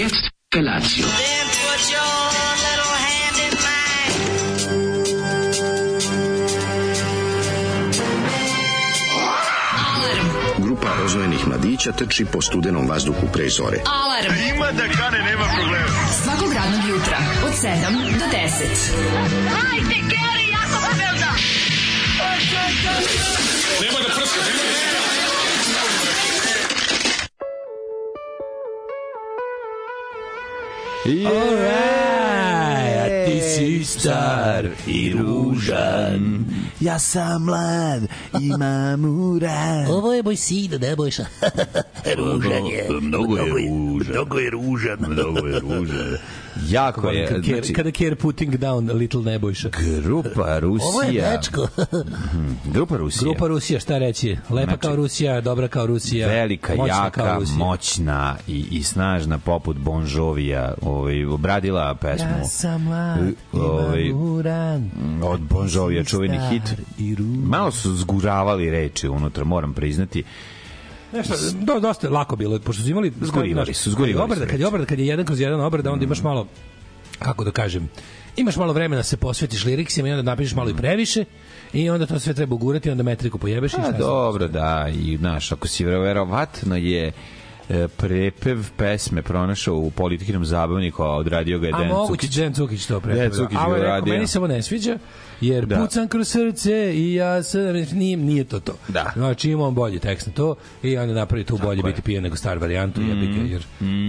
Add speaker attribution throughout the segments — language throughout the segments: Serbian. Speaker 1: jetzt Felatio.
Speaker 2: Then put your little hand in mine.
Speaker 3: Grupa rozvojenih mladića trči po studenom vazduhu pre zore.
Speaker 4: Alarm. Ima da kane, nema problema. Svakog radnog jutra, od 7 do 10.
Speaker 5: Alright, a ti si star i ružan.
Speaker 6: Ja sam mlad, imam uran.
Speaker 7: Ovo je moj sin, Nebojša. Ružan je.
Speaker 5: Mnogo je ružan.
Speaker 6: Mnogo je ružan.
Speaker 5: Mnogo je ružan. Jako je,
Speaker 7: Kada care,
Speaker 5: znači,
Speaker 7: kada care putting down little Nebojša.
Speaker 5: grupa
Speaker 7: Ovo je
Speaker 5: Rusija. Mhm.
Speaker 7: dečko.
Speaker 5: Grupa Rusija.
Speaker 7: Grupa Rusija, šta reći? Lepa
Speaker 5: Znači,
Speaker 7: kao Rusija, dobra kao Rusija.
Speaker 5: velika,
Speaker 7: moćna kao
Speaker 5: jaka,
Speaker 7: Rusija.
Speaker 5: moćna i, i snažna poput Bon Jovija, ovaj obradila pesmu.
Speaker 7: Ja sam mlad,
Speaker 5: Ovaj,
Speaker 7: imam uran.
Speaker 5: od Bon Jovija čuveni
Speaker 7: Star
Speaker 5: hit.
Speaker 7: i ruž.
Speaker 5: Malo su zguravali reči unutra, moram priznati.
Speaker 7: Nešto, do, dosta je lako bilo, pošto su imali...
Speaker 5: Zgurivali
Speaker 7: znaš,
Speaker 5: su, zgurivali
Speaker 7: kad je
Speaker 5: su
Speaker 7: Obrada, kad je obrada, kad je jedan kroz jedan obrada, onda imaš malo, kako da kažem, imaš malo vremena da se posvetiš liriksima i onda napišeš malo i previše i onda to sve treba ugurati, onda metriku pojebeš i šta
Speaker 5: A
Speaker 7: znam.
Speaker 5: Pa dobro, da, i znaš, ako si vero- verovatno je e, prepev pesme pronašao u politikinom zabavniku, a odradio ga je
Speaker 7: A
Speaker 5: Dan
Speaker 7: moguće
Speaker 5: Cukić.
Speaker 7: Dejan Cukić to pre.
Speaker 5: Dejan Cukić
Speaker 7: Ali
Speaker 5: je
Speaker 7: rekao,
Speaker 5: uradio.
Speaker 7: meni se ovo ne sviđa, jer
Speaker 5: Da.
Speaker 7: da. pucam kroz srce i ja sam, nije, nije to to.
Speaker 5: Da.
Speaker 7: Znači ima on bolji tekst na to i onda napravi tu bolje biti pijen nego star varijantu, mm, jebike, jer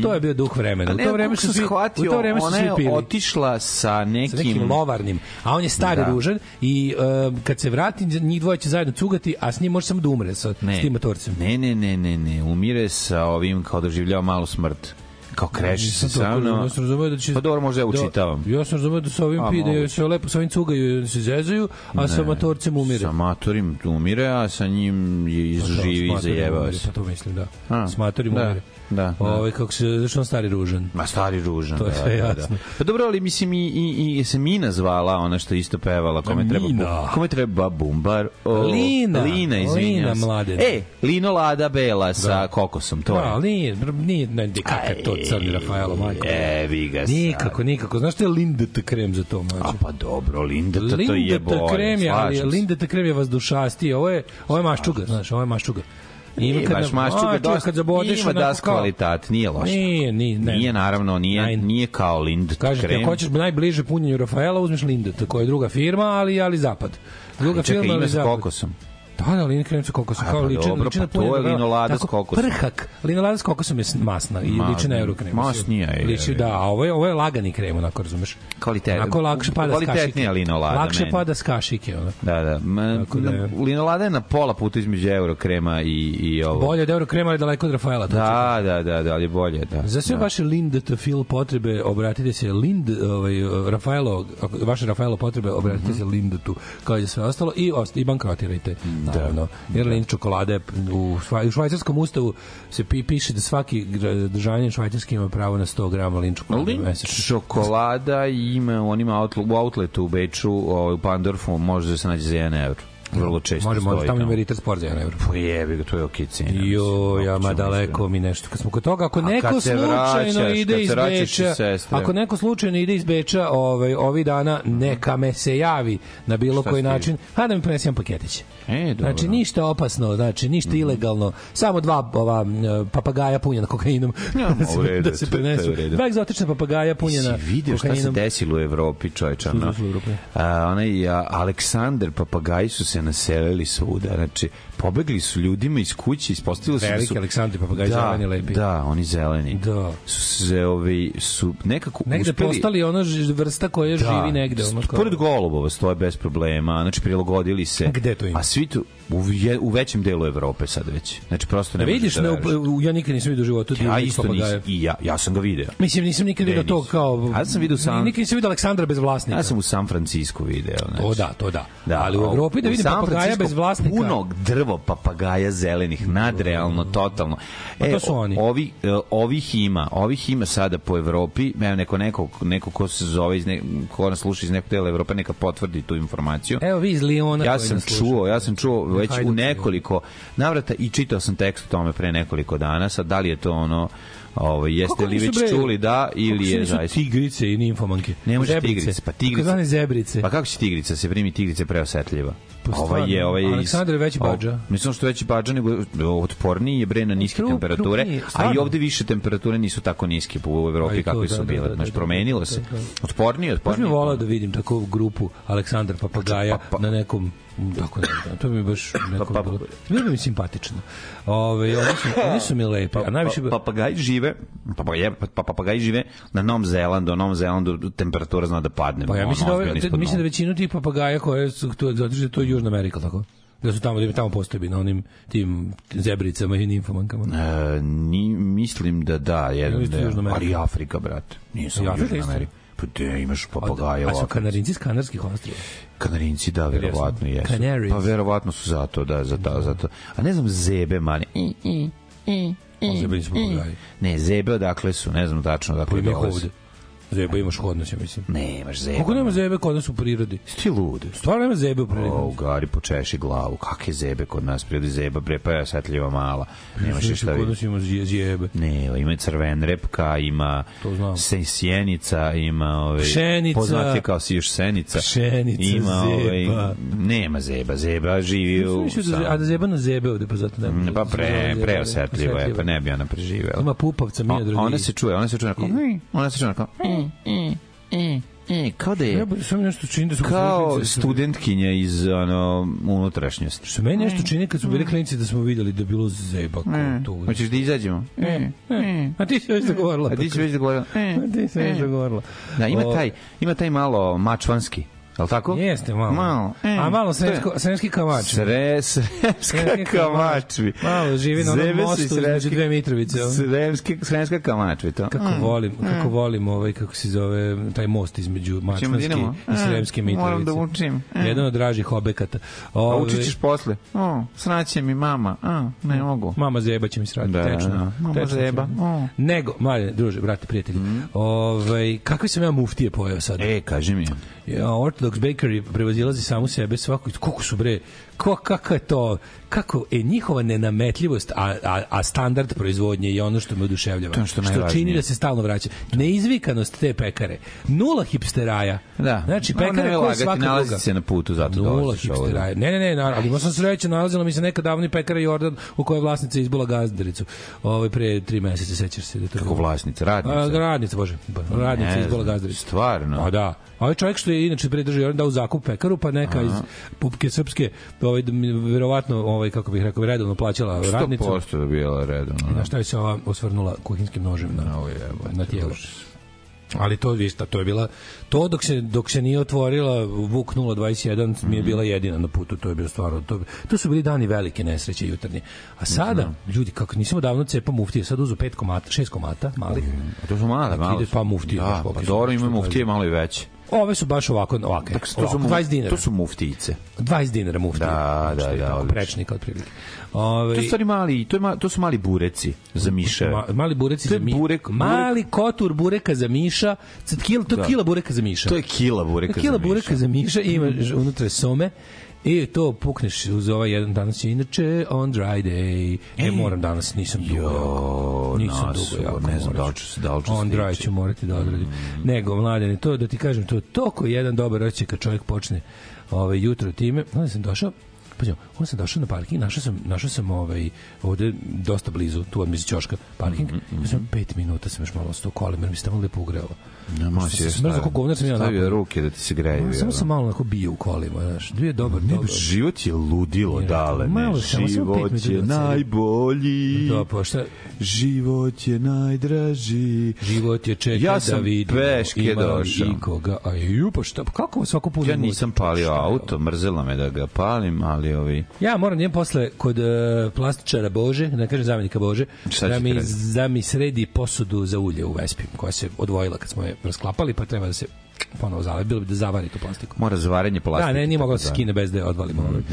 Speaker 7: to je bio duh vremena.
Speaker 5: A Mm-hmm.
Speaker 7: U
Speaker 5: Pa ne,
Speaker 7: to vreme
Speaker 5: koliko
Speaker 7: su
Speaker 5: sam
Speaker 7: svi, u
Speaker 5: shvatio,
Speaker 7: to vreme su
Speaker 5: ona
Speaker 7: svi
Speaker 5: je
Speaker 7: pili.
Speaker 5: otišla sa nekim...
Speaker 7: sa nekim lovarnim, a on je stari
Speaker 5: Da.
Speaker 7: da. ružan i um, kad se vrati, njih dvoje će zajedno cugati, a s njim može samo da umre sa, s tim motorcem.
Speaker 5: Ne, ne, ne, ne, ne, umire sa ovim kao doživljava malu smrt. Kao kreši se
Speaker 7: Nisam
Speaker 5: sa
Speaker 7: to-
Speaker 5: mnom.
Speaker 7: Ja sam razumeo da će...
Speaker 5: E, Pa dobro, možda ja učitavam.
Speaker 7: Da, ja sam razumeo da sa ovim
Speaker 5: A,
Speaker 7: pide,
Speaker 5: moguće.
Speaker 7: se lepo sa ovim cugaju i se zezaju, a sa matorcem umire.
Speaker 5: Sa matorim umire, a sa njim je izživi i
Speaker 7: Smatori
Speaker 5: zajebao
Speaker 7: umire,
Speaker 5: se.
Speaker 7: Pa to mislim, da.
Speaker 5: A,
Speaker 7: A, Smatori
Speaker 5: da,
Speaker 7: umire.
Speaker 5: da, da.
Speaker 7: Ovaj, kako se, zašto on stari ružan?
Speaker 5: Ma stari ružan.
Speaker 7: To je
Speaker 5: da,
Speaker 7: sve
Speaker 5: da,
Speaker 7: jasno.
Speaker 5: Da. Pa dobro, ali mislim i, i, i se Mina zvala, ona što je isto pevala, kome treba, bu,
Speaker 7: Pa Mina.
Speaker 5: kome treba bumbar. O,
Speaker 7: Lina.
Speaker 5: Lina, izvinjam
Speaker 7: Lina,
Speaker 5: se.
Speaker 7: mladen.
Speaker 5: E, Lino Lada Bela sa kokosom, to
Speaker 7: Da,
Speaker 5: je.
Speaker 7: ali nije, nije, ne, ne, kakav je to crni Rafaelo, majko.
Speaker 5: Evi ga sad.
Speaker 7: Nikako, nikako. Znaš što je Lindet krem za to, mlađe?
Speaker 5: A pa dobro, Linda, to, to je
Speaker 7: Lindet
Speaker 5: bolje.
Speaker 7: krem je, ali
Speaker 5: slažem se.
Speaker 7: Lindet krem je vazdušasti, ovo je, ovo je maščuga, znaš, ovo je maščuga.
Speaker 5: Nije E, baš
Speaker 7: nam-
Speaker 5: maščuga,
Speaker 7: maščuga
Speaker 5: dosta,
Speaker 7: kad zabodeš,
Speaker 5: ima
Speaker 7: onako
Speaker 5: das
Speaker 7: kao-
Speaker 5: kvalitat, nije loš.
Speaker 7: Nije, nije, ne.
Speaker 5: Nije, naravno, nije,
Speaker 7: Nein.
Speaker 5: nije kao Lind
Speaker 7: Kažete,
Speaker 5: krem.
Speaker 7: ako hoćeš najbliže punjenju Rafaela, uzmeš Lindet, koja je druga firma, ali, ali zapad. Druga
Speaker 5: Čekaj,
Speaker 7: firma,
Speaker 5: ima
Speaker 7: ali
Speaker 5: sa
Speaker 7: zapad.
Speaker 5: kokosom.
Speaker 7: Da, da, lin krem sa kokosom,
Speaker 5: A,
Speaker 7: kao
Speaker 5: pa
Speaker 7: liči,
Speaker 5: dobro,
Speaker 7: liči
Speaker 5: pa
Speaker 7: na
Speaker 5: to je
Speaker 7: punjenu Rafaela.
Speaker 5: linolada s
Speaker 7: Tako,
Speaker 5: kokosom.
Speaker 7: Prhak, linolada s kokosom je s- masna i
Speaker 5: Ma-
Speaker 7: liči na euro krem.
Speaker 5: masnija je,
Speaker 7: Liči,
Speaker 5: je.
Speaker 7: da, a ovo je, ovo je lagani krem, onako razumeš.
Speaker 5: Kvalitet-
Speaker 7: Onako lakše pada s kašike.
Speaker 5: kvalitetnija linolada
Speaker 7: Lakše
Speaker 5: meni.
Speaker 7: pada s kašike, ono.
Speaker 5: Da, da. Ma,
Speaker 7: Tako da
Speaker 5: da
Speaker 7: je.
Speaker 5: Linolada je na pola puta između euro krema i, i ovo.
Speaker 7: Bolje od euro krema, ali daleko od Rafaela. to ću
Speaker 5: Da, da, da, da, ali bolje, da.
Speaker 7: Za sve vaše Lindetofil potrebe obratite se Lind, ovaj, Rafaelo, ako- vaše Rafaelo potrebe obratite
Speaker 5: Mhm.
Speaker 7: se Lindetu kao i za sve ostalo i, ost, i bankrotirajte, naravno. Jer Lind čokolada je u, šva, u švajcarskom ustavu se pi, piše da svaki gra- državljanin švajcarski ima pravo na 100 grama Lind čokolade
Speaker 5: Lin
Speaker 7: mesečno.
Speaker 5: čokolada ima u onima outlet, u outletu u Beču, ovaj, u Pandorfu, može da se nađe za 1 euro. Vrlo često
Speaker 7: Može, može,
Speaker 5: stoji
Speaker 7: tamo ima Ritter Sport za 1 euro.
Speaker 5: Pojebi ga, to je okej cena.
Speaker 7: Jo,
Speaker 5: mislim,
Speaker 7: ja
Speaker 5: ako
Speaker 7: ma
Speaker 5: ćemo
Speaker 7: daleko
Speaker 5: iskreno.
Speaker 7: mi nešto. Kad smo kod toga, ako
Speaker 5: kad
Speaker 7: neko
Speaker 5: se
Speaker 7: slučajno
Speaker 5: vraćaš, kad
Speaker 7: ide iz
Speaker 5: se vraćaš iz
Speaker 7: Beča,
Speaker 5: sestre.
Speaker 7: ako neko slučajno ide iz Beča, ovaj ovih dana neka me se javi na bilo
Speaker 5: Šta
Speaker 7: koji
Speaker 5: stiže?
Speaker 7: način, a da mi ponese jedan paketić.
Speaker 5: E, dobro. Mhm.
Speaker 7: Znači ništa opasno, znači ništa ilegalno, samo dva ova m, papagaja punjena kokainom
Speaker 5: Ja,
Speaker 7: da, se,
Speaker 5: u redu,
Speaker 7: da se
Speaker 5: to- to je u
Speaker 7: prenesu.
Speaker 5: redu.
Speaker 7: Dva egzotična papagaja punjena
Speaker 5: Si vidio šta se
Speaker 7: kokainom.
Speaker 5: desilo u Evropi, čoveča. Ono,
Speaker 7: desilo u Evropi?
Speaker 5: a, onaj a, Aleksandar, papagaji su se naselili svuda. Znači, pobegli su ljudima iz kuće, ispostavilo se da
Speaker 7: Veliki
Speaker 5: su...
Speaker 7: Aleksandri papagaji, Pa zeleni, lepi.
Speaker 5: Da, oni zeleni.
Speaker 7: Da.
Speaker 5: Su se, ovi, su nekako
Speaker 7: Negde
Speaker 5: uspeli...
Speaker 7: postali ona ž- vrsta koja živi negde. Ono kao-
Speaker 5: Pored golubova stoje bez problema, znači prilagodili se.
Speaker 7: Gde to ima?
Speaker 5: A svi tu, u, je, u većem delu Evrope sad već. Znači prosto ne možeš
Speaker 7: Vidiš,
Speaker 5: da
Speaker 7: ne,
Speaker 5: veruješ.
Speaker 7: u- ja nikad nisam vidio u pa životu
Speaker 5: Ja
Speaker 7: divnih
Speaker 5: isto
Speaker 7: papagaja.
Speaker 5: nisam, i ja, ja sam ga video.
Speaker 7: Mislim, nisam nikad
Speaker 5: Ne,
Speaker 7: video to
Speaker 5: nisam.
Speaker 7: kao...
Speaker 5: A ja sam vidio sam-
Speaker 7: Nikad nisam vidio Aleksandra bez vlasnika.
Speaker 5: Ja sam u San Francisku video. Znači.
Speaker 7: To da, to da.
Speaker 5: Da,
Speaker 7: Ali u
Speaker 5: a
Speaker 7: Evropi da
Speaker 5: u
Speaker 7: vidim
Speaker 5: San
Speaker 7: papagaja
Speaker 5: Francisco
Speaker 7: bez vlasnika.
Speaker 5: Puno drvo papagaja zelenih, nadrealno, totalno.
Speaker 7: Pa to su
Speaker 5: o-
Speaker 7: oni.
Speaker 5: Ovi, e, ovih ima, ovih ima sada po Evropi, evo neko, neko, neko ko se zove, iz ne, ko nas sluša iz nekog dela Evrope, neka potvrdi tu informaciju.
Speaker 7: Evo vi iz Liona
Speaker 5: Ja
Speaker 7: koji
Speaker 5: sam
Speaker 7: nas slušate.
Speaker 5: čuo, ja sam čuo već
Speaker 7: Hajduk
Speaker 5: u
Speaker 7: je.
Speaker 5: nekoliko navrata i čitao sam tekst o tome pre nekoliko dana, sad da li je to ono Ovaj jeste
Speaker 7: Pa Kako
Speaker 5: li
Speaker 7: nisu,
Speaker 5: već
Speaker 7: bre? pa
Speaker 5: čuli da
Speaker 7: Kako
Speaker 5: ili
Speaker 7: se
Speaker 5: je
Speaker 7: nisu
Speaker 5: zaista
Speaker 7: Tigrice i nimfomanke.
Speaker 5: ne može
Speaker 7: Zebrice.
Speaker 5: tigrice, pa tigrice.
Speaker 7: Takozvane zebrice.
Speaker 5: Pa kako će tigrica se primi tigrice preosetljiva?
Speaker 7: Pa
Speaker 5: ovaj je,
Speaker 7: stvarno,
Speaker 5: ovaj je iz-
Speaker 7: Aleksandar je veći
Speaker 5: o-
Speaker 7: badža.
Speaker 5: Mislim što je veći badža, nego otporniji je bre na niske
Speaker 7: Kru-
Speaker 5: temperature,
Speaker 7: krupniji,
Speaker 5: a i
Speaker 7: stvarno.
Speaker 5: ovde više temperature nisu tako niske po u
Speaker 7: A i
Speaker 5: Evropi
Speaker 7: to,
Speaker 5: kakve
Speaker 7: da,
Speaker 5: su
Speaker 7: da,
Speaker 5: bile.
Speaker 7: da, da,
Speaker 5: Znaš,
Speaker 7: da,
Speaker 5: promenilo
Speaker 7: da,
Speaker 5: se.
Speaker 7: da, da.
Speaker 5: Otporniji,
Speaker 7: Baš mi
Speaker 5: otporniji.
Speaker 7: volao da vidim takvu grupu Aleksandar Papagaja
Speaker 5: Pa, pa, pa.
Speaker 7: na nekom tako ne znam, to mi baš neko
Speaker 5: Pa,
Speaker 7: pa,
Speaker 5: pa.
Speaker 7: pa, bilo mi simpatično. Ove, oni su, oni su mi lepi, a najviše
Speaker 5: Pa- papagaji žive, papagaje, pa- pa- papagaji žive na Novom Zelandu, a na Novom Zelandu temperatura zna da padne.
Speaker 7: Pa ja
Speaker 5: ono,
Speaker 7: mislim da,
Speaker 5: ozbiljno
Speaker 7: ove,
Speaker 5: ispod
Speaker 7: mislim da
Speaker 5: nule.
Speaker 7: većinu tih papagaja koje su tu egzotične, to je Južna Amerika, tako? Da su tamo, da im tamo postoji na onim tim zebricama i nimfomankama.
Speaker 5: E, ni, mislim da da, jedan
Speaker 7: Ili su Južna
Speaker 5: deo,
Speaker 7: Amerika.
Speaker 5: ali i Afrika, brate. Nije samo
Speaker 7: I Afrika
Speaker 5: Južna
Speaker 7: isto?
Speaker 5: Amerika. Pa gde imaš papagaje
Speaker 7: A
Speaker 5: u
Speaker 7: su
Speaker 5: Africi?
Speaker 7: kanarinci s kanarskih ostrija.
Speaker 5: Mm, Kanarinci, da, verovatno
Speaker 7: jesu?
Speaker 5: jesu.
Speaker 7: Canaries.
Speaker 5: Pa verovatno su zato, da, za ta, za to. A ne znam, zebe, mane. I, i, i, i,
Speaker 7: Zebe nisu papagaji.
Speaker 5: Ne, zebe odakle su, ne znam tačno
Speaker 7: Koji
Speaker 5: odakle
Speaker 7: mi
Speaker 5: dolaze.
Speaker 7: ovde. Zeba imaš kod nas, ja mislim.
Speaker 5: Ne, imaš zebe.
Speaker 7: Kako nema zebe kod nas u prirodi?
Speaker 5: Ti lud.
Speaker 7: Stvarno nema zebe u prirodi.
Speaker 5: O, gari, počeši glavu. Kakve zebe kod nas, prirodi zeba, bre, pa je osetljiva mala. Nemaš
Speaker 7: Znači,
Speaker 5: šta
Speaker 7: Kod
Speaker 5: vidjeti.
Speaker 7: nas ima zje- zjebe.
Speaker 5: Ne, ima crven repka, ima
Speaker 7: To znam.
Speaker 5: se- sjenica, ima ove
Speaker 7: Pšenica.
Speaker 5: poznat je kao si još senica. ovaj,
Speaker 7: Pšenica, zeba.
Speaker 5: nema zeba, zeba živi u
Speaker 7: Mislim da
Speaker 5: sam-
Speaker 7: ze- A da zeba na zebe ovde, pa zato ne.
Speaker 5: Ne, Pa pre,
Speaker 7: zove
Speaker 5: preosetljivo je, pa
Speaker 7: osetljivo.
Speaker 5: ne bi ona preživela.
Speaker 7: Ima pupavca, mi
Speaker 5: A-
Speaker 7: je drugi.
Speaker 5: Ona se čuje, ona se čuje onako, mm, ona se čuje onako, mm, mm, mm, mm, kao da
Speaker 7: Ja
Speaker 5: je,
Speaker 7: bi sam nešto čini da su
Speaker 5: kao
Speaker 7: da su-
Speaker 5: studentkinja iz ono, unutrašnjosti.
Speaker 7: Što meni nešto čini kad su
Speaker 5: Mm.
Speaker 7: bili klinici da smo videli da je bilo zeba kao tu. Znači,
Speaker 5: Hoćeš da izađemo? "Mm",
Speaker 7: Mm. A ti si već zagovorila.
Speaker 5: A ti si već dogovorila?
Speaker 7: A ti si
Speaker 5: Mm.
Speaker 7: već zagovorila.
Speaker 5: Da, ima
Speaker 7: O,
Speaker 5: taj, ima taj malo mačvanski, je li tako?
Speaker 7: Jeste, malo.
Speaker 5: Malo.
Speaker 7: A malo
Speaker 5: To je-
Speaker 7: sremsko, sremski kamač.
Speaker 5: Sre, sremska
Speaker 7: Sremski
Speaker 5: kamačvi.
Speaker 7: Malo živi na onom
Speaker 5: Zebe se
Speaker 7: mostu između
Speaker 5: Sremski-
Speaker 7: dve Mitrovice, ono.
Speaker 5: Sremski, sremska kamačvi, to. Mm.
Speaker 7: Kako volim, kako volim ovaj, kako se zove, taj most između Mačvanske
Speaker 5: Dinamo?
Speaker 7: i Sremske
Speaker 5: E,
Speaker 7: Mitrovice.
Speaker 5: moram da učim. E.
Speaker 7: Jedan od dražih Ovaj, obekata.
Speaker 5: A
Speaker 7: Ove,
Speaker 5: učit ćeš posle. O, sraće mi mama. A,
Speaker 7: Mm.
Speaker 5: ne mogu.
Speaker 7: Mama zeba će mi srati,
Speaker 5: Da,
Speaker 7: tečno.
Speaker 5: da. Mama
Speaker 7: tečno će
Speaker 5: zeba, Mm.
Speaker 7: mi.
Speaker 5: o.
Speaker 7: Nego, Marjan, druže, brate, prijatelji,
Speaker 5: Mm.
Speaker 7: ovaj, kakve sam ja muftije pojao sad?
Speaker 5: E, kaži mi.
Speaker 7: Ja, Orthodox Bakery prevazilazi samu sebe svako koliko su bre ko, kako je to kako je njihova nenametljivost a, a, a standard proizvodnje i ono što me oduševljava
Speaker 5: To je ono što je
Speaker 7: što čini
Speaker 5: najvažnije.
Speaker 7: da se stalno vraća neizvikanost te pekare nula hipsteraja
Speaker 5: Da.
Speaker 7: znači
Speaker 5: Ono,
Speaker 7: pekare
Speaker 5: nemoj
Speaker 7: koja
Speaker 5: lagati,
Speaker 7: svaka
Speaker 5: nalazi
Speaker 7: druga
Speaker 5: se na putu, zato
Speaker 7: nula
Speaker 5: dolaziš ovde.
Speaker 7: hipsteraja ne ne ne naravno imao sam sreće nalazila mi se neka davni pekara Jordan u kojoj je vlasnica izbila gazdaricu ovaj pre 3 meseca sećaš se da je to
Speaker 5: Kako
Speaker 7: bilo?
Speaker 5: vlasnica,
Speaker 7: A,
Speaker 5: radnica.
Speaker 7: radnica, Pa, bože. Radnica
Speaker 5: Pa Ne
Speaker 7: iz Bola
Speaker 5: znam,
Speaker 7: Gazdarica.
Speaker 5: stvarno?
Speaker 7: A da. A ovaj čovjek što je inače predržao Jordan dao u zakup pekaru, pa neka iz Pupke Srpske, ovaj, verovatno, ovaj, kako bih rekao, redovno plaćala radnicu.
Speaker 5: 100% da bila redovno.
Speaker 7: Na šta je se ova osvrnula kuhinskim nožem na,
Speaker 5: Ovo jebote,
Speaker 7: na tijelo. Ali to vi šta, to je bila to dok se dok se nije otvorila Vuk 021 mi
Speaker 5: Mhm.
Speaker 7: je bila jedina na putu, to je bilo stvarno to. To su bili dani velike nesreće jutarnje. A sada
Speaker 5: Mhm.
Speaker 7: ljudi kako nismo davno cepa muftije, sad uzu pet komata, šest komata malih.
Speaker 5: A to su male,
Speaker 7: Neki
Speaker 5: male.
Speaker 7: ide pa muftije, baš
Speaker 5: Da, pa
Speaker 7: popis.
Speaker 5: dobro,
Speaker 7: Što
Speaker 5: ima
Speaker 7: to je?
Speaker 5: muftije malo i veće.
Speaker 7: Ove su baš ovako, ovake.
Speaker 5: Tako,
Speaker 7: ovako,
Speaker 5: mu-
Speaker 7: 20 dinara.
Speaker 5: To su muftijice.
Speaker 7: 20 dinara muftije.
Speaker 5: Da, da,
Speaker 7: Što je
Speaker 5: da,
Speaker 7: Tako,
Speaker 5: odlično.
Speaker 7: prečnika otprilike. Ove,
Speaker 5: To su stvari mali, to, je, ma- to su mali bureci za miševe.
Speaker 7: Ma, mali bureci
Speaker 5: To
Speaker 7: za
Speaker 5: je
Speaker 7: mi,
Speaker 5: burek- burek-
Speaker 7: mali kotur bureka za miša, ced kil, to je
Speaker 5: Da.
Speaker 7: kila bureka za miša.
Speaker 5: To je kila bureka
Speaker 7: kila
Speaker 5: za miša.
Speaker 7: bureka za miša i ima unutra some i to pukneš uz ovaj jedan danas je inače on dry day. E, moram danas, nisam dugo. jako. nisam
Speaker 5: nasu,
Speaker 7: dugo, jako,
Speaker 5: ne znam
Speaker 7: morat
Speaker 5: da li ću se- da li ću
Speaker 7: On dry
Speaker 5: stići. Mm.
Speaker 7: ću morati da odradim. Nego, mladene, to da ti kažem, to je toliko jedan dobar osjećaj kad čovjek počne ovaj, jutro time. Onda sam došao, Pađo, onda sam došao na parking, našao sam, našao sam ovaj, ovde dosta blizu, tu od Mizićoška, parking.
Speaker 5: Mm-hmm,
Speaker 7: Mm -hmm. sam pet minuta sam još malo ostao u kolima, jer mi se tamo lepo ugrelo.
Speaker 5: Ne,
Speaker 7: Što se smrzao kako govnar sam ja
Speaker 5: Stavio
Speaker 7: napravio.
Speaker 5: ruke da ti se greju.
Speaker 7: Ma,
Speaker 5: jel?
Speaker 7: Samo sam malo onako bio u kolima, znaš. Bio je dobar,
Speaker 5: Ne,
Speaker 7: dobar.
Speaker 5: život je ludilo, dale, ne,
Speaker 7: Malo samo, samo pet
Speaker 5: život
Speaker 7: minuta
Speaker 5: je
Speaker 7: da se-
Speaker 5: najbolji,
Speaker 7: Da, pa šta,
Speaker 5: život je najdraži.
Speaker 7: život je čeka
Speaker 5: Ja
Speaker 7: da
Speaker 5: sam
Speaker 7: vidimo
Speaker 5: peške
Speaker 7: ima li
Speaker 5: došao.
Speaker 7: ikoga. A ju, pa šta, pa kako svako puno
Speaker 5: Ja
Speaker 7: ima-
Speaker 5: nisam palio
Speaker 7: šta je ovo?
Speaker 5: auto, mrzelo me da ga palim, ali ovi...
Speaker 7: Ja moram njem posle kod uh, plastičara Bože, da ne kažem zamenika Bože,
Speaker 5: Šta
Speaker 7: da
Speaker 5: će
Speaker 7: mi,
Speaker 5: ti raditi?
Speaker 7: da mi sredi posudu za ulje u Vespi, koja se odvojila kad smo je rasklapali, pa treba da se ponovo zale, bilo bi da zavari tu plastiku.
Speaker 5: Mora zavaranje plastike.
Speaker 7: Da, ne, nije mogla da
Speaker 5: tako Mhm.
Speaker 7: se skine bez da je odvalimo. Mm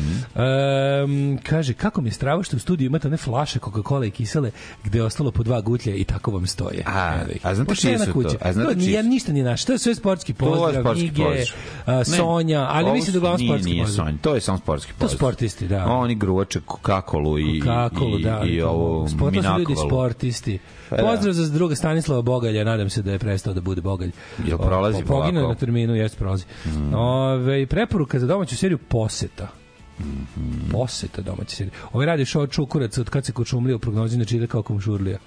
Speaker 7: -hmm. um, kaže, kako mi je strava što u studiju imate one flaše Coca-Cola i kisele gde je ostalo po dva gutlja i tako vam stoje.
Speaker 5: A,
Speaker 7: Evo ih.
Speaker 5: a znate
Speaker 7: Poštena
Speaker 5: čije su to?
Speaker 7: kuća.
Speaker 5: A znate
Speaker 7: to
Speaker 5: čije
Speaker 7: ja
Speaker 5: su?
Speaker 7: ništa nije naš. To je sve sportski
Speaker 5: To je
Speaker 7: pozdrav,
Speaker 5: sportski
Speaker 7: Ige,
Speaker 5: pozdrav.
Speaker 7: a,
Speaker 5: Ne,
Speaker 7: Sonja, ali
Speaker 5: ovo
Speaker 7: mislim da
Speaker 5: su-
Speaker 7: je uglavnom
Speaker 5: nije,
Speaker 7: sportski
Speaker 5: nije
Speaker 7: pozdrav.
Speaker 5: Sonja, to je samo sportski
Speaker 7: To
Speaker 5: pozdrav.
Speaker 7: sportisti, da.
Speaker 5: Oni gruoče kakolu i,
Speaker 7: Kakolu,
Speaker 5: i,
Speaker 7: da.
Speaker 5: i ovo
Speaker 7: Sportno su ljudi
Speaker 5: minakovalu.
Speaker 7: sportisti.
Speaker 5: da.
Speaker 7: Pozdrav za druga Stanislava Bogalja, nadam se da je prestao da bude Bogalj.
Speaker 5: Jel prolazi Mm.
Speaker 7: O, po- Poginuo je
Speaker 5: polako?
Speaker 7: na terminu, jeste prolazi. Ove, i preporuka za domaću seriju Poseta.
Speaker 5: Mm-hmm.
Speaker 7: Poseta domaće serije. Ovaj radi show Čukurac od kad se kočumlija u prognozi znači ide kao komšurlija.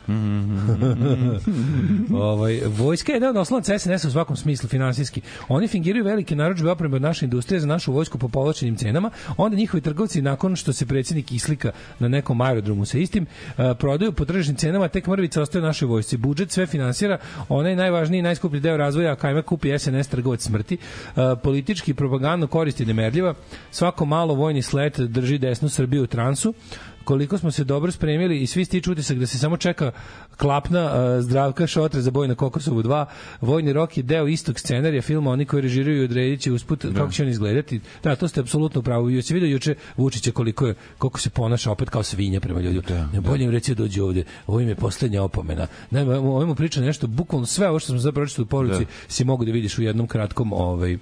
Speaker 7: ovaj, vojska je jedan od oslonaca SNS u svakom smislu finansijski. Oni fingiraju velike narudžbe opreme od naše industrije za našu vojsku po povlačenim cenama, onda njihovi trgovci nakon što se predsjednik islika na nekom aerodromu sa istim, eh, prodaju po tržišnim cenama, a tek mrvica ostaje našoj vojsci. Budžet sve finansira, onaj najvažniji i najskuplji deo razvoja, a kajma kupi SNS trgovac smrti. Eh, Politički i propagandno koristi nemerljiva, svako malo vojni slet drži desnu Srbiju u transu, koliko smo se dobro spremili i svi stiču utisak da se samo čeka klapna uh, zdravka šotre za boj na Kokosovu 2. Vojni rok je deo istog scenarija filma, oni koji režiraju i odredit će usput kako će on izgledati. Da, to ste apsolutno u pravu. Jesi vidio juče Vučića koliko je, koliko se ponaša opet kao svinja prema ljudima. ne bolje im reći da dođe ovde. Ovo im je poslednja opomena. Ne, ovo im priča nešto, bukvalno sve ovo što smo sad pročitali u poruci si mogu da vidiš u jednom kratkom ovaj,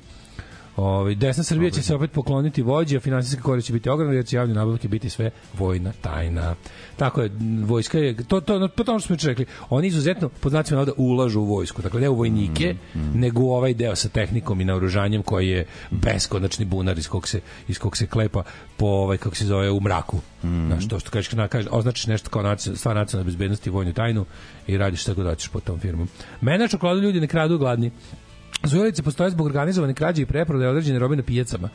Speaker 7: Ovaj desna Srbija će se opet pokloniti vođi, a finansijska korist će biti ogromna jer će javne nabavke biti sve vojna tajna. Tako je, m, vojska je to to po tom što smo juče rekli, oni izuzetno pod znacima navoda ulažu u vojsku. Dakle ne u vojnike, nego u ovaj deo sa tehnikom i naoružanjem koji je beskonačni bunar iz kog se iz kog se klepa po ovaj kako se zove u mraku. Znaš, to što kažeš, na, kaže, označiš nešto kao naci- stvar nacionalne bezbednosti i vojnu tajnu i radiš šta god hoćeš po tom firmom. Mene čokoladu ljudi ne kradu gladni. Zujelice postoje zbog organizovane krađe i preprodaje određene robe na pijacama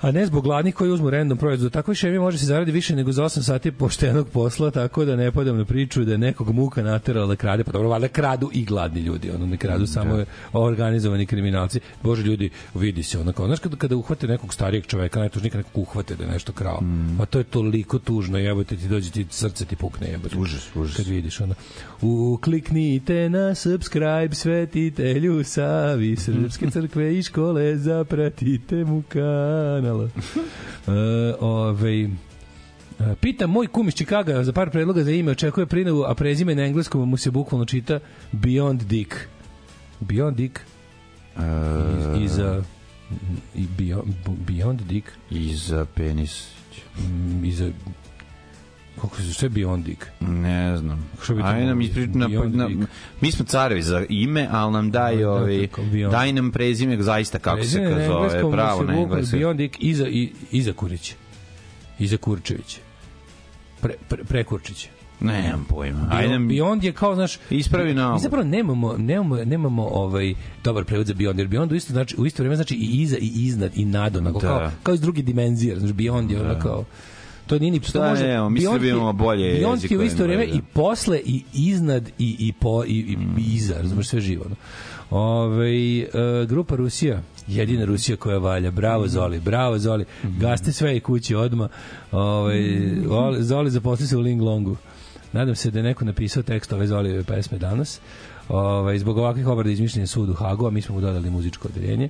Speaker 7: a ne zbog gladnih koji uzmu random proizvod. Tako šemi može se zaradi više nego za 8 sati poštenog posla, tako da ne padam na priču da je nekog muka naterala da krade. Pa dobro, valjda kradu i gladni ljudi, ono ne kradu samo organizovani kriminalci. Bože ljudi, vidi se onako. Znaš kada, kada uhvate nekog starijeg čoveka, najtužnika nekog uhvate da je nešto krao. Pa to je toliko tužno, jebote ti dođe ti srce ti pukne, jebote. Užas, užas. Kad vidiš ono. Ukliknite na subscribe svetitelju Savi Srpske crkve i škole zapratite mu kanala. E, ovaj, e, Pita moj kum iz Čikaga za par predloga za ime, očekuje prinavu, a prezime na engleskom mu se bukvalno čita Beyond Dick. Beyond Dick iz, iz a, i Beyond, Beyond Dick
Speaker 5: I za penis.
Speaker 7: mm, iz a, kako se sve Beyond Dick.
Speaker 5: Ne znam.
Speaker 7: Što bi to
Speaker 5: Ajde nam
Speaker 7: moglo?
Speaker 5: ispri... na,
Speaker 7: Beyond
Speaker 5: na,
Speaker 7: Geek.
Speaker 5: mi smo carevi za ime, ali nam daj,
Speaker 7: Da,
Speaker 5: ovi,
Speaker 7: tako, Beyond.
Speaker 5: daj nam prezime zaista kako se
Speaker 7: Prezime na
Speaker 5: ka zove,
Speaker 7: engleskom
Speaker 5: pravo
Speaker 7: se
Speaker 5: na
Speaker 7: bukvalno
Speaker 5: engleskom.
Speaker 7: Beyond Dick iza, i, iza Kurić. Iza Kurčević. Pre, pre, prekurčić.
Speaker 5: Nemam pojma. Ajde
Speaker 7: Ajde,
Speaker 5: nam
Speaker 7: Beyond je kao, znaš...
Speaker 5: Ispravi na
Speaker 7: Mi zapravo nemamo, nemamo, nemamo ovaj dobar prevod za Beyond, jer Beyond u isto, znači, u isto vreme znači i iza i iznad i nad, onako,
Speaker 5: Da.
Speaker 7: kao, kao iz druge dimenzije, znači Beyond je ono kao... To nije ni... To
Speaker 5: Da,
Speaker 7: može,
Speaker 5: nemamo, mi Srbi
Speaker 7: je-
Speaker 5: imamo bolje
Speaker 7: Beyond
Speaker 5: jezike
Speaker 7: je u
Speaker 5: od
Speaker 7: isto vreme i
Speaker 5: Engleza.
Speaker 7: posle i iznad i, i, po, i, i, i iza, razumiješ, sve živo. No? Ove, e, grupa Rusija, jedina Rusija koja valja. Bravo Zoli, bravo Zoli. Gaste sve i kući odma. Ove, Oli- Zoli zaposli se u Linglongu. Nadam se da je neko napisao tekst ove Zolijeve pesme danas. Ove, zbog ovakvih obrada izmišljen je sud u Hagu, a mi smo mu dodali muzičko odeljenje.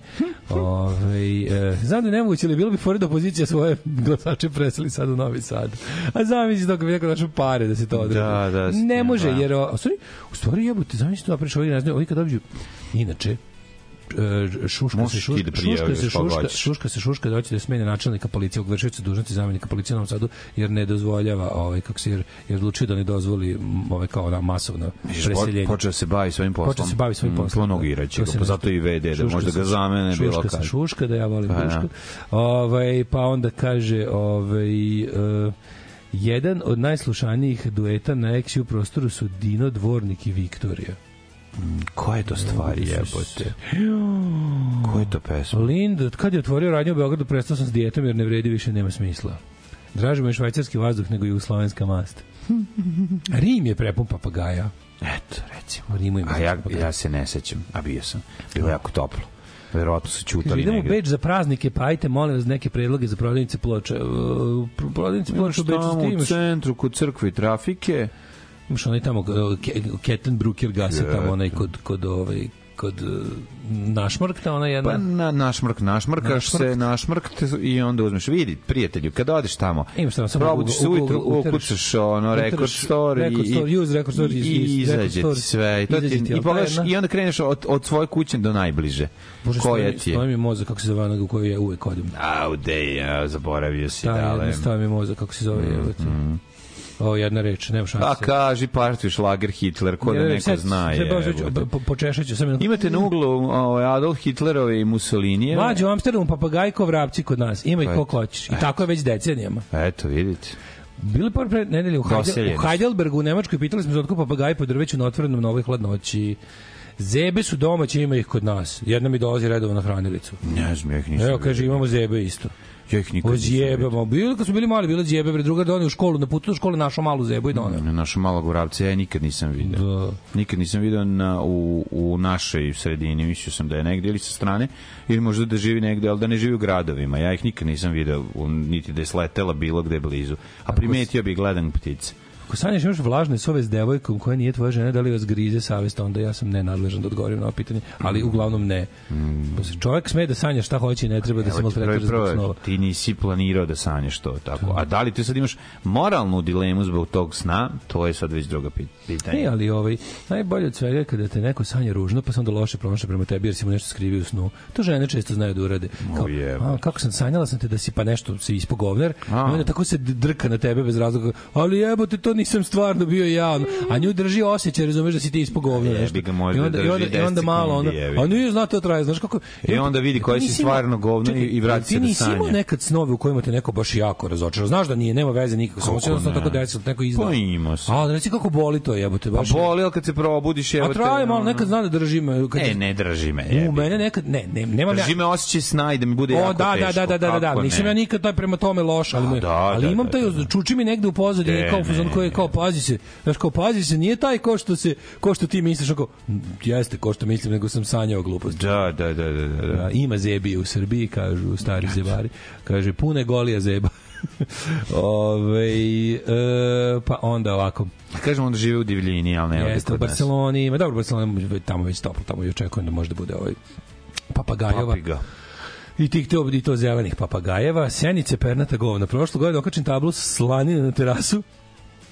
Speaker 7: Ove, e, znam da je nemoguće, ali bilo bi pored opozicija svoje glasače preseli sad u Novi Sad. A zamisli dok bi neko našao pare da se to odredi.
Speaker 5: Da, da,
Speaker 7: ne
Speaker 5: da.
Speaker 7: može, jer o, u stvari, u stvari jebote, zamisli to napraviš ovih, ne znam, ovi kad dođu, inače, e, šuška se
Speaker 5: Možeš ti
Speaker 7: šuška,
Speaker 5: da pa
Speaker 7: šuška
Speaker 5: prijavljaš
Speaker 7: se
Speaker 5: koga
Speaker 7: šuška,
Speaker 5: hoćeš.
Speaker 7: šuška se šuška da hoće da smene načelnika policije ogrešioca dužnosti zamenika policije u Novom Sadu jer ne dozvoljava ovaj kako se jer, jer odlučio da ne dozvoli m, ovaj kao na masovno
Speaker 5: Viš, po-
Speaker 7: preseljenje.
Speaker 5: Počeo se bavi svojim poslom.
Speaker 7: Počeo se bavi
Speaker 5: Mm,
Speaker 7: svojim poslom.
Speaker 5: Slonogiraće
Speaker 7: To
Speaker 5: ga,
Speaker 7: se
Speaker 5: pa
Speaker 7: ne-
Speaker 5: zato i VD, da
Speaker 7: Šuška
Speaker 5: možda
Speaker 7: se-
Speaker 5: ga zamene bilo
Speaker 7: Šuška
Speaker 5: kad.
Speaker 7: se šuška, da ja volim
Speaker 5: Pa, da.
Speaker 7: šušku. Ovaj, pa onda kaže, ovaj, e, jedan od najslušanijih dueta na XU prostoru su Dino Dvornik i Viktorija.
Speaker 5: Koje to stvari jebote? Koje to pesma?
Speaker 7: Lind, kad je otvorio radnju u Beogradu, prestao sam s dijetom jer ne vredi više, nema smisla. Draži me švajcarski vazduh nego jugoslovenska mast. Rim je prepun papagaja.
Speaker 5: Eto, recimo.
Speaker 7: U Rimu ima
Speaker 5: A ja,
Speaker 7: papagaja.
Speaker 5: ja se ne sećam, a bio sam. Bilo je jako toplo. Verovatno su
Speaker 7: Kaže,
Speaker 5: čutali
Speaker 7: idemo u
Speaker 5: negde.
Speaker 7: Beč za praznike, pa ajte, molim vas, neke predloge za prodavnice ploča. E, pro- Prodavnice ploča u Beču,
Speaker 5: Tamo
Speaker 7: ti
Speaker 5: u
Speaker 7: imaš,
Speaker 5: centru, kod crkve i trafike.
Speaker 7: e, imaš onaj tamo, Ketten Brucker gasa, tamo onaj kod, kod ovaj, kod uh, našmrkta, ona jedna...
Speaker 5: Pa na, našmrk, našmrkaš
Speaker 7: Našmrk.
Speaker 5: se, našmrk te- i onda uzmeš. Vidi, prijatelju, kad odeš tamo,
Speaker 7: Imaš tamo samo
Speaker 5: probudiš se
Speaker 7: Google-
Speaker 5: ujutru,
Speaker 7: Google- utereš-
Speaker 5: ukucaš ono,
Speaker 7: utereš
Speaker 5: record store,
Speaker 7: record
Speaker 5: i-
Speaker 7: store,
Speaker 5: i,
Speaker 7: use record store,
Speaker 5: i,
Speaker 7: use- use
Speaker 5: i
Speaker 7: record
Speaker 5: izađe
Speaker 7: store.
Speaker 5: ti sve. I, to ti,
Speaker 7: Izađe ti,
Speaker 5: i,
Speaker 7: ali
Speaker 5: pogledaš,
Speaker 7: ta jedna-
Speaker 5: I onda kreneš od, od svoje kuće do najbliže.
Speaker 7: Bože,
Speaker 5: koja
Speaker 7: stoji-
Speaker 5: ti
Speaker 7: Stoji
Speaker 5: je?
Speaker 7: mi mozak, kako se zove onoga u koju ja uvek odim.
Speaker 5: Au, dej, ja, zaboravio si,
Speaker 7: Ta
Speaker 5: dale.
Speaker 7: jedna stoji mi mozak, kako se zove. Mm O, jedna reč, nema šanse.
Speaker 5: Mhm. A kaži partiju šlager Hitler, ko da
Speaker 7: Jedna reč,
Speaker 5: neko
Speaker 7: sad-
Speaker 5: zna.
Speaker 7: sad baš
Speaker 5: jebote.
Speaker 7: već, po- Počešat ću, sam
Speaker 5: Imate na uglu ovaj, Adolf Hitlerove i Mussolinije.
Speaker 7: Mlađe u Amsterdamu, papagajko, vrapci kod nas. Ima ih koliko hoćeš. I tako je već decenijama.
Speaker 5: Eto, vidite.
Speaker 7: Bili par pre nedelje u, Heidel, u
Speaker 5: Doseljenost.
Speaker 7: Heidelbergu u Nemačkoj pitali smo za otkup papagaja po drveću na otvorenom na ovoj hladnoći. Zebe su domaće, ima ih kod nas. Jedna mi dolazi redovno na hranilicu.
Speaker 5: Ne znam, ja ih nisam
Speaker 7: Evo, kaže, imamo zebe isto.
Speaker 5: vidio. Ja ih nikad
Speaker 7: O
Speaker 5: nisam vidio.
Speaker 7: zjebemo. Bili kad smo bili mali, bila zjebe, bre, drugar donio u školu, na putu do škole našao malu zebu i ono. donio.
Speaker 5: Na našom malog vrapca ja je nikad nisam video.
Speaker 7: Da.
Speaker 5: Nikad nisam video na, u, u našoj sredini, mislio sam da je negde ili sa strane, ili možda da živi negde, ali da ne živi u gradovima. Ja ih nikad nisam video, u- niti da je sletela bilo gde blizu. A primetio bi gledan ptice.
Speaker 7: Ako sanjaš imaš vlažne sove s devojkom koja nije tvoja žena, da li vas grize savest, onda ja sam nenadležan da odgovorim na ovo pitanje, ali uglavnom ne. Mm. Čovjek sme da sanja šta hoće i ne treba da se
Speaker 5: Evo ti
Speaker 7: maltretira
Speaker 5: prvo,
Speaker 7: Pa zbog
Speaker 5: prvo,
Speaker 7: snova.
Speaker 5: ti nisi planirao da sanješ to tako. A da li ti sad imaš moralnu dilemu zbog tog sna, to je sad već druga pit- pitanje.
Speaker 7: Ne, ali ovaj, najbolje od svega je kada te neko sanja ružno, pa se onda loše pronaša prema tebi jer si mu nešto skrivio u snu. To žene često znaju da urade. Kao,
Speaker 5: jebe.
Speaker 7: a, kako sam sanjala sam te da si pa nešto se ispogovner,
Speaker 5: A.
Speaker 7: i onda tako se d- drka na tebe bez razloga. Ali jebote, to nisam stvarno bio ja. ono. A nju drži osjećaj, razumeš da si ti ispogovner
Speaker 5: Jebi
Speaker 7: nešto.
Speaker 5: ga, možda
Speaker 7: I onda, i
Speaker 5: drži
Speaker 7: onda, i
Speaker 5: 10
Speaker 7: onda malo, onda,
Speaker 5: sekundi, jebi ga.
Speaker 7: a nije znate to traje, znaš kako.
Speaker 5: I onda vidi koja
Speaker 7: Ti
Speaker 5: si
Speaker 7: nisi imao-
Speaker 5: stvarno govno i-
Speaker 7: Čekaj,
Speaker 5: i vrati se
Speaker 7: Ti
Speaker 5: da
Speaker 7: nisi imao
Speaker 5: sanja.
Speaker 7: nekad snove u kojima te neko baš jako razočarao. Znaš da nije, nema veze nikako. Samo
Speaker 5: Kako
Speaker 7: se jednostavno
Speaker 5: ne?
Speaker 7: tako desilo, neko izdao.
Speaker 5: Pa imao sam.
Speaker 7: A, reci kako boli to jebote.
Speaker 5: Pa
Speaker 7: Baš je-
Speaker 5: boli, ali kad se probudiš, evo ono,
Speaker 7: a traje malo, nekad znam da drži me. Kad
Speaker 5: E, ne drži me,
Speaker 7: U
Speaker 5: jebi.
Speaker 7: mene nekad, ne, ne, nemam
Speaker 5: Drži me osjećaj sna i da mi bude
Speaker 7: O,
Speaker 5: jako
Speaker 7: da,
Speaker 5: teško.
Speaker 7: da, da, da, da, da,
Speaker 5: kako
Speaker 7: nisam
Speaker 5: ne?
Speaker 7: ja nikad taj prema tome loš, ali,
Speaker 5: A,
Speaker 7: me,
Speaker 5: da,
Speaker 7: ali
Speaker 5: da,
Speaker 7: imam
Speaker 5: da,
Speaker 7: taj,
Speaker 5: da, da.
Speaker 7: čuči mi negde u pozadini,
Speaker 5: Ne,
Speaker 7: kao fuzon
Speaker 5: ne,
Speaker 7: koji
Speaker 5: ne.
Speaker 7: je kao, pazi se, znaš, kao, pazi se, nije taj ko što se, ko što ti misliš, ako, jeste ko što mislim, nego sam sanjao gluposti.
Speaker 5: Da, da, da, da, da. da.
Speaker 7: Da, ima zebije u Srbiji, kažu stari zebari. Kaže, pune golija zeba. Ove, e, pa onda ovako.
Speaker 5: Kažemo onda žive u divljini, ali ne ovde
Speaker 7: Jeste, u
Speaker 5: kod nas.
Speaker 7: Barceloni ima. Dobro, Barcelona je tamo već toplo, tamo i očekujem da može da bude ovaj papagajova.
Speaker 5: Papiga.
Speaker 7: I tih to, i to zelenih papagajeva. Sjenice pernata govna. Prošlo godine okačen tablu slanina na terasu.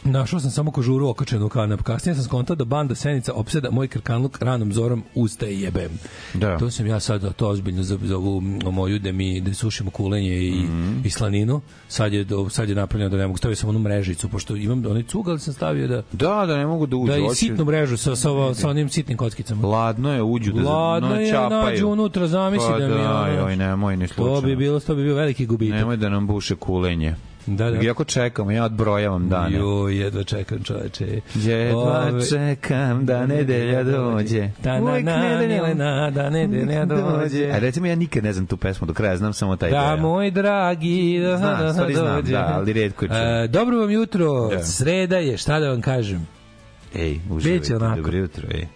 Speaker 7: Našao sam samo kožuru okačenu u kanap. Kasnije sam skontao da banda Senica opseda moj krkanluk ranom zorom usta i jebem.
Speaker 5: Da.
Speaker 7: To sam ja sad to ozbiljno za, za ovu m, moju da mi da sušimo kulenje i,
Speaker 5: Mhm.
Speaker 7: i slaninu. Sad je, do, sad je napravljeno da ne mogu. Stavio sam onu mrežicu, pošto imam onaj cug, ali sam stavio da
Speaker 5: Da, da, ne mogu da uđu.
Speaker 7: da i
Speaker 5: hoće-
Speaker 7: sitnu mrežu sa, sa, ovo- sa onim sitnim kockicama.
Speaker 5: Ladno je, uđu da
Speaker 7: Ladno
Speaker 5: no,
Speaker 7: je,
Speaker 5: čapaju.
Speaker 7: nađu unutra, zamisli
Speaker 5: pa
Speaker 7: da mi je
Speaker 5: da,
Speaker 7: ono-
Speaker 5: joj, nemoj, ni slučajno.
Speaker 7: To bi bilo, to bi bio veliki gubitak.
Speaker 5: Nemoj da nam buše kulenje.
Speaker 7: Da, da.
Speaker 5: Iako čekamo, ja odbrojavam dane.
Speaker 7: Jo, jedva čekam čoveče.
Speaker 5: Jedva
Speaker 7: Ove-
Speaker 5: čekam da nedelja dođe.
Speaker 7: Da, na,
Speaker 5: Uvek
Speaker 7: na,
Speaker 5: nedeljom.
Speaker 7: na, na, da, nedelja
Speaker 5: A
Speaker 7: dođe.
Speaker 5: recimo, ja nikad ne znam tu pesmu do kraja, znam samo taj deo.
Speaker 7: Da, moj dragi, da,
Speaker 5: Znam,
Speaker 7: da,
Speaker 5: stvari znam,
Speaker 7: dođe.
Speaker 5: da, ali redko je čujem.
Speaker 7: E, dobro vam jutro,
Speaker 5: Da.
Speaker 7: sreda je, šta da vam kažem.
Speaker 5: Ej, uživajte,
Speaker 7: Biće onako.
Speaker 5: dobro jutro, ej.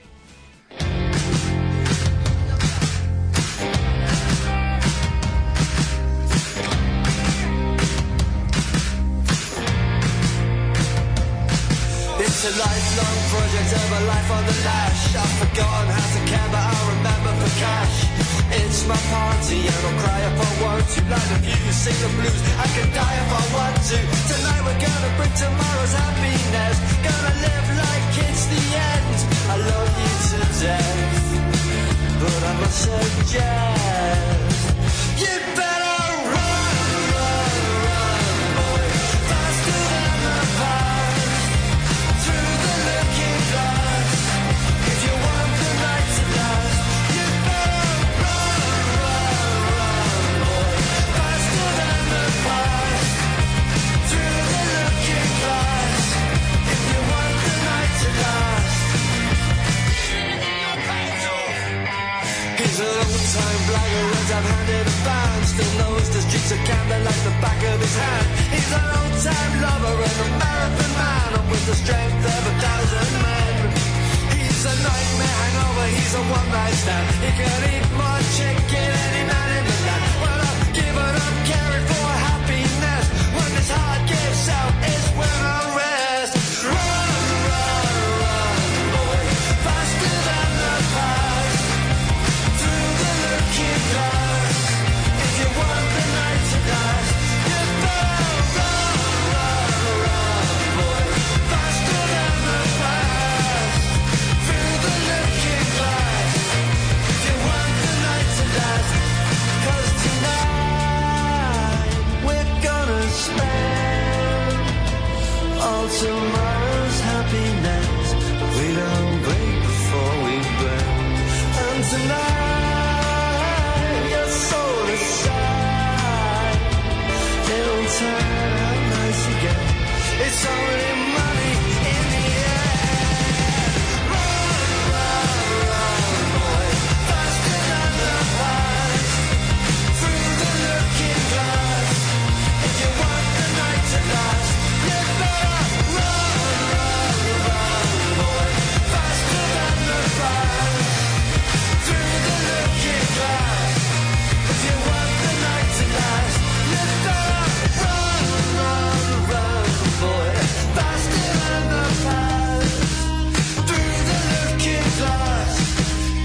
Speaker 1: It's a lifelong project of a life on the lash. I've forgotten how to care, but I remember for cash. It's my party, and I'll cry if I want to. Light the fuse, sing the blues. I can die if I want to. Tonight we're gonna bring tomorrow's happiness. Gonna live like it's the end. I love you to death, but I must suggest you better run, run, run, boy, faster than the past through the looking glass. If you want the night to last, you better run, run, run, boy, faster than the past. Through the looking glass. If you want the night to last. He's a long-time blackguard, I've handed a band Still knows the streets of Camden like the back of his hand He's an old-time lover and a marathon man And with the strength of a thousand men He's a nightmare hangover, he's a one-night stand He could eat more chicken any man in the land Well, I've given up caring for happiness When his heart gives out, it's when I rest Run, run, run, boy Faster than the past tomorrow's happiness. We don't break before we burn. And tonight, your soul is shy. It'll turn out nice again. It's only money in the air.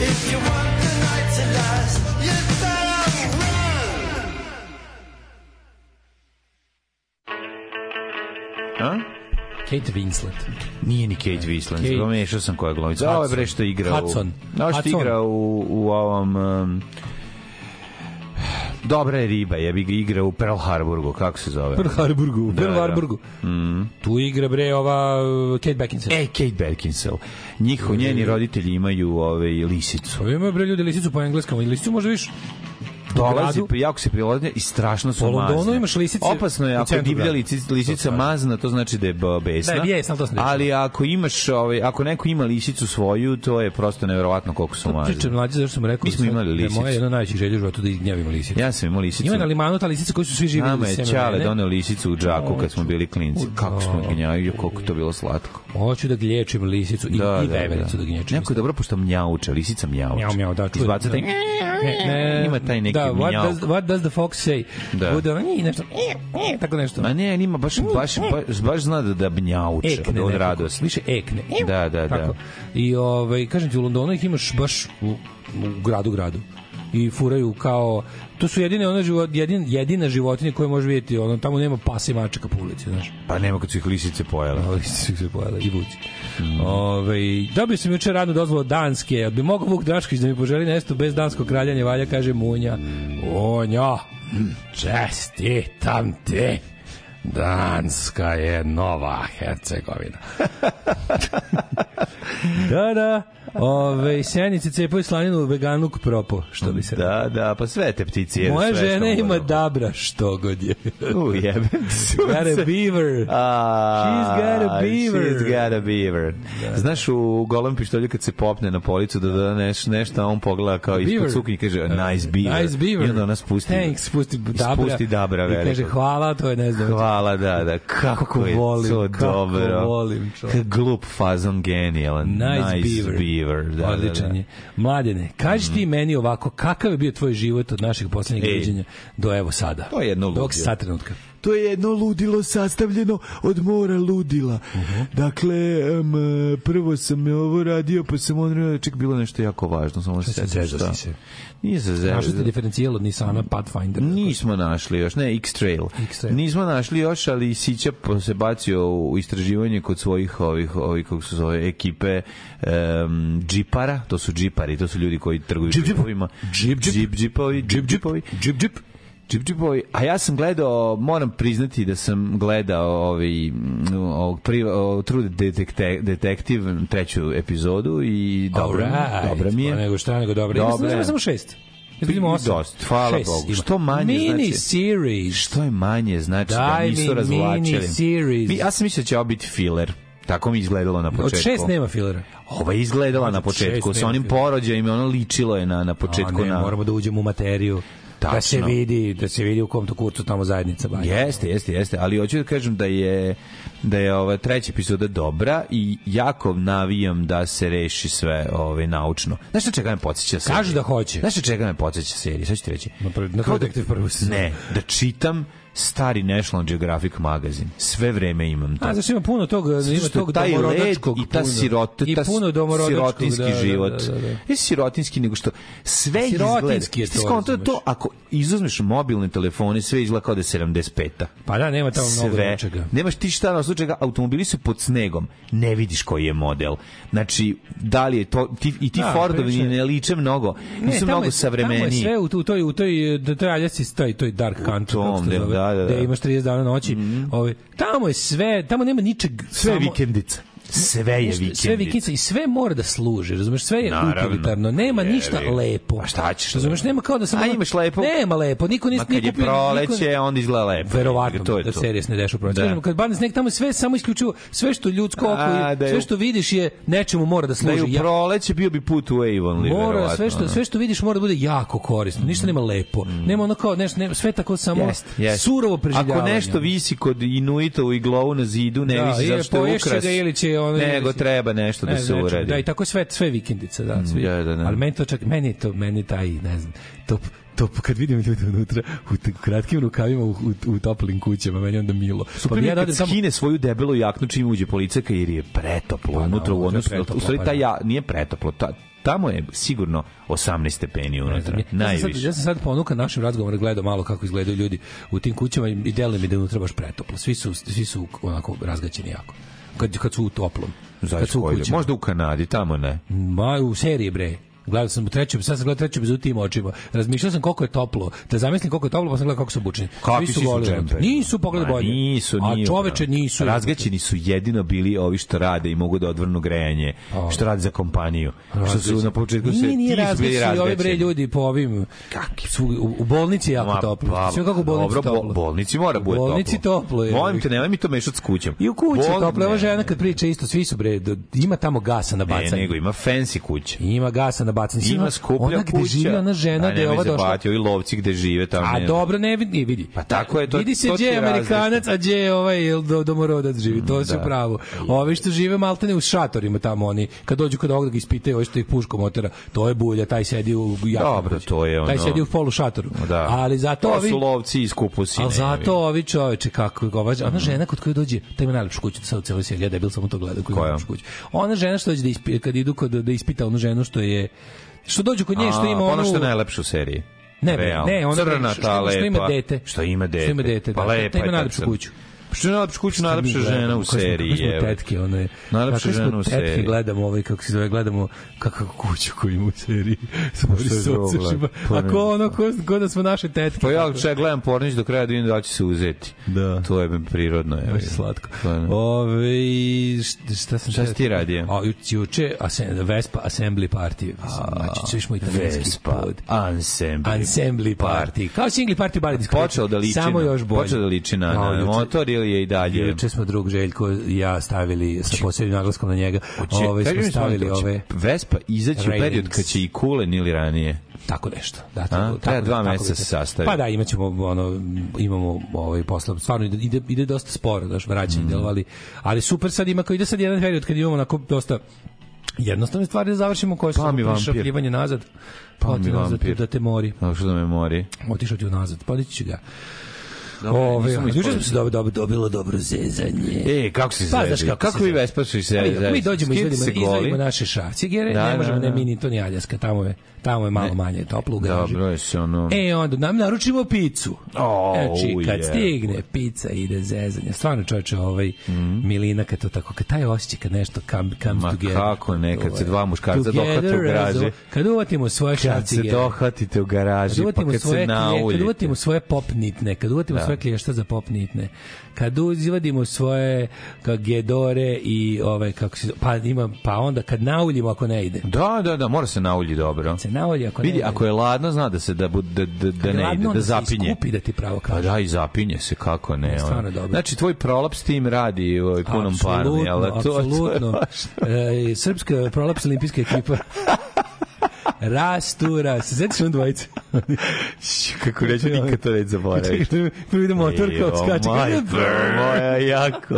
Speaker 1: If you want the night to last, you better run.
Speaker 5: A?
Speaker 7: Kate Winslet.
Speaker 5: Nije ni Kate Winslet,
Speaker 7: Kate-
Speaker 5: Kate... pomešao sam koja je glumica. A Ovo je bre što igra
Speaker 7: Hudson.
Speaker 5: u... Da, što
Speaker 7: Hudson.
Speaker 5: igra u, u ovom... Um, dobra je riba, je bi ga igra u Pearl Harburgu, kako se zove?
Speaker 7: Pearl Harburgu. Da,
Speaker 5: da.
Speaker 7: Pearl
Speaker 5: Mhm.
Speaker 7: Harburgu. Da. Mm. Tu igra bre ova uh, Kate Beckinsale.
Speaker 5: E, Kate Beckinsale. Njihov, njeni roditelji imaju ove, lisicu.
Speaker 7: Pa ima bre ljudi lisicu po engleskom, i lisicu možda viš
Speaker 5: Dolazi,
Speaker 7: gradu?
Speaker 5: pa jako se prilazi i strašno su
Speaker 7: Po
Speaker 5: mazne.
Speaker 7: Londonu imaš lisice
Speaker 5: Opasno je
Speaker 7: u
Speaker 5: ako
Speaker 7: centru
Speaker 5: divlja
Speaker 7: grada.
Speaker 5: lisica, lisica mazna, to znači da je b- besna.
Speaker 7: Da je besna, ali to sam rekao.
Speaker 5: Ali ako imaš, ovaj, ako neko ima lisicu svoju, to je prosto neverovatno koliko su mazne.
Speaker 7: pričam mlađe zašto sam rekao
Speaker 5: Mi smo
Speaker 7: da sad-
Speaker 5: imali
Speaker 7: da je
Speaker 5: lisicu.
Speaker 7: moja jedna najveća želja u životu da gnjavim lisicu.
Speaker 5: Ja sam imao lisicu.
Speaker 7: Ima na limanu ta lisica koju su svi živjeli.
Speaker 5: Nama je
Speaker 7: sem
Speaker 5: Ćale
Speaker 7: mene.
Speaker 5: doneo lisicu u džaku kad smo bili klinci. Kako smo gnjavili, koliko je to bilo slatko.
Speaker 7: Hoću da glječim lisicu i, i vevericu da, gnječim.
Speaker 5: Neko je dobro, pošto mjauča, lisica mjauča.
Speaker 7: Mjau, mjau, da, čujem.
Speaker 5: Izbacate
Speaker 7: Da. Ne, ne,
Speaker 5: Ima taj neki
Speaker 7: da, what
Speaker 5: mjau.
Speaker 7: does, what does the fox say?
Speaker 5: Da.
Speaker 7: Bude ono, i nešto, i, i, tako nešto.
Speaker 5: Ma ne, nima baš, baš, baš, baš zna da, da mjauča
Speaker 7: ekne
Speaker 5: od
Speaker 7: nekako.
Speaker 5: radosti.
Speaker 7: Više ekne.
Speaker 5: Da, da, da.
Speaker 7: Tako. I ovaj kažem ti u Londonu ih imaš baš u, u gradu gradu. I furaju kao to su jedine ona život jedin, jedina životinja koje možeš vidjeti, ono tamo nema pasa i mačaka po ulici, znaš.
Speaker 5: Pa nema kad su ih lisice pojela.
Speaker 7: Ali su se pojela i vuci. Ovaj dobio sam juče radnu dozvolu od Danske, jel bi mogao Vuk Draškić da mi poželi nešto bez danskog kraljanja, valja kaže Munja. Onja, čestitam ti. Danska je nova Hercegovina. da, da. Ove, sjenice cepaju slaninu u veganuk propo, što bi se reklo.
Speaker 5: Da, da, pa sve te ptice jedu.
Speaker 7: Moja
Speaker 5: sve što
Speaker 7: žena
Speaker 5: mogu
Speaker 7: ima
Speaker 5: da...
Speaker 7: dabra, što god je.
Speaker 5: U, jebem ti sunce.
Speaker 7: Got a beaver. She's
Speaker 5: A,
Speaker 7: got a beaver.
Speaker 5: She's got a beaver. Znaš, u golom pištolju kad se popne na policu da da neš, nešto, a on pogleda kao
Speaker 7: Beaver. E,
Speaker 5: ispod suknje i kaže, nice beaver.
Speaker 7: Nice beaver.
Speaker 5: I onda ona spusti.
Speaker 7: Thanks, spusti dabra.
Speaker 5: Spusti dabra
Speaker 7: I kaže
Speaker 5: velikog.
Speaker 7: hvala, to je ne znam.
Speaker 5: Hvala, da, da. Kako,
Speaker 7: Kako
Speaker 5: je
Speaker 7: volim,
Speaker 5: to
Speaker 7: kako
Speaker 5: dobro.
Speaker 7: volim, čovječe.
Speaker 5: K- Glup fazon genijalan.
Speaker 7: Nice, beaver.
Speaker 5: beaver. Da,
Speaker 7: Odličan
Speaker 5: da, da.
Speaker 7: je. Mladene, kaži ti meni ovako, kakav je bio tvoj život od našeg poslednjeg
Speaker 5: Ej.
Speaker 7: viđenja do evo sada?
Speaker 5: To je jedno
Speaker 7: Dok
Speaker 5: ludio.
Speaker 7: sad trenutka.
Speaker 6: To je jedno ludilo sastavljeno od mora ludila.
Speaker 7: Mhm.
Speaker 6: Dakle, em, prvo sam ovo radio, pa sam on radio, ček, bilo je nešto jako važno, samo se
Speaker 7: se
Speaker 5: sećam
Speaker 7: zezao
Speaker 5: šta.
Speaker 7: si se?
Speaker 5: Nije se zezao.
Speaker 7: Našao ste diferencijal od Nissana
Speaker 5: Mm.
Speaker 7: Pathfinder.
Speaker 5: Nismo našli još, ne, X-Trail.
Speaker 7: X-Trail.
Speaker 5: Nismo našli još, ali Sića po- se bacio u istraživanje kod svojih ovih, ovih kako se zove, ekipe um, džipara, to su džipari, to su ljudi koji trguju
Speaker 7: Džip, džip.
Speaker 5: džipovima.
Speaker 7: Džip, džip.
Speaker 5: Džip, džipovi, džip, džipovi.
Speaker 7: Džip, džip.
Speaker 5: Džip džipovi, a ja sam gledao, moram priznati da sam gledao ovaj, mm, ovog pri, o, True Detective, Detective treću epizodu i dobro,
Speaker 7: Alright.
Speaker 5: dobro mi
Speaker 7: Pa
Speaker 5: je.
Speaker 7: nego šta, nego dobro. Ima
Speaker 5: Dobro
Speaker 7: sam-
Speaker 5: je.
Speaker 7: ima samo šest. Ima samo osam.
Speaker 5: Dosta, hvala
Speaker 7: Šest
Speaker 5: Bogu.
Speaker 7: ima.
Speaker 5: Što manje,
Speaker 7: Mini
Speaker 5: znači-
Speaker 7: series.
Speaker 5: Što je manje, znači da
Speaker 7: Daj mi
Speaker 5: nisu razvlačili.
Speaker 7: miniseries.
Speaker 5: Mi, ja sam mislio da će ovo biti filler. Tako mi je izgledalo na
Speaker 7: Od
Speaker 5: početku.
Speaker 7: šest nema filera.
Speaker 5: Ova je izgledala na
Speaker 7: Od
Speaker 5: početku.
Speaker 7: šest
Speaker 5: Sa onim
Speaker 7: nema filler.
Speaker 5: porođajima, ono ličilo je na, na početku.
Speaker 7: A ne,
Speaker 5: na...
Speaker 7: moramo da uđemo u materiju. Da se
Speaker 5: Tačno.
Speaker 7: vidi, da se vidi u kom to kurcu tamo zajednica baje.
Speaker 5: Jeste, jeste, jeste, ali hoću da kažem da je da je ova treća epizoda dobra i jako navijam da se reši sve ove naučno. Znaš na čega me podsjeća serija?
Speaker 7: Kažu da hoće.
Speaker 5: Znaš na čega me podsjeća serija? Sad ću ti reći.
Speaker 7: Na prvi- na
Speaker 5: Kao da-
Speaker 7: Detektiv prvu sezonu.
Speaker 5: Ne, da čitam stari National Geographic magazin. Sve vreme imam to.
Speaker 7: A zašto pa, ima puno tog, ima
Speaker 5: Zato što
Speaker 7: tog
Speaker 5: taj led
Speaker 7: domorodačkog
Speaker 5: i ta
Speaker 7: puno.
Speaker 5: sirota,
Speaker 7: I
Speaker 5: ta
Speaker 7: puno domorodačkog,
Speaker 5: sirotinski
Speaker 7: da, da,
Speaker 5: život.
Speaker 7: Da, da, da.
Speaker 5: Ne sirotinski, nego što sve
Speaker 7: Sirotinski
Speaker 5: sirotinski
Speaker 7: je
Speaker 5: izgleda.
Speaker 7: to,
Speaker 5: Je to,
Speaker 7: razumeš.
Speaker 5: to, ako izuzmeš mobilne telefone, sve izgleda kao da je 75-a.
Speaker 7: Pa da, nema tamo mnogo
Speaker 5: Sve.
Speaker 7: nečega.
Speaker 5: Nemaš ti šta na slučaju, automobili su pod snegom. Ne vidiš koji je model. Znači, da li je to, ti, i ti
Speaker 7: Da,
Speaker 5: da, Fordovi
Speaker 7: priče.
Speaker 5: ne liče mnogo,
Speaker 7: Ne,
Speaker 5: nisu mnogo
Speaker 7: tamo je- Tamo je
Speaker 5: savremeniji.
Speaker 7: sve u, tu- u toj, u toj, da toj aljasi, toj, toj dark country,
Speaker 5: tom
Speaker 7: kako se
Speaker 5: delu,
Speaker 7: zove,
Speaker 5: da, Da, da, da.
Speaker 7: gde imaš 30 dana noći. Mm -hmm. ovaj, tamo je sve, tamo nema ničeg.
Speaker 6: Sve
Speaker 7: samo-
Speaker 6: vikendice. Sve je
Speaker 7: Znaš,
Speaker 6: vikendice.
Speaker 7: Sve vikendice i sve mora da služi, razumeš? Sve je
Speaker 5: Naravno.
Speaker 7: utilitarno, nema
Speaker 5: Jevi.
Speaker 7: ništa lepo.
Speaker 5: Pa šta ćeš,
Speaker 7: Razumeš, nema kao da samo...
Speaker 5: A imaš lepo?
Speaker 7: Nema lepo, niko
Speaker 5: Ma
Speaker 7: nis,
Speaker 5: Pa kad je
Speaker 7: niko-
Speaker 5: proleće, onda izgleda lepo.
Speaker 7: verovatno
Speaker 5: To je
Speaker 7: da
Speaker 5: to.
Speaker 7: serije se ne dešava proleće.
Speaker 5: Da.
Speaker 7: Kažem, Kad bane sneg tamo je sve samo isključivo sve što ljudsko oko
Speaker 5: A,
Speaker 7: je,
Speaker 5: da je u-
Speaker 7: sve što vidiš je nečemu mora da
Speaker 5: Da je
Speaker 7: služi.
Speaker 5: u
Speaker 7: Ja-
Speaker 5: proleće bio bi put u Avonlea,
Speaker 7: mora
Speaker 5: verovatno,
Speaker 7: sve što
Speaker 5: ono.
Speaker 7: sve što vidiš mora da bude jako korisno. Ništa nema lepo. Nema ono kao, neš, nema, sve tako samo
Speaker 5: Mm. Jest, jest.
Speaker 7: surovo preživljavanje. ono.
Speaker 5: Ako nešto visi kod Inuitovu i glovu na zidu, ne
Speaker 7: Da,
Speaker 5: visi
Speaker 7: ili
Speaker 5: zato što je
Speaker 7: poješće
Speaker 5: ukras,
Speaker 7: ga ili će ono-
Speaker 5: nego
Speaker 7: ili će-
Speaker 5: treba nešto da
Speaker 7: Ne,
Speaker 5: se
Speaker 7: znači,
Speaker 5: uredi. Mm,
Speaker 7: Da, i tako sve sve vikendice, da, svi.
Speaker 5: da, da, da.
Speaker 7: Ali meni to čak meni to meni taj, ne znam, top top kad vidim ljude unutra u t- kratkim rukavima u, u, u toplim kućama, meni je onda milo. Pa
Speaker 5: Super mi je
Speaker 7: da
Speaker 5: kad skine svoju debelu jaknu čim uđe policajka jer je pretoplo
Speaker 7: Pa da,
Speaker 5: unutra u
Speaker 7: unutra je
Speaker 5: odnosu na-
Speaker 7: pretoplo,
Speaker 5: u stvari
Speaker 7: pa
Speaker 5: ta
Speaker 7: da.
Speaker 5: ja nije pretoplo ta, tamo je sigurno 18 stepeni
Speaker 7: Ne znam,
Speaker 5: unutra
Speaker 7: ja- Ja sam, sad,
Speaker 5: najviše
Speaker 7: ja sam sad ponukan našim razgovorom gledao malo kako izgledaju ljudi u tim kućama i i deluje mi da je unutra baš pretoplo. Svi su, svi su onako razgaćeni jako. Kad, kad su u toplom.
Speaker 5: Znaš
Speaker 7: kad su u
Speaker 5: koji,
Speaker 7: kućama.
Speaker 5: možda u Kanadi tamo ne
Speaker 7: Ma, u seriji bre. Gledao sam u trećem, sad sam gledao treću bez u tim očima. Razmišljao sam koliko je toplo. Da zamislim koliko je toplo, pa sam gledao kako su obučeni.
Speaker 5: Kakvi
Speaker 7: Svi
Speaker 5: svi su
Speaker 7: goli,
Speaker 5: džemperi?
Speaker 7: Nisu pogledaj
Speaker 5: Ma,
Speaker 7: bolje.
Speaker 5: Nisu,
Speaker 7: A
Speaker 5: nije,
Speaker 7: čoveče
Speaker 5: ono.
Speaker 7: nisu.
Speaker 5: Razgaćeni su jedino bili ovi što rade i mogu da odvrnu grejanje,
Speaker 7: Pa.
Speaker 5: što rade za kompaniju. Što su na početku se
Speaker 7: Nije, nije
Speaker 5: ti su bili
Speaker 7: razgaćeni. Ovi bre
Speaker 5: razgaćeni.
Speaker 7: ljudi po ovim... Kakvi? Su, u, u bolnici je jako
Speaker 5: Ma,
Speaker 7: toplo.
Speaker 5: pa,
Speaker 7: Sve kako u bolnici
Speaker 5: dobro, bo-
Speaker 7: toplo.
Speaker 5: bolnici mora
Speaker 7: U
Speaker 5: bude toplo.
Speaker 7: bolnici toplo je.
Speaker 5: Molim te, nemoj mi to mešati s kućom.
Speaker 7: I u kući
Speaker 5: Bol-
Speaker 7: toplo. Ova
Speaker 5: ne,
Speaker 7: žena kad priča isto, svi su bre, do- ima tamo gasa na
Speaker 5: Ne,
Speaker 7: bacanju.
Speaker 5: nego ima fancy kuće.
Speaker 7: Ima gasa na bacanju. Mislim,
Speaker 5: Ima skuplja
Speaker 7: Ona
Speaker 5: kuća.
Speaker 7: gde živi, ona žena, gde je ova došla
Speaker 5: Ovi lovci gde žive tamo.
Speaker 7: A
Speaker 5: ne-
Speaker 7: dobro ne vidi, ne vidi.
Speaker 5: Pa tako je, to-
Speaker 7: Vidi se
Speaker 5: to ti
Speaker 7: gdje je
Speaker 5: je razlika.
Speaker 7: Amerikanac, a gdje je ovaj jel, do, domorodac živi, to se
Speaker 5: da.
Speaker 7: pravo. Ovi što žive maltene u šatorima tamo oni, kad dođu kod ovog da ga ispitaju, ovi što ih puškom otera, to je bulja, taj sedi u jaknu.
Speaker 5: Dobro, to je
Speaker 7: Taj
Speaker 5: ono-
Speaker 7: sedi u polu šatoru.
Speaker 5: Da.
Speaker 7: Ali zato
Speaker 5: to
Speaker 7: ovi...
Speaker 5: su lovci iz kupusine.
Speaker 7: Ali zato ovi čoveče kako ga ovađa, ona žena kod koje dođe, ta ima najlepšu kuću sad u celoj seriji, ja debil samo to gleda koju ima
Speaker 5: Koja?
Speaker 7: najlepšu kuću. Ona žena što dođe da ispi, kad idu kod da ispita onu ženu što je što dođu kod nje što ima
Speaker 5: A,
Speaker 7: onu
Speaker 5: Ono što je najlepše u seriji.
Speaker 7: Ne, bre,
Speaker 5: Realno.
Speaker 7: ne, ona
Speaker 5: Crna,
Speaker 7: što,
Speaker 5: ta
Speaker 7: što, što ima
Speaker 5: lepa.
Speaker 7: dete.
Speaker 5: Što ima dete.
Speaker 7: Što ima dete,
Speaker 5: pa
Speaker 7: da.
Speaker 5: lepa je.
Speaker 7: ta ima
Speaker 5: tako
Speaker 7: najlepšu
Speaker 5: sam.
Speaker 7: kuću.
Speaker 5: Što je najlepša kuća, najlepša
Speaker 7: Mi
Speaker 5: žena
Speaker 7: gledamo,
Speaker 5: u
Speaker 7: kako smo-
Speaker 5: seriji.
Speaker 7: Kako smo
Speaker 5: je.
Speaker 7: tetke, ono je.
Speaker 5: Najlepša
Speaker 7: kako smo
Speaker 5: žena u
Speaker 7: tetke
Speaker 5: seriji.
Speaker 7: gledamo, ovaj, kako se zove, gledamo kakvu kuću koju ima u seriji.
Speaker 5: Pa
Speaker 7: Sa
Speaker 5: drugo
Speaker 7: Borisovcima.
Speaker 5: gleda? Pa
Speaker 7: A
Speaker 5: ne.
Speaker 7: ko ono, ko, ko da smo naše tetke.
Speaker 5: Pa ja čak gledam pornić do kraja da vidim da li će se uzeti.
Speaker 7: Da.
Speaker 5: To je prirodno. Je.
Speaker 7: Baš je slatko.
Speaker 5: Pa ne.
Speaker 7: Ove, šta, šta sam
Speaker 5: Šta si ti radio?
Speaker 7: A, ju- juče, asem, Vespa Assembly Party. Mislim, Znači, sve smo italijanski
Speaker 5: Vespa,
Speaker 7: pod.
Speaker 5: Ensemble.
Speaker 7: Assembly Party. Kao singli party bar
Speaker 5: Počeo da liči
Speaker 7: Samo
Speaker 5: na,
Speaker 7: još bolje.
Speaker 5: Počeo da liči na,
Speaker 7: Kao
Speaker 5: na
Speaker 7: juče-
Speaker 5: motor ili je i dalje?
Speaker 7: Juče smo drug Željko i ja stavili sa posebnim naglaskom na njega.
Speaker 5: Če-
Speaker 7: Ove
Speaker 5: Znači, kaži
Speaker 7: smo
Speaker 5: mi samo,
Speaker 7: stavili
Speaker 5: hoće
Speaker 7: ove
Speaker 5: Vespa izaći u period
Speaker 7: Railings.
Speaker 5: kad će i Kulen ili ranije.
Speaker 7: tako nešto. Da, tako,
Speaker 5: treba dva meseca
Speaker 7: bi-
Speaker 5: se sastavi.
Speaker 7: Pa da, imaćemo ono imamo ovaj posla. Stvarno ide ide, ide dosta sporo, daš vraćanje
Speaker 5: Mhm.
Speaker 7: mm. delovali. Ali super sad ima kao ide sad jedan period kad imamo onako dosta jednostavne stvari da završimo koje su
Speaker 5: Pa mi
Speaker 7: samo
Speaker 5: vampir.
Speaker 7: prišapljivanje nazad.
Speaker 5: Pa
Speaker 7: Oti
Speaker 5: mi
Speaker 7: nazad,
Speaker 5: vampir.
Speaker 7: Da te mori.
Speaker 5: Ako što da me mori.
Speaker 7: Otišao ti unazad. Pa dići ću ga.
Speaker 5: Dobro,
Speaker 7: Ove,
Speaker 5: nisam
Speaker 7: juče
Speaker 5: ispavao.
Speaker 7: sam se dobro, dobro, dobilo dobro zezanje.
Speaker 5: E, kako si
Speaker 7: Pa,
Speaker 5: se
Speaker 7: znaš kako
Speaker 5: Kako
Speaker 7: se
Speaker 5: vi
Speaker 7: zezali.
Speaker 5: Vespa su se
Speaker 7: Mi,
Speaker 5: zezali?
Speaker 7: mi dođemo
Speaker 5: Skidate
Speaker 7: izvadimo,
Speaker 5: se goli.
Speaker 7: izvadimo naše šacigere,
Speaker 5: Da,
Speaker 7: ne možemo,
Speaker 5: da,
Speaker 7: ne,
Speaker 5: da.
Speaker 7: mi ni to ni Aljaska, tamo je, tamo je malo manje toplo u garaži.
Speaker 5: Dobro je se ono...
Speaker 7: E, onda nam naručimo picu.
Speaker 5: O,
Speaker 7: znači, kad
Speaker 5: je.
Speaker 7: stigne pica ide zezanje. Stvarno čoveče, ovaj Milina kad to tako, kad taj osjećaj kad nešto come, come
Speaker 5: Mm. Ma
Speaker 7: together.
Speaker 5: kako ne, kad se dva muškarca
Speaker 7: Together
Speaker 5: dohvate u
Speaker 7: as
Speaker 5: garaži.
Speaker 7: one. Kad uvatimo svoje
Speaker 5: Kad se
Speaker 7: šacigere.
Speaker 5: dohvatite u
Speaker 7: Kad
Speaker 5: garaži, pa
Speaker 7: uvatimo
Speaker 5: kad
Speaker 7: svoje
Speaker 5: se
Speaker 7: klije- kad
Speaker 5: nauljite.
Speaker 7: uvatimo svoje popnitne, kad uvatimo svoje klješta za popnitne, kad izvadimo svoje ka, gedore i ove kako se pa ima pa onda kad nauljimo ako ne ide.
Speaker 5: Da, da, da, mora se naulji dobro.
Speaker 7: Se naulji ako ne
Speaker 5: Vidi,
Speaker 7: ide.
Speaker 5: ako je ladno, zna da se da, bu- da, da, da
Speaker 7: Kad je
Speaker 5: ne
Speaker 7: ladno,
Speaker 5: ide,
Speaker 7: onda
Speaker 5: da
Speaker 7: se
Speaker 5: zapinje.
Speaker 7: Iskupi da ti pravo
Speaker 5: Pa
Speaker 7: kažem.
Speaker 5: da, i zapinje se, kako ne. ono.
Speaker 7: Stvarno dobro.
Speaker 5: Znači, tvoj prolaps tim radi ovaj, punom parom, jel? da? To- to je
Speaker 7: apsolutno.
Speaker 5: baš-
Speaker 7: E, srpska prolaps olimpijska ekipa. Rastura, se sjećaš on dvojice?
Speaker 5: Kako neću nikad to već zaboraviti.
Speaker 7: Čekaj, prvo ide motor kao skače.
Speaker 5: Majko, moja jako.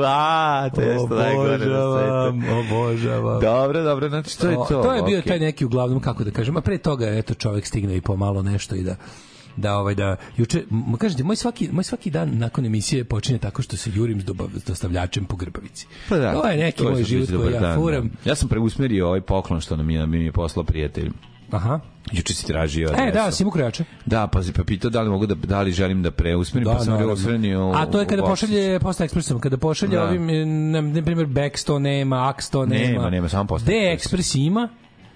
Speaker 5: Ua, to je što najgore na
Speaker 7: Obožavam,
Speaker 5: svetu.
Speaker 7: obožavam.
Speaker 5: Dobro, dobro, znači to je to.
Speaker 7: to je bio
Speaker 5: okej.
Speaker 7: taj neki uglavnom kako da kažem, a pre toga je eto čovjek stigne i pomalo nešto i da da ovaj da juče ma kažete moj svaki moj svaki dan nakon emisije počinje tako što se jurim s dobav- s dostavljačem po grbavici.
Speaker 5: Pa da,
Speaker 7: to je neki
Speaker 5: će
Speaker 7: moj
Speaker 5: biti
Speaker 7: život
Speaker 5: dobar
Speaker 7: koji ja
Speaker 5: dan,
Speaker 7: furam.
Speaker 5: da. Ja sam preusmerio ovaj poklon što nam je, mi je poslao prijatelj.
Speaker 7: Aha.
Speaker 5: Juče si tražio
Speaker 7: E,
Speaker 5: adresu.
Speaker 7: da, Simu Krojača.
Speaker 5: Da, pazi, pa pitao da li mogu da, da li želim da preusmerim,
Speaker 7: Da,
Speaker 5: pa sam
Speaker 7: naravno.
Speaker 5: preusmerio. u-
Speaker 7: A to je kada
Speaker 5: u box.
Speaker 7: pošalje posta ekspresom, kada pošalje eh,
Speaker 5: Da.
Speaker 7: ovim, e, na, na primjer, Backsto nema, Axto nema.
Speaker 5: Nema, nema, samo Posta
Speaker 7: De
Speaker 5: Express.
Speaker 7: ekspres ima,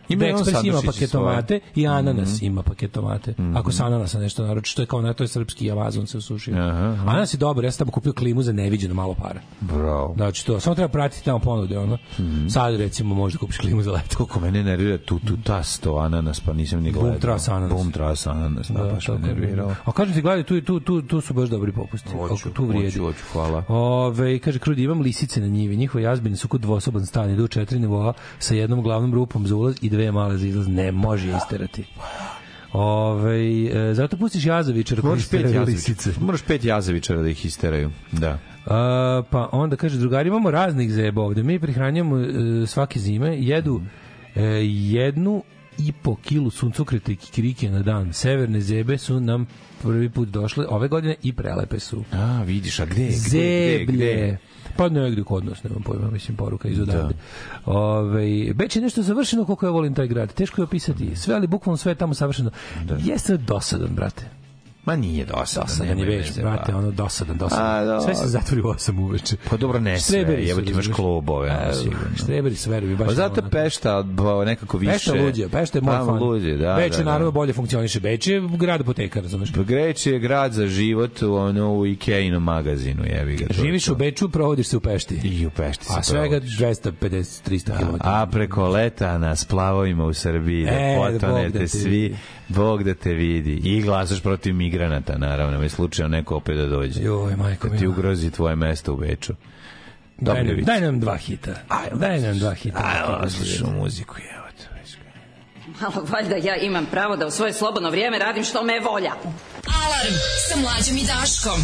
Speaker 7: Ima
Speaker 5: i on
Speaker 7: Express ima
Speaker 5: sandučić i
Speaker 7: paketomate
Speaker 5: Mhm.
Speaker 7: i ananas ima paketomate. Ako sa ananasa nešto naruči, to je kao na to je srpski Amazon se usušio. Ananas je dobar, ja sam tamo kupio klimu za neviđeno malo para.
Speaker 5: Bravo.
Speaker 7: Znači to, samo treba pratiti tamo ponude, ono.
Speaker 5: Mhm.
Speaker 7: Sad recimo možda kupiš klimu za leto.
Speaker 5: Koliko mene nervira tu, tu tasto ananas, pa nisam ni gledao.
Speaker 7: tras ananas.
Speaker 5: Bum tras ananas, da, baš me
Speaker 7: tako je.
Speaker 5: nervirao.
Speaker 7: A kažem ti, gledaj, tu, tu, tu, tu su baš dobri popusti.
Speaker 5: Hoću,
Speaker 7: Ako tu vrijedi.
Speaker 5: hoću, hoću, hvala.
Speaker 7: Ove, kaže, krudi, imam lisice na njivi. Njihove jazbine su kod dvosoban stan. Idu u četiri nivoa sa jednom glavnom rupom za ulaz i dve male za izlaz. Ne može je isterati.
Speaker 5: Pa
Speaker 7: Ove, e, zato pustiš jazavičar koji
Speaker 5: Moraš pet
Speaker 7: isteraju lisice.
Speaker 5: jazavičara. Moraš pet jazavičara da ih isteraju. Da.
Speaker 7: A, pa onda kaže, drugari, imamo raznih zeba ovde. Mi prihranjamo e, svake zime, jedu e, jednu i po kilu suncokreta i kikirike na dan. Severne zebe su nam prvi put došle ove godine i prelepe su.
Speaker 5: A, vidiš, a E, gde? Gde, gde, gde?
Speaker 7: Zeblje. Pa negde kod nas, nemam pojma, mislim, poruka iz odavde. Ove, Beč je nešto završeno, koliko ja volim taj grad. Teško je opisati. Sve, ali bukvalno sve je tamo savršeno. Jeste dosadan, brate.
Speaker 5: Ma nije dosadno.
Speaker 7: Dosadan je
Speaker 5: nemoj
Speaker 7: Beč,
Speaker 5: me
Speaker 7: brate, ono dosadan,
Speaker 5: A,
Speaker 7: dosadan.
Speaker 5: da.
Speaker 7: Sve se zatvori u 8 uveče.
Speaker 5: Pa dobro, ne sve,
Speaker 7: Štreberi su,
Speaker 5: jebote, imaš
Speaker 7: razumeš?
Speaker 5: klubove, ono,
Speaker 7: E,
Speaker 5: sigurno.
Speaker 7: Štreberi su, veruj mi, baš...
Speaker 5: Pa
Speaker 7: ono,
Speaker 5: zato
Speaker 7: onako.
Speaker 5: Pešta ba, nekako više.
Speaker 7: Pešta luđe, Pešta je moj
Speaker 5: Tamo
Speaker 7: fan.
Speaker 5: luđe, da,
Speaker 7: Beč
Speaker 5: da,
Speaker 7: je
Speaker 5: da.
Speaker 7: naravno bolje funkcioniše. Beč je grad apoteka, razumeš?
Speaker 5: Greč je grad za život u ono u Ikejinom magazinu, jebi ga. to je
Speaker 7: Živiš
Speaker 5: to.
Speaker 7: u Beču, provodiš se u Pešti.
Speaker 5: I u Pešti se
Speaker 7: A svega
Speaker 5: provodiš.
Speaker 7: 250-300 km.
Speaker 5: A preko leta na splavovima u Srbiji da
Speaker 7: E, Bog da
Speaker 5: potonete
Speaker 7: te
Speaker 5: svi,
Speaker 7: vidi.
Speaker 5: Bog da te vidi. I glasaš protiv migranata, naravno, je slučajno neko opet da dođe.
Speaker 7: Joj, majko
Speaker 5: da ti
Speaker 7: mila.
Speaker 5: ugrozi tvoje mesto u Beču. Dobro
Speaker 7: Daj nam,
Speaker 5: vidiš.
Speaker 7: daj nam dva hita. Daj nam dva hita.
Speaker 5: Ajmo, slušamo muziku, evo te. već ga.
Speaker 8: Malo valjda ja imam pravo da u svoje slobodno vrijeme radim što me volja.
Speaker 4: Alarm sa mlađom i Daškom.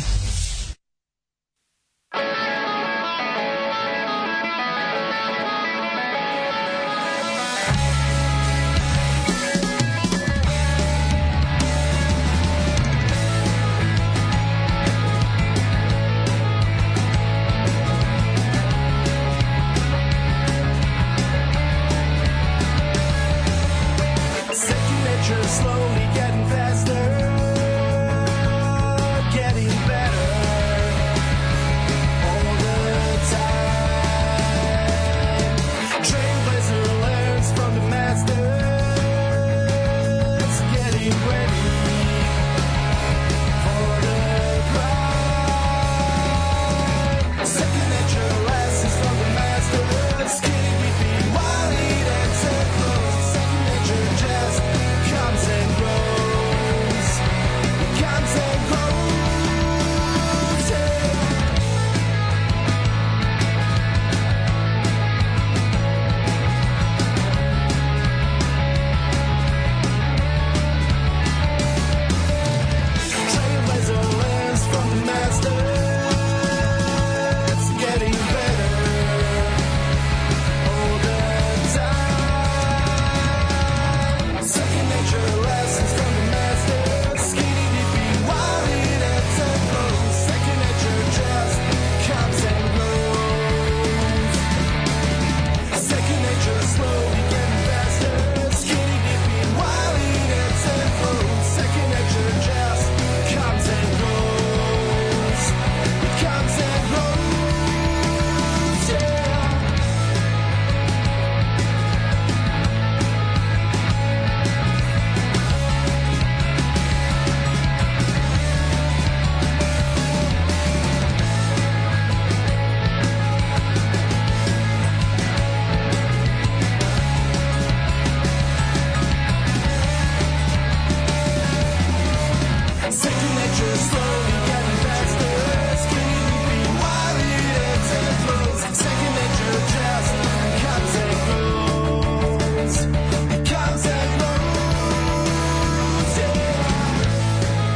Speaker 1: Signature slowly getting faster, getting better all the time. Trailblazer learns from the master, it's getting ready for the pride. Signature lessons from the master, skinny weeping, wide and so close. Signature just comes and goes, comes and goes. yeah. Trailblazer learns from the master. It's getting better all the time. Second nature lessons from the master. Skinny dipping, worried and so close. Second nature just comes and goes. Second nature slowly getting faster. Skinny dipping, worried and so close. Second nature just comes and goes. It comes and goes. Yeah. Second nature slowly getting faster. Skinny dipping, worried and so close. Second nature just comes and goes. It comes and goes. Yeah.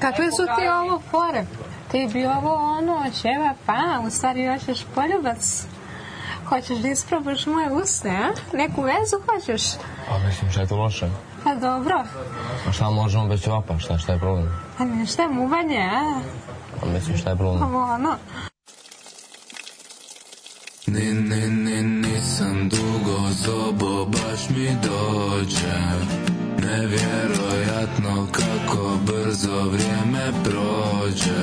Speaker 9: Kakve su ti ovo fore? Ti bi ovo ono,
Speaker 10: É,
Speaker 9: ćeva, pa, u stvari hoćeš poljubac.
Speaker 10: é
Speaker 9: Hoćeš da isprobaš moje usne, a? Neku vezu hoćeš?
Speaker 11: Pa
Speaker 12: A mislim, šta je to loše?
Speaker 13: Pa dobro.
Speaker 11: A Pa šta možemo bez ćevapa, šta, šta je problem?
Speaker 13: A nešto je muvanje,
Speaker 10: é.
Speaker 13: a?
Speaker 11: A mislim šta je problem?
Speaker 13: Ovo ono.
Speaker 10: Ne, ne, ne, nisam dugo zobo, baš mi dođe Nevjerojatno kako brzo vrijeme prođe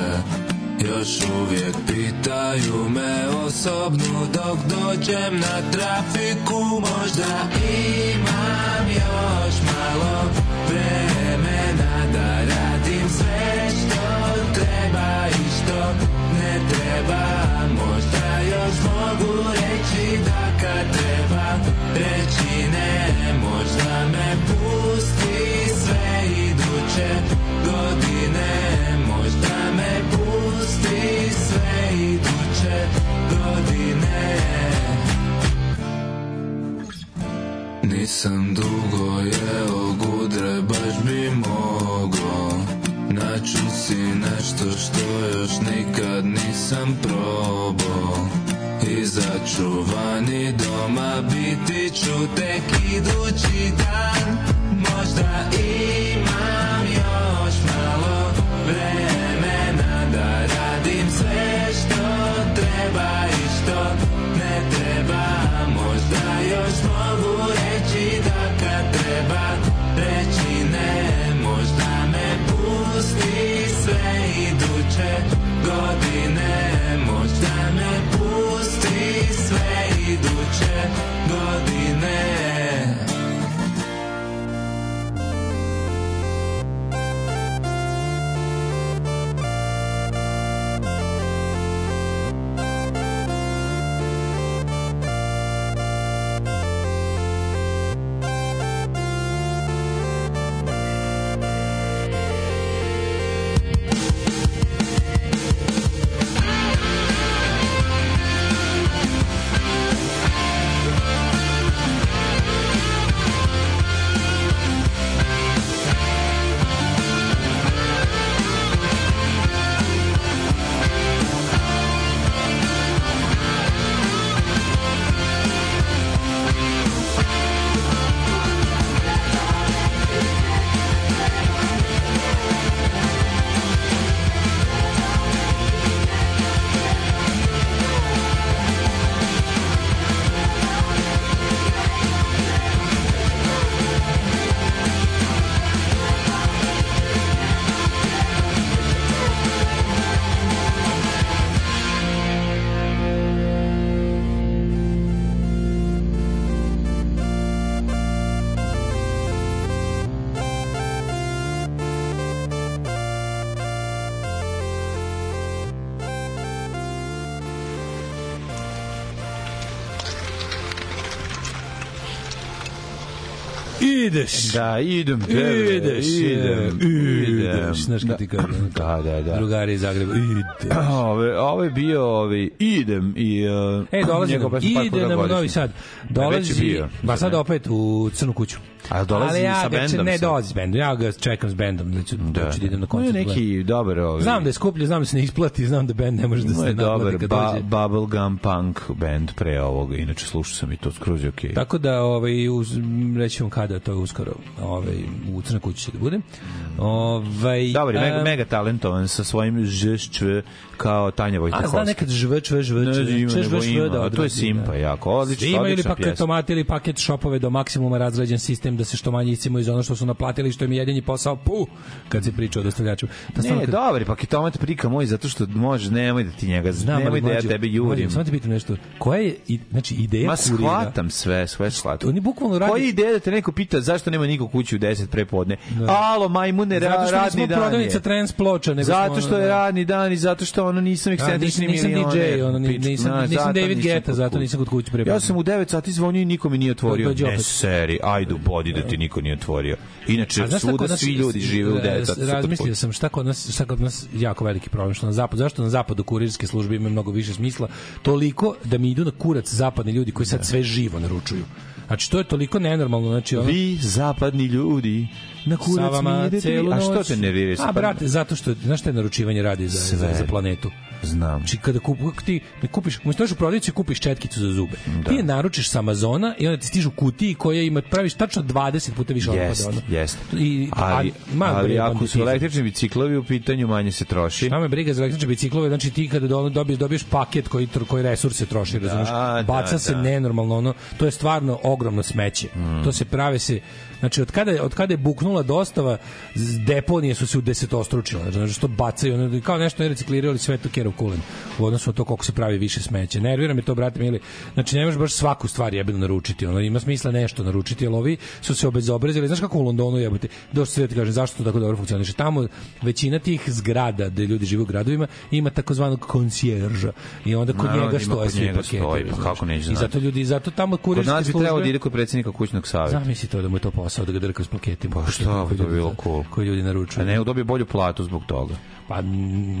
Speaker 10: Još uvijek pitaju me osobnu dok dođem na trafiku Možda imam još malo vremena da radim sve što treba i što ne treba Možda još mogu reći da kad treba reći ne Možda me pusti sve iduće godine Možda me pusti sve iduće godine nisam dugo jeo gudre, baš bi mogo Naču si nešto što još nikad nisam probao Izaću vani doma, biti ću tek idući dan Možda imam još malo vremena da radim sve što treba i što ne treba Možda još mogu reći da kad treba reći ne Možda me pusti sve iduće godine Možda me pusti sve iduće godine
Speaker 7: Ideš.
Speaker 5: Da, idem. tebe,
Speaker 7: Ideš,
Speaker 5: idem, idem.
Speaker 7: ideš, znaš kad ti kažem. ono,
Speaker 5: Da, da, da.
Speaker 7: Drugari iz Zagreba, ideš.
Speaker 5: Ove, ovo je bio ovi, idem i... Uh,
Speaker 7: E, dolazi
Speaker 5: njegov
Speaker 7: nam,
Speaker 5: pesma par
Speaker 7: ide
Speaker 5: puta
Speaker 7: nam u
Speaker 5: godišnje.
Speaker 7: Novi Sad.
Speaker 5: već je
Speaker 7: Dolazi,
Speaker 5: bio.
Speaker 7: ba sad opet u Crnu kuću.
Speaker 5: A dolazi
Speaker 7: Ali ja
Speaker 5: sa
Speaker 7: ga će-
Speaker 5: bendom
Speaker 7: Ne,
Speaker 5: sad?
Speaker 7: dolazi s bendom, ja ga čekam s bendom, da ću da, ću da idem na
Speaker 5: On je
Speaker 7: koncert. gledam.
Speaker 5: neki dobar ovi.
Speaker 7: Znam da je skuplje, znam da se ne isplati, znam da bend ne može da
Speaker 5: Ima
Speaker 7: se
Speaker 5: je
Speaker 7: naplati
Speaker 5: dobar
Speaker 7: kad
Speaker 5: ba,
Speaker 7: dođe.
Speaker 5: bubblegum punk band pre ovoga, inače slušao sam i to skroz je okej.
Speaker 7: Tako da ovaj uz, m, reći vam kada to je uskoro, ovaj u Crnoj kući će da bude. Ovaj
Speaker 5: Dobar je, mega,
Speaker 7: em,
Speaker 5: mega talentovan sa svojim žešćve kao Tanja
Speaker 7: A
Speaker 5: Vojtakovska.
Speaker 7: zna nekad žv, čv, žv,
Speaker 5: Ne,
Speaker 7: čv,
Speaker 5: ima,
Speaker 7: čv,
Speaker 5: nego
Speaker 7: žv,
Speaker 5: ima.
Speaker 7: da
Speaker 5: A to je
Speaker 7: odradi,
Speaker 5: simpa
Speaker 7: da.
Speaker 5: jako. Odlično,
Speaker 7: Ima ili
Speaker 5: odlična pjesma.
Speaker 7: paketomate ili paket shopove do maksimuma razrađen sistem da se što manje iscimo iz ono što su naplatili što im je jedini posao pu kad se priča o dostavljaču. Da
Speaker 5: Ne,
Speaker 7: stvarno kad-
Speaker 5: dobar je paketomate prika moj, zato što može, nemoj da ti njega,
Speaker 7: Znam,
Speaker 5: nemoj
Speaker 7: ali
Speaker 5: da ja
Speaker 7: mlađo,
Speaker 5: tebe
Speaker 7: mlađo,
Speaker 5: jurim.
Speaker 7: Samo te pitam nešto. Koja je, i- znači, ideja
Speaker 5: Ma
Speaker 7: kurira?
Speaker 5: shvatam sve, sve shvatam.
Speaker 7: Oni bukvalno radi-
Speaker 5: Koja je ideja da te neko pita zašto nema niko kući u 10 prepodne? Alo, majmune, ra,
Speaker 7: Zato što
Speaker 5: radni
Speaker 7: nismo
Speaker 5: dan je.
Speaker 7: prodavnica trans ploča. Nego
Speaker 5: Zato
Speaker 7: smo,
Speaker 5: što je
Speaker 7: ono,
Speaker 5: radni dan i zato što ono nisam
Speaker 7: A,
Speaker 5: ekscentrični
Speaker 7: nisam- nisam
Speaker 5: milioner.
Speaker 7: DJ, ono, ni-
Speaker 5: Pičku,
Speaker 7: nisam-
Speaker 5: znaš,
Speaker 7: nisam
Speaker 5: zato
Speaker 7: David
Speaker 5: nisam
Speaker 7: Guetta,
Speaker 5: kod
Speaker 7: zato
Speaker 5: kuće.
Speaker 7: nisam kod kuće prepodne.
Speaker 5: Ja sam u 9 sati zvonio i niko mi nije otvorio.
Speaker 7: Dođe
Speaker 5: Ne
Speaker 7: opet.
Speaker 5: seri, ajde u bodi da ti niko nije otvorio.
Speaker 7: A
Speaker 5: Inače,
Speaker 7: znaš šta
Speaker 5: Znači, svuda
Speaker 7: kod nas-
Speaker 5: svi ljudi žive u 9 sati.
Speaker 7: raz- Razmislio sam šta kod nas šta kod nas jako veliki problem što na zapad zašto na zapadu kurirske službe imaju mnogo više smisla toliko da mi idu na kurac zapadni ljudi koji sad sve živo naručuju. Znači to je toliko nenormalno, znači ono,
Speaker 5: Vi, zapadni ljudi, na
Speaker 7: sa
Speaker 5: kurac mi
Speaker 7: vama
Speaker 5: idete.
Speaker 7: celu
Speaker 5: A što
Speaker 7: noć. Pa,
Speaker 5: te nervira? Pa,
Speaker 7: A brate, zato što znaš šta je naručivanje radi za, za, za planetu.
Speaker 5: Znam.
Speaker 7: Znači kada kup, ti ne kupiš, možeš u prodavnicu i kupiš četkicu za zube. Ti je naručiš sa Amazona i onda ti stižu kutiji koja ima praviš tačno 20 puta više
Speaker 5: Jest,
Speaker 7: otpada. ono.
Speaker 5: jest.
Speaker 7: I,
Speaker 5: Ali,
Speaker 7: ma,
Speaker 5: ali
Speaker 7: bre,
Speaker 5: ako su
Speaker 7: banditizam.
Speaker 5: električni biciklovi u pitanju, manje se troši.
Speaker 7: Šta me briga za električne biciklove, znači ti kada do- dobiješ, dobiješ paket koji, tr- koji resurse troši, razumiješ,
Speaker 5: da,
Speaker 7: baca se
Speaker 5: da. Mm.
Speaker 7: nenormalno, ono, to je stvarno ogromno smeće. To se prave se, znači od kada, je- od kada je buknula dostava, z- deponije su se u desetostručile, znači što bacaju, ono, kao nešto ne reciklirali sve to kerov kulen, u odnosu na to koliko se pravi više smeće. Nervira me to, brate, mili, znači ne možeš baš svaku stvar jebeno naručiti, ono, ima smisla nešto naručiti, ali ovi su se obezobrazili, znaš kako u Londonu jebote, došli sve ti kažem, zašto to tako dobro funkcioniše, tamo većina tih zgrada gde ljudi žive u gradovima ima takozvanog konsjerža i onda kod
Speaker 5: Naravno,
Speaker 7: njega
Speaker 5: ima
Speaker 7: stoje
Speaker 5: kod
Speaker 7: svi
Speaker 5: njega
Speaker 7: paketi.
Speaker 5: stoji, pa
Speaker 7: znaš.
Speaker 5: kako neće
Speaker 7: I zato
Speaker 5: znati.
Speaker 7: ljudi, i zato tamo
Speaker 5: Kod
Speaker 7: kurirske
Speaker 5: nas bi
Speaker 7: službe...
Speaker 5: trebalo da ide kod predsjednika kućnog savjeta.
Speaker 7: Zamisli to da mu je to posao da ga drka s plaketima.
Speaker 5: Pa šta,
Speaker 7: Koji
Speaker 5: to
Speaker 7: ljudi-
Speaker 5: bi bilo cool.
Speaker 7: Koji ljudi
Speaker 5: A
Speaker 7: naručuju.
Speaker 5: ne, dobije bolju platu zbog toga.
Speaker 7: Pa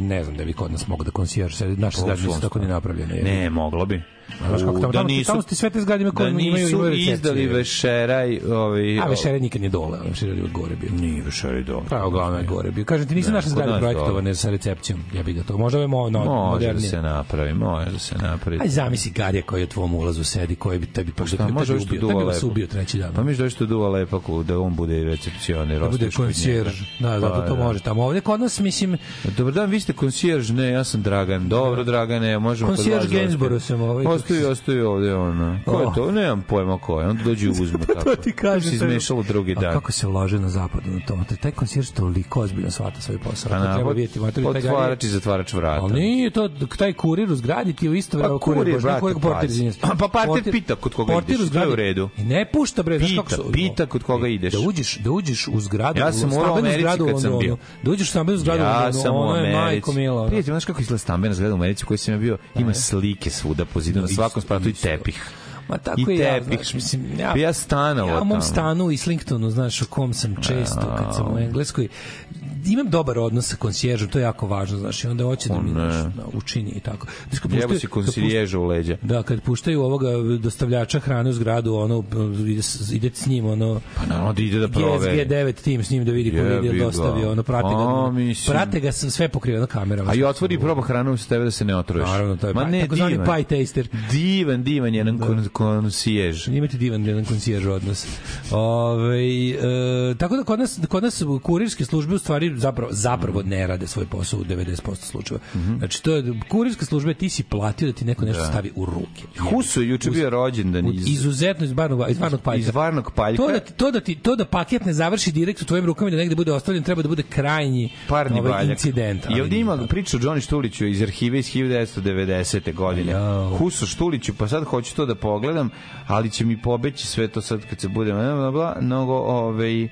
Speaker 7: ne znam da bi kod nas mogu da konsjerž, sad naše zgrade nisu tako ni napravljene. je.
Speaker 5: Pa, Ne, moglo bi.
Speaker 7: Znaš kako, tamo,
Speaker 5: da
Speaker 7: tamo,
Speaker 5: nisu,
Speaker 7: tamo su ti sve te zgrade imaju koje
Speaker 5: da
Speaker 7: imaju-
Speaker 5: nisu
Speaker 7: imaju recepciju,
Speaker 5: izdali
Speaker 7: je.
Speaker 5: večeraj... Ovaj,
Speaker 7: A večera nikad nije dole, večera je gore bio.
Speaker 5: Nije večeraj dole.
Speaker 7: Pa uglavnom je gore bio. Kažem ti, nisu
Speaker 5: Ne,
Speaker 7: naše
Speaker 5: kod
Speaker 7: zgrade
Speaker 5: nas
Speaker 7: projektovane sa recepcijom. Ja bih ga to. Možda ove mo, no,
Speaker 5: Može da
Speaker 7: modernije.
Speaker 5: se napravi, može da se napravi.
Speaker 7: Aj zamisli Garija koji je u tvom ulazu sedi, koji bi tebi pa
Speaker 5: Šta, može ovo što
Speaker 7: ubio. Tebi
Speaker 5: duva
Speaker 7: bi se
Speaker 5: lepo.
Speaker 7: ubio treći dan.
Speaker 5: Pa mi što što duva lepo ku- da on bude recepcioner.
Speaker 7: da bude
Speaker 5: ostaneš kod
Speaker 7: koncierž.
Speaker 5: njega.
Speaker 7: Da, zato
Speaker 5: Pa,
Speaker 7: to
Speaker 5: da.
Speaker 7: može tamo. Ovde kod nas, mislim,
Speaker 5: Dobar dan, vi ste konsjerž, ne, ja sam Dragan. Dobro, Dragane, možemo
Speaker 7: Konsjerž
Speaker 5: vas da ostavimo.
Speaker 7: Gainsborough sam ovaj.
Speaker 5: Ostavi, ostavi ovde, ono. Ko je
Speaker 7: Oh.
Speaker 5: to? Nemam pojma ko je. Onda dođe i uzme tako.
Speaker 7: to ti kažem.
Speaker 5: se izmešalo drugi
Speaker 7: A
Speaker 5: dan.
Speaker 7: kako se lože na zapadu na tom. Taj koncierž toliko ozbiljno shvata svoj posao. to treba
Speaker 5: navod-
Speaker 7: vidjeti. Mater, taj Garija-
Speaker 5: Pa Otvarač i zatvarač vrata.
Speaker 7: Ali nije to, taj kurir u zgradi ti je u isto vreme
Speaker 5: Pa kurir,
Speaker 7: baš, ne
Speaker 5: brate,
Speaker 7: kurir, portir,
Speaker 5: pazi.
Speaker 7: izvinjam se.
Speaker 5: A, pa parter pita kod koga
Speaker 7: portir
Speaker 5: ideš,
Speaker 7: u
Speaker 5: to je u
Speaker 7: zgradi-
Speaker 5: redu.
Speaker 7: I Ne pušta bre, znaš
Speaker 5: Pita,
Speaker 7: kako su- E,
Speaker 5: pita kod koga ideš.
Speaker 7: Da uđeš, da uđeš u zgradu,
Speaker 5: Ja sam
Speaker 7: u
Speaker 5: morao u
Speaker 7: stambenu
Speaker 5: Americi
Speaker 7: zgradu
Speaker 5: kad sam
Speaker 7: Londonu.
Speaker 5: bio.
Speaker 7: Da uđeš u stambenu zgradu
Speaker 5: Ja
Speaker 7: Londonu,
Speaker 5: sam u
Speaker 7: ono je
Speaker 5: Americi.
Speaker 7: majko mila. ono. Pa
Speaker 5: Prijatelj, znaš kako izgleda stambena zgrada u Americi u kojoj sam ja bio? Ima slike svuda po zidu, na
Speaker 7: Isto,
Speaker 5: svakom spratu i
Speaker 7: isto.
Speaker 5: tepih.
Speaker 7: Ma tako
Speaker 5: I
Speaker 7: i, ja,
Speaker 5: tepih.
Speaker 7: znaš, mislim, ja,
Speaker 5: Bi ja stanovao
Speaker 7: Ja u
Speaker 5: tamo.
Speaker 7: mom stanu u Islingtonu, znaš, u kom sam često, kad sam u Engleskoj, imam dobar odnos sa konsjeržom, to je jako važno, znaš, i onda hoće da mi znaš, učini i tako. Znaš, kad
Speaker 5: Jebo
Speaker 7: puštaju-
Speaker 5: si
Speaker 7: kad puštaju-
Speaker 5: konsilježa u leđa.
Speaker 7: Da, kad puštaju ovoga dostavljača hrane u zgradu, ono, ide, s- ide s njim, ono,
Speaker 5: Pa naravno da ide da proveri.
Speaker 7: GSG9 tim s njim da vidi ko
Speaker 5: Jebi
Speaker 7: vidi
Speaker 5: ga.
Speaker 7: dostavio, ono, prate
Speaker 5: A,
Speaker 7: ga,
Speaker 5: mislim.
Speaker 7: prate ga s- sve pokriveno kamerama.
Speaker 5: A i otvori i proba hranu sa tebe da se ne otruješ.
Speaker 7: Naravno, to je
Speaker 5: Ma
Speaker 7: pie-
Speaker 5: ne,
Speaker 7: takozvani
Speaker 5: divan.
Speaker 7: pie taster.
Speaker 5: Divan, divan jedan kon, konsijež.
Speaker 7: Imate divan jedan konsijerž odnos. Ove, e, tako da kod nas, kod nas kurirske službe u stvari zapravo, zapravo ne rade svoj posao u 90% slučajeva.
Speaker 5: Mhm.
Speaker 7: Znači, to je, kurirske službe ti si platio da ti neko nešto stavi u ruke.
Speaker 5: Huso je juče bio rođendan
Speaker 7: U-
Speaker 5: iz,
Speaker 7: izuzetno iz varnog, iz varnog paljka.
Speaker 5: iz varnog paljka.
Speaker 7: To da, ti- to, da ti, to da paket ne završi direkt u tvojim rukama i da negde bude ostavljen, treba da bude krajnji
Speaker 5: parni
Speaker 7: ovaj,
Speaker 5: valjak.
Speaker 7: incident.
Speaker 5: I
Speaker 7: ali
Speaker 5: ovdje
Speaker 7: nije
Speaker 5: ima
Speaker 7: tako.
Speaker 5: priču o Johnny Štuliću iz arhive iz 1990. godine.
Speaker 7: Jao.
Speaker 5: Huso Štuliću, pa sad hoću to da pogledam, ali će mi pobeći sve to sad kad se bude bla, bla, bla, mnogo ovaj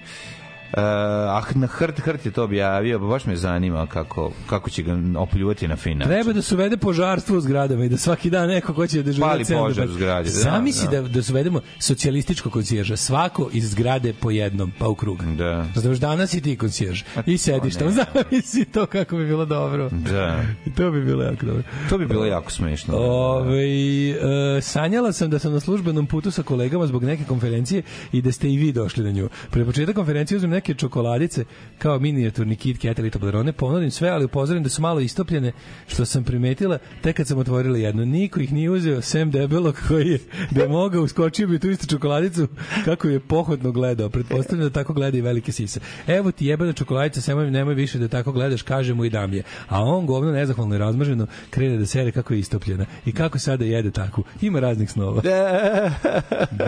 Speaker 5: Uh, ah, na Hrt, Hrt je to objavio, pa baš me zanima kako, kako će ga opljuvati na final.
Speaker 7: Treba da se uvede požarstvo u zgradama i da svaki dan neko ko će da žuri
Speaker 5: Pali požar u zgradi, da,
Speaker 7: Zamisli
Speaker 5: da.
Speaker 7: da, da se uvedemo socijalističko koncijerže, svako iz zgrade po jednom, pa u krug.
Speaker 5: Da.
Speaker 7: Znači, danas i ti koncijerž i sediš tamo. Zamisli to kako bi bilo dobro.
Speaker 5: Da.
Speaker 7: I to bi bilo jako dobro.
Speaker 5: To bi bilo jako smešno.
Speaker 7: Ove, e, sanjala sam da sam na službenom putu sa kolegama zbog neke konferencije i da ste i vi došli na nju. Pre početak konferencije uzmem neke čokoladice kao minijaturni Kit Kat ili Toblerone, ponudim sve, ali upozorim da su malo istopljene, što sam primetila tek kad sam otvorila jednu. Niko ih nije uzeo, sem debelog koji je da je mogao uskočio bi u tu istu čokoladicu kako je pohodno gledao. Pretpostavljam da tako gleda i velike sise. Evo ti jebena čokoladica, semoj nemoj više da tako gledaš, kaže mu i dam je. A on govno nezahvalno i razmaženo krene da sere kako je istopljena. I kako sada jede takvu. Ima raznih snova.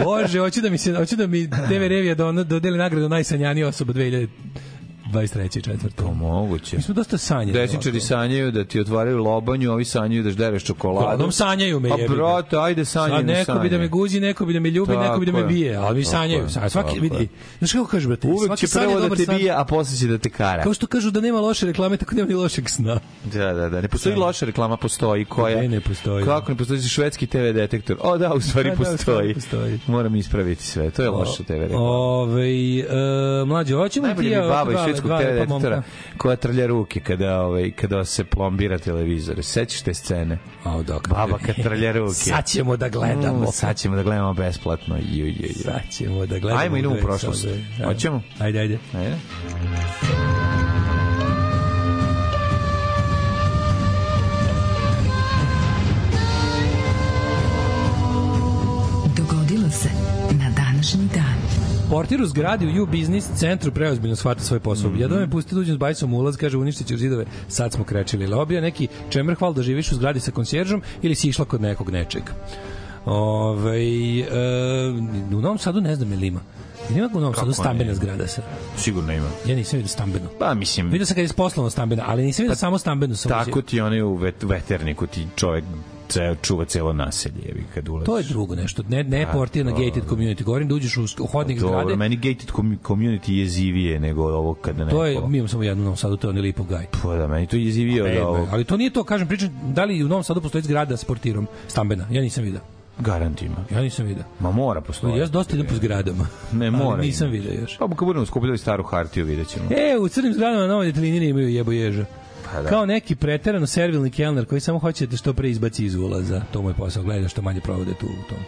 Speaker 7: Bože, hoću da mi se hoću da mi TV Revija don- dodeli nagradu najsanjanija osoba 2023. i
Speaker 5: Pa
Speaker 7: četvrtom.
Speaker 5: moguće.
Speaker 7: Mi smo dosta sanjali.
Speaker 5: Desničari sanjaju da ti otvaraju lobanju, ovi sanjaju da ždereš čokoladu.
Speaker 7: Uglavnom sanjaju me,
Speaker 5: Pa
Speaker 7: jebi ga.
Speaker 5: brate, ajde sanjaju
Speaker 7: Sad
Speaker 5: na
Speaker 7: neko bi da me
Speaker 5: sanje.
Speaker 7: guzi, neko bi da me ljubi,
Speaker 5: Tako
Speaker 7: neko bi da me
Speaker 5: je.
Speaker 7: bije, ali mi
Speaker 5: Tako je,
Speaker 7: sanjaju. A svaki
Speaker 5: tako
Speaker 7: vidi.
Speaker 5: je.
Speaker 7: Znaš kako kažu brate?
Speaker 5: Uvek
Speaker 7: svaki
Speaker 5: će
Speaker 7: san je
Speaker 5: prvo da
Speaker 7: dobar
Speaker 5: te
Speaker 7: san.
Speaker 5: bije, a posle će da te kara.
Speaker 7: Kao što kažu da nema loše reklame, tako nema ni lošeg sna.
Speaker 5: Da, da, da. Ne postoji loša reklama, postoji koja.
Speaker 7: Ne, ne postoji.
Speaker 5: Kako ne postoji Znači švedski TV detektor? O da, u stvari
Speaker 7: Da, da, u
Speaker 5: postoji.
Speaker 7: stvari postoji.
Speaker 5: Moram ispraviti sve. To je loša TV reklama.
Speaker 7: Ove, e, mlađe, hoćemo
Speaker 5: Najbolje
Speaker 7: ti...
Speaker 5: mi
Speaker 7: ja,
Speaker 5: baba iz
Speaker 7: dva-
Speaker 5: švedskog
Speaker 7: dva
Speaker 5: TV
Speaker 7: lepa pa momka.
Speaker 5: detektora koja trlja ruke kada, ovaj, kada se plombira televizor. Sećaš te scene?
Speaker 7: Au, dok.
Speaker 5: Baba kad trlja ruke.
Speaker 7: Sad ćemo da gledamo.
Speaker 5: Mm, sad ćemo da gledamo besplatno. Ju, ju, ju.
Speaker 7: Sad ćemo da gledamo.
Speaker 5: Ajmo, idemo u
Speaker 7: Gledaj,
Speaker 5: prošlost.
Speaker 7: sad, da.
Speaker 5: Hoćemo?
Speaker 7: Ajde, ajde.
Speaker 5: Ajde.
Speaker 7: Alarm.
Speaker 4: se na današnji dan.
Speaker 7: Portir u zgradi u U-Business centru preozbiljno shvata svoj posao. Mm
Speaker 5: Mhm.
Speaker 7: -hmm. Jedan me pusti da uđem s bajsom u ulaz, kaže uništit ćeš zidove, sad smo krečili. Lobija neki čemrhval da živiš u zgradi sa konsjeržom ili si išla kod nekog nečeg. Ove, e, u Novom Sadu ne znam ili ima. Ili ima u Novom Sadu stambena zgrada se?
Speaker 5: Sigurno ima.
Speaker 7: Ja nisam vidio stambenu.
Speaker 5: Pa mislim,
Speaker 7: Vidio sam kad je poslovno stambena, ali nisam vidio samo stambenu. Sam
Speaker 5: Pa tako ti oni u vet, veterniku ti čovjek ceo, čuva celo naselje, jebi kad ulaziš.
Speaker 7: To je drugo nešto. Ne, ne
Speaker 5: A,
Speaker 7: portir na
Speaker 5: Pa to-
Speaker 7: gated community. Govorim da uđeš u, u hodnik
Speaker 5: Dobro,
Speaker 7: zgrade.
Speaker 5: meni gated com- community jezivije nego ovo kada neko...
Speaker 7: To je, mi imamo samo jednu u Novom Sadu, to je onaj Lipov gaj.
Speaker 5: Pa da, meni to je jezivije od
Speaker 7: E,
Speaker 5: ovog.
Speaker 7: ali to nije to, kažem, pričam, da li u Novom Sadu postoji zgrada s portirom, stambena? Ja nisam vidio.
Speaker 5: Garantima.
Speaker 7: Ja nisam vidio.
Speaker 5: Ma mora postoji.
Speaker 7: Ja dosta idem po zgradama.
Speaker 5: Ne,
Speaker 7: ali
Speaker 5: mora.
Speaker 7: Nisam
Speaker 5: ima.
Speaker 7: vidio još.
Speaker 5: Pa kad budemo skupljali staru hartiju, vidjet ćemo.
Speaker 7: E, u crnim zgradama na novoj detelinini imaju jebo ježa.
Speaker 5: Pa da.
Speaker 7: Kao neki preterano servilni kelner koji samo hoće da što pre izbaci iz ulaza. To mu je posao. Gledaj da što manje provode tu u tom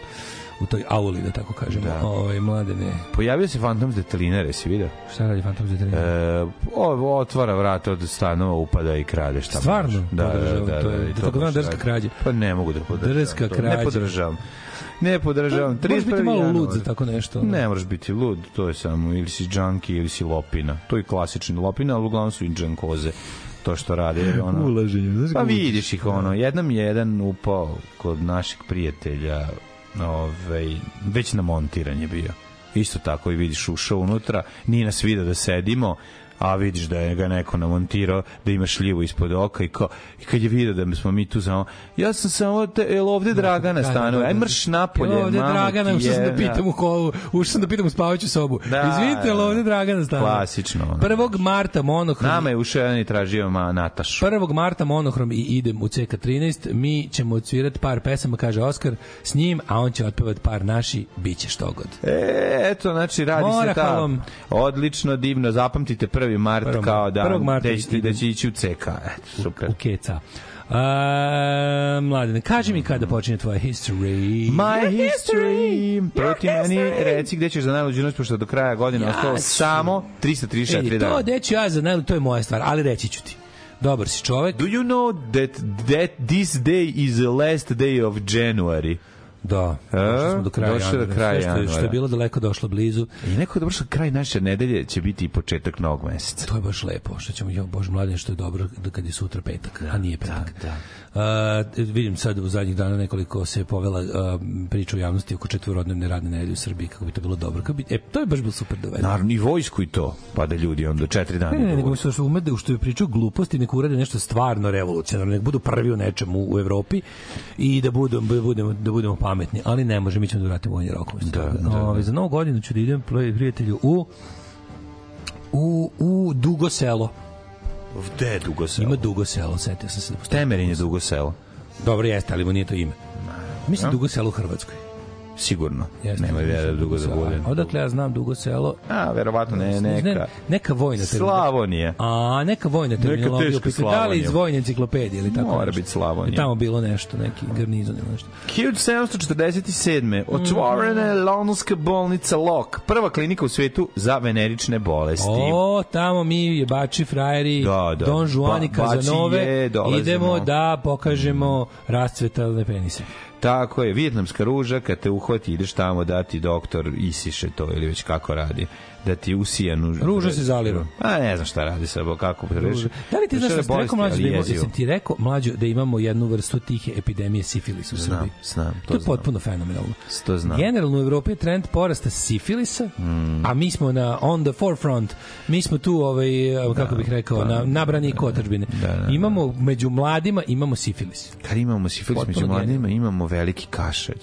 Speaker 7: u toj auli, da tako kažemo. Da. Ove, mladene,
Speaker 5: Pojavio se Phantom Detalinere, si vidio?
Speaker 7: šta radi Phantom Zetrina?
Speaker 5: E, ovo otvara vrata od stanova, upada i krade šta
Speaker 7: Stvarno?
Speaker 5: može. Da, da,
Speaker 7: Podržavam,
Speaker 5: da, da,
Speaker 7: to je
Speaker 5: da, i
Speaker 7: takozvana
Speaker 5: baš
Speaker 7: drska
Speaker 5: radi.
Speaker 7: krađa.
Speaker 5: Pa ne mogu da podržavam.
Speaker 7: Drska
Speaker 5: to.
Speaker 7: krađa.
Speaker 5: Ne podržavam. Ne podržavam.
Speaker 7: To moraš biti
Speaker 5: 31.
Speaker 7: malo lud za
Speaker 5: januar.
Speaker 7: tako nešto, ono.
Speaker 5: Ne moraš biti lud, to je samo ili si džanki ili si lopina. To je klasični lopina, ali uglavnom su i džankoze to što rade. jer Ono,
Speaker 7: Ulaženje, znaš
Speaker 5: Pa
Speaker 7: kako
Speaker 5: vidiš ih ono, jednom je jedan upao kod naših prijatelja, ovaj, već na montiranje bio. Isto tako i vidiš ušao unutra, nije nas video da sedimo, a vidiš da je ga neko namontirao, da ima šljivu ispod oka i, kao, i kad je video da smo mi tu samo, ja sam samo, te, jel ovde Dragana
Speaker 7: Da, da,
Speaker 5: stanuje,
Speaker 7: da,
Speaker 5: aj
Speaker 7: da.
Speaker 5: E, mrš napolje,
Speaker 7: Jel ovde
Speaker 5: mamu
Speaker 7: Dragana,
Speaker 5: ti
Speaker 7: ušao sam da
Speaker 5: jedna."
Speaker 7: pitam u kolu, ušao sam da pitam u spavaću sobu.
Speaker 5: Da,
Speaker 7: Izvinite, jel ovde Dragana stane?
Speaker 5: Klasično, ono.
Speaker 7: 1. marta monohrom.
Speaker 5: Nama je ušao jedan i tražio ma, Natašu.
Speaker 7: 1. marta monohrom i idem u CK13, mi ćemo odsvirati par pesama, kaže Oskar, s njim, a on će otpevati par naši, bit će što god.
Speaker 5: E, eto, znači, radi se ta
Speaker 7: Morahalom.
Speaker 5: odlično, divno, zapamtite 1. mart
Speaker 7: Prvo-
Speaker 5: kao da,
Speaker 7: prvog marta
Speaker 5: da, ćete,
Speaker 7: idem.
Speaker 5: da će ići u CK. Eto, super.
Speaker 7: U keca. A, mladine, kaži mi kada počinje tvoja history.
Speaker 5: My history. Proti meni reci gde ćeš za najluđu noć, pošto do kraja godine ostalo
Speaker 7: ću-
Speaker 5: samo 334
Speaker 7: Ej, E, to
Speaker 5: dana.
Speaker 7: deću ja za naj, to je moja stvar, ali reći ću ti. Dobar si čovek.
Speaker 5: Do you know that, that this day is the last day of January?
Speaker 7: Da, došli smo do kraja
Speaker 5: došli do
Speaker 7: januara.
Speaker 5: kraja
Speaker 7: E? Sve što, je- što je
Speaker 5: januara.
Speaker 7: bilo daleko došlo blizu.
Speaker 5: I neko je dobro što kraj naše nedelje će biti i početak novog meseca.
Speaker 7: To je baš lepo, što ćemo, jo, bože mladen, što je dobro da kad je sutra petak, a nije petak. Da, vidim sad u zadnjih dana nekoliko se povela uh, priča u javnosti oko četvorodnevne radne nedelje u Srbiji, kako bi to bilo dobro. Kako bi, e, to je baš bilo super da vedem.
Speaker 5: Naravno, i vojsku i to, pa da ljudi onda četiri dana.
Speaker 7: Ne, ne, ne,
Speaker 5: idu u
Speaker 7: nego što su ume da što je pričao gluposti, nek urade nešto stvarno revolucionarno, nek budu prvi u nečemu u, u Evropi i da budemo da budemo da budemo pametni, ali ne može, mi ćemo da vratimo vojni rok. Da, da, da. za novu godinu ću da idem pri- prijatelju u u u Dugo selo.
Speaker 5: vojsku. Gde je dugo selo?
Speaker 7: Ima Dugo selo, setio sam se da postoji.
Speaker 5: Temerin je dugo selo.
Speaker 7: Dobro jeste, ali mu nije to ime. Mislim Dugo selo u Hrvatskoj.
Speaker 5: Sigurno.
Speaker 7: Jeste,
Speaker 5: Nema
Speaker 7: mislim,
Speaker 5: vjera da dugo
Speaker 7: selo.
Speaker 5: zaboravim.
Speaker 7: Odakle ja znam Dugo selo?
Speaker 5: A, verovatno ne, neka.
Speaker 7: Ne, neka vojna terminologija.
Speaker 5: Slavonija.
Speaker 7: A neka vojna terminologija,
Speaker 5: teška
Speaker 7: upisali, da li iz
Speaker 5: Slavonija.
Speaker 7: vojne enciklopedije ili tako
Speaker 5: Mora
Speaker 7: nešto.
Speaker 5: biti Slavonija.
Speaker 7: I tamo bilo nešto, neki garnizon ili nešto.
Speaker 5: 1747. Otvorena je Londonska bolnica Lok, prva klinika u svetu za venerične bolesti.
Speaker 7: O, tamo mi je bači frajeri,
Speaker 5: Da, da.
Speaker 7: Don Juan i
Speaker 5: Ba- bači
Speaker 7: Kazanove,
Speaker 5: je, dolazimo.
Speaker 7: idemo da pokažemo rascvetalne penise.
Speaker 5: Tako je, vijetnamska ruža, kad te uhvati, ideš tamo da ti doktor isiše to ili već kako radi, da ti usijanu...
Speaker 7: Ruža se zalira.
Speaker 5: A ne znam šta radi sa kako reši.
Speaker 7: Da li ti znaš
Speaker 5: Šta je
Speaker 7: da sam ti rekao
Speaker 5: bolesti,
Speaker 7: mlađo
Speaker 5: ali
Speaker 7: da imamo,
Speaker 5: jezivo.
Speaker 7: jesam ti rekao mlađo da imamo jednu vrstu tihe epidemije sifilis u Srbiji.
Speaker 5: Znam, znam, to
Speaker 7: To je
Speaker 5: znam.
Speaker 7: potpuno fenomenalno.
Speaker 5: To znam. Mm.
Speaker 7: Generalno u Evropi je trend porasta sifilisa, a mi smo na on the forefront. Mi smo tu ovaj kako bih
Speaker 5: pa.
Speaker 7: rekao na nabrani da, kotačbine. imamo među mladima imamo sifilis.
Speaker 5: Kad imamo sifilis među
Speaker 7: Potpuno
Speaker 5: mladima, imamo veliki kašalj.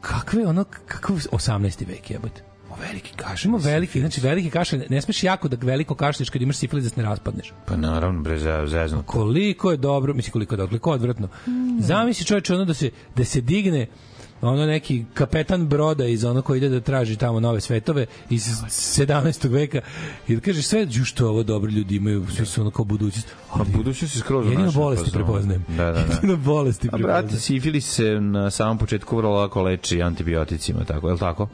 Speaker 7: Kakve ono kakav 18. vek jebote.
Speaker 5: O, veliki kašalj.
Speaker 7: Ima veliki, znači veliki kašalj, ne smeš jako da veliko kašlješ kad imaš sifilis da se ne raspadneš.
Speaker 5: Pa naravno, bre, za- zezno.
Speaker 7: koliko je dobro, mislim koliko je dobro, koliko je odvratno. Zamisli čoveče ono da se da se digne ono neki kapetan broda iz ono koji ide da traži tamo nove svetove iz 17. veka i da kaže sve ju što je ovo dobro ljudi imaju svi su ono kao budućnost
Speaker 5: A budućnost je skroz u
Speaker 7: jedino
Speaker 5: našem
Speaker 7: bolesti
Speaker 5: fazonu.
Speaker 7: prepoznajem
Speaker 5: Da, da, da.
Speaker 7: jedino bolesti
Speaker 5: A brate,
Speaker 7: prepoznajem
Speaker 5: sifilis se na samom početku vrlo lako leči antibioticima, tako, je li tako?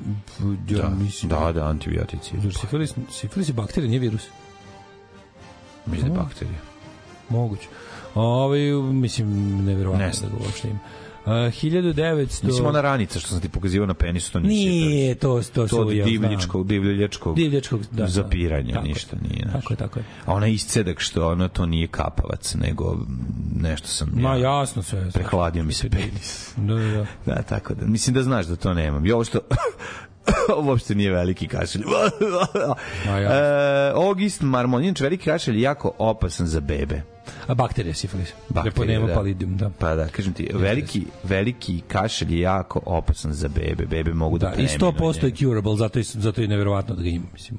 Speaker 7: ja mislim
Speaker 5: Da, da, antibiotici.
Speaker 7: sifilis, sifilis je bakterija, nije virus
Speaker 5: Mislim da je bakterija.
Speaker 7: moguće Ovi, Ovaj, mislim, nevjerovatno
Speaker 5: Ne
Speaker 7: da
Speaker 5: znam.
Speaker 7: ga uopšte ima. Uh, 1900...
Speaker 5: Mislim, ona ranica što sam ti pokazivao na penisu, to nisi.
Speaker 7: Nije, to, to,
Speaker 5: to od
Speaker 7: suja, znam.
Speaker 5: divljičkog, divljačkog,
Speaker 7: Divljačkog, da, da.
Speaker 5: zapiranja,
Speaker 7: Tako je.
Speaker 5: ništa nije. znaš.
Speaker 7: Tako je, tako je.
Speaker 5: A onaj iscedak što ono, to nije kapavac, nego mm, nešto sam
Speaker 7: Ma jasno sve.
Speaker 5: prehladio mi se penis.
Speaker 7: Da, da, da.
Speaker 5: Da, tako da. Mislim da znaš da to nemam. I ovo što... ovo uopšte nije veliki kašelj.
Speaker 7: Ma ja.
Speaker 5: e, Ogist marmon. Inače, veliki kašelj je jako opasan za bebe.
Speaker 7: A bakterija sifilis.
Speaker 5: Bakterija,
Speaker 7: Bakterija, nema
Speaker 5: da.
Speaker 7: palidium, da.
Speaker 5: Pa da, kažem ti, veliki, veliki kašelj je jako opasan za bebe. Bebe mogu da,
Speaker 7: Da, i
Speaker 5: preminu.
Speaker 7: 100% je curable, zato je, zato je neverovatno da ga ima, mislim.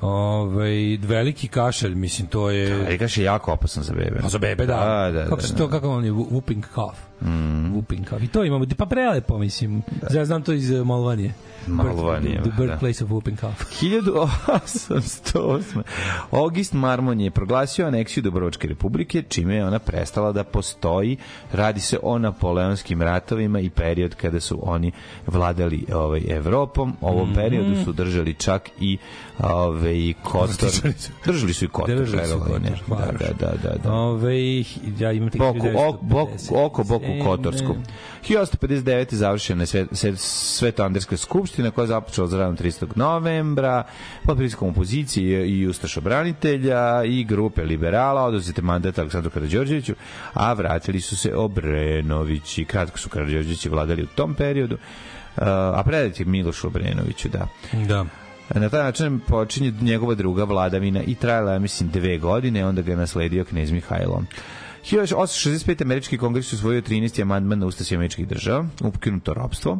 Speaker 7: Ove, veliki kašalj, mislim, to je...
Speaker 5: Ali kašelj je jako opasan za bebe.
Speaker 7: Pa za bebe, da.
Speaker 5: A, da,
Speaker 7: kako
Speaker 5: da,
Speaker 7: se
Speaker 5: da.
Speaker 7: to, kako on je, wo- whooping cough. Mm. Whooping cough. I to imamo, pa prelepo, mislim. Da. Ja znam to iz eh, Malvanije.
Speaker 5: Malvanije,
Speaker 7: Birth- The
Speaker 5: da.
Speaker 7: birthplace of whooping cough.
Speaker 5: 1808. Ogist Marmon je proglasio aneksiju Dobrovačke republike, čime je ona prestala da postoji. Radi se o napoleonskim ratovima i period kada su oni vladali ovaj, Evropom. U ovom
Speaker 7: Mhm.
Speaker 5: periodu su držali čak i ovaj, Kotor. Držali su i Kotor.
Speaker 7: Držali su
Speaker 5: verovali,
Speaker 7: Kotor, Ovaj,
Speaker 5: ne?
Speaker 7: Varoš.
Speaker 5: Da, da, da. da.
Speaker 7: Ove, ja imam tek
Speaker 5: Boku, ok,
Speaker 7: 1957.
Speaker 5: boku, oko Boku Kotorsku. 1859. završena je sve, sve, Svetoanderska skupština koja je započela za radom 30. novembra pod pritiskom opozicije i Ustaša branitelja i grupe liberala oduzete mandat Aleksandru Karadžorđeviću, a vratili su se Obrenovići. Kratko su Karadžorđevići vladali u tom periodu, uh, a predati Milošu Obrenoviću, da.
Speaker 7: Da.
Speaker 5: Na taj način počinje njegova druga vladavina i trajala je, mislim, dve godine, onda ga je nasledio knez Mihajlo. 1865. američki kongres je usvojio 13. amandman na ustav američkih država, ukinuto ropstvo.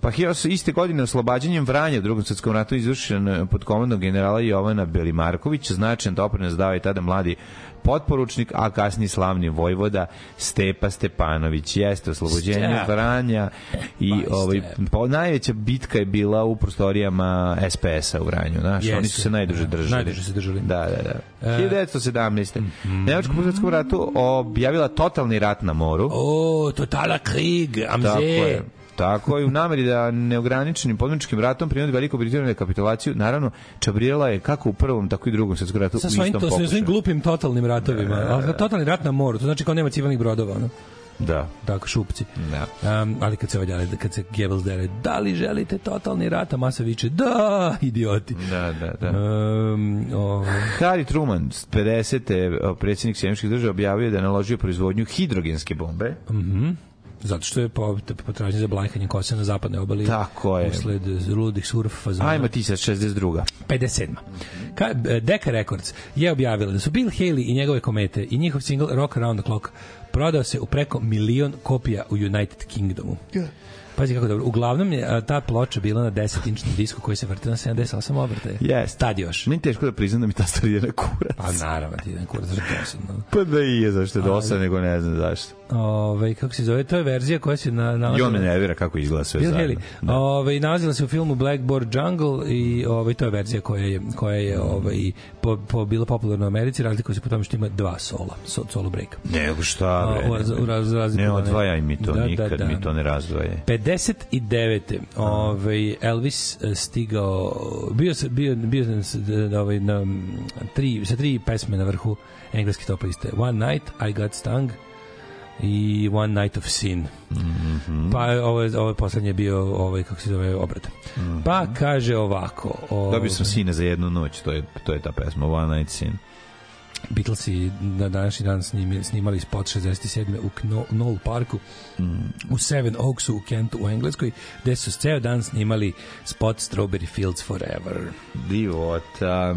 Speaker 5: Pa 1800 iste godine oslobađanjem Vranja u drugom svetskom ratu izvršen eh, pod komandom generala Jovana Belimarkovića, značajan doprinos dao je tada mladi potporučnik, a kasnije slavni vojvoda Stepa Stepanović. Jeste oslobođenje
Speaker 7: Step.
Speaker 5: Vranja i
Speaker 7: Baj,
Speaker 5: ovaj,
Speaker 7: Step.
Speaker 5: pa najveća bitka je bila u prostorijama SPS-a u Vranju, znaš,
Speaker 7: Jeste.
Speaker 5: oni su se najduže
Speaker 7: Da,
Speaker 5: držali.
Speaker 7: najduže se držali. E. Mhm.
Speaker 5: Da, da, da. 1917. Mm. Nemačko pusetskom ratu objavila totalni rat na moru.
Speaker 7: O, totala krig, amze.
Speaker 5: Tako je. Tako je, u nameri da neograničenim podmorničkim ratom prinudi Veliku Britaniju kapitulaciju, naravno, čabrirala je kako u prvom, tako i drugom svetskom ratu
Speaker 7: sa
Speaker 5: u
Speaker 7: svojim,
Speaker 5: istom
Speaker 7: to, sa svojim
Speaker 5: pokušaju.
Speaker 7: glupim totalnim ratovima. Ali na totalni rat na moru, to znači kao nema civilnih brodova, ono.
Speaker 5: Da.
Speaker 7: Tako, šupci.
Speaker 5: Da.
Speaker 7: Um, ali kad se valjale, kad se Goebbels dere, da li želite totalni rat, a masa viče, da, idioti.
Speaker 5: Da, da, da.
Speaker 7: Um, o,
Speaker 5: Harry Truman, 50. predsjednik Sjemičkih država, objavio je da je naložio proizvodnju hidrogenske bombe.
Speaker 7: zato što je po, potražnje za blanjkanje kose na zapadnoj obali.
Speaker 5: Tako je.
Speaker 7: Usled ludih surf fazona.
Speaker 5: Ajmo ti sad 62.
Speaker 7: 57. Ka, e, Decca Records je objavila da su Bill Haley i njegove komete i njihov single Rock Around the Clock prodao se u preko milion kopija u United Kingdomu. Pazi kako dobro. Uglavnom je a, ta ploča bila na 10-inčnom disku koji se vrti na 78 obrtaja.
Speaker 5: Yes.
Speaker 7: Tad još.
Speaker 5: Meni je teško da priznam da mi ta stvar je na kurac.
Speaker 7: Pa naravno, ti jedan kurac dosadno.
Speaker 5: Pa da i je, zašto je dosta, nego ne znam zašto.
Speaker 7: Ove, Ovaj, kako se zove, to je verzija koja se na... na
Speaker 5: I on me nervira kako izgleda sve
Speaker 7: Bill
Speaker 5: zajedno.
Speaker 7: Haley. Ovaj nalazila se u filmu Blackboard Jungle i ovaj to je verzija koja je koja je ovaj po, po bila popularna u Americi, razlikuje se po tome što ima dva sola, so, solo breaka.
Speaker 5: Nego šta,
Speaker 7: A, u-
Speaker 5: bre.
Speaker 7: za- u raz- razliku
Speaker 5: ne
Speaker 7: da ne-
Speaker 5: odvajaj mi to,
Speaker 7: Da, da,
Speaker 5: nikad
Speaker 7: da.
Speaker 5: mi to ne razdvaje.
Speaker 7: 59. Ovaj Elvis eh, stigao bio se bio bio sam s- d- d- ovaj na mm, tri sa tri pesme na vrhu engleske top liste. One Night I Got Stung i One Night of Sin. Pa ovo je, ovo je poslednje je bio ovaj kako se zove obrat. Pa kaže ovako, ovaj,
Speaker 5: Dobio sam sine za jednu noć, to je, to je ta pesma, One Night Sin.
Speaker 7: Beatlesi na današnji dan snimili, snimali spot 67. u Kno- Knoll Parku
Speaker 5: Mm.
Speaker 7: u Seven Oaksu u Kentu u Engleskoj gde su ceo dan snimali spot Strawberry Fields Forever.
Speaker 5: Divota.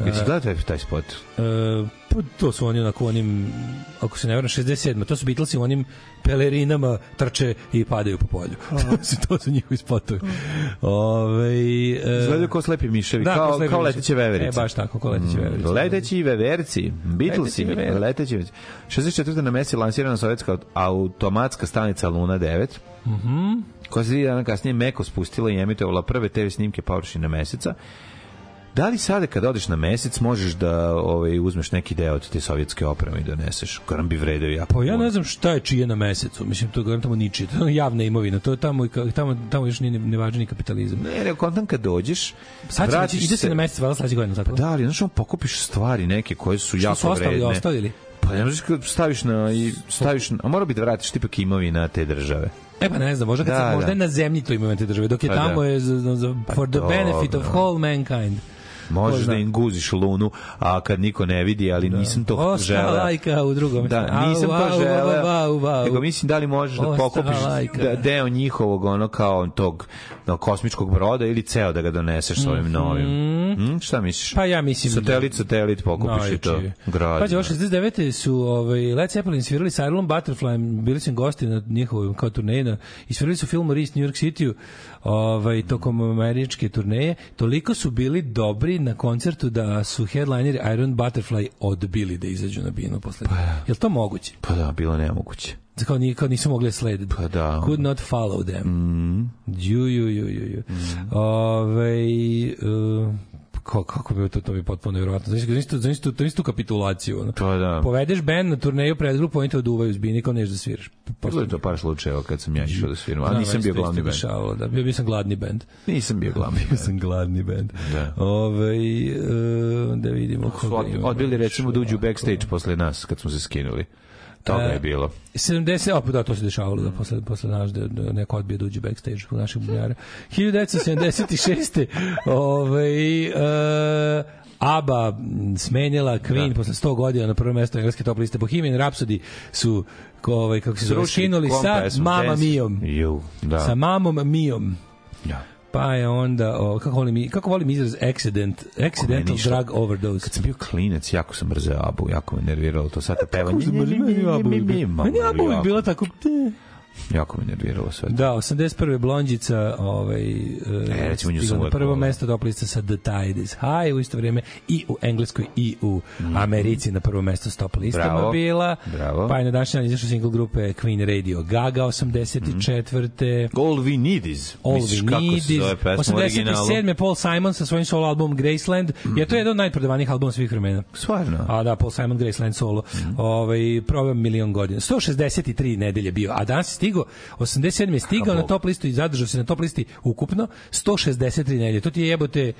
Speaker 5: Gdje si gledao taj, taj spot?
Speaker 7: E, pa to su oni onako u onim, ako se ne varam, 67. To su Beatlesi u onim pelerinama trče i padaju po polju. to, su, to su njihovi spotovi. Ovaj e,
Speaker 5: Izgledaju kao slepi miševi,
Speaker 7: da,
Speaker 5: kao,
Speaker 7: slepi
Speaker 5: kao
Speaker 7: miševi.
Speaker 5: leteće veverice. Mm,
Speaker 7: E, baš tako, kao leteće veverice.
Speaker 5: Leteći veverci, Beatlesi,
Speaker 7: Leteći veverci.
Speaker 5: leteći veverci. 64. na mesi je lansirana sovjetska automatska stanica Luna 9, mm
Speaker 7: Mhm.
Speaker 5: koja se tri dana kasnije meko spustila i emitovala prve TV snimke površine meseca. Da li sada kada odeš na mesec možeš da ovaj, uzmeš neki deo od te sovjetske opreme i doneseš? Koram bi vredeo jako.
Speaker 7: Pa ja
Speaker 5: puno.
Speaker 7: ne znam šta je čije na mesecu. Mislim, to garantam ničije. To je javna imovina. To je tamo, i ka- tamo, tamo još nije ne važi ni kapitalizam.
Speaker 5: Ne, ne, kontam kad dođeš,
Speaker 7: Sad će,
Speaker 5: vratiš
Speaker 7: ide se na mesec, valjda sledeće godine, tako?
Speaker 5: Da, ali znaš, on pokupiš ono, stvari neke koje su
Speaker 7: Što
Speaker 5: Pa jako
Speaker 7: su ostali,
Speaker 5: vredne.
Speaker 7: ostavili?
Speaker 5: Pa ne možeš kad staviš na... I staviš na a mora bi da vratiš tipak imovina te države.
Speaker 7: E pa ne znam, možda, kad
Speaker 5: Da,
Speaker 7: se, možda
Speaker 5: da.
Speaker 7: je na zemlji to imaju te države, dok je
Speaker 5: Pa da. Pa
Speaker 7: tamo je za, za- za, for the benefit of
Speaker 5: dobro.
Speaker 7: whole mankind. Ko
Speaker 5: Možeš
Speaker 7: zna.
Speaker 5: da im guziš lunu, a kad niko ne vidi, ali nisam to
Speaker 7: Ostala
Speaker 5: želeo.
Speaker 7: lajka u drugom.
Speaker 5: Da,
Speaker 7: Au,
Speaker 5: nisam to
Speaker 7: au,
Speaker 5: želeo.
Speaker 7: au, au, au.
Speaker 5: Nego mislim da li možeš da
Speaker 7: Ostala
Speaker 5: pokupiš
Speaker 7: lajka.
Speaker 5: da deo njihovog ono kao tog no, kosmičkog broda ili ceo da ga doneseš s ovim novim. Mm, šta misliš?
Speaker 7: Pa ja mislim da-
Speaker 5: satelit, satelit pokupiš i to.
Speaker 7: Najjači.
Speaker 5: Grad.
Speaker 7: Pađe, ovo 69. su ovaj, Led Zeppelin svirali sa Ireland Butterfly, bili sam gosti na njihovoj kao turneji, na, i svirali su film Maurice New York City ovaj, tokom američke turneje. Toliko su bili dobri na koncertu da su headlineri Iron Butterfly odbili da izađu na binu posle. Pa, Je to moguće?
Speaker 5: Pa da, bilo nemoguće.
Speaker 7: Kao, ni, kao nisu mogli slediti.
Speaker 5: Pa da.
Speaker 7: Could not follow them. Mm. Ju, ju, ju, ju, ju.
Speaker 5: Mm.
Speaker 7: Ovej, uh, ko- kako bi to, to bi potpuno nevjerojatno. Znači, znači, tu- znači, tu- znači tu kapitulaciju. Ono.
Speaker 5: Pa da.
Speaker 7: Povedeš band na turneju pred grupu, oni te oduvaju zbini, kao nešto da sviraš.
Speaker 5: Bilo je to par slučajeva kad sam ja išao da sviram, a
Speaker 7: Znam,
Speaker 5: nisam
Speaker 7: meni se
Speaker 5: bio
Speaker 7: to isto
Speaker 5: glavni band.
Speaker 7: dešavalo, Da, bio, bio sam gladni band.
Speaker 5: Nisam bio glavni
Speaker 7: Bio sam gladni band.
Speaker 5: Da.
Speaker 7: Ovej, e, da vidimo koga
Speaker 5: band.
Speaker 7: imamo
Speaker 5: Odbili
Speaker 7: još.
Speaker 5: recimo da uđu u backstage posle nas kad smo se skinuli. Toga
Speaker 7: E,
Speaker 5: je bilo.
Speaker 7: 70, e, opet da, to se dešavalo da posle, posle naš, da, da neko odbije da uđe backstage kod naših bubnjara. 1976. ovaj, e, ABBA smenjela Queen posle 100 godina na prvo mesto engleske top liste. Bohemian Rhapsody su ko, ovaj, kako se zove,
Speaker 5: Srušili
Speaker 7: skinuli
Speaker 5: kom
Speaker 7: sa
Speaker 5: pesmu?
Speaker 7: Mama
Speaker 5: Dance-
Speaker 7: Mijom.
Speaker 5: Ju, da.
Speaker 7: Sa Mamom Mijom.
Speaker 5: da.
Speaker 7: Pa je onda, o, kako, volim, i- kako volim izraz accident, accidental
Speaker 5: ništa.
Speaker 7: drug overdose.
Speaker 5: Kad sam bio klinac, jako sam mrzeo Abu, jako me nerviralo to sad pevanje.
Speaker 7: Meni je Abu
Speaker 5: Mama,
Speaker 7: Pa uvijek
Speaker 5: jako-
Speaker 7: bila tako...
Speaker 5: Jako me nerviralo sve.
Speaker 7: Da, 81. Blondjica, ovaj e,
Speaker 5: recimo, nju sam
Speaker 7: stigla na
Speaker 5: uvek
Speaker 7: prvo
Speaker 5: voleo.
Speaker 7: mesto top liste sa The Tide is High u isto vrijeme i u Engleskoj i u Americi na prvo mesto s top listama
Speaker 5: Mhm. Bravo.
Speaker 7: bila.
Speaker 5: Bravo.
Speaker 7: Pa je na današnji dan izašao single grupe Queen Radio Gaga 84.
Speaker 5: All we need is.
Speaker 7: All
Speaker 5: Mhm. Misliš
Speaker 7: We
Speaker 5: kako
Speaker 7: Need
Speaker 5: se
Speaker 7: Is.
Speaker 5: zove pesma u originalu? Mhm.
Speaker 7: 87. Paul Simon sa svojim solo albumom Graceland. Je to jedan od najprodavanijih albuma svih vremena.
Speaker 5: Stvarno?
Speaker 7: A da, Paul Simon Graceland solo.
Speaker 5: Mhm.
Speaker 7: Ovaj proveo milion godina. 163 nedelje bio, a danas je stigao 87 je stigao na top listu i zadržao se na top listi ukupno 163 nedelje. To ti je jebote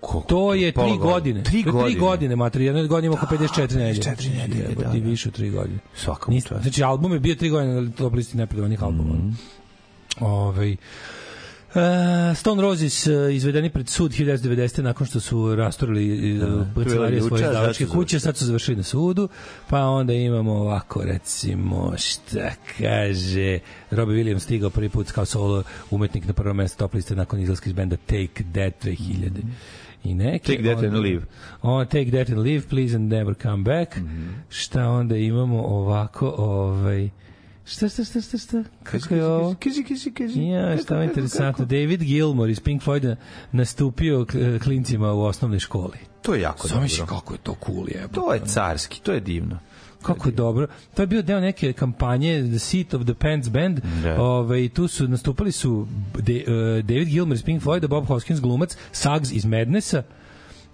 Speaker 5: Koliko?
Speaker 7: To je
Speaker 5: Oh, Pola
Speaker 7: tri
Speaker 5: godine.
Speaker 7: godine.
Speaker 5: Tri
Speaker 7: To je Tri
Speaker 5: godine.
Speaker 7: godine, mater. Jedna godina ima oko 54 nedelje.
Speaker 5: 54 nedelje,
Speaker 7: Jebote,
Speaker 5: da,
Speaker 7: i
Speaker 5: da.
Speaker 7: više od tri godine.
Speaker 5: Svaka mu
Speaker 7: Nis-
Speaker 5: čast.
Speaker 7: Znači, album je bio tri godine na top listi najprodavanih albuma.
Speaker 5: Mhm.
Speaker 7: Ovaj, Uh, Stone Roses uh, izvedeni pred sud 1990. nakon što su rasturili uh, kancelarije
Speaker 5: juče, znači,
Speaker 7: svoje
Speaker 5: sad su
Speaker 7: izdavačke
Speaker 5: završili.
Speaker 7: kuće, sad su završili na sudu, pa onda imamo ovako recimo šta kaže Robbie Williams stigao prvi put kao solo umetnik na prvo mesto top liste nakon izlaska iz benda Take That 2000 i neke.
Speaker 5: Mhm. Take That and
Speaker 7: Onda-
Speaker 5: Leave.
Speaker 7: O, take that and leave, please and never come back.
Speaker 5: Mhm.
Speaker 7: Šta onda imamo ovako, ovaj... Šta, šta, šta, šta, šta? Kako je ovo?
Speaker 5: Kizi, kizi, kizi.
Speaker 7: Ja, šta mi je interesantno. David Gilmour iz Pink Floyda nastupio k- klincima u osnovnoj školi.
Speaker 5: To je jako
Speaker 7: Samo misli
Speaker 5: dobro.
Speaker 7: kako je to cool, jebo.
Speaker 5: To je carski, to je divno.
Speaker 7: Kako je dobro. To je bio deo neke kampanje The Seat of the Pants Band.
Speaker 5: Da.
Speaker 7: Ove, i tu su nastupali su De- e, David Gilmour iz Pink Floyda, Bob Hoskins glumac, Sags iz Madnessa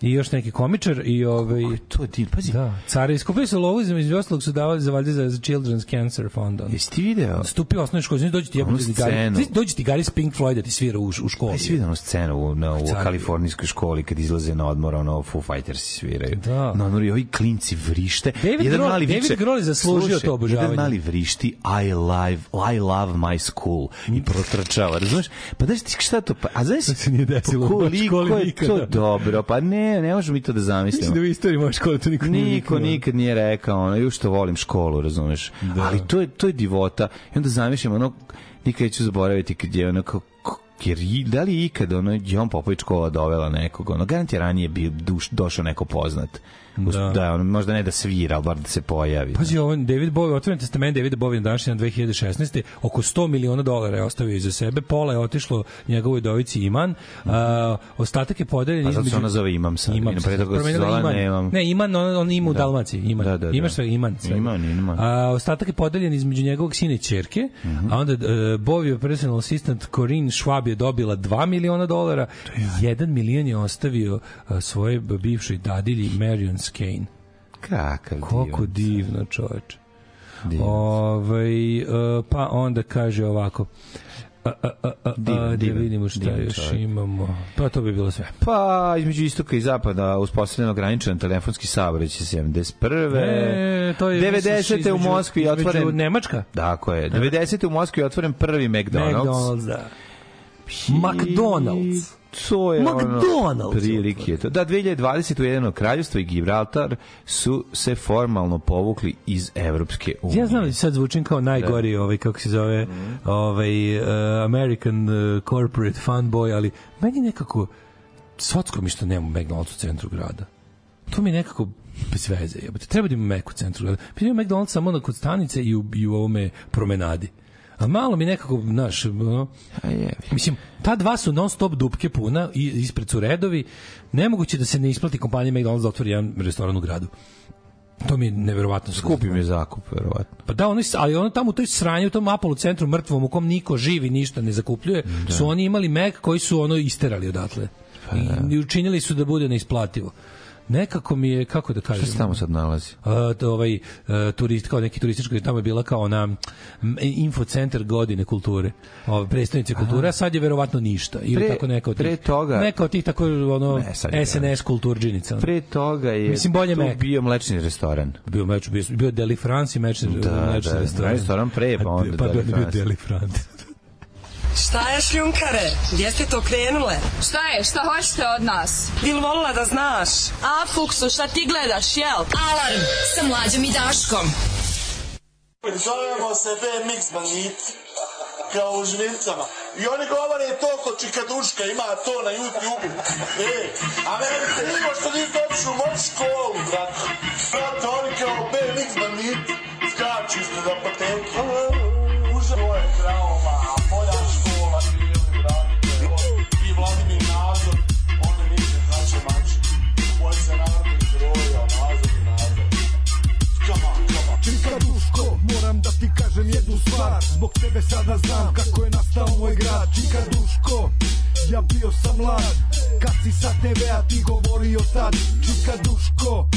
Speaker 7: i još neki komičar i ovaj
Speaker 5: To je divno. Pazi,
Speaker 7: Da, cari iskupili su lovu, između ostalog su davali za valjda za, za Children's Cancer Fond. ono.
Speaker 5: jesi ti video?
Speaker 7: Stupio osnovne škole, znači dođe ti
Speaker 5: Onu
Speaker 7: jebote zigari,
Speaker 5: scenu.
Speaker 7: znači dođe ti gari iz Pink Floyd da ti svira u, u školi.
Speaker 5: Jesi vidio onu scenu u, na, u
Speaker 7: Car-
Speaker 5: kalifornijskoj školi kad izlaze na odmor, ono Foo Fighters sviraju.
Speaker 7: Da.
Speaker 5: Na odmor i ovi klinci vrište.
Speaker 7: David Grohl- David
Speaker 5: viče-
Speaker 7: Grohl je zaslužio
Speaker 5: Slušaj,
Speaker 7: to obožavanje.
Speaker 5: Jedan mali vrišti I love, I love my school i protrčava, razumeš? Pa znaš ti šta to? Pa, a znaš
Speaker 7: se nije desilo u mojoj
Speaker 5: koliko
Speaker 7: školi
Speaker 5: je
Speaker 7: nikada.
Speaker 5: to dobro? Pa ne, ne možemo mi to da zamislimo.
Speaker 7: Mislim da u istoriji moje škole to niko nije
Speaker 5: Niko
Speaker 7: viknuo.
Speaker 5: nikad nije rekao, ono, još što volim školu, razumeš? Ali to je, to je divota. I onda zamišljam, ono, nikad neću zaboraviti kad je ono kao, k- jer i- da li je ikad ono John Popović škola dovela nekog ono garant je ranije bio duš, došao neko poznat da, da ono, možda ne da svira ali bar da se pojavi
Speaker 7: Pazi, ovo, David Bowie, otvoren testament Davida Bowie na današnji dan 2016. Oko 100 miliona dolara je ostavio iza sebe, pola je otišlo njegovoj dovici Iman, a, ostatak je podeljen
Speaker 5: a Pa zato se ona zove imam sad
Speaker 7: Imam
Speaker 5: imam
Speaker 7: se,
Speaker 5: pre toga se
Speaker 7: promenila
Speaker 5: zvala
Speaker 7: Iman.
Speaker 5: nemam
Speaker 7: Ne, Iman, on, on ima u Dalmaciji. Iman.
Speaker 5: Da, da, da.
Speaker 7: Imaš sve, Iman. Sve.
Speaker 5: Iman, Iman. Mhm.
Speaker 7: A, ostatak je podeljen između njegovog sina i čerke, a onda uh, Bovio personal assistant Corinne Schwab je dobila 2 miliona dolara, 1 milion je ostavio uh, svoje b- bivšoj dadilji Marion Skane.
Speaker 5: kakav
Speaker 7: Koliko
Speaker 5: divan.
Speaker 7: divno, čoveče.
Speaker 5: Divan.
Speaker 7: Ovaj, e, pa onda kaže ovako. A, a, a, a, a,
Speaker 5: Divan
Speaker 7: da
Speaker 5: Divan,
Speaker 7: vidimo šta
Speaker 5: divan
Speaker 7: još
Speaker 5: čovjek.
Speaker 7: imamo. Pa to bi bilo sve.
Speaker 5: Pa, između istoka i zapada uspostavljen ograničen telefonski saobraćaj 71.
Speaker 7: E, to je, mislim,
Speaker 5: 90.
Speaker 7: između-
Speaker 5: u Moskvi je
Speaker 7: između
Speaker 5: otvoren...
Speaker 7: Nemačka?
Speaker 5: Tako je. 90. u Moskvi je otvoren prvi McDonald's.
Speaker 7: McDonald's, da. McDonald's.
Speaker 5: To je ono,
Speaker 7: McDonald's.
Speaker 5: prilike je to. Da, 2020. Ujedinjeno kraljestvo i Gibraltar su se formalno povukli iz Evropske unije.
Speaker 7: Ja znam da sad zvučim kao najgori ovaj kako se zove ovaj uh, American uh, corporate fanboy, ali meni nekako svatko mi što nema McDonald's u centru grada. To mi je nekako bez veze. Jebote. Treba da ima Mac u centru grada. Pa ima McDonald's samo na kod stanice i u, i u ovome promenadi. A malo mi nekako, znaš, ono,
Speaker 5: A jebi.
Speaker 7: Mislim, ta dva su non stop dupke puna i ispred su redovi. Nemoguće da se ne isplati kompanija McDonald's da otvori jedan restoran u gradu. To mi je neverovatno.
Speaker 5: Skupi mi je zakup, verovatno.
Speaker 7: Pa da, oni, ali ono tamo u toj sranju, u tom Apollo centru mrtvom u kom niko živi, ništa ne zakupljuje, da. su oni imali Mac koji su ono isterali odatle.
Speaker 5: Pa
Speaker 7: I, I učinili su da bude neisplativo. Nekako mi je, kako da kažem...
Speaker 5: Šta se tamo sad nalazi?
Speaker 7: Uh, to ovaj uh, turist kao neki turistički tamo je bila kao ona m, infocentar godine kulture ovaj prestonice kulture a sad je verovatno ništa ili
Speaker 5: Pre-
Speaker 7: tako neka od tih
Speaker 5: pre toga-
Speaker 7: neka od tih tako ono
Speaker 5: Ne, sad je
Speaker 7: SNS kulturdžinica
Speaker 5: Pre toga je
Speaker 7: Mislim, bolje
Speaker 5: tu
Speaker 7: Mac.
Speaker 5: bio mlečni restoran.
Speaker 7: bio meč bio, bio Deli France i meč
Speaker 5: Da,
Speaker 7: meč
Speaker 5: da, restoran pre, pa onda
Speaker 7: pa
Speaker 5: Deli
Speaker 7: bio bio
Speaker 5: France.
Speaker 7: Deli France
Speaker 1: Šta je šljunkare? Gdje ste to krenule?
Speaker 4: Šta je? Šta hoćete od nas?
Speaker 1: Bil volila da znaš?
Speaker 2: A, Fuksu, šta ti gledaš, jel?
Speaker 4: Alarm sa mlađom i Daškom.
Speaker 1: Zovemo sebe mix banditi. Kao u žvincama. I oni govore to ko čikaduška ima to na YouTube. E, a meni se nimo što niste otišli u moć školu, brate. Brate, oni kao B mix banditi. Skaču ste za pateke. Užavo je trauma, a moja škola bili, brate. I Vladimir Nazor, onda mi se znače mači. Boje se narodnih heroja, Nazor i Nazor. Come on, come on.
Speaker 10: Činka Duško, moram da ti kažem jednu stvar Zbog tebe sada znam kako je nastao moj grad Činka Duško, ja bio sam mlad Kad si sa TV-a ti govorio tad Činka Duško,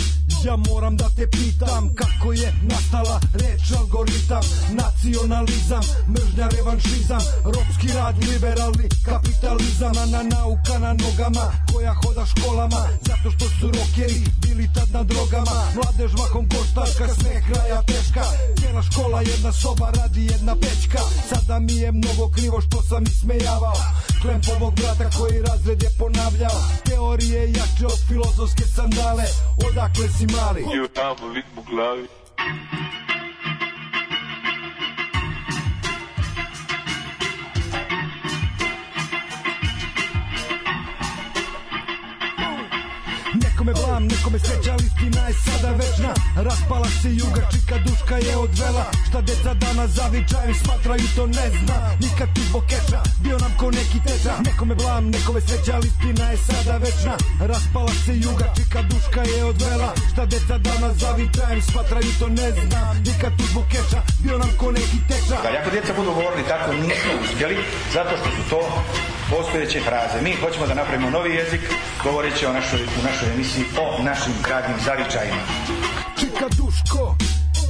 Speaker 10: ja moram da te pitam Kako je nastala reč algoritam Nacionalizam, mržnja, revanšizam Ropski rad, liberalni kapitalizam A na nauka na nogama koja hoda školama Zato što su rokeri bili tad na drogama Mladež mahom koštarka, sve kraja teška Cijela škola jedna soba radi jedna pečka Sada mi je mnogo krivo što sam ismejavao Klempovog brata koji razred je ponavljao Teorije jače od filozofske sandale Odakle si mali? Nekome blam, nekome sreća, ali istina je sada večna Raspala se juga, čika duška je odvela Šta deca danas zavičajem smatraju to ne zna Nikad ti zbog keča, bio nam ko neki teča Nekome blam, nekome sreća, ali istina je sada večna Raspala se juga, čika duška je odvela Šta deca danas zavičajem smatraju to ne zna Nikad ti zbog keča, bio nam ko neki teča
Speaker 1: Ali ako djeca budu govorili tako, nismo uspjeli, zato što su to postojeće fraze. Mi hoćemo da napravimo novi jezik, govoreći o našoj, u našoj emisiji o našim gradnim zavičajima.
Speaker 10: Čika Duško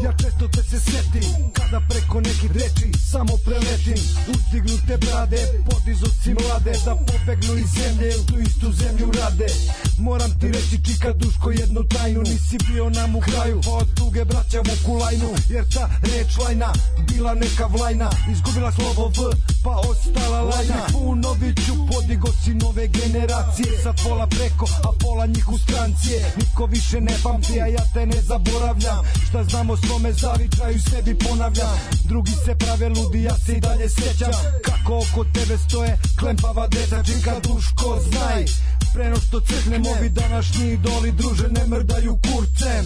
Speaker 10: Ja često te se sjetim Kada preko nekih reči samo preletim Uzdignute brade Podizu si mlade Da pobegnu iz zemlje U tu istu zemlju rade Moram ti reći Čika Duško jednu tajnu Nisi bio nam u kraju Pa od duge braća vuku lajnu Jer ta reč lajna Bila neka vlajna Izgubila slovo V Pa ostala lajna U Noviću podigo si nove generacije Sad pola preko A pola njih u stranci je Niko više ne pamti, a ja te ne zaboravljam Šta znam o svome zavičaju, sebi ponavljam Drugi se prave ludi, ja se i dalje sjećam Kako oko tebe stoje klempava deca Činka duško, znaj Preno što crknem, ovi današnji idoli Druže, ne mrdaju kurcem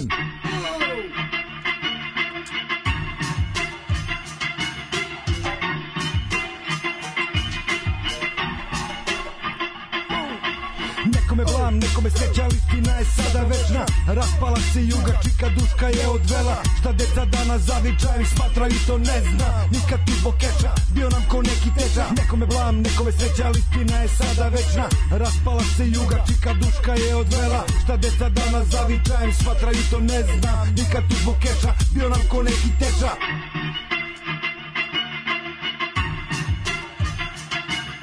Speaker 10: Nekome blam, nekome sreća, ali istina je sada večna Raspala se juga, čika duška je odvela Šta deca danas zavičaju, smatraju to ne zna Nikad ti zbog keča, bio nam ko neki teča Nekome blam, nekome sreća, ali istina je sada večna Raspala se juga, čika duška je odvela Šta deca danas zavičaju, smatraju to ne zna Nikad ti zbog keča, bio nam ko neki teča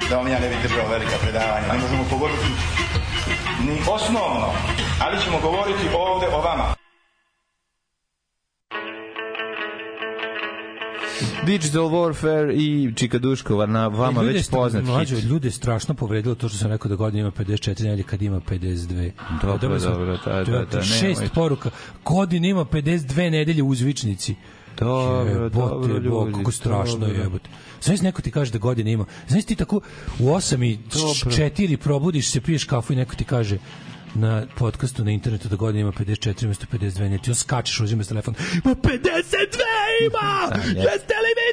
Speaker 14: da vam ja ne bih držao velika predavanja. Ne možemo pogoditi ni osnovno, ali ćemo govoriti ovde o vama.
Speaker 5: Digital Warfare i Čikaduškova na vama
Speaker 7: Ljude je
Speaker 5: već
Speaker 7: stra-
Speaker 5: poznat
Speaker 7: mlađe,
Speaker 5: hit.
Speaker 7: Ljude je strašno povredilo to što sam rekao da godina ima 54 nedelje kad ima 52.
Speaker 5: Dobro,
Speaker 7: Dobili smo-
Speaker 5: dobro, da, da,
Speaker 7: to je
Speaker 5: da,
Speaker 7: šest
Speaker 5: nemojte.
Speaker 7: poruka. Godina ima 52 nedelje u uzvičnici.
Speaker 5: Dobro, dobro,
Speaker 7: Jebote, bog,
Speaker 5: ljudi,
Speaker 7: kako strašno je
Speaker 5: dobro.
Speaker 7: jebote. Znaš, neko ti kaže da godina ima. Znaš, ti tako u 8 i
Speaker 5: Dobro.
Speaker 7: 4 probudiš se, piješ kafu i neko ti kaže na podcastu na internetu da godina ima 54 umesto 52 nedelje. Ti on skačeš, uzimaš telefon. Ma 52 ima! Jeste li vi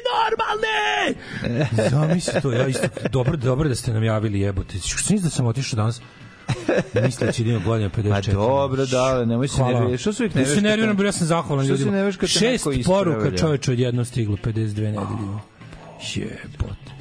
Speaker 7: normalni? Zamisli to, ja isto, dobro, dobro da ste nam javili jebote. Što da sam otišao danas? Misleći da ima godina 54.
Speaker 5: Ma Pa dobro, da, nemoj se
Speaker 7: Hvala vam.
Speaker 5: nervirati. Što se uvijek
Speaker 7: Ja
Speaker 5: nerviraš?
Speaker 7: se
Speaker 5: kad te-
Speaker 7: nerviram, bre, ja sam zahvalan
Speaker 5: Što se
Speaker 7: ljudima.
Speaker 5: nerviraš kad te
Speaker 7: Šest
Speaker 5: neko ispravlja?
Speaker 7: poruka čoveče odjednom stiglo, 52 nedelje.
Speaker 5: Oh,
Speaker 7: Jebote.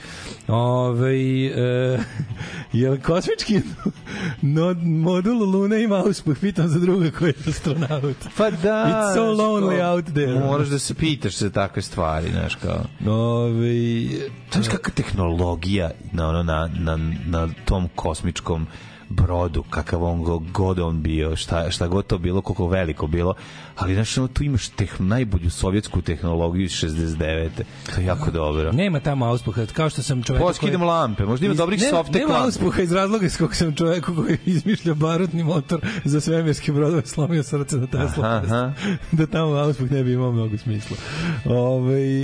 Speaker 7: Ove, e, je li kosmički no, modul Lune ima uspeh? Pitam za druga koji je astronaut.
Speaker 5: Pa da.
Speaker 7: It's so
Speaker 5: znaš
Speaker 7: lonely
Speaker 5: kao,
Speaker 7: out there.
Speaker 5: Moraš da se pitaš se takve stvari, znaš kao.
Speaker 7: Novi...
Speaker 5: Znaš kakva tehnologija na, ono, na, na, na tom kosmičkom brodu, kakav on go- god on bio, šta, šta god to bilo, koliko veliko bilo, ali znaš, ono, tu imaš teh, najbolju sovjetsku tehnologiju iz 69. To je jako dobro.
Speaker 7: Nema tamo auspuha, kao što sam čovjek...
Speaker 5: Poskidam lampe, možda ima dobrih softek
Speaker 7: Nema
Speaker 5: lampi.
Speaker 7: auspuha iz razloga iz kog sam čoveku koji izmišlja barutni motor za svemirske brodove slomio srce na Tesla.
Speaker 5: Aha, aha.
Speaker 7: da tamo auspuh ne bi imao mnogo smisla. Ovaj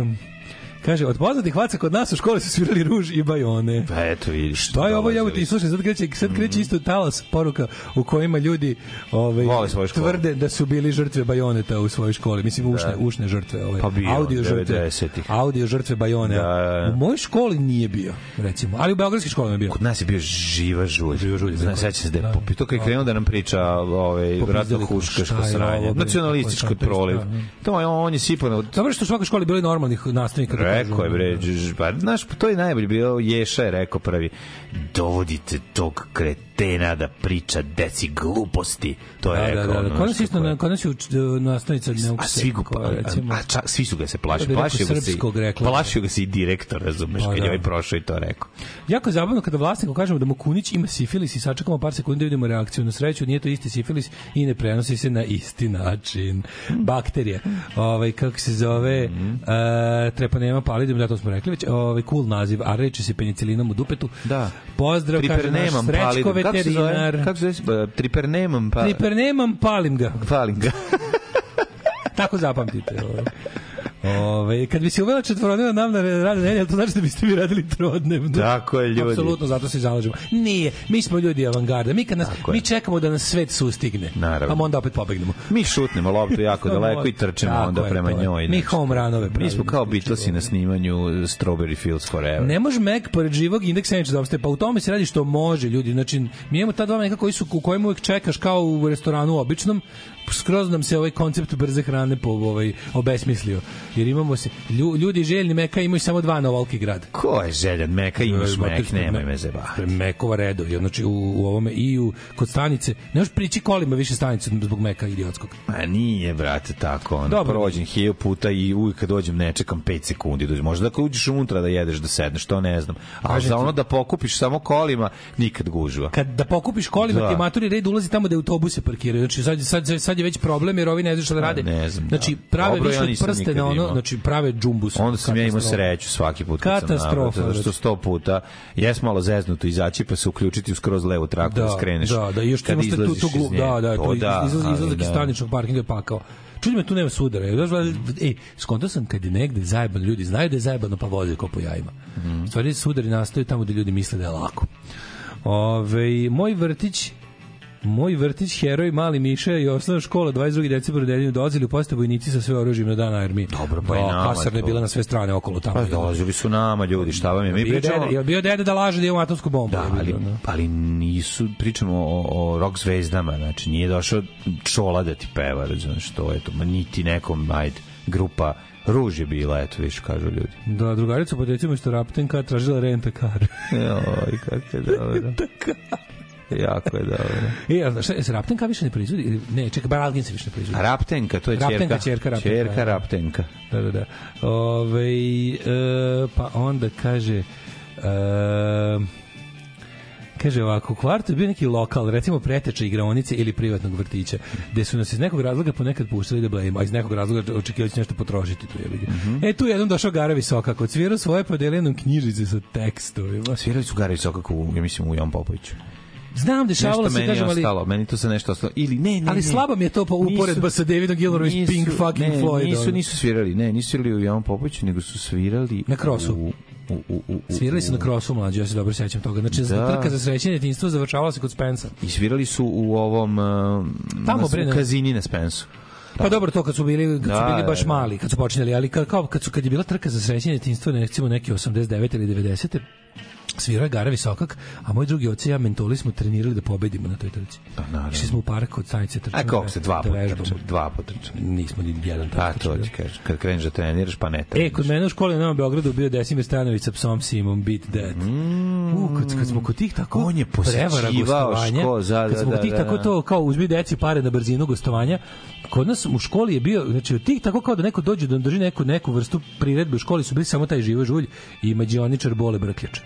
Speaker 7: em, Kaže, od poznatih vaca kod nas u školi su svirali ruž i bajone.
Speaker 5: Pa eto vidiš.
Speaker 7: To je ovo
Speaker 5: dolazi
Speaker 7: jebote i slušaj sad kreće sad
Speaker 5: Mhm.
Speaker 7: kreće isto talas poruka u kojima ljudi ovaj
Speaker 5: Vole svoju školu.
Speaker 7: tvrde da su bili žrtve bajoneta u svojoj školi mislim ušne ušne žrtve ovaj
Speaker 5: Pa bio,
Speaker 7: audio žrtve
Speaker 5: 90-ih.
Speaker 7: audio žrtve bajone
Speaker 5: Da.
Speaker 7: u mojoj školi nije bio recimo ali u beogradskim školama je bio
Speaker 5: Kod nas je bio živa žulj. Živa žulj. Znaš, sećam se da je popito kad je krenuo da nam priča ovaj,
Speaker 7: Popizdali
Speaker 5: vratno
Speaker 7: kako,
Speaker 5: huškaško
Speaker 7: šta je ovo,
Speaker 5: sranje.
Speaker 7: bre,
Speaker 5: Nacionalističko
Speaker 7: kako je to
Speaker 5: proliv.
Speaker 7: isto, da.
Speaker 5: To je, on je sipano
Speaker 7: Dobro što u svakoj školi bilo i normalnih nastavnika. da kažu.
Speaker 5: Rekao je bre, dž- pa znaš, to je najbolje bio, Ješa je rekao prvi, dovodite tog kretena da priča deci gluposti. To je
Speaker 7: Da, da,
Speaker 5: rekao.
Speaker 7: da,
Speaker 5: ono,
Speaker 7: da. Kod nas
Speaker 5: znaš
Speaker 7: isto
Speaker 5: kako
Speaker 7: na
Speaker 5: je.
Speaker 7: kod nas je uč- nastavnica pa, ne
Speaker 5: A svi, ga, a, a, a čak, svi su ga se plašili.
Speaker 7: Ja bih rekao
Speaker 5: Plašio ga, se, i-
Speaker 7: srpskog rekla.
Speaker 5: plašio ga se i direktor, razumeš,
Speaker 7: Pa,
Speaker 5: kad je
Speaker 7: da.
Speaker 5: ovaj prošao i to rekao.
Speaker 7: Jako je zabavno kada vlasniku kažemo da mu Kunić ima sifilis i sačekamo par sekundi da vidimo reakciju. Na sreću nije to isti sifilis i ne prenosi se na isti način. Bakterija. Ovaj, kako se zove,
Speaker 5: Mhm.
Speaker 7: e, treponema palidum, da to smo rekli već, ovaj, cool naziv, a reče se penicilinom u dupetu.
Speaker 5: Da.
Speaker 7: Pozdrav, kaže naš
Speaker 5: Tripernemam
Speaker 7: srećko
Speaker 5: palim. Kako se
Speaker 7: veterinar.
Speaker 5: zove? Kako se zove? E, Tripernemam palim.
Speaker 7: Tripernemam palim ga.
Speaker 5: Palim ga.
Speaker 7: Tako zapamtite. Ovaj. Ove, kad bi se uvela četvorodnevna nam na radne nedelje, to znači da biste vi radili trodnevno.
Speaker 5: Tako je, ljudi.
Speaker 7: Apsolutno, zato se zalažemo. Nije, mi smo ljudi avangarda. Mi, kad nas,
Speaker 5: Tako je.
Speaker 7: mi čekamo da nas svet sustigne.
Speaker 5: Naravno.
Speaker 7: A onda opet pobegnemo.
Speaker 5: Mi šutnemo loptu jako daleko i trčemo
Speaker 7: Tako
Speaker 5: onda
Speaker 7: je,
Speaker 5: prema
Speaker 7: to je.
Speaker 5: njoj.
Speaker 7: Mi
Speaker 5: znači.
Speaker 7: home runove
Speaker 5: Mi smo
Speaker 7: pravimo,
Speaker 5: kao Beatlesi na snimanju Strawberry Fields Forever.
Speaker 7: Ne može Mac pored živog indeksa neće da obstaje. Pa u tome se radi što može, ljudi. Znači, mi imamo ta dva meka koji su, u kojem uvek čekaš kao u restoranu običnom. Skroz nam se ovaj koncept brze hrane po, ovaj, obesmislio. Jer imamo se, lju- ljudi željni meka imaju samo dva na Volki grad.
Speaker 5: Ko je željan meka, imaš mek, nemoj me zebati.
Speaker 7: Mekova redovi, znači u, u ovome i u, kod stanice. Ne možeš prići kolima više stanicu zbog meka idiotskog.
Speaker 5: Ma nije, brate, tako. Ono,
Speaker 7: Dobro.
Speaker 5: Prođem hilju puta i uvijek kad dođem ne čekam 5 sekundi. Dođem. Možda ako uđeš unutra da jedeš, da sedneš, to ne znam. A
Speaker 7: Kažem
Speaker 5: za
Speaker 7: ti-
Speaker 5: ono da pokupiš samo kolima, nikad gužva.
Speaker 7: Kad da pokupiš kolima,
Speaker 5: Da.
Speaker 7: ti maturi red ulazi tamo da je autobuse parkiraju. Znači sad, sad, sad je već problem jer ovi ne znaju šta da rade.
Speaker 5: ne znam, da.
Speaker 7: Znači prave
Speaker 5: Dobro, ja
Speaker 7: više
Speaker 5: nisam
Speaker 7: od prste na
Speaker 5: nikad
Speaker 7: ono,
Speaker 5: imao.
Speaker 7: znači prave džumbus.
Speaker 5: Onda sam ja imao
Speaker 7: Katastrofa.
Speaker 5: sreću svaki put kad sam
Speaker 7: Katastrofa, znači.
Speaker 5: nabrao, zato što
Speaker 7: brate.
Speaker 5: sto puta jes malo zeznuto izaći pa se uključiti u skroz levu traku da,
Speaker 7: Da,
Speaker 5: skreneš.
Speaker 7: da, da, i još
Speaker 5: kad
Speaker 7: imaš tu,
Speaker 5: izlaziš
Speaker 7: tu
Speaker 5: iz
Speaker 7: glu,
Speaker 5: nje.
Speaker 7: da, da,
Speaker 5: To
Speaker 7: tu izlaz,
Speaker 5: ali
Speaker 7: izlazak iz
Speaker 5: da.
Speaker 7: staničnog parkinga je pakao. Čudi me, tu nema sudara. Ja, znaš, Ej, skontao sam kad je negde zajebano, ljudi znaju da je zajebano, pa voze ko po jajima.
Speaker 5: Mhm.
Speaker 7: U stvari, sudari nastaju tamo gde ljudi misle da je lako. Ove, moj vrtić Moj vrtić, heroj, mali Miša i osnovna škola 22. decembra u nedelju dolazili u postavu vojnici sa sve oružjem na dan armije.
Speaker 5: Dobro, pa i nama
Speaker 7: Kasarna je
Speaker 5: to.
Speaker 7: bila na sve strane okolo tamo. Pa
Speaker 5: Pa dolazili su nama ljudi, šta vam je? Mi
Speaker 7: Bio
Speaker 5: pričamo...
Speaker 7: deda, jel bio deda da laže da imamo atomsku bombu?
Speaker 5: Da,
Speaker 7: Jel bio,
Speaker 5: ali,
Speaker 7: ono?
Speaker 5: ali nisu, pričamo o, o rock zvezdama, znači nije došao čola da ti peva, razumiješ, to je to, ma niti nekom, ajde, grupa, ruž je bila, eto, viš, kažu ljudi.
Speaker 7: Da, drugarica po decima što Raptenka tražila renta kar.
Speaker 5: Joj, kako je dobro. jako je dobro.
Speaker 7: E, a šta, se Raptenka više ne proizvodi? Ili- Ne, čekaj, Baralgin se više ne proizvodi.
Speaker 5: Raptenka, to je
Speaker 7: Raptenka,
Speaker 5: čerka.
Speaker 7: ćerka Raptenka,
Speaker 5: Ćerka
Speaker 7: da.
Speaker 5: Raptenka.
Speaker 7: Da, da, da. Ove, e, pa onda kaže... e, Um, Kaže ovako, u kvartu je bio neki lokal, recimo preteča igraonice ili privatnog vrtića, gde su nas iz nekog razloga ponekad puštali da blejimo, a iz nekog razloga očekivali su nešto potrošiti tu jebiga. Mm
Speaker 5: Mhm.
Speaker 7: -hmm. E tu je jednom došao Gara Visokak, odsvirao svoje podeljenom knjižice sa tekstovima.
Speaker 5: Svirali su Gara Visokak u, ja mislim, u Jan Popoviću.
Speaker 7: Znam, dešavalo
Speaker 5: Nešto
Speaker 7: se,
Speaker 5: meni
Speaker 7: kažem, ali...
Speaker 5: ostalo, meni to se nešto ostalo. Ili ne, ne,
Speaker 7: ali
Speaker 5: ne.
Speaker 7: slaba mi je to pa uporedba sa Davidom Gilmorom iz Pink fucking
Speaker 5: ne,
Speaker 7: Floyd.
Speaker 5: Nisu,
Speaker 7: ono.
Speaker 5: nisu svirali, ne, nisu svirali u Jovan Popoviću, nego su svirali...
Speaker 7: Na krosu.
Speaker 5: U, u, u, u, u,
Speaker 7: Svirali su na krosu mlađi, ja se dobro sećam toga. Znači,
Speaker 5: Da.
Speaker 7: da. trka za srećenje djetinjstvo završavala se kod Spensa.
Speaker 5: I svirali su u ovom... Uh,
Speaker 7: Tamo,
Speaker 5: na,
Speaker 7: bre,
Speaker 5: u
Speaker 7: ne.
Speaker 5: kazini na Spensu.
Speaker 7: Pa dobro to kad su bili kad
Speaker 5: Da,
Speaker 7: su bili
Speaker 5: da,
Speaker 7: baš
Speaker 5: da.
Speaker 7: mali, kad su počinjali, ali kad kao kad su kad je bila trka za srećenje djetinjstva, recimo neki 89 ili 90 svirao je Gara Visokak, a moj drugi oci i ja mentoli smo trenirali da pobedimo na toj trci. Pa
Speaker 5: naravno.
Speaker 7: Išli smo u park od stanice trčanja.
Speaker 5: A kako se dva
Speaker 7: da
Speaker 5: puta
Speaker 7: vežbamo.
Speaker 5: trče, dva puta trče.
Speaker 7: Nismo ni jedan
Speaker 5: A
Speaker 7: tako
Speaker 5: to ti kažeš, kad kreneš da treniraš, pa ne
Speaker 7: E,
Speaker 5: treniraš.
Speaker 7: kod mene u školi na Novom Beogradu bio Desimir Stanović sa psom Simom Beat Dead. Mm. U, kad, kad smo kod tih tako
Speaker 5: On je
Speaker 7: prevara
Speaker 5: posećivao
Speaker 7: gostovanja,
Speaker 5: školu, da, da,
Speaker 7: kad smo kod
Speaker 5: da,
Speaker 7: tih
Speaker 5: da,
Speaker 7: tako
Speaker 5: da.
Speaker 7: to kao uzmi deci pare na brzinu gostovanja, kod nas u školi je bio, znači od tih tako kao da neko dođe da nam drži neku, neku vrstu priredbe u školi su bili samo taj živo žulj i mađioničar Bole Brkljač.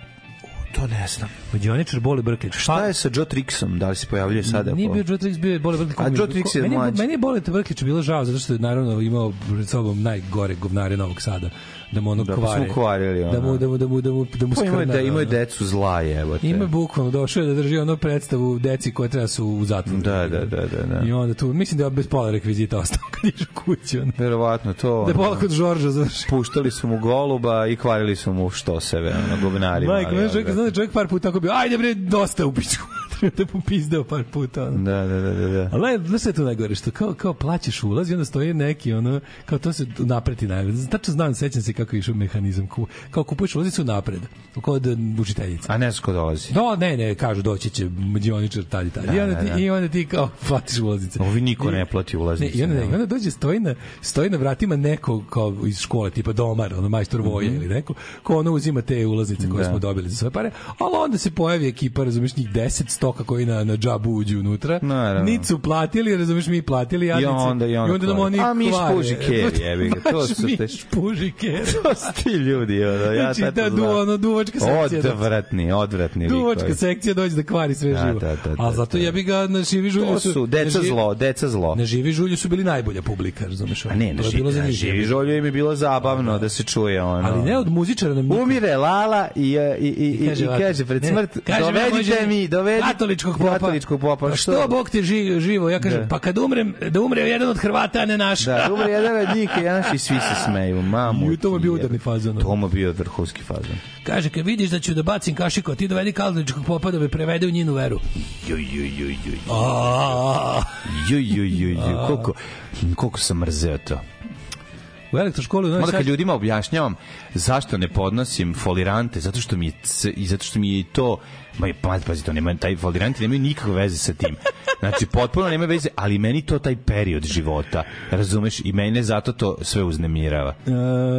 Speaker 5: to ne znam.
Speaker 7: Mađioničar Bole Brkljač. Pa-
Speaker 5: Šta je sa Joe Trixom? Da li se pojavljuje sada?
Speaker 7: Nije
Speaker 5: po-
Speaker 7: bio Joe Trix, bio je Bole Brkić.
Speaker 5: A Joe Trix je
Speaker 7: meni,
Speaker 5: mlađi.
Speaker 7: Meni je Bole Brkić bilo žao, zato što je naravno imao pred sobom najgore govnare Novog Sada. Da mu ono
Speaker 5: Da, pa su
Speaker 7: kvare.
Speaker 5: mu kvarili, ono.
Speaker 7: Da mu, da mu, da mu, da mu, da mu
Speaker 5: Pa imaju,
Speaker 7: skrna,
Speaker 5: da, imaju
Speaker 7: ono.
Speaker 5: decu zla, evo te.
Speaker 7: Ima je bukvalno došao je da drži ono predstavu deci koja treba su u zatvoru.
Speaker 5: Da, da, da, da. da.
Speaker 7: I onda tu, mislim da je bez pola rekvizita ostao kad išao kući. Ono.
Speaker 5: Verovatno to.
Speaker 7: Da je pola
Speaker 5: ono,
Speaker 7: kod Žorža završi.
Speaker 5: Puštali su mu goluba i kvarili su mu što sebe, ono, gubnari.
Speaker 7: Majko, meni čovjek, znaš, čovjek par puta tako bio, ajde bre, dosta u pičku. Treba te popizdeo par puta. Ono.
Speaker 5: Da, da, da, da. da.
Speaker 7: Ali naj- znaš šta je tu najgore, što kao, kao plaćaš ulaz i onda stoje neki, ono, kao to se napreti najbolje. Tačno znam, sećam se kako je išao mehanizam. Ku, kao kupuješ ulazicu napred, kod e, učiteljice.
Speaker 5: A ne znam ko dolazi.
Speaker 7: No, ne, ne, kažu doći će mađioničar tad i tad. I onda
Speaker 5: Da,
Speaker 7: ti,
Speaker 5: da, da.
Speaker 7: i onda ti kao platiš ulaznice.
Speaker 5: Ovi niko ne plati
Speaker 7: Ne,
Speaker 5: ulaznice.
Speaker 7: i onda, ne,
Speaker 5: da.
Speaker 7: i onda dođe, stoji na, stoji na vratima neko kao iz škole, tipa domar, ono majstor voja ili neko, ko ono uzima te ulaznice koje
Speaker 5: Mhm. Da.
Speaker 7: smo dobili za svoje pare, ali onda se pojavi ekipa, razumeš, njih 10 stoka koji na, na džabu uđu unutra,
Speaker 5: Naravno.
Speaker 7: nit su platili, razumeš, mi platili, jadnici,
Speaker 5: onda- i onda
Speaker 7: nam
Speaker 5: kvare.
Speaker 7: oni
Speaker 5: A mi
Speaker 7: kvare.
Speaker 5: špuži keri, jebi ga, to
Speaker 7: Baš
Speaker 5: su te-
Speaker 7: mi špuži keri.
Speaker 5: To su ti ljudi, ono, ja
Speaker 7: Znači,
Speaker 5: tato
Speaker 7: da, du-
Speaker 5: znam.
Speaker 7: ono, duvačka sekcija, da.
Speaker 5: Odvratni, odvratni
Speaker 7: Duvačka
Speaker 5: likovi.
Speaker 7: sekcija dođe da kvari sve
Speaker 5: Da,
Speaker 7: živo.
Speaker 5: da, da, da,
Speaker 7: Ali zato
Speaker 5: da.
Speaker 7: jebi ga na živi žulju
Speaker 5: To su deca
Speaker 7: na živi-
Speaker 5: zlo, deca zlo.
Speaker 7: Na živi žulju su bili najbolja publika, razumeš? ono.
Speaker 5: A ne, na
Speaker 7: To je
Speaker 5: živi,
Speaker 7: bilo za
Speaker 5: na
Speaker 7: njih
Speaker 5: živi
Speaker 7: jebi ga.
Speaker 5: žolju im je bilo zabavno da se čuje ono.
Speaker 7: Ali ne od muzičara nam niko-
Speaker 5: Umire Lala i, e, i, i, i, i
Speaker 7: ovako,
Speaker 5: kaže pred
Speaker 7: ne,
Speaker 5: smrt,
Speaker 7: kaže,
Speaker 5: dovedite
Speaker 7: može-
Speaker 5: mi, dovedite
Speaker 7: katoličkog popa.
Speaker 5: Katoličkog popa,
Speaker 7: Pa što Bog te ži, živo? Ja kažem,
Speaker 5: Da.
Speaker 7: pa kad umrem, da umre jedan od Hrvata, a ne naš.
Speaker 5: Da, umre jedan od njih i jedan i svi se smeju, mamu.
Speaker 7: I to mu je bio
Speaker 5: ti jebe.
Speaker 7: udarni fazon.
Speaker 5: To mu je bio vrhunski fazon.
Speaker 7: Kaže, kad vidiš da ću da bacim kašiku, a ti dovedi katoličkog popa da me prevede u njinu veru.
Speaker 5: Ju, ju, ju, ju, ju.
Speaker 7: A,
Speaker 5: Ju, ju, ju, ju, koliko, koliko sam mrzeo to.
Speaker 7: u elektroškoli u Novi
Speaker 5: Mada
Speaker 7: Sad...
Speaker 5: kad ljudima objašnjavam zašto ne podnosim folirante, zato što mi je c- i zato što mi je i to Ma, pa, pazi, to nema, taj foliranti nemaju nikakve veze sa tim. Znači, potpuno nema veze, ali meni to taj period života, razumeš, i mene zato to sve uznemirava.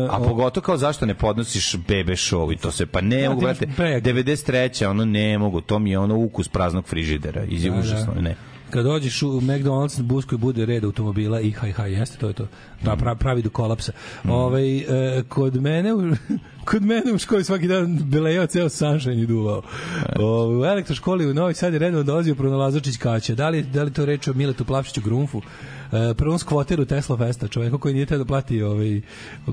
Speaker 5: A pogotovo kao zašto ne podnosiš bebe show i to se, pa ne mogu,
Speaker 7: ti
Speaker 5: brate,
Speaker 7: imaš prejak.
Speaker 5: 93. ono ne mogu, to mi je ono ukus praznog frižidera, iz da, užasno, ne.
Speaker 7: Kad dođeš u McDonald's, na buskoj bude red automobila i haj haj, jeste, to je to. Da, pra, pravi do kolapsa.
Speaker 5: Mm.
Speaker 7: Ovaj, e, kod mene u, kod mene u školi svaki dan belejao ceo sunshine i duvao. Ovaj, u elektroškoli u Novi Sad je redno dolazio pronalazačić kaće. Da li, da li to reč o Miletu Plavšiću Grunfu? E, prvom skvoteru Tesla Festa, čoveku koji nije teo da plati ovaj,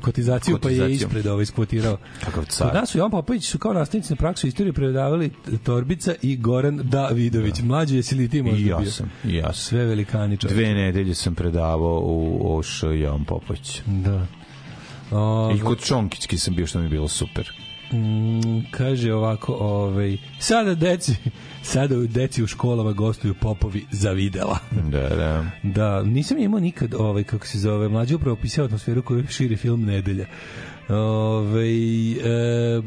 Speaker 7: kotizaciju, pa je
Speaker 5: Kotizaciju.
Speaker 7: ispred ovaj, skvotirao.
Speaker 5: Kakav car.
Speaker 7: Kod nas u Jovan Popović su kao nastavnici na praksu istorije predavali Torbica i Goran Davidović. Mlađi jesi li ti možda
Speaker 5: I ja
Speaker 7: bio?
Speaker 5: sam, i ja sam.
Speaker 7: Sve velikani čovječe.
Speaker 5: Dve nedelje sam predavao u Oš Jovan Popović.
Speaker 7: Da. O,
Speaker 5: I kod Čonkićki sam bio što mi je bilo super.
Speaker 7: mm, kaže ovako, ovaj, sada deci, sada u deci u školama gostuju popovi zavidela.
Speaker 5: Da, da.
Speaker 7: Da, nisam imao nikad, ovaj, kako se zove, mlađi upravo opisao atmosferu koju širi film Nedelja. Ovaj, e,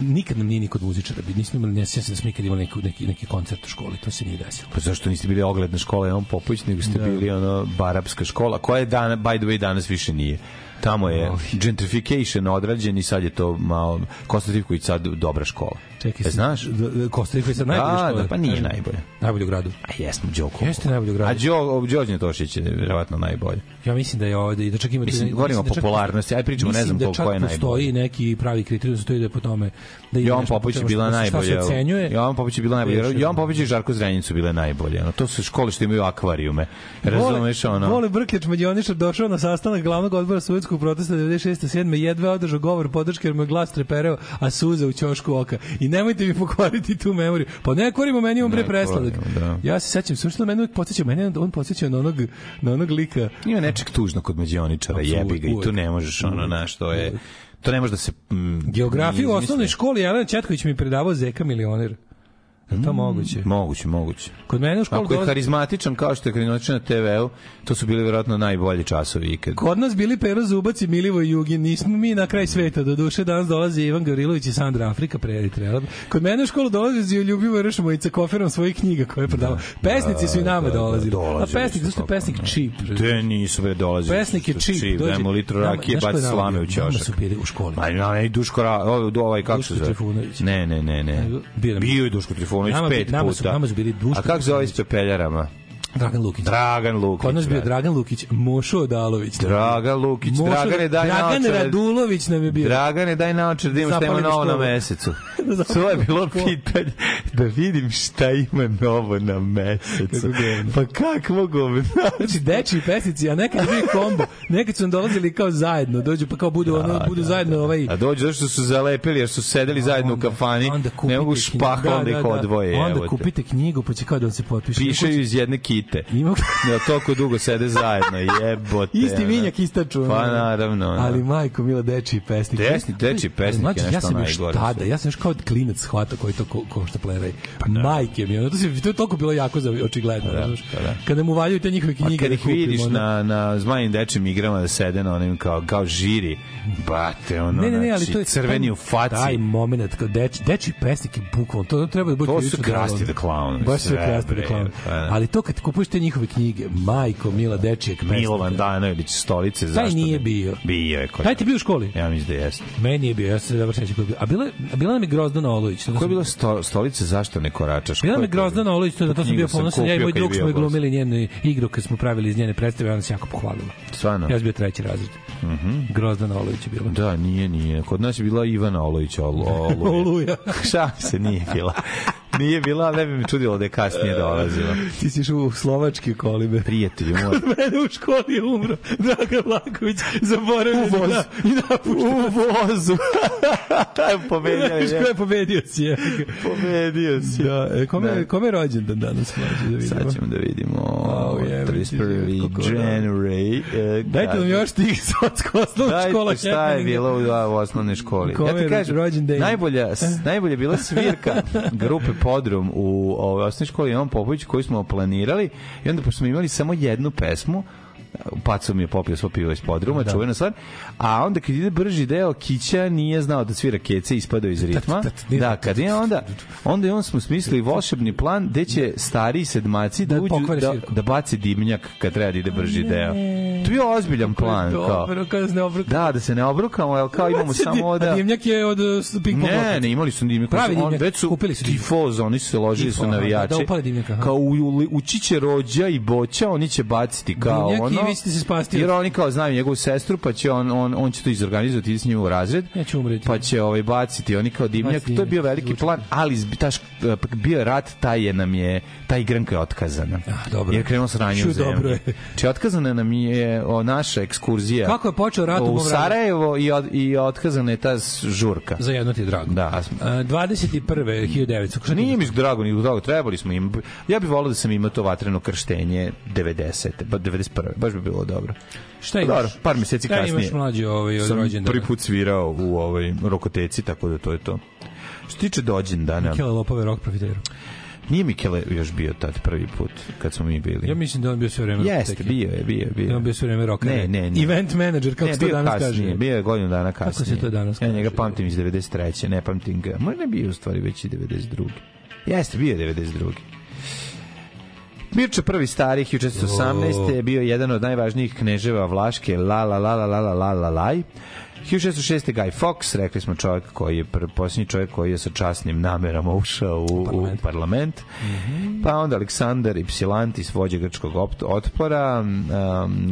Speaker 7: nikad nam nije nikod muzičara, bi- nismo imali, ne sjećam se da smo ikad imali neki, neki, neki koncert u školi, to se nije desilo.
Speaker 5: Pa zašto niste bili ogledna škola Jovan Popović, nego ste bili ono barapska škola, koja je dana, by the way danas više nije. Tamo je gentrification odrađen i sad je to malo... Kosta Ivković sad dobra škola.
Speaker 7: Čekaj,
Speaker 5: e, znaš?
Speaker 7: Kosta Ivković sad najbolja
Speaker 5: A,
Speaker 7: škola,
Speaker 5: Da, pa nije
Speaker 7: kažem.
Speaker 5: najbolje.
Speaker 7: Najbolje u gradu.
Speaker 5: A jesmo, Đoko.
Speaker 7: Jeste najbolje u gradu.
Speaker 5: A Đo, Đorđe Tošić je vjerovatno najbolje.
Speaker 7: Ja mislim da je ovde i da čak ima
Speaker 5: Mislim, govorimo o
Speaker 7: da čak-
Speaker 5: popularnosti, aj pričamo, ne
Speaker 7: mislim
Speaker 5: znam
Speaker 7: da
Speaker 5: ko-
Speaker 7: čak
Speaker 5: ko je
Speaker 7: postoji neki pravi kriterijum za to ide po tome da ide
Speaker 5: Jovan
Speaker 7: nešto po
Speaker 5: Popović je
Speaker 7: čemu
Speaker 5: bila
Speaker 7: šta se-
Speaker 5: najbolja.
Speaker 7: Šta se ocenjuje?
Speaker 5: Jovan Popović je bila najbolja. Jovan Popović i Žarko Zrenjanin su bile najbolje. Ono, to su škole što imaju akvarijume. Razumeš
Speaker 7: Vole-
Speaker 5: ono?
Speaker 7: Vole Brkljač Mađionišar došao na sastanak glavnog odbora sovjetskog protesta 96. 7. jedva održao govor podrške jer mu je glas trepereo, a suze u ćošku oka. I nemojte mi pokvariti tu memoriju. Pa ne kvarimo, meni imam pre presladak.
Speaker 5: kvarimo,
Speaker 7: Ja se sećam, sve što mene uvijek podsjeća, mene on podsjeća na onog, na onog lika.
Speaker 5: Ima nečeg tužno kod Mađioničara,
Speaker 7: Apsolutno,
Speaker 5: jebi ga, i tu
Speaker 7: uvek.
Speaker 5: ne možeš ono, znaš, to je... To ne može da se... Mm,
Speaker 7: Geografiju u
Speaker 5: izmisli.
Speaker 7: osnovnoj školi Jelena Četković mi je predavao Zeka milioner. Je li to moguće?
Speaker 5: mm, Moguće, moguće.
Speaker 7: Kod mene u školu
Speaker 5: Ako je
Speaker 7: dolazi-
Speaker 5: karizmatičan kao što je karizmatičan na TV-u, to su bili vjerojatno najbolji časovi ikad.
Speaker 7: Kod nas bili Pero Zubac i Milivo Jugin, nismo mi na kraj sveta, do duše danas dolazi Ivan Gavrilović i Sandra Afrika, pre Eritreja. Kod mene u školu dolazi Zio Ljubivo Ršmovica koferom svojih knjiga koje je prodava. Pesnici su i nama dolazili. A
Speaker 5: dolazili
Speaker 7: pesnik,
Speaker 5: su,
Speaker 7: zašto je pesnik čip?
Speaker 5: Te nisu bre dolazili.
Speaker 7: Pesnik je
Speaker 5: Su
Speaker 7: čip, dođe-
Speaker 5: Daj mu litru
Speaker 7: nama-
Speaker 5: rakije,
Speaker 7: znaš ko je
Speaker 5: baci
Speaker 7: nama
Speaker 5: slame
Speaker 7: bio?
Speaker 5: u ćošak.
Speaker 7: Nama su bili u školi.
Speaker 5: Ma na, i Duško Ra, ovaj, ovaj kako se
Speaker 7: Duško
Speaker 5: zove?
Speaker 7: Trifunović.
Speaker 5: Ne, ne, ne, ne.
Speaker 7: Bio nam-
Speaker 5: Bio je Duško Trifunović
Speaker 7: Nama bi-
Speaker 5: pet
Speaker 7: nama su-
Speaker 5: puta.
Speaker 7: nama su bili Duško
Speaker 5: A kako zove iz pepeljarama?
Speaker 7: Dragan Lukić.
Speaker 5: Dragan Lukić.
Speaker 7: Kod nas bio
Speaker 5: brate.
Speaker 7: Dragan Lukić, Mošo Dalović.
Speaker 5: Dragan Lukić, Dragane, daj
Speaker 7: Dragan
Speaker 5: naočare.
Speaker 7: Radulović nam je bio.
Speaker 5: Dragane, daj naočar da ima šta ima
Speaker 7: Zapali mi
Speaker 5: novo na
Speaker 7: školu.
Speaker 5: mesecu.
Speaker 7: Da zapali
Speaker 5: To je bilo
Speaker 7: školu.
Speaker 5: pitanje da vidim šta ima novo na mesecu.
Speaker 7: Kako govno.
Speaker 5: Pa kakvo govno?
Speaker 7: Znači, deči i pesnici, a nekad je bio kombo. Nekad su nam dolazili kao zajedno, dođu pa kao budu, ono, budu zajedno ovaj...
Speaker 5: A dođu zašto su zalepili, jer su sedeli zajedno u kafani, ne mogu
Speaker 7: kupite
Speaker 5: špaklom
Speaker 7: knjigu.
Speaker 5: da ih odvoje. evo
Speaker 7: Onda
Speaker 5: te.
Speaker 7: kupite knjigu, pa će kao da vam se potpiše.
Speaker 5: Pišaju iz jedne kite.
Speaker 7: Ima-
Speaker 5: Ja toliko dugo sede zajedno, jebote.
Speaker 7: Isti
Speaker 5: ono.
Speaker 7: vinjak istaču. ono.
Speaker 5: Pa naravno. ono.
Speaker 7: Ali majko, mila deči i pesnik.
Speaker 5: Desni- dečiji pesnik je
Speaker 7: Mlađe, ja
Speaker 5: nešto
Speaker 7: sam još
Speaker 5: najgore
Speaker 7: tada,
Speaker 5: sve.
Speaker 7: ja sam još kao klinac shvatao koji to ko, ko što pleraj. Majke mi, ono, to, se, to je toliko bilo jako za očigledno.
Speaker 5: da,
Speaker 7: znaš.
Speaker 5: pa da.
Speaker 7: Kada mu valjaju te njihove knjige.
Speaker 5: A Pa kad
Speaker 7: da
Speaker 5: ih
Speaker 7: kupim,
Speaker 5: vidiš
Speaker 7: ono.
Speaker 5: na, na zmanjim dečim igrama da sede na onim kao, kao žiri, bate, ono,
Speaker 7: Ne, ne, ne, ali
Speaker 5: znači,
Speaker 7: to je
Speaker 5: crveni u faci.
Speaker 7: Taj moment kad deči deči pesnik je bukvalno to treba da bude
Speaker 5: To su
Speaker 7: krivično
Speaker 5: Krusty
Speaker 7: delo.
Speaker 5: the Clown,
Speaker 7: Baš su
Speaker 5: sve,
Speaker 7: Krusty the
Speaker 5: bre,
Speaker 7: Clown.
Speaker 5: pa da.
Speaker 7: Ali to kad kupuješ te njihove knjige, majko mila dečijeg pesnika.
Speaker 5: Milovan Danović stolice, zašto
Speaker 7: nije
Speaker 5: ne?
Speaker 7: bio.
Speaker 5: Bio je kod.
Speaker 7: Taj ti bio u školi?
Speaker 5: Ja mislim da jeste.
Speaker 7: Meni je bio, ja se dobro sećam koji je bio. A bila, a bila nam je Grozdana Olović.
Speaker 5: Ko je bilo sto, stolice, zašto ne koračaš?
Speaker 7: Bila
Speaker 5: Ko
Speaker 7: mi
Speaker 5: je
Speaker 7: je
Speaker 5: to
Speaker 7: Grozdana
Speaker 5: bio?
Speaker 7: Olović, to, to sam
Speaker 5: Knjigu
Speaker 7: bio ponosan, ja i
Speaker 5: kupio
Speaker 7: moj
Speaker 5: kad je
Speaker 7: drug
Speaker 5: bio
Speaker 7: smo je
Speaker 5: gost.
Speaker 7: glumili njenu igru kad smo pravili iz njene predstave, ona se jako pohvalila.
Speaker 5: Stvarno? Mhm.
Speaker 7: Ja sam bio treći razred. Grozdana Olović je bila.
Speaker 5: Da, nije, nije. Kod nas je bila Ivana Olović, Ol, Oluja.
Speaker 7: Oluja.
Speaker 5: Šta se nije bila? Nije bila, ali ne bi me čudilo da je kasnije dolazila.
Speaker 7: Ti si išao u slovački kolibe.
Speaker 5: Prijatelji moji.
Speaker 7: Mene u školi je umro Dragan Laković, zaboravio
Speaker 5: U vozu.
Speaker 7: i napušten.
Speaker 5: U vozu. Pobedio
Speaker 7: Znaš ko
Speaker 5: je.
Speaker 7: je pobedio si je.
Speaker 5: Pobedio si.
Speaker 7: Da, e, kome,
Speaker 5: Da.
Speaker 7: kome je rođendan danas mlađe da vidimo.
Speaker 5: Sad ćemo da vidimo.
Speaker 7: Au, jebe ti,
Speaker 5: 31.
Speaker 7: koliko da.
Speaker 5: January. e,
Speaker 7: Dajte nam
Speaker 5: kad-
Speaker 7: još tih sa osnovna
Speaker 5: Dajte,
Speaker 7: škola.
Speaker 5: šta je
Speaker 7: happeninga.
Speaker 5: bilo u, u osnovnoj školi.
Speaker 7: Kome
Speaker 5: ja ti
Speaker 7: je
Speaker 5: kažem,
Speaker 7: rođendan?
Speaker 5: najbolja, s- najbolja je bila svirka grupe Podrum u ovoj osnovnoj školi Ivan Popović koju smo planirali i onda pošto smo imali samo jednu pesmu Paco mi je popio svo pivo iz podruma, da. čuvena stvar. A onda kad ide brži deo, Kića nije znao da svira kece, ispadao iz ritma. Da, kad je onda, onda je on smo smislili volšebni plan gde će stariji sedmaci da,
Speaker 7: Da
Speaker 5: uđu,
Speaker 7: pokvare
Speaker 5: da,
Speaker 7: svirku.
Speaker 5: da baci dimnjak kad treba da ide brži deo. To je bio ozbiljan plan. Kao.
Speaker 7: Dobro, kada se ne obruka.
Speaker 5: Da, da se ne obrukamo, jel kao imamo samo
Speaker 7: A
Speaker 5: da...
Speaker 7: dimnjak je od uh, Pink Pop
Speaker 5: Ne,
Speaker 7: Rocket.
Speaker 5: ne, imali su dimnjak.
Speaker 7: Pravi
Speaker 5: Oni- oni
Speaker 7: dimnjak,
Speaker 5: Već su
Speaker 7: kupili su dimnjak.
Speaker 5: tifoz, oni su se ložili su
Speaker 7: Tifo, aha,
Speaker 5: navijači.
Speaker 7: da, da, upale dimnjak, aha.
Speaker 5: Kao u, u- ući će rođa i boća, oni će baciti kao
Speaker 7: Dimnjak i
Speaker 5: ono.
Speaker 7: vi ćete se spasti.
Speaker 5: Jer oni kao znaju njegovu sestru, pa će on, on, on će to izorganizovati, ide s njim u razred.
Speaker 7: Ja ću umreti.
Speaker 5: Pa će ovaj baciti, oni kao dimnjak.
Speaker 7: Baciti
Speaker 5: To je bio
Speaker 7: dimnjak,
Speaker 5: veliki
Speaker 7: zvuči.
Speaker 5: plan, ali zbi- taš, bio je rat, taj je nam je, taj igranka je otkazana.
Speaker 7: Ah, dobro.
Speaker 5: Jer krenuo sranje u
Speaker 7: Šu, dobro
Speaker 5: zemlju.
Speaker 7: je.
Speaker 5: Či otkazana nam je e, o, naša ekskurzija.
Speaker 7: Kako je počeo rat u
Speaker 5: u
Speaker 7: mom radu?
Speaker 5: Sarajevo i, od, i otkazana je ta s- žurka.
Speaker 7: Za jedno ti je drago. E,
Speaker 5: Da.
Speaker 7: A, 21. 1900. Šta ti
Speaker 5: Nije mi drago, ni drago, trebali smo im. Ja bih volao da sam imao to vatreno krštenje 90. ba 91. Baš bi bilo dobro.
Speaker 7: Šta
Speaker 5: Pa
Speaker 7: imaš?
Speaker 5: Dobro, par meseci
Speaker 7: Šta
Speaker 5: kasnije.
Speaker 7: imaš mlađe ovaj, od
Speaker 5: sam
Speaker 7: rođendana?
Speaker 5: prvi put svirao u ovoj rokoteci, tako da to je to. Što se tiče dođendana,
Speaker 7: Kjela Lopove rock profiteru.
Speaker 5: nije Mikele još bio tad prvi put kad smo mi bili.
Speaker 7: Ja mislim da je on bio sve vreme
Speaker 5: Jeste,
Speaker 7: rokoteki.
Speaker 5: bio je, bio je, bio.
Speaker 7: Da je on bio sve vreme rocker.
Speaker 5: Ne, ne, ne.
Speaker 7: Event manager, kako
Speaker 5: ne,
Speaker 7: se to
Speaker 5: bio
Speaker 7: danas
Speaker 5: kasnije,
Speaker 7: kaže.
Speaker 5: Bio je godinu dana kasnije.
Speaker 7: Kako se to danas
Speaker 5: Ja njega
Speaker 7: kaže?
Speaker 5: pamtim iz 93. Ne pamtim ga. Možda je bio u stvari već i 92. Jeste, bio je 92. Mirče prvi stari 1418. je bio jedan od najvažnijih kneževa Vlaške la la la la la la la la laj. 1606. Guy Fox, rekli smo čovjek koji je pr- posljednji čovjek koji je sa časnim namerama ušao u, u parlament. Pa onda Aleksandar Ypsilantis, vođa grčkog opt- otpora, um,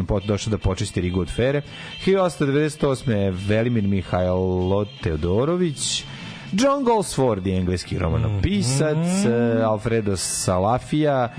Speaker 5: pot- došao da počisti Rigu od Fere. 1898. Velimir Mihajlo Teodorović, John Goldsworthy, engleski romanopisac, eh, Alfredo Salafija,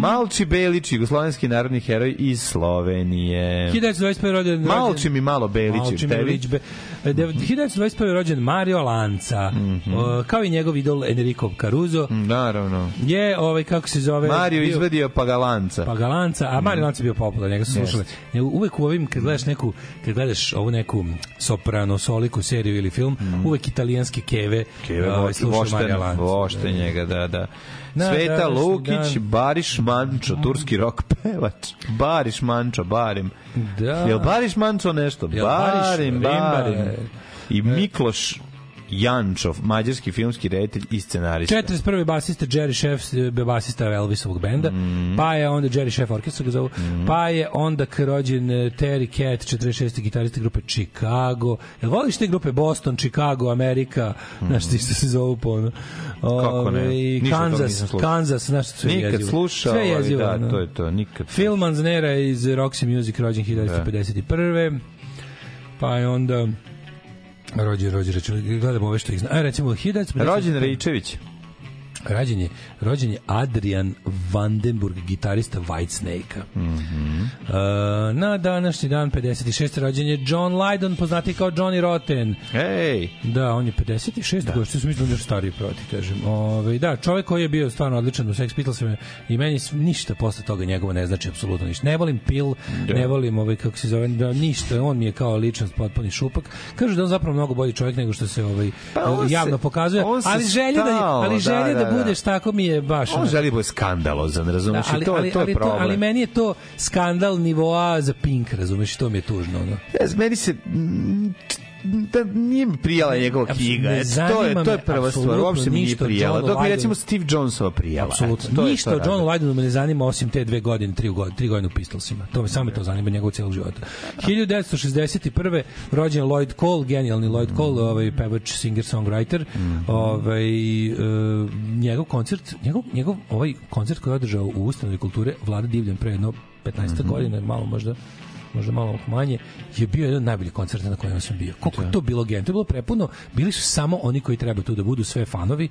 Speaker 5: Malči Belić, jugoslovenski narodni heroj iz Slovenije.
Speaker 7: 1921. rođen...
Speaker 5: Malči mi malo Belić,
Speaker 7: Malči mi
Speaker 5: tebi. Mhm.
Speaker 7: Belić. Be- e, dev- 1921. rođen Mario Lanca, o, kao i njegov idol Enrico Caruso,
Speaker 5: Mm, Naravno.
Speaker 7: je, ovaj, kako se zove...
Speaker 5: Mhm. Mario Mhm.
Speaker 7: bio-
Speaker 5: izvedio Pagalanca.
Speaker 7: Pa Galanca, a Mario Lanca je bio popularan, njega su slušali. Nego uvek u ovim, kad gledaš neku, kad gledaš ovu neku soprano, soliku, seriju ili film, uvek italijanske keve,
Speaker 5: Mhm. Keve, vo-
Speaker 7: ovaj, slušaju
Speaker 5: vošten-
Speaker 7: Mario Lanca.
Speaker 5: vošten njega, da, da.
Speaker 7: Da,
Speaker 5: Sveta
Speaker 7: da,
Speaker 5: Lukić,
Speaker 7: da.
Speaker 5: Bariš Mančo, turski rok pevač. Bariš Mančo, Barim.
Speaker 7: Da.
Speaker 5: Jel Bariš Mančo nešto?
Speaker 7: Jel Bariš,
Speaker 5: Barim,
Speaker 7: Rim,
Speaker 5: Barim.
Speaker 7: Bar-
Speaker 5: I Mikloš Jančov, mađarski filmski reditelj i scenarista.
Speaker 7: 41. basista Jerry Sheff, e, basista Elvisovog benda,
Speaker 5: Mhm.
Speaker 7: pa je onda Jerry Sheff orkestra ga zovu, pa je onda k- rođen e, Terry Cat, 46. gitarista grupe Chicago. Jel voliš te grupe Boston, Chicago, Amerika, znaš ti što se zovu po ono?
Speaker 5: Mhm. Kako ne?
Speaker 7: Ove, i
Speaker 5: Ništa od toga
Speaker 7: Kansas,
Speaker 5: nisam slušao.
Speaker 7: Kansas, znaš sve je
Speaker 5: Nikad
Speaker 7: jezivo.
Speaker 5: slušao,
Speaker 7: sve je
Speaker 5: ali
Speaker 7: jezivo,
Speaker 5: da,
Speaker 7: ono.
Speaker 5: to je to, nikad.
Speaker 7: Phil Manzanera iz Roxy Music, rođen 1951. Pa je onda rođen, rođen, rođen, gledamo ove što ih zna. A recimo, 1955.
Speaker 5: Rođen Rejčević.
Speaker 7: Rađen je, rođen je Adrian Vandenburg, gitarista Whitesnake-a. E, na današnji dan, 56. rođen je John Lydon, poznati kao Johnny Rotten.
Speaker 5: Ej,
Speaker 7: Da, on je 56. Da. godište, mislim da je još stariji proti, kažem. Ove, da, čovjek koji je bio stvarno odličan u Sex Pitlesima i meni s- ništa posle toga njegovo ne znači apsolutno ništa. Ne volim Pil, ne volim ovaj, kako se zove, da, ništa, on mi je kao ličnost potpuni šupak. Kažu da je on zapravo mnogo bolji čovjek nego što se ovaj,
Speaker 5: Pa on
Speaker 7: javno
Speaker 5: se-
Speaker 7: pokazuje,
Speaker 5: on se
Speaker 7: ali želja da,
Speaker 5: stalno,
Speaker 7: ali želja
Speaker 5: da,
Speaker 7: da,
Speaker 5: da, da.
Speaker 7: budeš tako mi je baš...
Speaker 5: on
Speaker 7: ono,
Speaker 5: želi bude skandalozan, razumeš?
Speaker 7: ali,
Speaker 5: I to,
Speaker 7: ali,
Speaker 5: to je
Speaker 7: ali,
Speaker 5: problem.
Speaker 7: ali meni je to skandal nivoa za Pink, razumeš, i to mi je tužno. Ono.
Speaker 5: Ne znam, meni se mm, da nije mi prijala njegova
Speaker 7: Apsolutno,
Speaker 5: knjiga.
Speaker 7: ne
Speaker 5: E, To je
Speaker 7: zanima
Speaker 5: to je
Speaker 7: me
Speaker 5: prva stvar,
Speaker 7: apsolutno
Speaker 5: uopšte mi nije
Speaker 7: ništa o
Speaker 5: prijala.
Speaker 7: Johnu
Speaker 5: Dok mi
Speaker 7: Lydonu.
Speaker 5: recimo Steve Jonesova prijala. Eto, to
Speaker 7: Apsolutno.
Speaker 5: je
Speaker 7: Ništa
Speaker 5: to
Speaker 7: o Johnu
Speaker 5: razlog.
Speaker 7: Lydonu me ne zanima osim te dve godine, tri, godine, tri godine u Pistolsima. To me samo to zanima njegovog cijelog života. 1961. rođen Lloyd Cole, genijalni Lloyd Cole, ovaj pevač, singer, songwriter.
Speaker 5: Mhm.
Speaker 7: Ovaj, e, njegov koncert, njegov, njegov ovaj koncert koji je održao u ustanovi kulture Vlada Divljan pre jedno 15
Speaker 5: Mhm.
Speaker 7: godina, malo možda možda malo manje, je bio jedan od najboljih koncerta na kojem sam bio. Koliko je to bilo genijalno? To je bilo prepuno, bili su samo oni koji treba tu da budu, sve fanovi,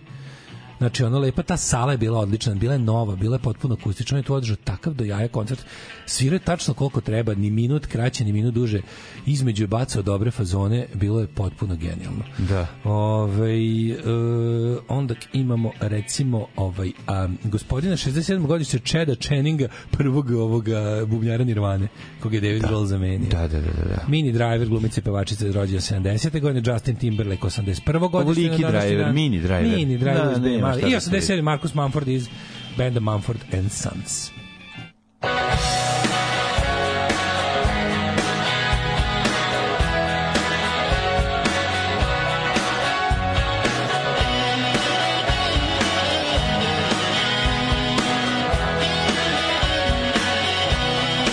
Speaker 7: Znači, ono lepa, ta sala je bila odlična, bila je nova, bila je potpuno akustična, on je tu održao takav do jaja koncert. Svirao je tačno koliko treba, ni minut kraće, ni minut duže. Između je bacao dobre fazone, bilo je potpuno genijalno.
Speaker 5: Da.
Speaker 7: Ovaj, e, onda k- imamo, recimo, ovaj, a, gospodina 67. godište Čeda Čeninga, prvog ovoga bubnjara Nirvane, koga je David Grohl zamenio.
Speaker 5: Da, da, da, da. da.
Speaker 7: Mini Driver, glumica i pevačica je rođena 70. godine, Justin Timberlake 81. godište.
Speaker 5: Liki
Speaker 7: na današnji
Speaker 5: Driver,
Speaker 7: dan.
Speaker 5: Mini Driver.
Speaker 7: Mini Driver
Speaker 5: Da,
Speaker 7: iz
Speaker 5: nema
Speaker 7: Bema.
Speaker 5: šta
Speaker 7: I
Speaker 5: da
Speaker 7: 87. Marcus Mumford iz benda Mumford and Sons.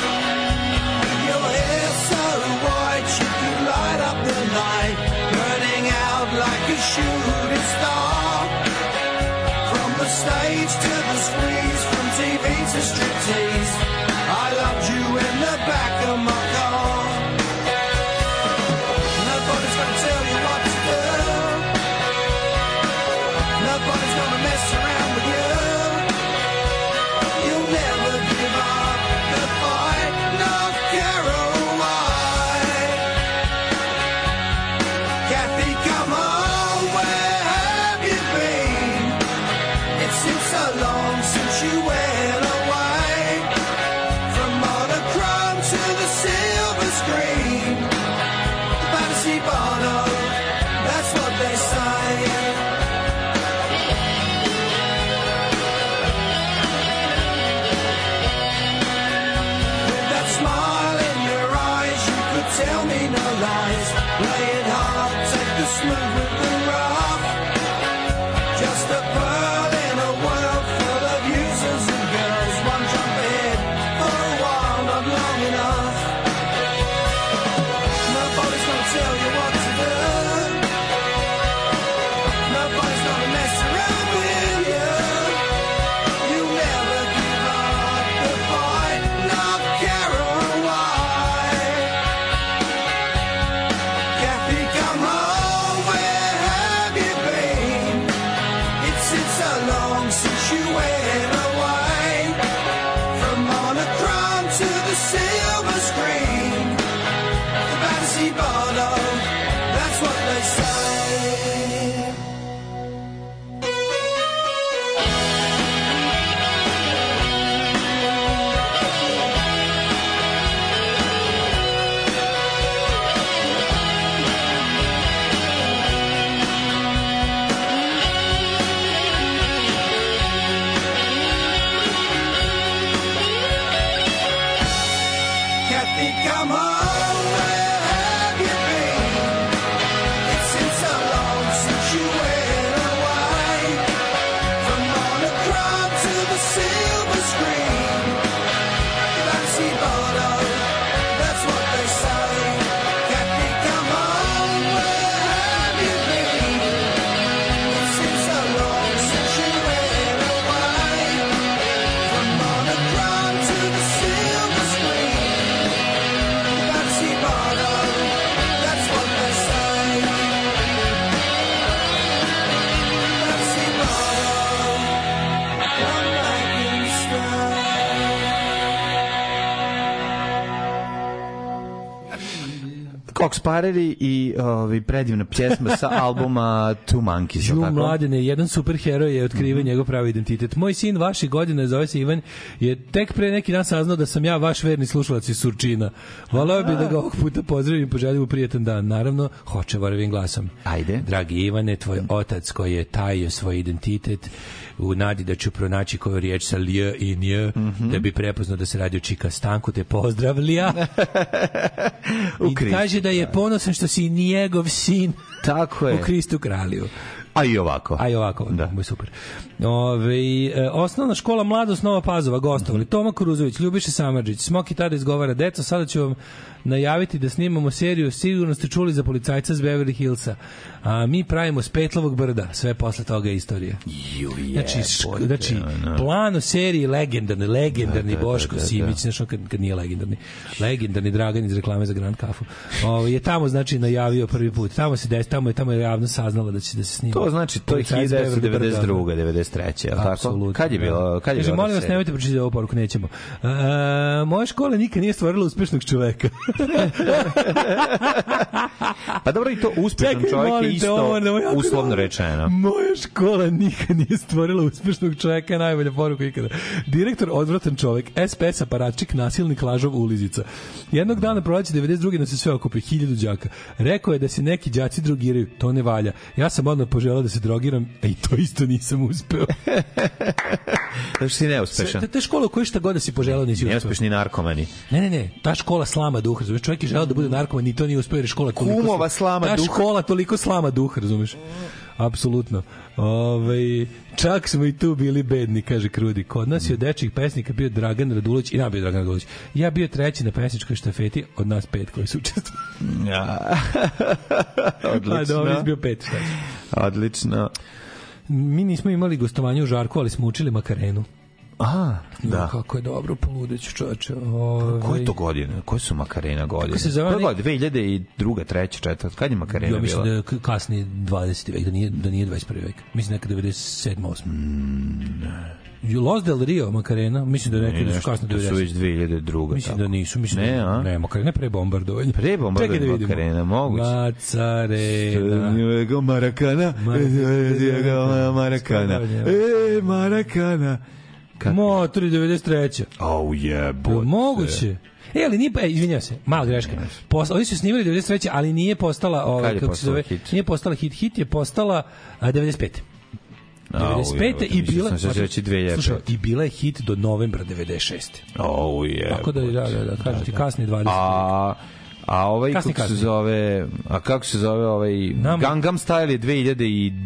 Speaker 1: Your hair so white you could light up the night, burning out like a shooting star. From the stage to the screens, from TV to street.
Speaker 5: Fox Pareri i ovi, predivna pjesma sa albuma Two Monkeys.
Speaker 7: Ju
Speaker 5: jel tako? Mhm.
Speaker 7: mladene, jedan superheroj je otkriven njegov pravi identitet. Moj sin vaših godina, zove se Ivan, je tek pre neki dan saznao da sam ja vaš verni slušalac iz Surčina. Voleo bi da ga ovog puta pozdravim i poželim mu prijatan dan. Naravno, hoće varovim glasom. Ajde. Dragi Ivane, tvoj otac koji je tajio svoj identitet u nadi da ću pronaći koju riječ sa lj i nj,
Speaker 5: Mhm.
Speaker 7: da bi prepoznao da se radi o Čika Stanku, te pozdrav Lija. I kaže da je ponosan što si njegov sin.
Speaker 5: Tako je.
Speaker 7: U Kristu kralju.
Speaker 5: A i ovako.
Speaker 7: A i ovako, da. je super. Ove, e, osnovna škola Mladost Nova Pazova, gostovali. Toma Kuruzović, Ljubiša Samardžić, Smoki tada izgovara, deco, sada ću vam najaviti da snimamo seriju, sigurno ste čuli za policajca z Beverly Hillsa. A mi pravimo s Petlovog brda, sve posle toga je istorija.
Speaker 5: E,
Speaker 7: znači, šk- znači
Speaker 5: ono,
Speaker 7: plan u seriji legendarni, legendarni
Speaker 5: Da, da, da,
Speaker 7: Boško
Speaker 5: da, da.
Speaker 7: Simić, znaš, on kad, kad nije legendarni, legendarni Dragan iz reklame za Grand Kafu, Ove, je tamo, znači, najavio prvi put. Tamo se desi, tamo je, tamo je javno saznala da će da se snima.
Speaker 5: To znači, to je
Speaker 7: Policajac Beverly Brda.
Speaker 5: 1992. 93. jel tako?
Speaker 7: Apsolutno.
Speaker 5: Kad je bilo? Kad je
Speaker 7: Kaže,
Speaker 5: bila
Speaker 7: molim
Speaker 5: ta
Speaker 7: vas,
Speaker 5: serija?
Speaker 7: nemojte pročitati ovu poruku, nećemo. E, moja škola nikad nije stvorila uspešnog čoveka.
Speaker 5: Pa dobro i to uspešan
Speaker 7: Čekaj,
Speaker 5: čovjek je
Speaker 7: molim te,
Speaker 5: isto
Speaker 7: ovo je Mm. jako dobro.
Speaker 5: uslovno rečeno.
Speaker 7: moja škola nikad nije stvorila uspešnog čoveka, je najbolja poruka ikada. Direktor, odvratan čovek, SPS aparatčik, nasilnik, lažov, ulizica. Jednog dana proleće 92. nas je sve okupi, hiljadu đaka. Rekao je da se neki đaci drogiraju, to ne valja. Ja sam odmah poželao da se drogiram, a i to isto nisam uspeo.
Speaker 5: Zato što si neuspešan.
Speaker 7: Te, te škole u kojoj šta god da si poželao nisi uspeo.
Speaker 5: Neuspešni narkomani.
Speaker 7: Ne, ne, ne, ta škola slama duh, razumeš? Čovjek je želeo da bude narkoman i to nije uspeo jer je škola toliko...
Speaker 5: Kumova slama
Speaker 7: ta
Speaker 5: duh.
Speaker 7: škola toliko slama duh, razumeš? Apsolutno. Ove, čak smo i tu bili bedni, kaže Krudi. Kod nas je od dečjih pesnika bio Dragan Radulović i nam bio Dragan Radulović. Ja bio treći na pesničkoj štafeti od nas pet koji su učestvovali.
Speaker 5: Ja.
Speaker 7: A da, ovdje Pa je bio
Speaker 5: Odlično.
Speaker 7: pet, šta će.
Speaker 5: Odlično.
Speaker 7: Mi nismo imali gostovanje u Žarku, ali smo učili makarenu.
Speaker 5: A,
Speaker 7: Jo,
Speaker 5: da.
Speaker 7: Kako je dobro, poludeću čoveče. ovaj. Ove,
Speaker 5: Koje to godine? Koje su Makarena godine?
Speaker 7: se zove
Speaker 5: Koje
Speaker 7: onaj-
Speaker 5: godine? 2002. 3. 4. Kad je Makarena
Speaker 7: Ja mislim
Speaker 5: bila?
Speaker 7: da je k- kasni 20. vek, da nije, da nije 21. vek. Mislim neka 97. 8. Mm. Los del Rio, Makarena, mislim da je
Speaker 5: Ne,
Speaker 7: rekli da su
Speaker 5: nešto,
Speaker 7: kasno
Speaker 5: to su
Speaker 7: 90.
Speaker 5: već 2002.
Speaker 7: Mislim
Speaker 5: tako.
Speaker 7: da nisu, mislim
Speaker 5: Ne,
Speaker 7: da
Speaker 5: a?
Speaker 7: ne, Makarena je pre bombardovanja.
Speaker 5: Pre bombardovanja
Speaker 7: Čekaj da vidimo.
Speaker 5: Makarena, moguće.
Speaker 7: Macarena.
Speaker 5: E, Diego Marakana,
Speaker 7: Marakana.
Speaker 5: Diego Marakana, e, Marakana.
Speaker 7: Motori 93.
Speaker 5: Au
Speaker 7: Jel
Speaker 5: jebo.
Speaker 7: Pa Moguće. E, ali nije, e, izvinjam se, mala greška. Posla, oni su snimili 93. ali nije postala,
Speaker 5: Kad
Speaker 7: ovaj,
Speaker 5: je
Speaker 7: kako se
Speaker 5: postala
Speaker 7: zove,
Speaker 5: hit?
Speaker 7: nije postala hit, hit je postala a, 95.
Speaker 5: Au, jebote,
Speaker 7: 95. i
Speaker 5: mislio
Speaker 7: bila
Speaker 5: sam da će reći 2005.
Speaker 7: Slušaj, i bila je hit do novembra 96.
Speaker 5: Au jebo.
Speaker 7: Tako da, da, da, da kažem ti, kasni 20.
Speaker 5: A, a ovaj
Speaker 7: Kasni,
Speaker 5: kako
Speaker 7: kasni.
Speaker 5: se zove, a kako se zove ovaj
Speaker 7: Nam-
Speaker 5: Gangnam Style je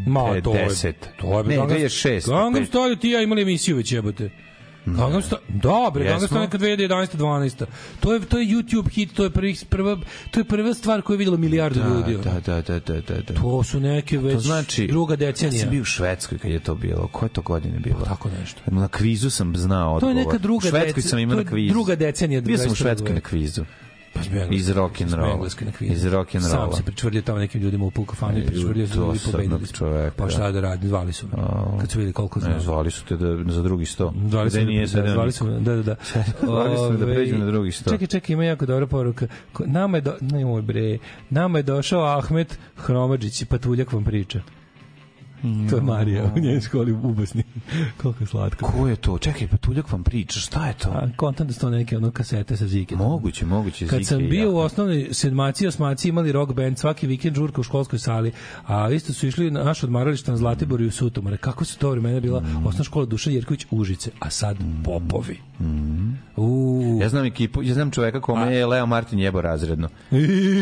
Speaker 7: Ma,
Speaker 5: 2010.
Speaker 7: to je, to je,
Speaker 5: ne,
Speaker 7: Gangnam-
Speaker 5: 2006.
Speaker 7: Gangnam Style ti i ja imali emisiju već jebote. Gangnam Style, da bre, Gangnam
Speaker 5: Jesmo.
Speaker 7: Style je neka 2011. 12. To je, to je YouTube hit, to je, prvi, prva, to je prva stvar koju je vidjelo milijardu ljudi. ono.
Speaker 5: Da, da, da, da, da, da.
Speaker 7: To su neke već
Speaker 5: To znači,
Speaker 7: druga
Speaker 5: Ja
Speaker 7: decenija. Pa
Speaker 5: sam bio u Švedskoj kad je to bilo. Koje to godine bilo?
Speaker 7: Tako nešto.
Speaker 5: Na kvizu sam znao
Speaker 7: To
Speaker 5: odgovor.
Speaker 7: je neka druga
Speaker 5: U Švedskoj
Speaker 7: dece-
Speaker 5: sam imao na
Speaker 7: to je
Speaker 5: kvizu.
Speaker 7: druga decenija
Speaker 5: Bio sam u
Speaker 7: 21.
Speaker 5: Švedskoj na kvizu.
Speaker 7: Pa smo engleski-
Speaker 5: Iz rock'n'rolla.
Speaker 7: smo engleski na kvizu.
Speaker 5: Iz rock'n'rolla.
Speaker 7: Sam se pričvrdio tamo nekim ljudima u Pukofanju,
Speaker 5: E,
Speaker 7: pričvrdio su ljudi
Speaker 5: dosadnog
Speaker 7: pobedili. smo.
Speaker 5: čoveka,
Speaker 7: Pa šta da radi, zvali su me. Kad su vidjeli koliko znam.
Speaker 5: Ne, zvali su te da, za drugi sto.
Speaker 7: Zvali su
Speaker 5: Gde
Speaker 7: me,
Speaker 5: nije
Speaker 7: da,
Speaker 5: sedeo
Speaker 7: zvali
Speaker 5: niko.
Speaker 7: su me, da, da, da.
Speaker 5: Zvali su me da
Speaker 7: Ove,
Speaker 5: pređu na drugi sto.
Speaker 7: Čekaj, čekaj, ima jako dobra poruka. Ko- Nama je, do, nemoj bre, nama je došao Ahmet Hromadžić i patuljak vam priča.
Speaker 5: Mm,
Speaker 7: To je Marija u njenoj školi u Ubasni. Koliko je slatko.
Speaker 5: Ko je to? Čekaj, pa Tuljak vam priča, šta je to?
Speaker 7: A kontam da su to neke ono kasete sa zike.
Speaker 5: Moguće, moguće.
Speaker 7: Kad
Speaker 5: Zike
Speaker 7: sam
Speaker 5: i
Speaker 7: bio u
Speaker 5: ja.
Speaker 7: osnovnoj sedmaci i osmaci imali rock band svaki vikend žurka u školskoj sali, a isto su išli na naš odmaralište na Zlatiboru i u Sutomare. Kako su to vremena bila
Speaker 5: Mm.
Speaker 7: osnovna škola Duša Jerković Užice, a sad Popovi.
Speaker 5: Mm.
Speaker 7: U.
Speaker 5: Ja znam ekipu, ja znam čoveka kome je Leo Martin jebo razredno.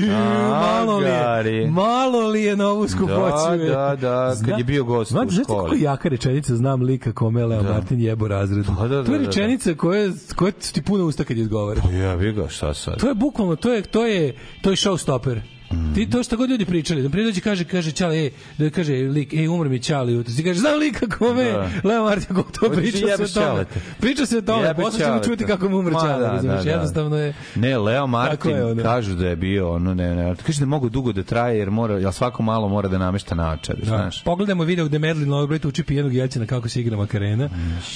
Speaker 7: malo, li
Speaker 5: gari.
Speaker 7: je, malo li je na ovu skupoću. je.
Speaker 5: da, da, kad
Speaker 7: Zna-
Speaker 5: je bio gost u
Speaker 7: Znate, Znate
Speaker 5: školi.
Speaker 7: kako jaka rečenica znam lika kome je Leo Martin jebo razredno.
Speaker 5: Pa Da, da, da,
Speaker 7: to je
Speaker 5: da, da.
Speaker 7: rečenica koja, koja ti puna usta kad je izgovaraš.
Speaker 5: Ja, vi Pa ga, šta sad?
Speaker 7: To je bukvalno, to je to je to je showstopper.
Speaker 5: Mm.
Speaker 7: Ti to što god ljudi pričali, da pridođe kaže kaže čale, ej, da kaže lik, ej umr mi čale jutros. Ti kaže znam lika kome, da. Leo Martin kako to
Speaker 5: Hoćeš
Speaker 7: priča se
Speaker 5: jebe
Speaker 7: o tome.
Speaker 5: Ćaleta.
Speaker 7: Priča se o tome,
Speaker 5: Jebe
Speaker 7: posle ćemo
Speaker 5: Ćaleta.
Speaker 7: čuti kako mu umre
Speaker 5: Ma,
Speaker 7: čale,
Speaker 5: da,
Speaker 7: razumeš?
Speaker 5: da, da.
Speaker 7: Jednostavno je
Speaker 5: Ne, Leo
Speaker 7: Tako
Speaker 5: Martin
Speaker 7: je, ono.
Speaker 5: kažu da je bio ono, ne, ne, kaže da mogu dugo da traje jer mora, jel svako malo mora da namešta naočar, da. znaš.
Speaker 7: Pogledajmo video gde Medlin Albright uči pijenog jelcina kako se igra makarena.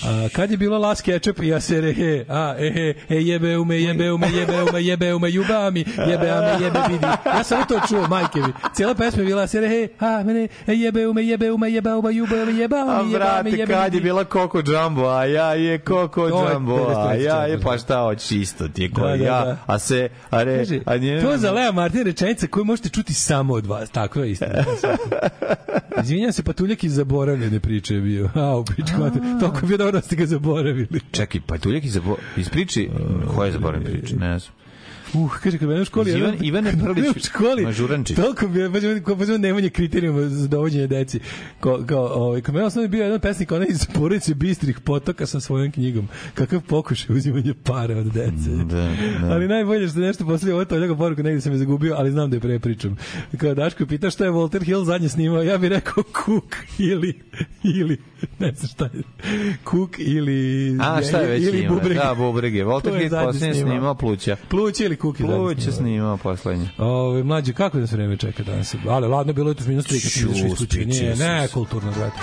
Speaker 7: A, kad je bilo last ketchup i ja se rehe, a ehe, e jebe ume, jebe ume, jebe ume, jebe ume, juba mi, jebe a me, jebe vidi. Ja sam to čuo, majke mi. Cijela pesma je bila se rehe, a mene, e jebe ume, jebe ume, jebe ume, juba me, jebe
Speaker 5: A
Speaker 7: a me, jebe a me,
Speaker 5: brate,
Speaker 7: jebe
Speaker 5: kad je
Speaker 7: vidi.
Speaker 5: bila Koko Jumbo, a ja je Koko
Speaker 7: To je
Speaker 5: Jumbo, a
Speaker 7: 53
Speaker 5: ja je,
Speaker 7: Jumbo,
Speaker 5: pa šta hoćeš isto ti je ko
Speaker 7: Da, da,
Speaker 5: ja,
Speaker 7: da.
Speaker 5: a se, a re,
Speaker 7: Kaže,
Speaker 5: a nje...
Speaker 7: to je za Lea Martin rečenica koju možete čuti samo od vas. Tako je istina. Izvinjam se, Patuljak iz zaboravljene priče je bio. A, u pičku, mate, toliko je bio dobro da ste ga zaboravili.
Speaker 5: Čekaj, pa tu iz, iz priči, koja je zaboravim priči, ne znam.
Speaker 7: Uh, kaže kad mene u školi
Speaker 5: Ivan-
Speaker 7: jedan-
Speaker 5: Ivane
Speaker 7: kad
Speaker 5: Prlić,
Speaker 7: mene u školi.
Speaker 5: Mažurančić.
Speaker 7: Toliko bi baš meni kao pozvao nemanje kriterijuma za dovođenje deci. Ko kao ovaj kad mene osnovno bio jedan pesnik onaj iz porodice bistrih potoka sa svojom knjigom. Kakav pokušaj uzimanja para od dece.
Speaker 5: Da, da.
Speaker 7: Ali najbolje što je nešto posle ovo to ljega poruku negde sam je zagubio, ali znam da je prepričam. Kao Daško pita šta je Walter Hill zadnje snimao, ja bih rekao Cook ili ili ne znam šta je. Cook ili
Speaker 5: A, šta je već
Speaker 7: ili
Speaker 5: snimao?
Speaker 7: Bubreg.
Speaker 5: Da, Bubrege. Walter
Speaker 7: To je
Speaker 5: Hill
Speaker 7: zadnje
Speaker 5: posljednje
Speaker 7: snimao.
Speaker 5: snimao pluća.
Speaker 7: Pluće ili Cook je zadnje
Speaker 5: Pluća
Speaker 7: snimao.
Speaker 5: snimao poslednje.
Speaker 7: Ove, mlađe, kako nas vreme čeka danas? Ali, ladno je bilo jutros minus 3 kad si
Speaker 5: Ču,
Speaker 7: izašao iz kuće. Nije,
Speaker 5: spičio sam
Speaker 7: ne, kulturno, brate.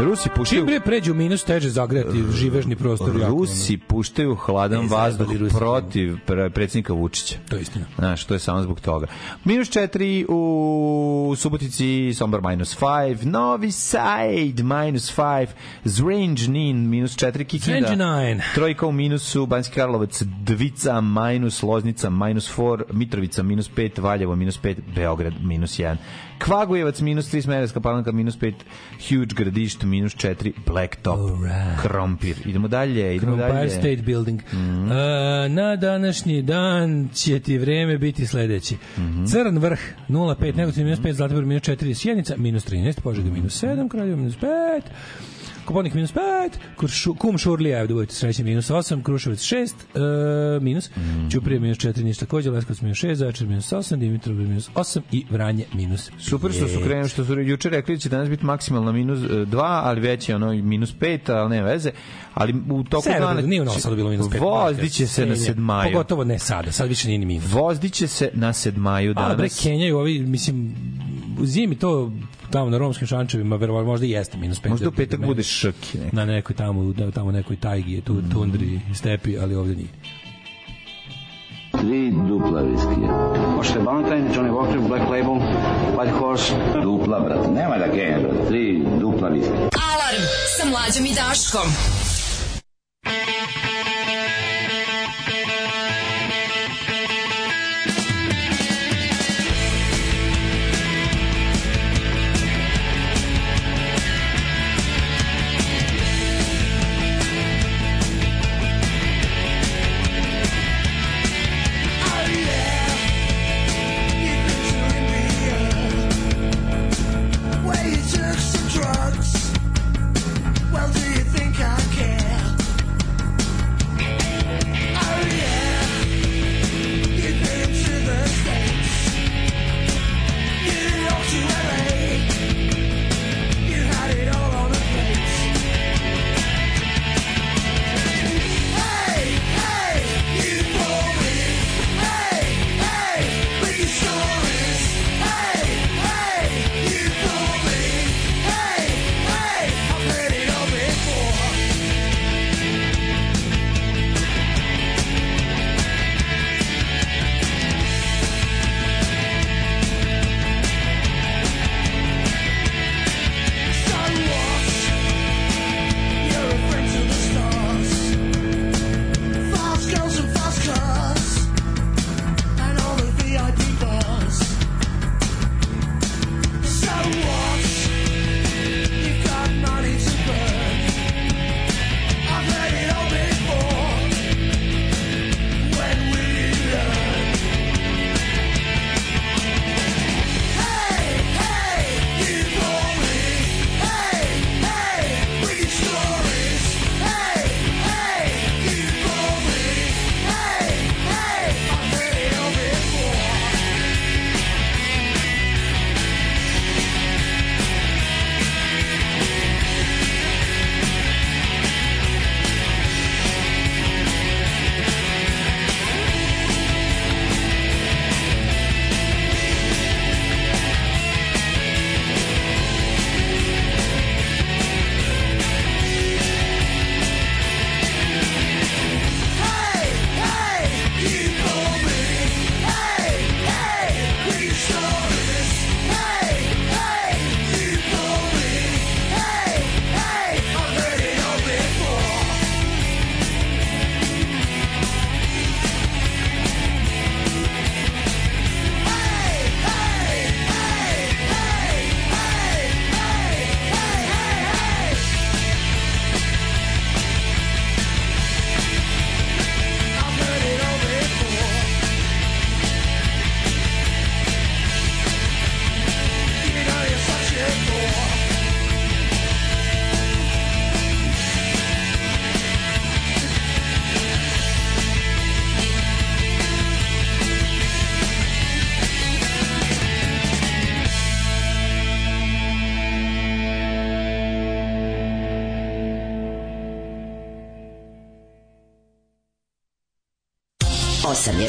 Speaker 5: Rusi puštaju...
Speaker 7: Čim bre pređu minus, teže zagrejati živežni prostor. jako, ono.
Speaker 5: Rusi puštaju hladan
Speaker 7: Ne,
Speaker 5: vazduh
Speaker 7: zajebali Rusi.
Speaker 5: protiv pre- predsjednika Vučića.
Speaker 7: To je istina.
Speaker 5: Znaš, to je samo zbog toga. Minus 4 u Subotici, Sombor minus 5, Novi Sad minus 5, Zrenjanin minus 4, Kikinda.
Speaker 7: Zrenjanin.
Speaker 5: Trojka u minusu, Banjski Karlovac, Dvica minus, Loznica minus 4, Mitrovica minus 5, Valjevo minus 5, Beograd minus 1. Kvagujevac minus 3, Smereska palanka minus 5, Huge Gradišt minus 4, Blacktop,
Speaker 7: Alright.
Speaker 5: Krompir. Idemo dalje, idemo
Speaker 7: Empire
Speaker 5: dalje. Mhm.
Speaker 7: State Building. E, na današnji dan će ti vreme biti sledeći.
Speaker 5: Mhm.
Speaker 7: Crn vrh 0,5, Negotin minus 5, Zlatibor minus 4, Sjenica minus 13, Požega minus 7, Kraljevo minus 5, Koponik minus 5, Kuršu, Kum Šurlija, evo da budete srećni, minus 8, Kruševac 6, e, minus,
Speaker 5: Mhm.
Speaker 7: Ćuprije minus 4, ništa takođe, Leskovac minus 6, Zaječar minus 8, Dimitrov minus 8 i Vranje minus
Speaker 5: Super što su krenuli, što su juče rekli da će danas biti maksimalno minus 2, ali već je ono i minus 5, ali ne veze. Ali u toku
Speaker 7: Severno,
Speaker 5: dana...
Speaker 7: nije u Novom Sadu bilo minus 5.
Speaker 5: Vozdiće se na sedmaju.
Speaker 7: Pogotovo ne sada, sad više nije ni minus.
Speaker 5: Vozdiće se na sedmaju
Speaker 7: A bre,
Speaker 5: Pa, danas.
Speaker 7: Kenjaju ovi, mislim, u zimi to tamo na romskim šančevima, verovatno možda i jeste minus 5.
Speaker 5: Možda u petak bude Mm. šrki. Ne?
Speaker 7: na nekoj tamo, da, tamo nekoj tajgi, tu tundri, stepi, ali ovde nije.
Speaker 15: Tri dupla viskija. Možete Valentine, Johnny Walker, Black Label, White Horse. Dupla, brate. Nema da genja, brate. Tri dupla viskija.
Speaker 4: Alarm sa mlađom i Daškom.
Speaker 16: Well, do you think I care? Osam je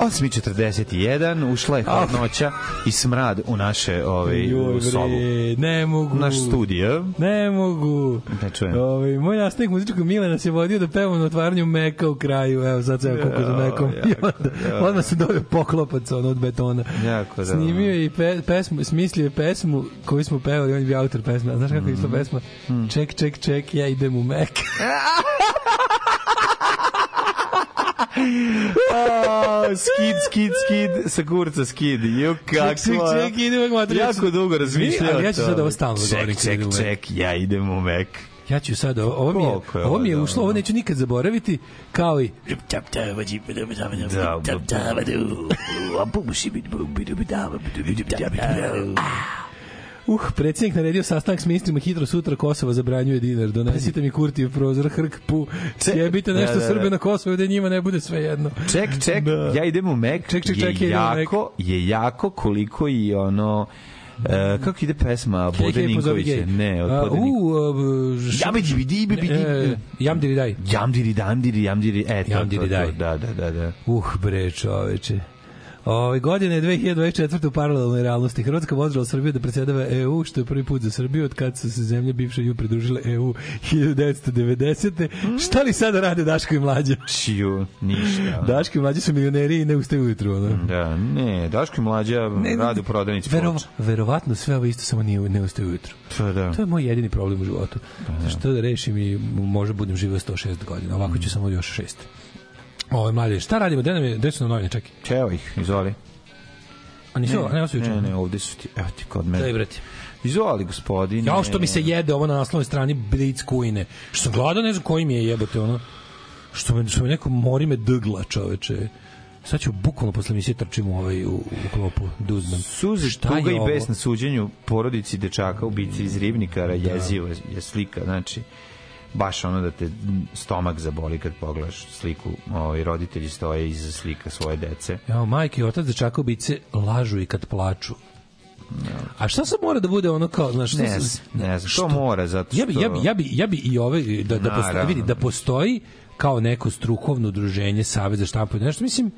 Speaker 5: Osmi 41, ušla je hladnoća i smrad u naše ove, Pa u sobu.
Speaker 7: Ne mogu.
Speaker 5: Naš studio.
Speaker 7: Ne mogu.
Speaker 5: Ne čujem.
Speaker 7: Ovaj moj nastavnik muzičkog Milena se vodio da pevamo na otvaranju Meka u kraju. Evo sad se kako za Mekom. I onda, onda se dobio poklopac ono od betona.
Speaker 5: Jako da.
Speaker 7: Snimio je i pe, pesmu, smislio je pesmu koju smo pevali, on je bio autor pesme. A Znaš kako je išla
Speaker 5: Mhm.
Speaker 7: pesma?
Speaker 5: Hmm.
Speaker 7: Ček, ček, ček, ja idem u Mek.
Speaker 5: A, skid, skid, skid, sa kurca skid. Jo, kako? ono.
Speaker 7: Ček, ček, ček, idem u Mek.
Speaker 5: Jako dugo
Speaker 7: Mi-
Speaker 5: razmišljao.
Speaker 7: ali ja ću
Speaker 5: o
Speaker 7: sad
Speaker 5: tome.
Speaker 7: ovo stalno da
Speaker 5: Ček,
Speaker 7: govorim kad
Speaker 5: ček,
Speaker 7: idem u Mek.
Speaker 5: ček, ja idem u Mek.
Speaker 7: Ja ću sad, ovo, ovo mi
Speaker 5: Koliko
Speaker 7: je,
Speaker 5: je
Speaker 7: ovo mi je
Speaker 5: ovo,
Speaker 7: ušlo, ovo neću nikad zaboraviti, kao i...
Speaker 5: Da,
Speaker 7: Uh, predsjednik naredio sastanak s ministrima hitro sutra Kosovo zabranjuje dinar. Donesite mi Kurtijev prozor, hrk, pu. Sjebite nešto
Speaker 5: Da, da, da.
Speaker 7: Srbe na Kosovo da njima ne bude sve jedno.
Speaker 5: Ček, ček, ja idem u Mek.
Speaker 7: Ček, ček, ček, ja
Speaker 5: je
Speaker 7: idem u Mek.
Speaker 5: jako, je jako koliko i ono... E, kako ide pesma Bode Ninkovića? Ne, od Bode Ninkovića.
Speaker 7: Jam
Speaker 5: Jabi dibi dibi
Speaker 7: E,
Speaker 5: dibi.
Speaker 7: Jam diri daj.
Speaker 5: Jamdiri, damdiri, jamdiri, e, to,
Speaker 7: Jamdiri,
Speaker 5: to, to,
Speaker 7: daj.
Speaker 5: da, da, da, da.
Speaker 7: Uh, bre, čoveče. Ove godine je 2024. u paralelnoj realnosti. Hrvatska pozdrava Srbiju da predsjedava EU, što je prvi put za Srbiju od kad su se zemlje bivše ju pridružile E EU 1990.
Speaker 5: Mm.
Speaker 7: Šta li sada rade Daško i Mlađa?
Speaker 5: Čiju, ništa.
Speaker 7: Daško i Mlađa su milioneri i ne ustaju ujutru. Ono.
Speaker 5: Da, ne, Daško i mlađa radi u prodavnici
Speaker 7: Verova-
Speaker 5: ploča.
Speaker 7: verovatno sve ovo isto samo nije, ne ustaje ujutru.
Speaker 5: Pa da.
Speaker 7: To je moj jedini problem u životu. Što da rešim i možda budem živio 106 godina. Ovako
Speaker 5: Mm.
Speaker 7: ću samo još 6. Ovo, mlađe, šta radimo? Gde nam je, gde su nam novine? Čekaj.
Speaker 5: Evo ih, izvoli.
Speaker 7: A nisu, ovo? ne, ovo su juče.
Speaker 5: ne, ne, ovde su ti, evo ti kod mene.
Speaker 7: Daj, brate.
Speaker 5: Izvoli, gospodine.
Speaker 7: Jao što mi se jede ovo na naslovnoj strani Blitz Kujne. Što sam gledao, ne znam koji mi je jebote ono. Što me, što me neko mori me dgla, čoveče. Sad ću bukvalno posle emisije trčim u ovaj u, u klopu, duznam.
Speaker 5: Suze, tuga i bes na suđenju porodici dečaka u bici iz Ribnikara, jezivo je- je slika, znači baš ono da te mm, stomak zaboli kad pogledaš sliku, ovaj, roditelji stoje iza slika svoje dece.
Speaker 7: Jao, majke i otac dečaka ubice lažu i kad plaču. A šta sad mora da bude ono kao, znaš, šta
Speaker 5: Ne,
Speaker 7: se-
Speaker 5: z- ne znam, to mora, zato što...
Speaker 7: Ja bi, ja bi, ja bi, ja bi i ove, da, da, postoji,
Speaker 5: Naravno.
Speaker 7: vidi, da postoji kao neko strukovno udruženje, savjet za štampu i nešto, mislim,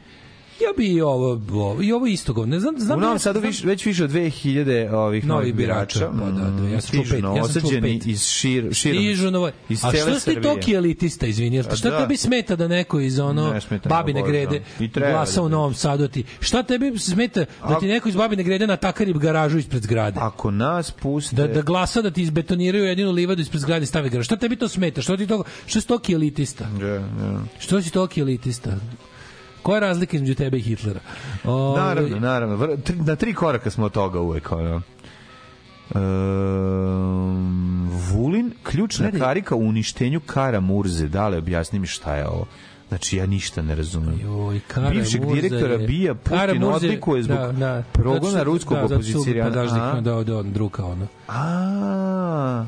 Speaker 7: ja bi i ovo, ovo i ovo isto govno. Ne znam, znam
Speaker 5: U
Speaker 7: ja-
Speaker 5: Novom Sadu viš, već više od 2000 ovih novih
Speaker 7: Novih birača,
Speaker 5: birača. Mm,
Speaker 7: pa da, da, ja sam čuo
Speaker 5: Stižu
Speaker 7: pet, ja sam čuo
Speaker 5: novoosuđeni
Speaker 7: pet.
Speaker 5: iz šir, širom,
Speaker 7: Stižu novo.
Speaker 5: iz
Speaker 7: A
Speaker 5: cele
Speaker 7: što ste
Speaker 5: Srbije.
Speaker 7: toki elitista, izvini? jel te-
Speaker 5: A
Speaker 7: Šta
Speaker 5: da.
Speaker 7: tebi smeta da neko iz ono
Speaker 5: Ne smeta mi,
Speaker 7: babine
Speaker 5: obožavam.
Speaker 7: grede
Speaker 5: I treba
Speaker 7: glasa
Speaker 5: da
Speaker 7: u
Speaker 5: bude.
Speaker 7: Novom Sadu ti? Šta tebi smeta da ti neko iz babine grede na takarib garažu ispred zgrade?
Speaker 5: Ako nas puste...
Speaker 7: Da, da glasa da ti izbetoniraju jedinu livadu ispred zgrade i stave garaž. Šta tebi to smeta? Što ti to, što si toki elitista?
Speaker 5: Da, da.
Speaker 7: Što si toki elitista? Koja je razlika između tebe i Hitlera? O,
Speaker 5: Naravno, naravno. Vr- tri- Na tri koraka smo od toga uvek. Ono. Ehm, Vulin, ključna
Speaker 7: Gledaj.
Speaker 5: karika u uništenju Kara Murze. Dale, objasni mi šta je ovo. Znači, ja ništa ne razumijem.
Speaker 7: Joj, Kara
Speaker 5: Bivšeg
Speaker 7: Murza
Speaker 5: direktora
Speaker 7: je-
Speaker 5: BIA Putin
Speaker 7: Kara Murza je-
Speaker 5: odlikuje zbog progona
Speaker 7: Zato što-
Speaker 5: ruskog
Speaker 7: da, zato što su
Speaker 5: opozicionara.
Speaker 7: Pazažnik,
Speaker 5: Aha.
Speaker 7: Da, da, on druka ono.
Speaker 5: A.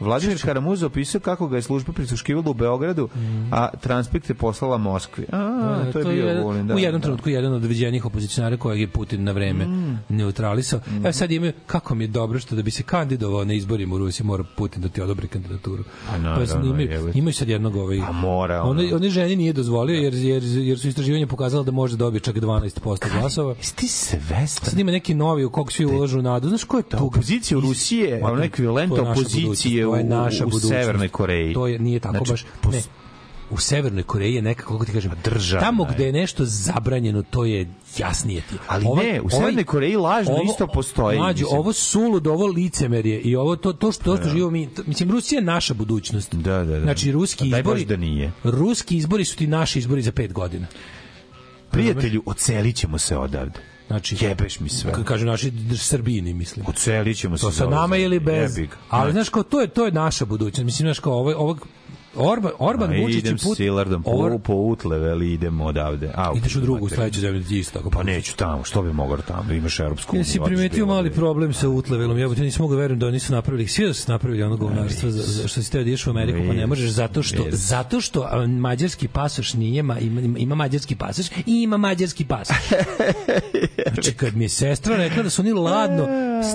Speaker 5: Vladimir Karamuza opisao kako ga je služba prisluškivala u Beogradu, a transpekt je poslala Moskvi. A,
Speaker 7: Mm. Da,
Speaker 5: to je bio
Speaker 7: jedan-
Speaker 5: Vulin. Da,
Speaker 7: u jednom
Speaker 5: da. Mm.
Speaker 7: trenutku jedan od viđenih opozicionara kojeg je Putin na vreme neutralisao. Evo sad imaju, kako mi je dobro što da bi se kandidovao na izborima u Rusiji mora Putin da ti odobri kandidaturu.
Speaker 5: Pa naravno,
Speaker 7: sad imaju,
Speaker 5: jebote.
Speaker 7: imaju sad jednog ovaj...
Speaker 5: Pa mora, ono.
Speaker 7: Ono, one ženi nije dozvolio jer, jer, jer su istraživanja pokazala da može da dobije čak 12% glasova.
Speaker 5: Jesi ti svestan?
Speaker 7: Sad ima neki novi u kog svi ulažu nadu. Znaš ko je to?
Speaker 5: Opozicija u Rusiji je ono ekvivalent
Speaker 7: To je
Speaker 5: opozicije u-
Speaker 7: naša budućnost, to je naša
Speaker 5: u
Speaker 7: budućnost.
Speaker 5: Severnoj Koreji.
Speaker 7: To je nije tako
Speaker 5: Znači,
Speaker 7: baš.
Speaker 5: pos- Pa
Speaker 7: Ne. U Severnoj Koreji je nekako, kako ti kažem,
Speaker 5: državna
Speaker 7: tamo
Speaker 5: je.
Speaker 7: gde je nešto zabranjeno, to je jasnije ti.
Speaker 5: Ali
Speaker 7: Ovaj-
Speaker 5: ne, u
Speaker 7: ovaj-
Speaker 5: Severnoj Koreji lažno
Speaker 7: ovo-
Speaker 5: isto postoji.
Speaker 7: Mlađo,
Speaker 5: mislim.
Speaker 7: ovo sulud, ovo licemerje i ovo to, to što, to što živimo mi, to- mislim, Rusija je naša budućnost.
Speaker 5: Da, da, da.
Speaker 7: Znači, ruski
Speaker 5: A daj
Speaker 7: izbori,
Speaker 5: Bož da nije.
Speaker 7: ruski izbori su ti naši izbori za pet godina.
Speaker 5: Prijatelju, ocelit ćemo se odavde.
Speaker 7: Znači,
Speaker 5: Jebeš mi sve.
Speaker 7: K- kažu naši d- Srbini, mislim.
Speaker 5: Ocelit ćemo se
Speaker 7: To
Speaker 5: za
Speaker 7: sa
Speaker 5: ovo
Speaker 7: nama ili
Speaker 5: zemlje.
Speaker 7: bez.
Speaker 5: Jebi ga.
Speaker 7: Ali znaš kao to je to je naša budućnost. Mislim znaš kao ovo ovaj- ovog Orban, Orban
Speaker 5: A,
Speaker 7: Vučić
Speaker 5: idem
Speaker 7: i put...
Speaker 5: s Silardom po,
Speaker 7: Or-
Speaker 5: po utle, veli, idem odavde. A,
Speaker 7: Ideš u drugu, u
Speaker 5: mater.
Speaker 7: sledeću zemlju, ti isto tako.
Speaker 5: Pa neću tamo, što bi mogao tamo, imaš Evropsku
Speaker 7: Ja si
Speaker 5: odeš
Speaker 7: primetio
Speaker 5: bilo
Speaker 7: mali
Speaker 5: gde.
Speaker 7: problem sa utlevelom, ja nisam mogao verujem da oni su napravili, svi da su napravili ono govnarstvo za, za što si teo da ideš u Ameriku, pa ne
Speaker 5: Vidiš,
Speaker 7: možeš, zato što,
Speaker 5: vidiš.
Speaker 7: zato što a, mađarski pasoš nije, ma, ima, ima mađarski pasoš i ima mađarski pasoš. Znači, kad mi je sestra rekla da su oni ladno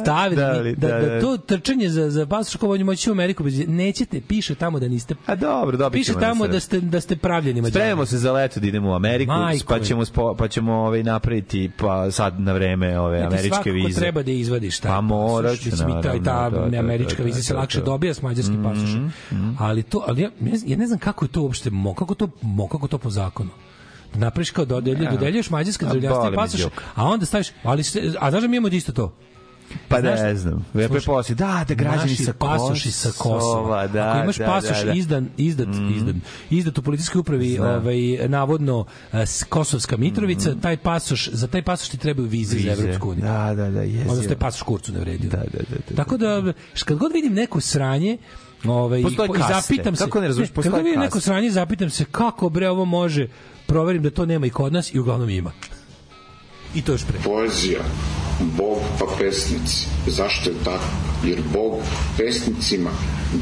Speaker 7: stavili,
Speaker 5: Da
Speaker 7: da,
Speaker 5: li,
Speaker 7: da,
Speaker 5: da,
Speaker 7: da,
Speaker 5: da.
Speaker 7: to trčanje za, za pasoš kao oni moći u Ameriku, bez- nećete, piše tamo da niste,
Speaker 5: A dobro, dobit
Speaker 7: piše
Speaker 5: ćemo
Speaker 7: tamo
Speaker 5: na
Speaker 7: da ste, da ste pravljeni mađari.
Speaker 5: Spremamo se za leto da idemo u Ameriku,
Speaker 7: Majko
Speaker 5: pa
Speaker 7: mi.
Speaker 5: ćemo, spo, pa ćemo ovaj, napraviti pa sad na vreme ove
Speaker 7: Znači,
Speaker 5: američke
Speaker 7: svakako
Speaker 5: vize.
Speaker 7: treba da izvadiš taj
Speaker 5: Pa
Speaker 7: pasoš,
Speaker 5: morat ću,
Speaker 7: mislim, i ta, i ta
Speaker 5: naravno, da, da, da,
Speaker 7: američka
Speaker 5: da,
Speaker 7: viza se
Speaker 5: da,
Speaker 7: lakše
Speaker 5: da. Mhm,
Speaker 7: dobija s mađarskim pasošem. Ali to, ali ja, ja ne znam- ja ne znam kako je to uopšte, mo, kako to, mo, kako to po zakonu. Da Napraviš kao dodeljuješ,
Speaker 5: Ja.
Speaker 7: dodeljuješ mađarsko
Speaker 5: A,
Speaker 7: državljanstvo
Speaker 5: boli me
Speaker 7: i pasoš,
Speaker 5: đuka.
Speaker 7: a onda staviš, ali se, a znaš da mi imamo isto to?
Speaker 5: Pa
Speaker 7: Znaš-
Speaker 5: ne znam. Lepo je
Speaker 7: Slušaj,
Speaker 5: poslije. Da, da građani
Speaker 7: naši
Speaker 5: sa
Speaker 7: pasoši sa Kosova.
Speaker 5: Da,
Speaker 7: Ako imaš
Speaker 5: da,
Speaker 7: pasoš
Speaker 5: da, da.
Speaker 7: izdan, izdat, izdan, izdat u policijskoj upravi,
Speaker 5: Znam. Mhm.
Speaker 7: ovaj, navodno eh, s- Kosovska Mitrovica, taj pasoš, za taj pasoš ti trebaju vize,
Speaker 5: Vize.
Speaker 7: za Evropsku uniju.
Speaker 5: Da, da, da, jezivo.
Speaker 7: Odnosno je pasoš kurcu ne vredio.
Speaker 5: Da, da, da, da.
Speaker 7: Tako da, š- kad god vidim neko sranje, ovaj,
Speaker 5: Postoje
Speaker 7: po-
Speaker 5: kaste.
Speaker 7: zapitam se,
Speaker 5: Kako ne razumeš,
Speaker 7: kad god
Speaker 5: postoje
Speaker 7: vidim
Speaker 5: kaste.
Speaker 7: neko sranje, zapitam se kako bre ovo može, proverim da to nema i kod nas i uglavnom ima. I to još pre.
Speaker 17: Poezija, Bog pa pesnici. Zašto je tako? Jer Bog pesnicima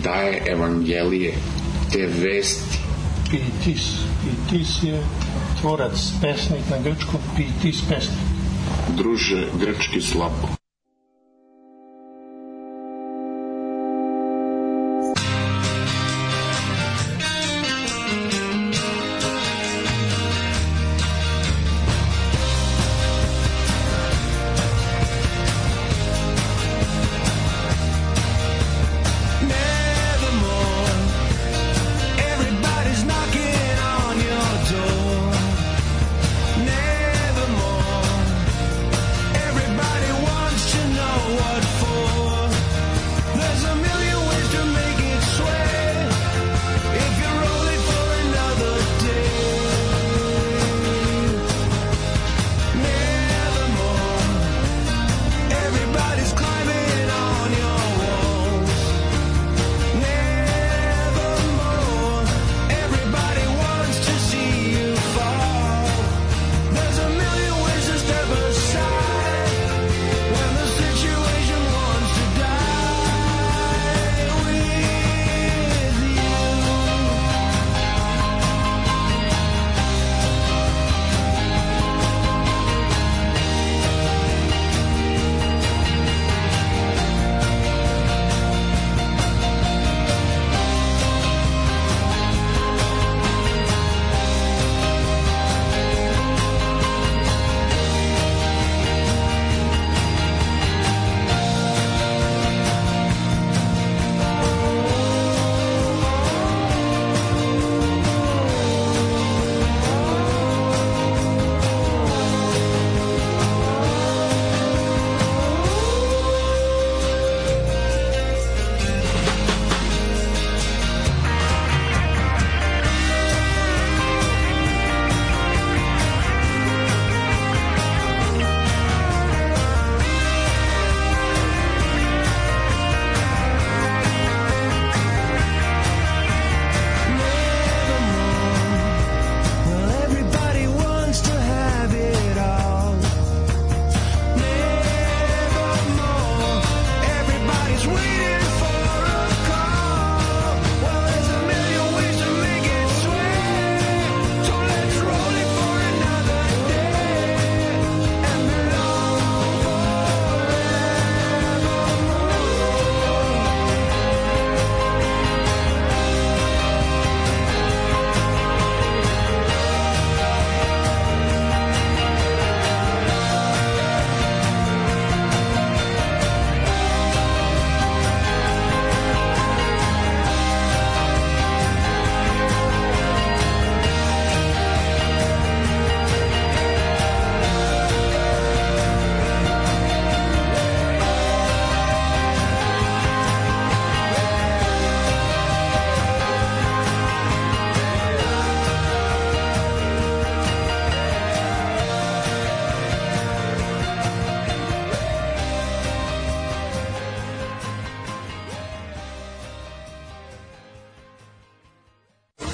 Speaker 17: daje evangelije, te vesti.
Speaker 18: Pitis. Pitis je tvorac, pesnik na grčkom, Pitis pesnik.
Speaker 17: Druže, grčki slabo.
Speaker 1: Nevermore. Everybody's knocking on your door. Nevermore. Everybody wants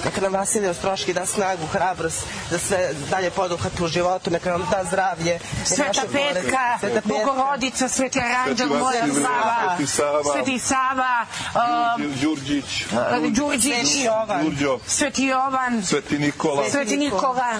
Speaker 19: neka nam Vasilije Ostroški da snagu, hrabrost za sve dalje poduhvat u životu, neka nam da zdravlje.
Speaker 4: Sveta Petka, Bogorodica, Sveti Aranđel, Moja Sava, Sveti Sava, um,
Speaker 20: Đurđić,
Speaker 4: Đurđić,
Speaker 20: Sveti Jovan, Đurđo,
Speaker 4: Sveti Jovan,
Speaker 20: Sveti Nikola,
Speaker 4: Sveti Nikola,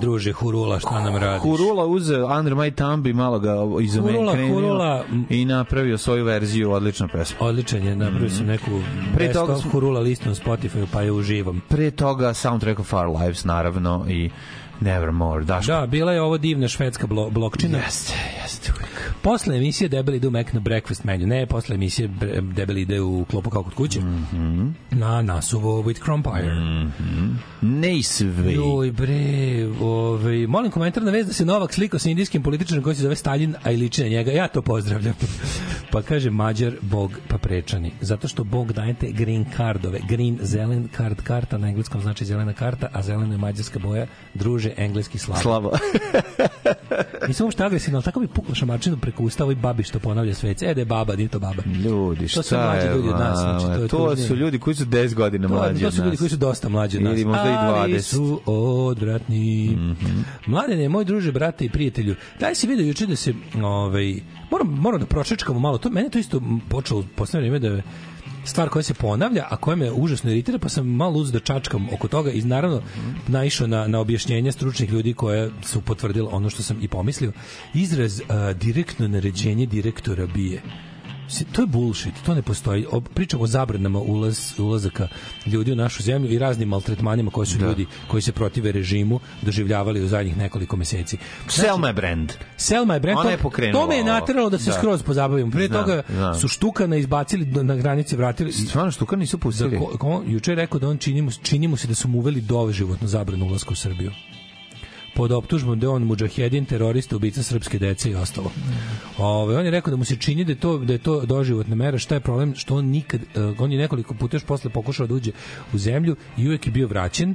Speaker 1: druže Hurula, šta nam radiš?
Speaker 5: Hurula uzeo Under My Thumb i malo ga izomen
Speaker 1: Hurula,
Speaker 5: krenio
Speaker 1: Hurula.
Speaker 5: i napravio svoju verziju, odlična pesma.
Speaker 1: Odličan je, napravio sam neku
Speaker 5: Mhm. Pre
Speaker 1: pre
Speaker 5: toga
Speaker 1: toga
Speaker 5: smo-
Speaker 1: Hurula listu na Spotify, pa je uživam.
Speaker 5: Pre toga soundtrack of Our Lives, naravno, i Nevermore, Daško.
Speaker 1: Da, bila je ovo divna švedska blo blokčina.
Speaker 5: Jeste, jeste uvijek.
Speaker 1: Posle emisije Debeli ide u Mac na breakfast menu. Ne, posle emisije Bre- Debeli ide u klopu kao kod kuće. Na nasuvo with Crumpire. Mm
Speaker 5: Nejsvi.
Speaker 1: Joj bre, ovaj, molim komentar na vez da se Novak sliko sa indijskim političarom koji se zove Stalin, a i liči na njega. Ja to pozdravljam. pa kaže Mađar, Bog pa prečani. Zato što Bog dajete green cardove. Green, zelen card karta, na engleskom znači zelena karta, a zelena je mađarska boja, druže, engleski slavo.
Speaker 5: Slavo.
Speaker 1: Nisam uopšte agresivno, ali tako mi pukla šamačinu preko
Speaker 7: preko usta ovoj babi što ponavlja svec. E, da je baba, nije to baba.
Speaker 6: Ljudi,
Speaker 7: To su
Speaker 6: šta
Speaker 7: mlađi
Speaker 6: je,
Speaker 7: ljudi od nas, znači,
Speaker 6: ma,
Speaker 7: to je
Speaker 6: to
Speaker 7: tužnije.
Speaker 6: su ljudi koji su 10 godina mlađi
Speaker 7: to
Speaker 6: od
Speaker 7: su ljudi
Speaker 6: nas.
Speaker 7: koji su dosta mlađi od nas.
Speaker 6: Ili možda i Mhm.
Speaker 7: Ali
Speaker 6: 20.
Speaker 7: su odvratni. Mladene, moj druže, brate i prijatelju, daj si vidio juče da se, ovaj, moram, moram da pročečkamo malo to. Mene to isto m, počelo u poslednje vreme da je stvar koja se ponavlja, a koja me užasno iritira, pa sam malo uz da čačkam oko toga i naravno naišao na, na objašnjenje stručnih ljudi koje su potvrdila ono što sam i pomislio. Izraz a, direktno naređenje direktora bije. Se- to je bullshit, to ne postoji. O, pričamo o zabranama ulaz, ulazaka ljudi u našu zemlju i raznim maltretmanima koje su ljudi koji se protive režimu doživljavali u zadnjih nekoliko meseci. Znači,
Speaker 6: Selma je brand.
Speaker 7: Selma je brend,
Speaker 6: Ona
Speaker 7: to-
Speaker 6: je pokrenula
Speaker 7: to me je
Speaker 6: ovo.
Speaker 7: nateralo da se
Speaker 6: Da.
Speaker 7: skroz pozabavimo. Pre
Speaker 6: Znam,
Speaker 7: toga
Speaker 6: znam.
Speaker 7: su štukana izbacili do- na granici, vratili.
Speaker 6: Stvarno, štuka nisu pustili.
Speaker 7: Ko, ko, juče je rekao da on čini mu, čini mu se da su mu uveli doživotnu zabranu ulaska u Srbiju pod optužbom da je on mudžahedin, terorista, ubica srpske dece i ostalo. Ove, on je rekao da mu se čini da je to, da je to doživotna mera. Šta je problem? Što on nikad, eh, on je nekoliko puta još posle pokušao da uđe u zemlju i uvek je bio vraćen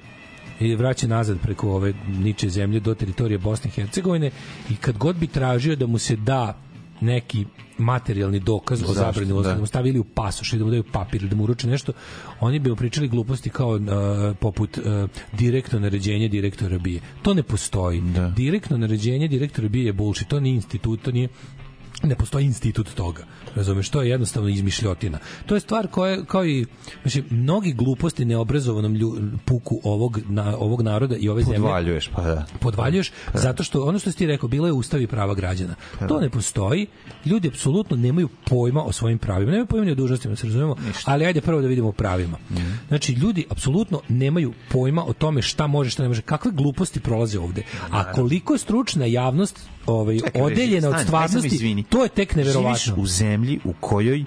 Speaker 7: i je vraćen nazad preko ove niče zemlje do teritorije Bosne i Hercegovine i kad god bi tražio da mu se da neki materijalni dokaz o
Speaker 6: Zašto?
Speaker 7: zabrani ulaska,
Speaker 6: Da.
Speaker 7: da mu stavili u pasoš i da mu daju papir ili da mu uruče nešto, oni bi mu pričali gluposti kao e, poput e, direktno naređenje direktora bije. To ne postoji. Direktno naređenje direktora bije je bullshit. To nije institut, to nije ne postoji institut toga. Razumeš, to je jednostavno izmišljotina. To je stvar koja kao i znači mnogi gluposti neobrazovanom lju, puku ovog na, ovog naroda i ove zemlje
Speaker 6: Podvaljuješ, pa da.
Speaker 7: podvaljuješ
Speaker 6: Pa.
Speaker 7: zato što ono što si ti rekao bilo je ustav i prava građana. To ne postoji. Ljudi apsolutno nemaju pojma o svojim pravima, nemaju pojma ni o dužnostima, da se razumemo, ali ajde prvo da vidimo o pravima.
Speaker 6: Mhm.
Speaker 7: Znači ljudi apsolutno nemaju pojma o tome šta može, šta ne može, kakve gluposti prolaze ovde.
Speaker 6: Pa,
Speaker 7: A koliko je stručna javnost ovaj odeljena od
Speaker 6: Stani, aj sam
Speaker 7: stvarnosti,
Speaker 6: izvini.
Speaker 7: to je tek neverovatno.
Speaker 6: Živiš u zemlji u kojoj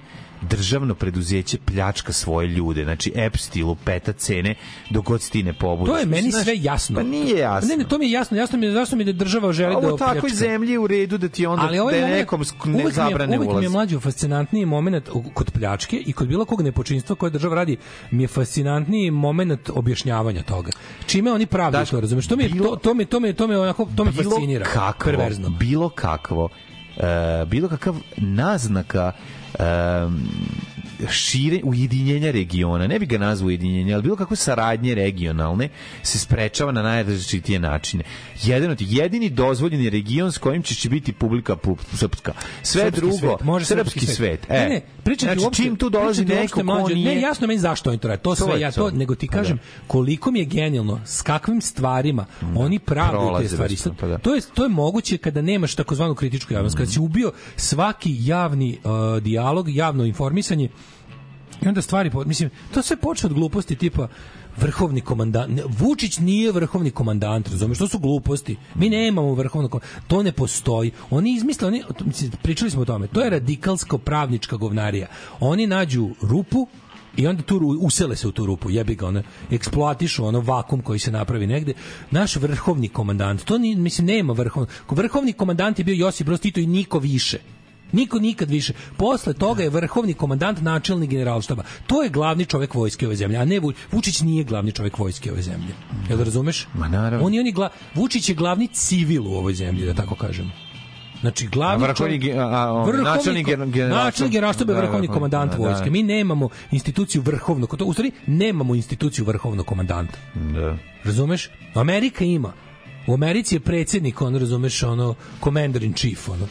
Speaker 6: državno preduzeće pljačka svoje ljude, znači Epsti, lupeta cene, dok god se ti ne pobudi.
Speaker 7: To je meni
Speaker 6: Znaš,
Speaker 7: sve jasno.
Speaker 6: Pa nije jasno.
Speaker 7: Ne, ne, to mi je jasno, jasno mi je zašto mi je da država želi
Speaker 6: A
Speaker 7: da
Speaker 6: u takvoj
Speaker 7: opljačka.
Speaker 6: zemlji je u redu da ti onda
Speaker 7: ali ovaj
Speaker 6: da je
Speaker 7: moment,
Speaker 6: nekom sk-
Speaker 7: uvek mi
Speaker 6: ne
Speaker 7: je-
Speaker 6: zabrane
Speaker 7: Uvek mi je
Speaker 6: ulaz.
Speaker 7: mlađo fascinantniji moment kod pljačke i kod bilo kog nepočinstva koje država radi, mi je fascinantniji moment objašnjavanja toga. Čime oni pravdaju to, razumeš? To mi je, to, to mi, to mi, to mi onako, to me
Speaker 6: bilo
Speaker 7: fascinira.
Speaker 6: kakvo,
Speaker 7: Perverzno.
Speaker 6: bilo kakvo, e, bilo kakav naznaka e, šire ujedinjenja regiona, ne bi ga nazvao ujedinjenje, ali bilo kakve saradnje regionalne se sprečava na najrazličitije načine. Jedan od jedini dozvoljeni region s kojim će, će biti publika pu- srpska. Sve
Speaker 7: Srpski
Speaker 6: drugo,
Speaker 7: svet, može
Speaker 6: srpski, svet.
Speaker 7: E, ne, ne, pričati
Speaker 6: znači,
Speaker 7: uopšte,
Speaker 6: čim tu dolazi
Speaker 7: pričati
Speaker 6: neko
Speaker 7: uopšte
Speaker 6: ko
Speaker 7: mlađe-
Speaker 6: nije...
Speaker 7: Ne, jasno meni zašto oni to rade. To,
Speaker 6: To
Speaker 7: sve
Speaker 6: je
Speaker 7: ja
Speaker 6: to.
Speaker 7: to, nego ti
Speaker 6: Pa da.
Speaker 7: kažem koliko mi je genijalno, s kakvim stvarima oni pravdaju
Speaker 6: Prolaze
Speaker 7: te stvari.
Speaker 6: bespravno, pa da. Mm.
Speaker 7: To je to je moguće kada nemaš takozvanu kritičku javnost, kada si ubio svaki javni uh, dijalog, javno informisanje I onda stvari, po- mislim, to sve počne od gluposti tipa vrhovni komandant. ne, Vučić nije vrhovni komandant, razumeš, to su gluposti. Mi nemamo vrhovnog komandanta, to ne postoji. Oni izmisle, oni, mislim, pričali smo o tome, to je radikalsko-pravnička govnarija. Oni nađu rupu, I onda tu ru- usele se u tu rupu, jebi ga, ono, eksploatišu ono vakum koji se napravi negde. Naš vrhovni komandant, to ni, mislim, nema vrhovni, vrhovni komandant je bio Josip Broz Tito i niko više. Niko nikad više. Posle toga je vrhovni komandant načelnik generalštaba. To je glavni čovek vojske ove zemlje, a ne Vu- Vučić nije glavni čovek vojske ove zemlje. Jel da razumeš?
Speaker 6: Ma naravno.
Speaker 7: On je, on je gla... Vučić je glavni civil u ovoj zemlji, da tako kažemo. Znači, glavni
Speaker 6: A vrhovni
Speaker 7: čovek-
Speaker 6: ge- a- a- on-
Speaker 7: vrhovni
Speaker 6: načelnik
Speaker 7: ko-
Speaker 6: gen- generalštaba.
Speaker 7: načelnik generalštaba je
Speaker 6: Da,
Speaker 7: vrhovni
Speaker 6: vrhovni-
Speaker 7: komandant
Speaker 6: da, da.
Speaker 7: vojske. Mi nemamo instituciju vrhovnog, to, u stvari nemamo instituciju vrhovnog komandanta.
Speaker 6: Da.
Speaker 7: Razumeš? Amerika ima. U Americi je predsednik, on razumeš, ono, commander in chief, ono.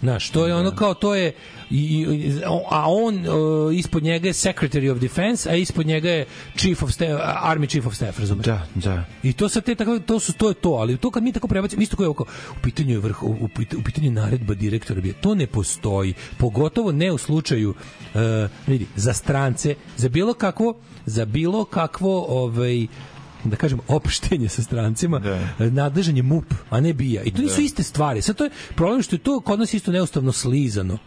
Speaker 7: Znaš, to je ono kao, to je, i, i, a on e, ispod njega je secretary of defense, a ispod njega je chief of staff, army chief of staff, razumeš?
Speaker 6: Da, da.
Speaker 7: I to sa te tako to su to je to, ali to kad mi tako prebacimo isto kao je oko u pitanju je vrh u, u, pit- u pitanju je naredba direktora bio. To ne postoji, pogotovo ne u slučaju e, vidi, za strance, za bilo kakvo za bilo kakvo ovaj da kažem opštenje sa strancima da. nadležan je MUP a ne BIA i to nisu iste stvari sad to je problem što je to kod nas isto neustavno slizano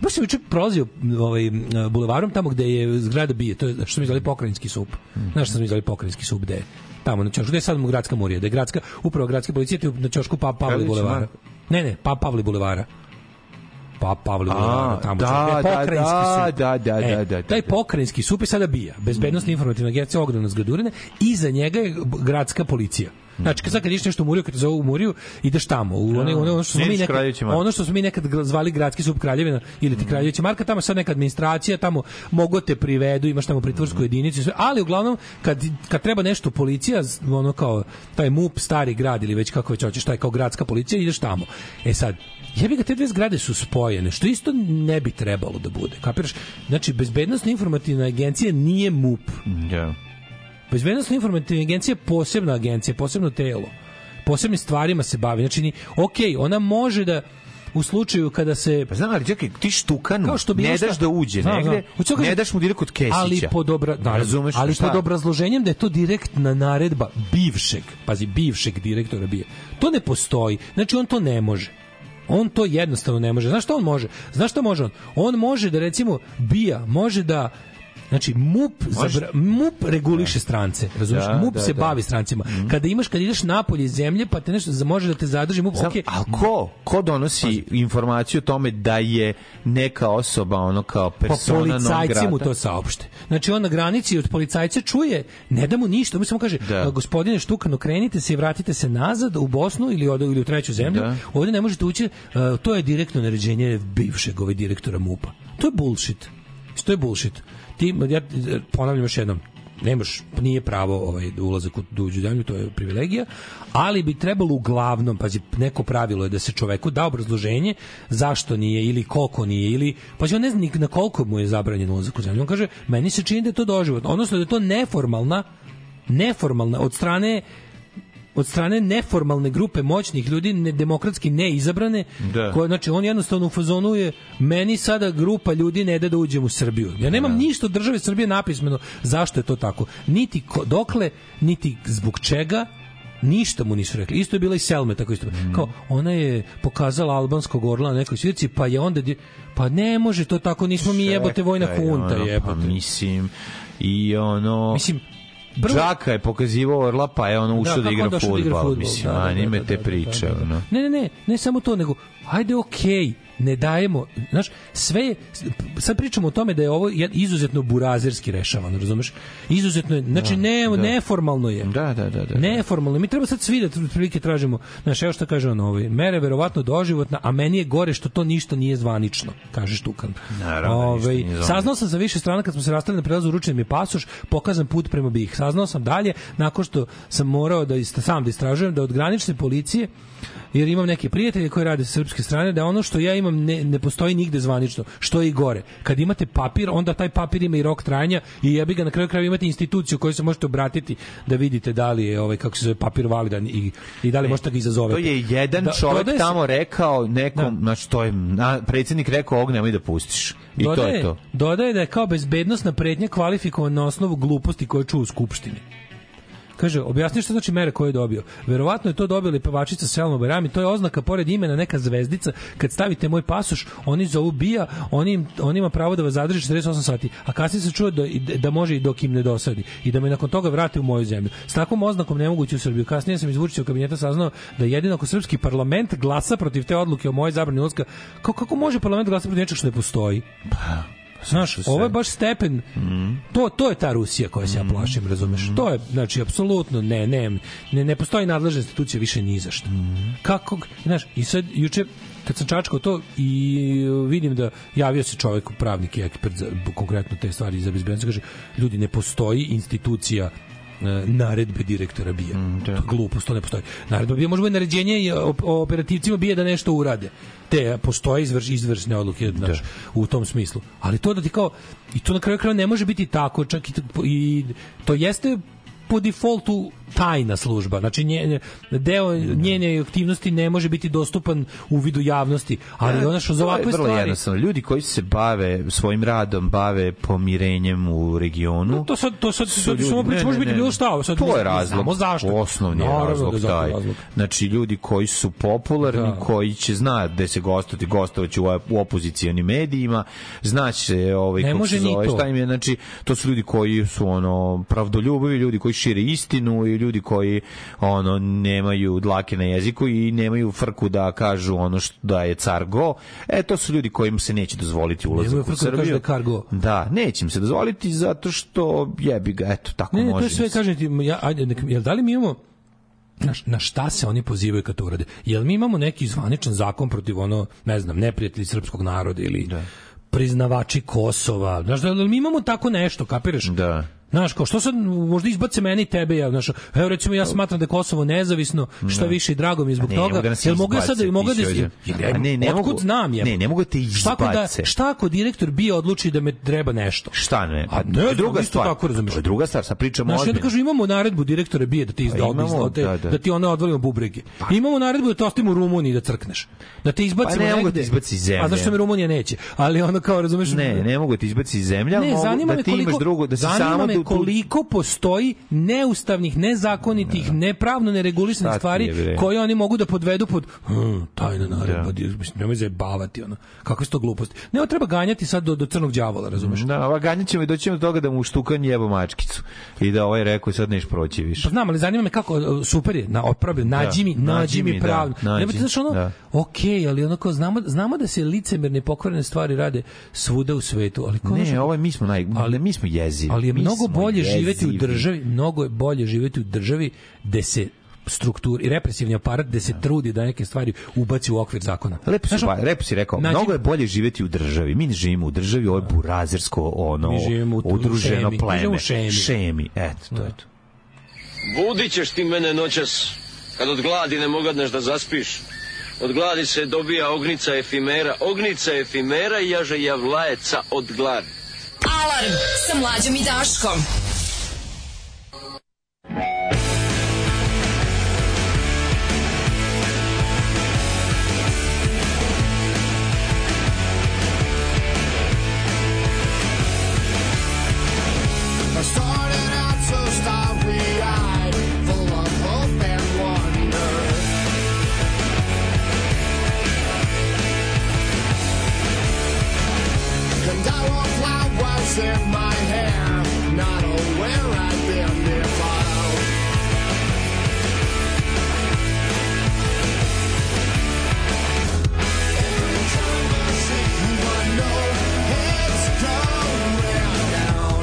Speaker 7: baš sam juče prolazio m, ovaj, m, bulevarom tamo gde je zgrada bije to je što mi zvali pokrajinski sup znaš što mi zvali pokrajinski sup gde je? tamo na ćošku gde je sad mu gradska murija gde je gradska upravo gradska policija tu na ćošku pa Pavli
Speaker 6: Pavlić,
Speaker 7: bulevara
Speaker 6: Marko?
Speaker 7: ne ne pa Pavli bulevara pa Pavli bulevara tamo
Speaker 6: da,
Speaker 7: ćošku, gde je
Speaker 6: da,
Speaker 7: pokrajinski
Speaker 6: da,
Speaker 7: sup.
Speaker 6: da, da,
Speaker 7: E,
Speaker 6: da, da, da.
Speaker 7: taj pokrajinski sup je sada bija bezbednosna informativna agencija ogromna zgradurine i za njega je gradska policija Znači, kad sad kad ideš nešto u Muriju, kad te zovu u Muriju, ideš tamo. U one, one, ono, što smo
Speaker 5: Ne
Speaker 7: mi
Speaker 5: ideš
Speaker 7: nekad,
Speaker 5: Kraljevićima.
Speaker 7: ono što smo mi nekad gra- zvali gradski sub Kraljevina ili ti Kraljevića Marka, tamo je sad neka administracija, tamo mogu te privedu, imaš tamo pritvorsku jedinicu, i sve, ali uglavnom kad, kad treba nešto policija, z- ono kao taj MUP, stari grad ili već kako već hoćeš, taj kao gradska policija, ideš tamo. E sad, jebi ga, te dve zgrade su spojene, što isto ne bi trebalo da bude, kapiraš? Znači, bezbednostna informativna agencija nije MUP.
Speaker 5: Ja.
Speaker 7: Bezbednostna informativna agencija je posebna agencija, posebno telo. Posebnim stvarima se bavi. Znači, ni, ok, ona može da u slučaju kada se...
Speaker 5: Pa znam, ali čekaj, ti štukanu
Speaker 7: Kao što bilo
Speaker 5: ne
Speaker 7: šta-
Speaker 5: daš da uđe
Speaker 7: Znam,
Speaker 5: negde,
Speaker 7: znam. Hoću da
Speaker 5: ne
Speaker 7: kažem-
Speaker 5: daš mu direkt kod Kesića.
Speaker 7: Ali pod, obra,
Speaker 5: Ne
Speaker 7: da,
Speaker 5: razumeš
Speaker 7: ali
Speaker 5: šta?
Speaker 7: pod obrazloženjem da je to direktna naredba bivšeg, pazi, bivšeg direktora bije. To ne postoji. Znači, on to ne može. On to jednostavno ne može. Znaš šta on može? Znaš šta može on? On može da, recimo, bija, može da Znači, MUP,
Speaker 5: Može-
Speaker 7: zabra, MUP reguliše strance, razumiješ?
Speaker 5: Da,
Speaker 7: MUP
Speaker 5: da,
Speaker 7: se
Speaker 5: da. Mhm.
Speaker 7: bavi strancima. Kada imaš, kad ideš napolje iz zemlje, pa te nešto za- može da te zadrži MUP,
Speaker 5: Znam,
Speaker 7: okej,
Speaker 5: a ko? Ko donosi informaciju o tome da je neka osoba ono kao
Speaker 7: pa
Speaker 5: persona non
Speaker 7: policajci
Speaker 5: grata?
Speaker 7: mu to saopšte. Znači on na granici od policajca čuje, ne da mu ništa, on mu samo kaže,
Speaker 5: Da.
Speaker 7: da. gospodine Štukano, krenite se i vratite se nazad u Bosnu ili, od, ili u treću zemlju,
Speaker 5: Da.
Speaker 7: da. ovde ne možete ući, uh, to je direktno naređenje bivšeg ove direktora MUPA. To je bullshit. To je bullshit. Ti, ja eh, ponavljam još jednom, nemaš, nije pravo ovaj, ulazak u duđu zemlju, to je privilegija, ali bi trebalo uglavnom, pazi, neko pravilo je da se čoveku da obrazloženje zašto nije ili koliko nije ili, pazi, on ne zna ni na koliko mu je zabranjen ulazak u zemlju. On kaže, meni se čini da je to doživotno, odnosno da je to neformalna, neformalna, od strane od strane neformalne grupe moćnih ljudi, ne, demokratski neizabrane,
Speaker 5: Da.
Speaker 7: koja, znači on jednostavno u fazonu je meni sada grupa ljudi ne da da uđem u Srbiju. Ja nemam ništa od države Srbije napismeno zašto je to tako. Niti ko, dokle, niti zbog čega, ništa mu nisu rekli. Isto je bila i Selme tako isto.
Speaker 5: Mm.
Speaker 7: Kao ona je pokazala albanskog orla na nekoj svirci, pa je onda di- pa ne može to tako, nismo mi jebote vojna
Speaker 5: Čekaj,
Speaker 7: hunta,
Speaker 5: ono, Pa
Speaker 7: jebote.
Speaker 5: mislim, i ono...
Speaker 7: Mislim,
Speaker 5: Prvo... Džaka je pokazivao Orla, pa je ono ušao da,
Speaker 7: kako
Speaker 5: igra
Speaker 7: on došao da igra
Speaker 5: fudbal,
Speaker 7: fudbal,
Speaker 5: mislim,
Speaker 7: da, da,
Speaker 5: a nime
Speaker 7: da,
Speaker 5: te
Speaker 7: da, da,
Speaker 5: priče,
Speaker 7: da, da.
Speaker 5: ono.
Speaker 7: Ne, ne, ne, ne samo to, nego ajde okej, ne dajemo, znaš, sve je, sad pričamo o tome da je ovo jed- izuzetno burazerski rešavano, razumeš? Izuzetno je, znači ne, neformalno je.
Speaker 5: Da, da, da, da.
Speaker 7: Neformalno. Mi treba sad svi da prilike tražimo, znaš, evo šta kaže on ovaj, mere verovatno doživotna, a meni je gore što to ništa nije zvanično, kaže Štukan.
Speaker 5: Naravno, ništa
Speaker 7: Ovaj,
Speaker 5: nije zvanično.
Speaker 7: saznao sam sa više strana kad smo se rastali na prelazu, uručen mi je pasoš, pokazan put prema BiH. Saznao sam dalje, nakon što sam morao da ist, sam da istražujem, da od granične policije jer imam neke prijatelje koji rade sa srpske strane, da ono što ja imam ne, ne postoji nigde zvanično, što je i gore. Kad imate papir, onda taj papir ima i rok trajanja i jebi ga na kraju krajeva imate instituciju koju se možete obratiti da vidite da li je ovaj kako se zove papir validan i, i da li možete da ga
Speaker 5: E, To
Speaker 7: izazovete.
Speaker 5: je jedan da, čovek
Speaker 7: dodaje se-
Speaker 5: tamo rekao nekom, da. znači to je, na, predsednik rekao ovog nemoj da pustiš. I to je to.
Speaker 7: Dodaje da je kao bezbednostna pretnja kvalifikovan na osnovu gluposti koje čuo u skupštini. Kaže, objasni što znači mere koje je dobio. Verovatno je to dobila i pevačica Selma Bajrami, to je oznaka pored imena neka zvezdica. Kad stavite moj pasoš, oni zovu bija, oni, im- on ima pravo da vas zadrži 48 sati, a kasnije se čuje da, da može i dok im ne dosadi i da me nakon toga vrate u moju zemlju. S takvom oznakom ne moguće u Srbiju. Kasnije sam iz Vučićevog kabineta saznao da jedino ako srpski parlament glasa protiv te odluke o mojoj zabrani ulazka, kako, kako može parlament glasati protiv nečeg što ne postoji? Znaš, ovo je baš stepen. To to je ta Rusija koja se ja plašim, razumeš? To je znači apsolutno ne, ne, ne, ne postoji nadležna institucija više ni za šta. Kako, znaš, i sad juče kad sam čačkao to i e, vidim da javio se čovjek, pravnik i ekspert za b- konkretno te stvari za bezbednost, kaže, ljudi, ne postoji institucija e, naredbe direktora BIA.
Speaker 5: Mm,
Speaker 7: to je glupost, to ne postoji. Naredba BIA može biti naređenje i e, op- operativcima BIA da nešto urade. Te e, postoje izvrš, izvršne odluke znaš, u tom smislu. Ali to da ti kao, i to na kraju kraja ne može biti tako, čak i, i to jeste po defaultu tajna služba. Znači nje, deo njene aktivnosti ne može biti dostupan u vidu javnosti, ali ona što za
Speaker 5: To je
Speaker 7: ovakve
Speaker 5: vrlo
Speaker 7: stvari
Speaker 5: jednostavno. Ljudi koji se bave svojim radom, bave pomirenjem u regionu.
Speaker 7: To sad to sad
Speaker 5: su
Speaker 7: sad
Speaker 5: ljudi-
Speaker 7: samo
Speaker 5: ne,
Speaker 7: priča
Speaker 5: ne,
Speaker 7: može biti
Speaker 5: ne,
Speaker 7: bilo
Speaker 5: ne.
Speaker 7: šta, sad
Speaker 5: to
Speaker 7: mi
Speaker 5: je razlog.
Speaker 7: znamo zašto.
Speaker 5: Osnovni je
Speaker 7: Naravno da je
Speaker 5: razlog
Speaker 7: zato
Speaker 5: taj.
Speaker 7: razlog.
Speaker 5: Znači ljudi koji su popularni,
Speaker 7: Da.
Speaker 5: koji će zna gde se gostovati, gostovaće u, u opozicijonim medijima, znaće ovaj
Speaker 7: Ne
Speaker 5: kako
Speaker 7: može
Speaker 5: se
Speaker 7: ni
Speaker 5: zove,
Speaker 7: to.
Speaker 5: šta im je, znači to su ljudi koji su ono pravdoljubivi, ljudi koji šire istinu i ljudi koji ono nemaju dlake na jeziku i nemaju frku da kažu ono što da je car go. E to su ljudi kojim se neće dozvoliti
Speaker 7: Nemaju
Speaker 5: ulazak u
Speaker 7: frku da kažu da je
Speaker 5: Srbiju.
Speaker 7: car go.
Speaker 5: Da, neće im se dozvoliti zato što jebi ga, eto tako
Speaker 7: Ne, ne,
Speaker 5: može.
Speaker 7: to je sve,
Speaker 5: mislim.
Speaker 7: kažem ti, ja, ajde, nek, jel da li mi imamo na, š- na šta se oni pozivaju kad to urade? Jel mi imamo neki zvaničan zakon protiv ono, ne znam, neprijatelji srpskog naroda ili da. priznavači Kosova? Znaš, da, jel mi imamo tako nešto, kapiraš? Da. Znaš, kao, što sad, možda izbace meni i tebe, ja, znaš, evo recimo ja smatram da je Kosovo nezavisno, šta
Speaker 5: Da.
Speaker 7: više i drago mi je zbog
Speaker 5: Ne, ne
Speaker 7: toga,
Speaker 5: mogu da nas
Speaker 7: jel mogu ja sad da,
Speaker 5: izbace,
Speaker 7: mogu da,
Speaker 5: ti si
Speaker 7: jel,
Speaker 5: ovdje.
Speaker 7: ja-
Speaker 5: A ne, ne
Speaker 7: otkud
Speaker 5: mogu.
Speaker 7: znam, jebe?
Speaker 5: Ne, ne mogu te
Speaker 7: Šta ako, da,
Speaker 5: izbace.
Speaker 7: šta ako direktor bio odluči da me treba nešto?
Speaker 5: Šta ne?
Speaker 7: A ne,
Speaker 5: To je
Speaker 7: znam,
Speaker 5: druga
Speaker 7: isto
Speaker 5: stvar.
Speaker 7: Tako razumeš.
Speaker 5: To je druga stvar, sad pričamo
Speaker 7: Znaš, ja da
Speaker 5: ozbiljno. Pa
Speaker 7: kažu, imamo naredbu direktore bije da ti izda,
Speaker 5: imamo,
Speaker 7: izda, te, da,
Speaker 5: da,
Speaker 7: da.
Speaker 5: da.
Speaker 7: ti ono odvalimo bubrege. Imamo naredbu da te ostavimo u Rumuniji da crkneš. Da te izbacimo
Speaker 5: Pa ne mogu
Speaker 7: negde.
Speaker 5: te izbaci iz zemlje.
Speaker 7: A zašto me Rumunija neće? Ali ono kao, razumeš...
Speaker 5: Ne, ne mogu ti izbaci iz zemlje, ali
Speaker 7: Ne,
Speaker 5: mogu
Speaker 7: zanima
Speaker 5: da
Speaker 7: me
Speaker 5: ti
Speaker 7: koliko,
Speaker 5: imaš drugo, da si
Speaker 7: zanima
Speaker 5: samo
Speaker 7: me
Speaker 5: tu- tu-
Speaker 7: koliko postoji neustavnih, nezakonitih, nepravno neregulisanih
Speaker 5: Šta ti
Speaker 7: stvari
Speaker 5: je, bre?
Speaker 7: koje oni mogu da podvedu pod hm, tajna naredba, da. mislim, nemoj zajebavati, ono. Kakve su to gluposti. Ne, ovo treba ganjati sad do, do crnog đavola, razumeš?
Speaker 5: Da, ova ganjat ćemo i doćemo do toga da mu štukan jeba mačkicu i da ovaj rekao sad neš proći više.
Speaker 7: Pa znam, ali zanima me kako, e, super je, na, otpravi, nađi mi,
Speaker 5: nađi
Speaker 7: nađi mi
Speaker 5: mi, da,
Speaker 7: pravno.
Speaker 5: nađi,
Speaker 7: Ne, pa ti znaš ono,
Speaker 5: da.
Speaker 7: okej, ali onako, znamo, znamo da se licemerne i pokvarene stvari rade svuda u svetu, ali kao znaš,
Speaker 5: Ne, ovo je, mi smo naj, ali mi smo jezivi.
Speaker 7: Pa, ali je
Speaker 5: Mi
Speaker 7: mnogo
Speaker 5: smo
Speaker 7: bolje
Speaker 5: jezivi.
Speaker 7: živeti u državi, mnogo je bolje živeti u državi gde se struktur i represivni aparat gde se trudi da neke stvari ubaci u okvir zakona.
Speaker 5: Lepo si,
Speaker 7: Znaš, ono,
Speaker 5: ba, lepo si rekao,
Speaker 7: Znači-
Speaker 5: mnogo je bolje živeti u državi. Mi ne živimo u državi, ovo je burazersko ono,
Speaker 7: Mi živimo u- u šemi.
Speaker 5: udruženo
Speaker 7: Mi
Speaker 5: pleme.
Speaker 7: živimo u šemi.
Speaker 5: šemi. Eto, to je to.
Speaker 21: Budit ćeš ti mene noćas, kad od gladi ne mogadneš da zaspiš. Od gladi se dobija ognica efimera, ognica efimera i jaže javlajeca od gladi.
Speaker 4: Alarm sa mlađom i Daškom.
Speaker 1: I started out so starry-eyed, full of hope and wonder. Gondola flowers in my hair, not aware I've been defiled. Every time I see you, I know it's going down.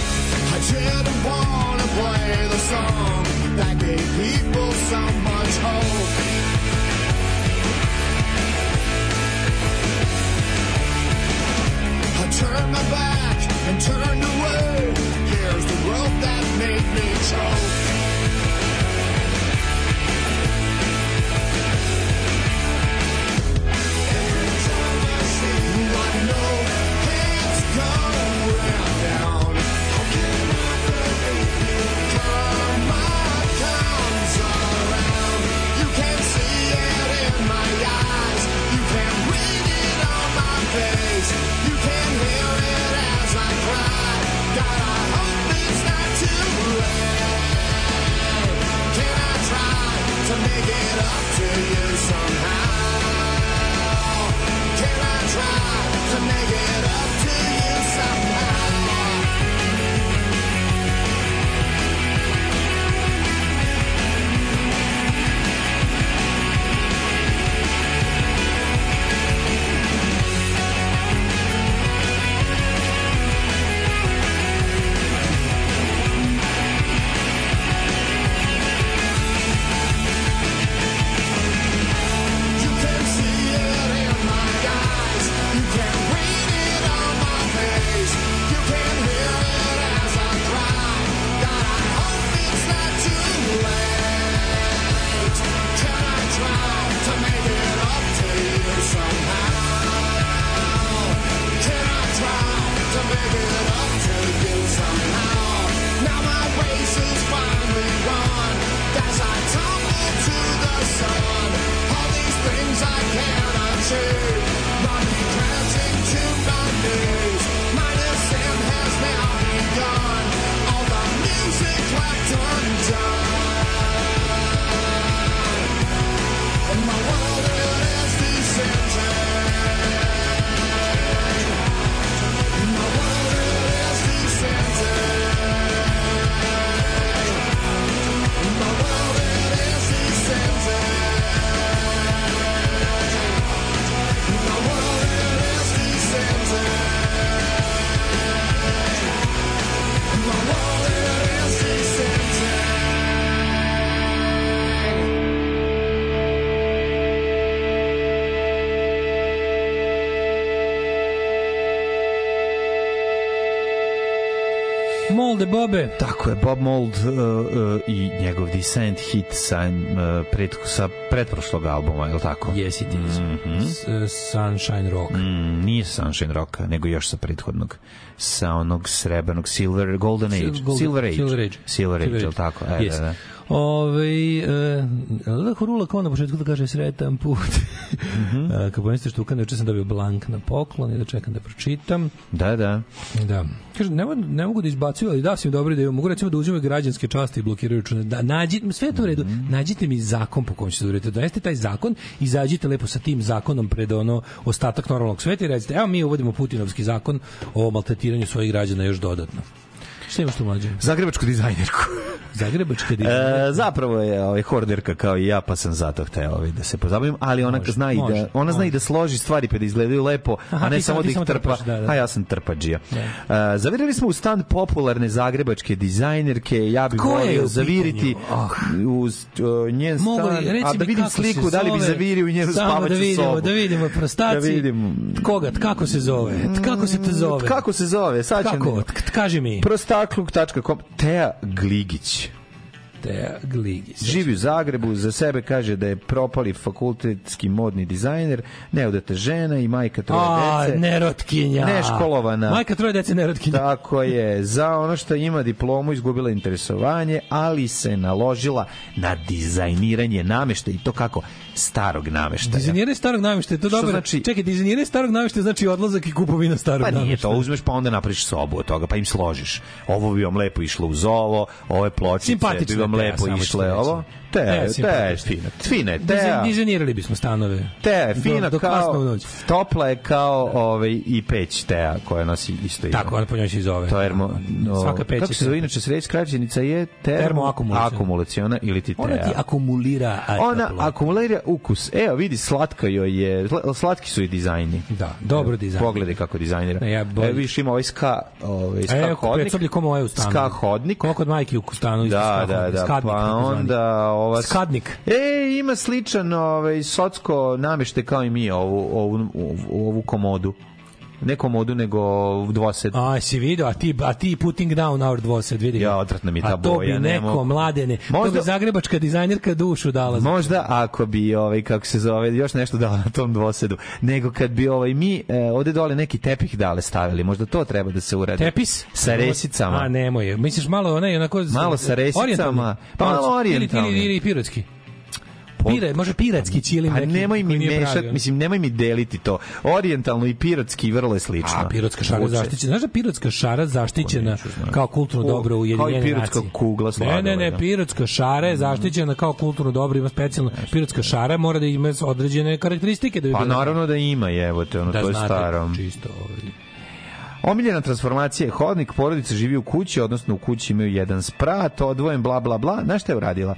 Speaker 1: Didn't wanna play the song that gave people so much hope. I turned my back and turned away. Here's the rope that made me choke. Every time I see you, I know it's going down. How can I believe you? Karma comes around. You can see it in my eyes. You can read it on my face. You can hear it as I cry. God, I hope it's not too late. Can I try to make it up to you somehow? Can I try to make it up to you somehow? I
Speaker 5: pa-
Speaker 7: Bobe.
Speaker 5: Tako je, Bob Mold uh, uh, i njegov Descent hit sa, uh, pred, sa pretprošlog albuma, je li tako? Mhm.
Speaker 7: Yes, it is. Mm -hmm. Sunshine Rock.
Speaker 5: Mm, nije Sunshine Rocka, nego još sa prethodnog. Sa onog srebrnog Silver, Golden Age.
Speaker 7: Golden-
Speaker 5: Silver Age.
Speaker 7: Silver Age.
Speaker 5: Silver Age, je li tako? E,
Speaker 7: Yes.
Speaker 5: da, da.
Speaker 7: Ove, e, da Horula kao na početku da kaže sretan put. Mm
Speaker 5: Mhm.
Speaker 7: -hmm. Kako mislite što ukane, sam dobio blank na poklon i da čekam da pročitam.
Speaker 5: Da, da.
Speaker 7: Da. Kaže, ne, mogu- ne mogu da izbacuju, ali da sam dobro da mogu recimo da uzimaju građanske časti i blokiraju račune. Da, nađi, sve je to u redu.
Speaker 5: Mhm.
Speaker 7: Nađite mi zakon po kom ćete da uradite. Donesite taj zakon, izađite lepo sa tim zakonom pred ono ostatak normalnog sveta i recite, evo mi uvodimo Putinovski zakon o maltretiranju svojih građana još dodatno. Šta imaš tu mlađe?
Speaker 5: Zagrebačku dizajnerku.
Speaker 7: Zagrebačka dizajnerka.
Speaker 5: E, zapravo je ovaj horderka kao i ja, pa sam zato hteo ovaj da se pozabavim, ali ona
Speaker 7: Može,
Speaker 5: zna i
Speaker 7: može,
Speaker 5: da ona zna i da složi stvari pa da izgledaju lepo,
Speaker 7: Aha,
Speaker 5: a ne
Speaker 7: ti
Speaker 5: samo
Speaker 7: samo-
Speaker 5: da
Speaker 7: ti
Speaker 5: ih
Speaker 7: samo
Speaker 5: trpa.
Speaker 7: trpaš, da, da.
Speaker 5: A ja sam trpađija. E, zavirali smo u stan popularne zagrebačke dizajnerke, ja bih
Speaker 7: Ko je u
Speaker 5: volio
Speaker 7: pitanju?
Speaker 5: zaviriti
Speaker 7: Ah.
Speaker 5: u e, njen stan,
Speaker 7: Mogu li, reci
Speaker 5: a da
Speaker 7: mi
Speaker 5: vidim
Speaker 7: kako
Speaker 5: sliku
Speaker 7: se
Speaker 5: da li bi
Speaker 7: zove,
Speaker 5: zavirio u njenu
Speaker 7: samo
Speaker 5: spavaću
Speaker 7: da vidimo,
Speaker 5: sobu.
Speaker 7: Da vidimo, prostaci.
Speaker 5: Da vidim. Mm,
Speaker 7: Koga, kako se zove? Kako se to zove?
Speaker 5: Kako se zove? Sad ćemo-
Speaker 7: Kako? Tk- Kaži mi.
Speaker 5: prostakluk.com Teja Gligić.
Speaker 7: Teja Gligić.
Speaker 5: Živi u Zagrebu, za sebe kaže da je propali fakultetski modni dizajner, neodete žena i majka troje
Speaker 7: A,
Speaker 5: dece.
Speaker 7: nerotkinja.
Speaker 5: Neškolovana.
Speaker 7: Majka troje dece nerotkinja.
Speaker 5: Tako je, za ono što ima diplomu izgubila interesovanje, ali se naložila na dizajniranje nameštaja i to kako starog nameštaja.
Speaker 7: Dizajniranje starog namještaja, to dobro.
Speaker 5: znači-
Speaker 7: Čekaj, dizajniranje starog namještaja znači odlazak i kupovina starog
Speaker 5: Pa nije
Speaker 7: namještaja.
Speaker 5: to, uzmeš pa onda napraviš sobu od toga, pa im složiš. Ovo bi vam lepo išlo uz ovo, ove pločice
Speaker 7: Simpatično
Speaker 5: bi vam
Speaker 7: je Teja,
Speaker 5: lepo
Speaker 7: samo ću ti
Speaker 5: išle
Speaker 7: reći.
Speaker 5: ovo. Te,
Speaker 7: Teja je
Speaker 5: te, te,
Speaker 7: simpatična.
Speaker 5: fina. Fina je
Speaker 7: Dizaj-
Speaker 5: Teja.
Speaker 7: Dizajnirali bismo stanove.
Speaker 5: Teja je
Speaker 7: Do-
Speaker 5: fina
Speaker 7: do
Speaker 5: kao,
Speaker 7: kasno u noć.
Speaker 5: topla je kao ovaj, i peć Teja koja nosi isto ime.
Speaker 7: Tako, ona po njoj se i zove.
Speaker 5: To je ermo, no,
Speaker 7: Svaka peć
Speaker 5: Kako
Speaker 7: je
Speaker 5: se
Speaker 7: Teja.
Speaker 5: zove inače sreć, skraćenica je termo,
Speaker 7: Termoakumulaciona.
Speaker 5: akumulaciona ili ti
Speaker 7: Ona
Speaker 5: Teja.
Speaker 7: ti akumulira a,
Speaker 5: Ona
Speaker 7: toplo.
Speaker 5: akumulira ukus. Evo, vidi, slatka joj je, sla- slatki su i dizajni.
Speaker 7: Da, dobro dizajn.
Speaker 5: Pogledaj kako dizajnira.
Speaker 7: Ne, ja bolj-
Speaker 5: Evo, viš ima ovaj ska, ovaj, ska
Speaker 7: E,
Speaker 5: hodnik.
Speaker 7: pet soblje ko moje u stanu.
Speaker 5: Ska hodnik.
Speaker 7: Kako kod majke u stanu. isto
Speaker 5: Da,
Speaker 7: ska
Speaker 5: da,
Speaker 7: hodnik,
Speaker 5: da.
Speaker 7: skadnik
Speaker 5: pa
Speaker 7: takozvani.
Speaker 5: onda ova
Speaker 7: Skadnik.
Speaker 5: E, ima sličan ovaj socko namešte kao i mi ovu ovu ovu, ovu komodu. Ne komodu nego dvosed.
Speaker 7: A, si vidio, a ti, a ti putting down our dvosed, vidi. ga.
Speaker 5: Ja, odvratna mi ta
Speaker 7: A to
Speaker 5: boja,
Speaker 7: bi
Speaker 5: ne
Speaker 7: neko,
Speaker 5: mogu.
Speaker 7: mladene, to
Speaker 5: Možda-
Speaker 7: bi zagrebačka dizajnerka dušu dala. za-
Speaker 5: Možda ako bi ovaj kako se zove još nešto dao na tom dvosedu, nego kad bi ovaj mi e, ovde dole neki tepih dale stavili, možda to treba da se uradi.
Speaker 7: Tepis?
Speaker 5: sa resicama.
Speaker 7: A, nemoj. je. Misliš malo onaj, onako...
Speaker 5: Malo sa resicama.
Speaker 7: orijentalni?
Speaker 5: Pa malo
Speaker 7: Ili-
Speaker 5: orijentalni.
Speaker 7: Ili, ili, ili pirotski.
Speaker 5: Po-
Speaker 7: Pire, može piratski ćilim
Speaker 5: Pa
Speaker 7: neki
Speaker 5: nemoj mi
Speaker 7: koji nije ono.
Speaker 5: mešati,
Speaker 7: pravio.
Speaker 5: mislim nemoj mi deliti to. Orientalno i pirotski vrlo je slično.
Speaker 7: A pirotska šara
Speaker 5: Vuče.
Speaker 7: zaštićena. Znaš da pirotska
Speaker 5: Pa
Speaker 7: šara zaštićena kao kulturno
Speaker 5: Kul-
Speaker 7: dobro u
Speaker 5: kao i
Speaker 7: Ujedinjenoj
Speaker 5: pirotska kugla Mm.
Speaker 7: Ne, ne,
Speaker 5: sladoleda.
Speaker 7: ne, pirotska šara je zaštićena kao kulturno dobro, ima specijalno. Pirotska šara mora da ima određene karakteristike da bi
Speaker 5: Pa
Speaker 7: bila-
Speaker 5: naravno da ima, evo te, ono,
Speaker 7: da
Speaker 5: to je
Speaker 7: znate
Speaker 5: staro.
Speaker 7: Čisto, ovaj.
Speaker 5: Omiljena transformacija je hodnik, porodica živi u kući, odnosno u kući imaju jedan sprat, odvojen, bla, bla, bla. Znaš šta je uradila?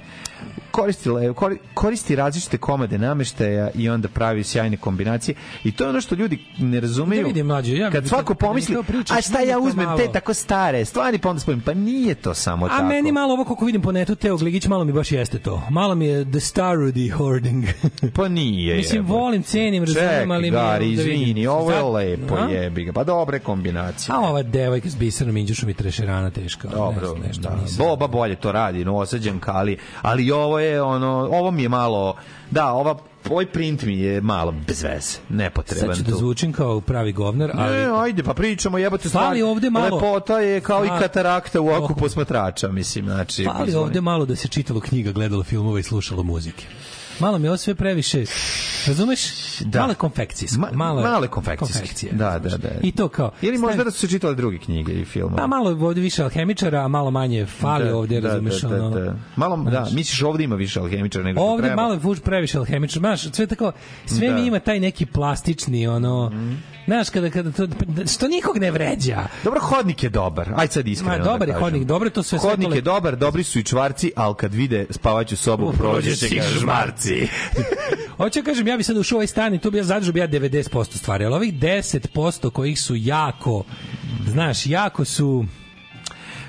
Speaker 5: Koristila je, kori- koristi različite komade nameštaja i onda pravi sjajne kombinacije. I to je ono što ljudi ne razumeju.
Speaker 7: Da vidim, mlađe, ja bi-
Speaker 5: kad svako
Speaker 7: kad- kad mi
Speaker 5: pomisli,
Speaker 7: to pričaš,
Speaker 5: a šta
Speaker 7: meni
Speaker 5: ja
Speaker 7: to
Speaker 5: uzmem te
Speaker 7: malo."
Speaker 5: tako stare stvari, pa onda spojim, pa nije to samo
Speaker 7: A
Speaker 5: tako.
Speaker 7: meni malo ovo kako vidim po netu Teo Gligić malo mi baš jeste to. Malo mi je the starody hoarding.
Speaker 5: Pa nije,
Speaker 7: Mislim
Speaker 5: jebote.
Speaker 7: volim, cenim, razumem, ali
Speaker 5: Čekaj,
Speaker 7: mi je,
Speaker 5: Gari,
Speaker 7: da vidim.
Speaker 5: izvini, ovo je
Speaker 7: Sad-
Speaker 5: lepo,
Speaker 7: A?
Speaker 5: jebi ga. Pa dobre kombinacije.
Speaker 7: A ova devojka s biserom Inđušom i trešerana teška.
Speaker 5: Dobro,
Speaker 7: ne, nešto
Speaker 5: da.
Speaker 7: nisam.
Speaker 5: Boba bolje to radi, Novosađanka, ali, ali ovo je ono, ovo mi je malo, da, ova, ovaj print mi je malo bez veze, nepotreban
Speaker 7: Sad ću da
Speaker 5: tu.
Speaker 7: zvučim kao pravi govnar, ali...
Speaker 5: Ne, ajde, pa pričamo, jebote
Speaker 7: Fali ovde malo-
Speaker 5: Lepota je kao i
Speaker 7: Fali-
Speaker 5: katarakta u oku
Speaker 7: Oku.
Speaker 5: posmatrača, mislim, znači.
Speaker 7: Fali
Speaker 5: izvoli.
Speaker 7: ovde malo da se čitalo knjiga, gledalo filmova i slušalo muzike. Malo mi je ovo sve previše, razumeš?
Speaker 5: Da.
Speaker 7: Male konfekcijsko.
Speaker 5: Ma-
Speaker 7: malo je-
Speaker 5: male konfekcijske.
Speaker 7: konfekcije,
Speaker 5: Da,
Speaker 7: razumeš?
Speaker 5: da, da.
Speaker 7: I to kao...
Speaker 5: Ili možda
Speaker 7: stavi-
Speaker 5: da su se čitale druge knjige i filmove.
Speaker 7: Pa malo ovde više alhemičara, a malo manje fali
Speaker 5: Da,
Speaker 7: ovde,
Speaker 5: da,
Speaker 7: razumeš?
Speaker 5: da, da,
Speaker 7: ono.
Speaker 5: da. Malo, da,
Speaker 7: Znaš.
Speaker 5: misliš ovde ima više alhemičara nego što
Speaker 7: Ovde
Speaker 5: treba.
Speaker 7: malo je fuš previše alhemičar, znaš, sve tako, sve
Speaker 5: Da. Mhm.
Speaker 7: mi ima taj neki plastični, ono, znaš, kada, kada to, što nikog ne vređa.
Speaker 5: Dobro, hodnik je dobar. Aj sad iskreno.
Speaker 7: Ma, dobar
Speaker 5: da
Speaker 7: je
Speaker 5: kažem.
Speaker 7: hodnik, dobro je to sve- sve
Speaker 5: Hodnik
Speaker 7: to
Speaker 5: je
Speaker 7: lepo.
Speaker 5: dobar, dobri su i čvarci, ali kad vide spavaću sobu,
Speaker 7: U, prođe
Speaker 5: prođe će
Speaker 7: ti
Speaker 5: ga žmarci.
Speaker 7: Hoće da kažem, ja bi sad ušao u ovaj stan i tu bi ja zadržao bi ja 90% stvari, ali ovih 10% kojih su jako, znaš, jako su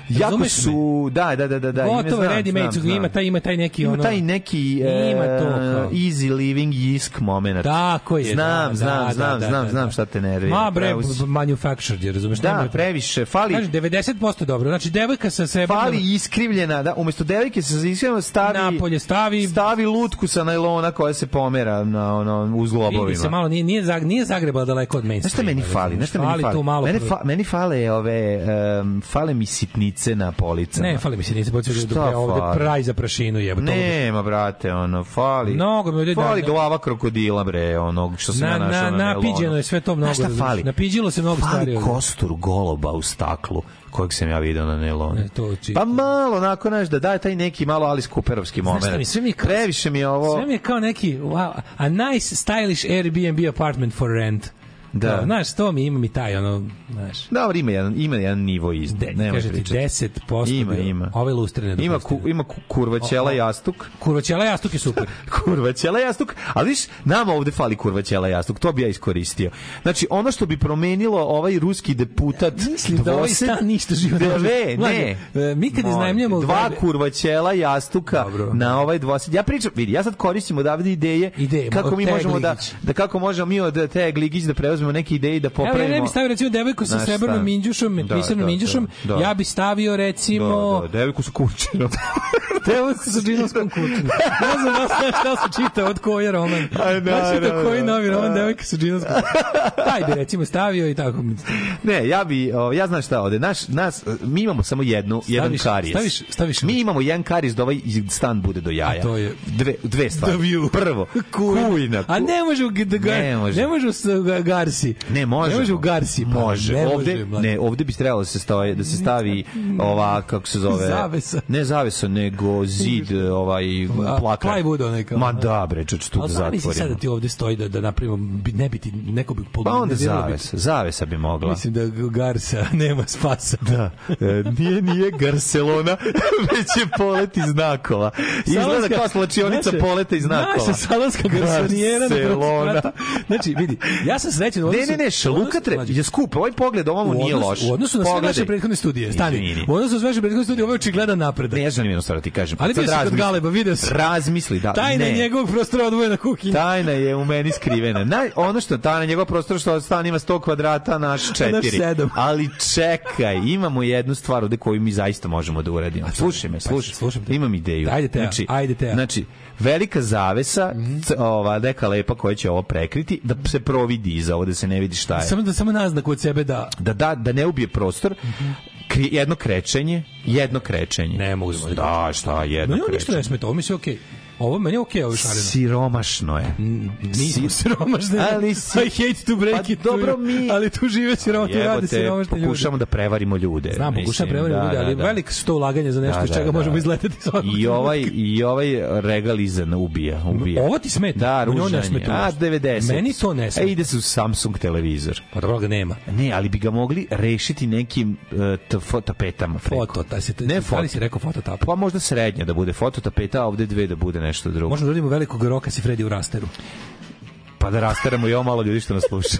Speaker 5: jako
Speaker 7: Razumeš
Speaker 5: su, da, da, da, da, da. ime
Speaker 7: Gotovo je
Speaker 5: znam,
Speaker 7: ready made,
Speaker 5: znam,
Speaker 7: ima
Speaker 5: znam.
Speaker 7: taj- ima taj neki
Speaker 5: ima
Speaker 7: ono-
Speaker 5: taj neki e,
Speaker 7: Ima to kao.
Speaker 5: easy living jisk moment.
Speaker 7: Tako je,
Speaker 5: Znam,
Speaker 7: da,
Speaker 5: znam,
Speaker 7: da,
Speaker 5: znam,
Speaker 7: da,
Speaker 5: znam,
Speaker 7: da,
Speaker 5: znam
Speaker 7: da.
Speaker 5: šta te nervira.
Speaker 7: Ma bre,
Speaker 5: pravo si.
Speaker 7: b- manufactured je, razumeš?
Speaker 5: Da,
Speaker 7: Nema-
Speaker 5: previše, fali-
Speaker 7: Kažem, 90% dobro. Znači, devojka sa srebrnom...
Speaker 5: fali iskrivljena, da, umesto devojke se iskrivljeno stavi
Speaker 7: Napolje stavi-
Speaker 5: stavi lutku sa najlona koja se pomera na ono uz
Speaker 7: Vidi se
Speaker 5: globovima.
Speaker 7: malo, nije, nije, Zag- nije Zagreba daleko od mainstreama.
Speaker 5: Znaš šta meni fali? Znaš šta meni fali?
Speaker 7: tu malo...
Speaker 5: meni, fa, meni fale ove, um, fale mi sitnice na policama.
Speaker 7: Ne, fali mi se, nisi počeo
Speaker 5: Šta
Speaker 7: da je ovde
Speaker 5: fali?
Speaker 7: praj za prašinu jebote.
Speaker 5: Nema, brate, ono, fali.
Speaker 7: Mnogo mi ovdje
Speaker 5: Fali
Speaker 7: da-
Speaker 5: glava krokodila, bre, onog što sam
Speaker 7: Na-
Speaker 5: ja našao na,
Speaker 7: na-
Speaker 5: nailonu.
Speaker 7: napiđeno je sve to mnogo,
Speaker 5: Znaš
Speaker 7: razumeš?
Speaker 5: šta fali?
Speaker 7: Napiđilo se mnogo
Speaker 5: fali
Speaker 7: stvari ono. ovdje.
Speaker 5: kostur goloba u staklu kojeg sam ja video na nailonu.
Speaker 7: Ne, to či-
Speaker 5: Pa malo, onako, znaš, da daje taj neki malo Alice Cooperovski
Speaker 7: Znaš
Speaker 5: moment.
Speaker 7: šta mi, sve mi je kao-
Speaker 5: Previše mi je ovo...
Speaker 7: Sve mi je kao neki, wow, a nice stylish Airbnb apartment for rent.
Speaker 5: Da.
Speaker 7: Kao, Znaš, to mi imam i taj, ono, znaš.
Speaker 5: Dobro, ima jedan, ima jedan nivo iznad.
Speaker 7: De,
Speaker 5: nemoj
Speaker 7: kaže ti
Speaker 5: pričati.
Speaker 7: 10%
Speaker 5: Ima,
Speaker 7: bio.
Speaker 5: ima.
Speaker 7: Ove lustrene
Speaker 5: Ima, ku, ima ku- kurva ćela
Speaker 7: O, o.
Speaker 5: jastuk.
Speaker 7: Kurvaćela jastuk je super.
Speaker 5: kurva ćela jastuk, ali viš, nama ovde fali kurva ćela jastuk, to bi ja iskoristio. Znači, ono što bi promenilo ovaj ruski deputat
Speaker 7: Mislim da ovaj
Speaker 5: dvosed-
Speaker 7: stan ništa živo ne
Speaker 5: Ne,
Speaker 7: može.
Speaker 5: ne,
Speaker 7: Mlađe, e, mi kad
Speaker 5: Molim,
Speaker 7: iznajmljujemo
Speaker 5: Dva
Speaker 7: zgrade-
Speaker 5: kurva ćela jastuka na ovaj dvosed. Ja pričam, vidi, ja sad koristim odavde ideje,
Speaker 7: Ideje,
Speaker 5: kako
Speaker 7: od
Speaker 5: mi
Speaker 7: Teje
Speaker 5: možemo da,
Speaker 7: Gligić.
Speaker 5: da kako možemo mi od te Gligić da preuzmemo neke ideje i da
Speaker 7: Evo,
Speaker 5: popravimo.
Speaker 7: ja ne bi stavio recimo devojku sa
Speaker 5: Znaš šta?
Speaker 7: srebrnom minđušom,
Speaker 5: Da,
Speaker 7: pisanom
Speaker 5: da,
Speaker 7: minđušom,
Speaker 5: da, da.
Speaker 7: ja bi stavio recimo...
Speaker 5: Da, da, devojku sa kurčinom.
Speaker 7: Devojku sa džinovskom kućom. Ne znam da sam šta se čita, od koji je roman.
Speaker 5: Aj, da,
Speaker 7: Da,
Speaker 5: da,
Speaker 7: čita koji
Speaker 5: da.
Speaker 7: novi roman, devojka sa džinovskom kućom. Taj bi recimo stavio i tako.
Speaker 5: Ne, ja bi, o, ja znam šta ovde, naš, nas, mi imamo samo jednu, jedan karijes.
Speaker 7: staviš- staviš- ono-
Speaker 5: mi imamo jedan karijes da ovaj stan bude do jaja.
Speaker 7: A to je-
Speaker 5: Dve, dve stvari.
Speaker 7: The view.
Speaker 5: Prvo, kujna.
Speaker 7: A ne može u, g- da ga,
Speaker 5: Ne
Speaker 7: ne
Speaker 5: može.
Speaker 7: može. Ne može u s- ga- Garsi.
Speaker 5: Ne, može. ono.
Speaker 7: Ne može u Garsi. pa,
Speaker 5: Može.
Speaker 7: Ne može,
Speaker 5: ovde,
Speaker 7: mlađe.
Speaker 5: ne, ovde bi trebalo da se stavi, da se stavi ova, kako se zove...
Speaker 7: Zavesa.
Speaker 5: Ne zavesa, nego zid, ovaj,
Speaker 7: A,
Speaker 5: plakar.
Speaker 7: plywood onaj kao.
Speaker 5: Ma da, bre, čo ću tu da
Speaker 7: Ali zamisli sad da
Speaker 5: zatvorimo.
Speaker 7: ti ovde stoji da, da napravimo, bi- ne bi ti, neko bi
Speaker 5: Pa onda
Speaker 7: poludeo, bi-
Speaker 5: zavesa, zavesa bi mogla.
Speaker 7: Mislim da Garsa nema spasa.
Speaker 5: Da, e, nije nije Barcelona, već je polet iz znakova. Izgleda kao slačionica
Speaker 7: naša-
Speaker 5: poleta iz znakova.
Speaker 7: Naša salonska garsonijera.
Speaker 5: Barcelona.
Speaker 7: Barcelona. Znači, vidi, ja sam srećen. u
Speaker 5: Ne,
Speaker 7: odnosu-
Speaker 5: ne, ne, šaluka tre, je skup, ovaj pogled ovamo
Speaker 7: u
Speaker 5: nije
Speaker 7: odnosu-
Speaker 5: loš.
Speaker 7: U odnosu na sve
Speaker 5: Pogledaj.
Speaker 7: naše prethodne studije,
Speaker 5: Nije, nije,
Speaker 7: stani.
Speaker 5: nije.
Speaker 7: U odnosu na sve naše prethodne studije, ovo je očigledan napredak.
Speaker 5: Ne, ja želim jednu stvar da ti kažem.
Speaker 7: Ali
Speaker 5: Sad
Speaker 7: bio si kod
Speaker 5: razmisli.
Speaker 7: Galeba, video si.
Speaker 5: Razmisli, da.
Speaker 7: Tajna
Speaker 5: ne.
Speaker 7: je njegovog prostora odvojena kuhinja.
Speaker 5: Tajna je u meni skrivena. Na, ono što tajna njegov prostor što stan ima 100 kvadrata, naš 4.
Speaker 7: sedam.
Speaker 5: Ali čekaj, imamo jednu stvar ovde koju mi zaista možemo da uradimo. Slušaj me, slušaj.
Speaker 7: pa slušam te.
Speaker 5: imam ideju.
Speaker 7: Ajde, Teja, ajde, Teja. Mhm.
Speaker 5: Znači, velika zavesa, c- ova neka lepa koja će ovo prekriti, da se providi iza ovo, da se ne vidi šta je.
Speaker 7: Samo da samo naznaku od sebe da
Speaker 5: Da, da, da ne ubije prostor,
Speaker 7: Mhm.
Speaker 5: Kri- jedno krećenje, jedno krećenje. Ne mogu da Da, šta, jedno
Speaker 7: Meni ovo ništa
Speaker 5: krećenje.
Speaker 7: ne smeta, ovo mi se okej. Ovo meni je okej, ovo šareno.
Speaker 5: Siromašno je.
Speaker 7: Nismo siromašni.
Speaker 5: Ali si-
Speaker 7: I hate to break
Speaker 5: Pa
Speaker 7: it.
Speaker 5: dobro,
Speaker 7: tu-
Speaker 5: mi-
Speaker 7: Ali tu žive siromašni, rade
Speaker 5: Jebote,
Speaker 7: siromašni ljudi.
Speaker 5: pokušamo da prevarimo ljude.
Speaker 7: Znam, pokušam
Speaker 5: mislim,
Speaker 7: prevariti
Speaker 5: da,
Speaker 7: ljude,
Speaker 5: da,
Speaker 7: ali
Speaker 5: da.
Speaker 7: velik sto ulaganja za nešto
Speaker 5: Da,
Speaker 7: iz
Speaker 5: da,
Speaker 7: čega
Speaker 5: da.
Speaker 7: možemo izleteti svakog
Speaker 5: I ovaj, I ovaj regalizan ubija. ubija.
Speaker 7: Ovo ti smeta?
Speaker 5: Da,
Speaker 7: Meni ovo ne
Speaker 5: ružan je.
Speaker 7: smeta
Speaker 5: A,
Speaker 7: uopšte.
Speaker 5: 90.
Speaker 7: Meni to ne smeta.
Speaker 5: E, ide se u Samsung televizor.
Speaker 7: Pa dobro ga nema.
Speaker 5: Ne, ali bi ga mogli rešiti nekim uh, tf- tapetama. preko.
Speaker 7: Foto, taj se,
Speaker 5: Ne
Speaker 7: ne
Speaker 5: foto.
Speaker 7: foto. si rekao foto tap?
Speaker 5: Pa možda srednja da bude fototapeta, a ovde dve da bude nešto drugo.
Speaker 7: Možemo da uradimo velikog roka si Fredi u rasteru.
Speaker 5: Pa da rasteramo i ovo malo ljudi što nas sluša.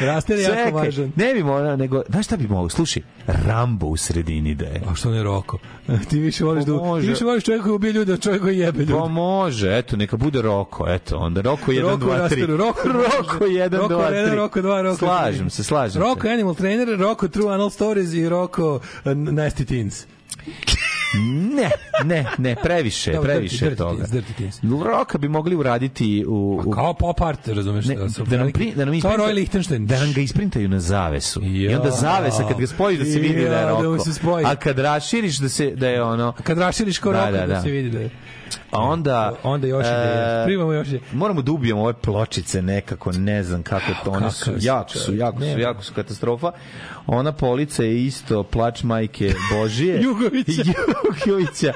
Speaker 7: Raster je jako važan.
Speaker 5: ne bi morao, nego, znaš šta bi mogao? Slušaj, Rambo u sredini da je.
Speaker 7: A Pa što ne roko? Ti više voliš,
Speaker 5: Pa
Speaker 7: da,
Speaker 5: može.
Speaker 7: ti više voliš čovjeka koji ubije ljude od čovjeka koji jebe ljude.
Speaker 5: Pa može, eto, neka bude Roko, eto, onda Roko 1,
Speaker 7: Roko u
Speaker 5: 2, 3.
Speaker 7: rasteru, Roko može.
Speaker 5: Roko 1, 2, 3.
Speaker 7: Roko jedan, Roko dva, Roko tri.
Speaker 5: Slažem se, slažem
Speaker 7: Roko
Speaker 5: se.
Speaker 7: Animal Trainer, Roko True Anal Stories i Roko uh, Nasty Teens.
Speaker 5: Ne, ne, ne, previše,
Speaker 7: Dobro,
Speaker 5: previše
Speaker 7: dirty, dirty
Speaker 5: toga.
Speaker 7: teens, dirty teens.
Speaker 5: Roka bi mogli uraditi u... u
Speaker 7: Pa Kao pop art, razumeš?
Speaker 5: Ne,
Speaker 7: su
Speaker 5: da nam,
Speaker 7: veliki-
Speaker 5: pri, da nam
Speaker 7: Kao
Speaker 5: isprintaju-
Speaker 7: Roy Lichtenstein.
Speaker 5: da nam ga isprintaju na zavesu. I onda
Speaker 7: Ja.
Speaker 5: zavesa kad ga spojiš da se vidi da je
Speaker 7: Ja, da
Speaker 5: Roko.
Speaker 7: mu se spoji.
Speaker 5: A kad raširiš da se da je ono
Speaker 7: Kad raširiš kao
Speaker 5: Da,
Speaker 7: Roko,
Speaker 5: da,
Speaker 7: da,
Speaker 5: da.
Speaker 7: se vidi da je.
Speaker 5: a onda
Speaker 7: Onda još ideje.
Speaker 5: e,
Speaker 7: Primamo još ideje.
Speaker 5: Moramo da ubijemo ove pločice nekako, ne znam kako to, one su
Speaker 7: kakav si
Speaker 5: jako su,
Speaker 7: čovjek,
Speaker 5: jako su,
Speaker 7: nema.
Speaker 5: jako su katastrofa. Ona polica je isto plač majke Božije.
Speaker 7: Jugovića.
Speaker 5: Jugovića.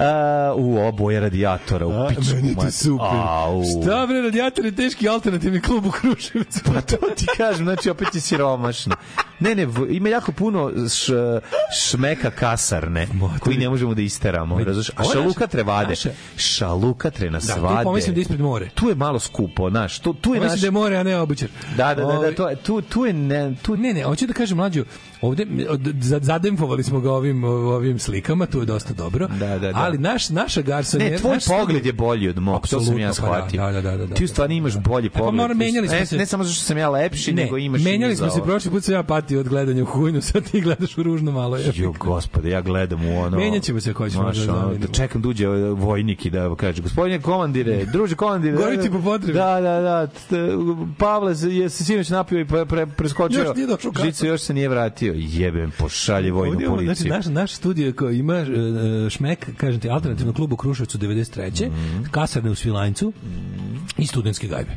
Speaker 5: A, u oboje radijatora, u pičku.
Speaker 7: meni je to
Speaker 5: mater-
Speaker 7: super.
Speaker 5: Au.
Speaker 7: Šta bre, radijator je teški alternativni klub u Kruševcu.
Speaker 5: Pa to ti kažem, znači opet je siromašno. Ne, ne, v- ima jako puno š, šmeka kasarne koji ne možemo da isteramo. Razumeš? A
Speaker 7: Ovo je
Speaker 5: šaluka
Speaker 7: naša-
Speaker 5: tre vade.
Speaker 7: naša-
Speaker 5: Šaluka tre nas
Speaker 7: Da, tu
Speaker 5: vade.
Speaker 7: pomislim da je ispred more.
Speaker 5: Tu je malo skupo, znaš. Tu, tu je
Speaker 7: Mislim
Speaker 5: naš...
Speaker 7: da je more, a ne obućar.
Speaker 5: Da, da, da, da,
Speaker 7: Ovaj-
Speaker 5: to, je- tu, tu je... Ne, tu...
Speaker 7: Ne, ne, hoću da kažem mlađu, ovde d- za- zadempovali smo ga ovim ovim slikama, tu je dosta dobro. Da,
Speaker 5: da.
Speaker 7: Ali naš naša garsonjera,
Speaker 5: Ne, tvoj
Speaker 7: naš-
Speaker 5: pogled je bolji od mog, to sam
Speaker 7: Apsolutno,
Speaker 5: ja
Speaker 7: pa
Speaker 5: shvatio.
Speaker 7: da, da, da, da, da.
Speaker 5: Ti u stvari imaš bolji
Speaker 7: pa
Speaker 5: pogled.
Speaker 7: moram, menjali smo
Speaker 5: ne,
Speaker 7: se.
Speaker 5: Ne samo zato što sam ja lepši, nego imaš i
Speaker 7: menjali
Speaker 5: mi za
Speaker 7: smo se
Speaker 5: ovo.
Speaker 7: prošli put sam ja patio od gledanja u hujnu, sad ti gledaš u ružno malo. Je.
Speaker 5: Jo, gospode, ja gledam u ono...
Speaker 7: Menjat ćemo se ako hoćeš,
Speaker 5: Znaš,
Speaker 7: možda da
Speaker 5: ono, da
Speaker 7: zamenimo.
Speaker 5: čekam da uđe ovaj vojnik i da kaže, gospodine komandire, druže komandire...
Speaker 7: Gori
Speaker 5: da,
Speaker 7: ti po potrebi.
Speaker 5: Da, da, da. t- Pavle se- je se sinoć napio i pre, pre, preskočio.
Speaker 7: Još nije došao u kasu.
Speaker 5: Žicu još se nije vratio. Jebem, pošalje vojnu
Speaker 7: Ovdje, ono,
Speaker 5: policiju.
Speaker 7: znači, naš, naš studio koji ima e, šmek, kažem ti, alternativno klub u Kruševcu 93.
Speaker 5: Mhm.
Speaker 7: Kasarne u Svilanjcu i studentske gajbe.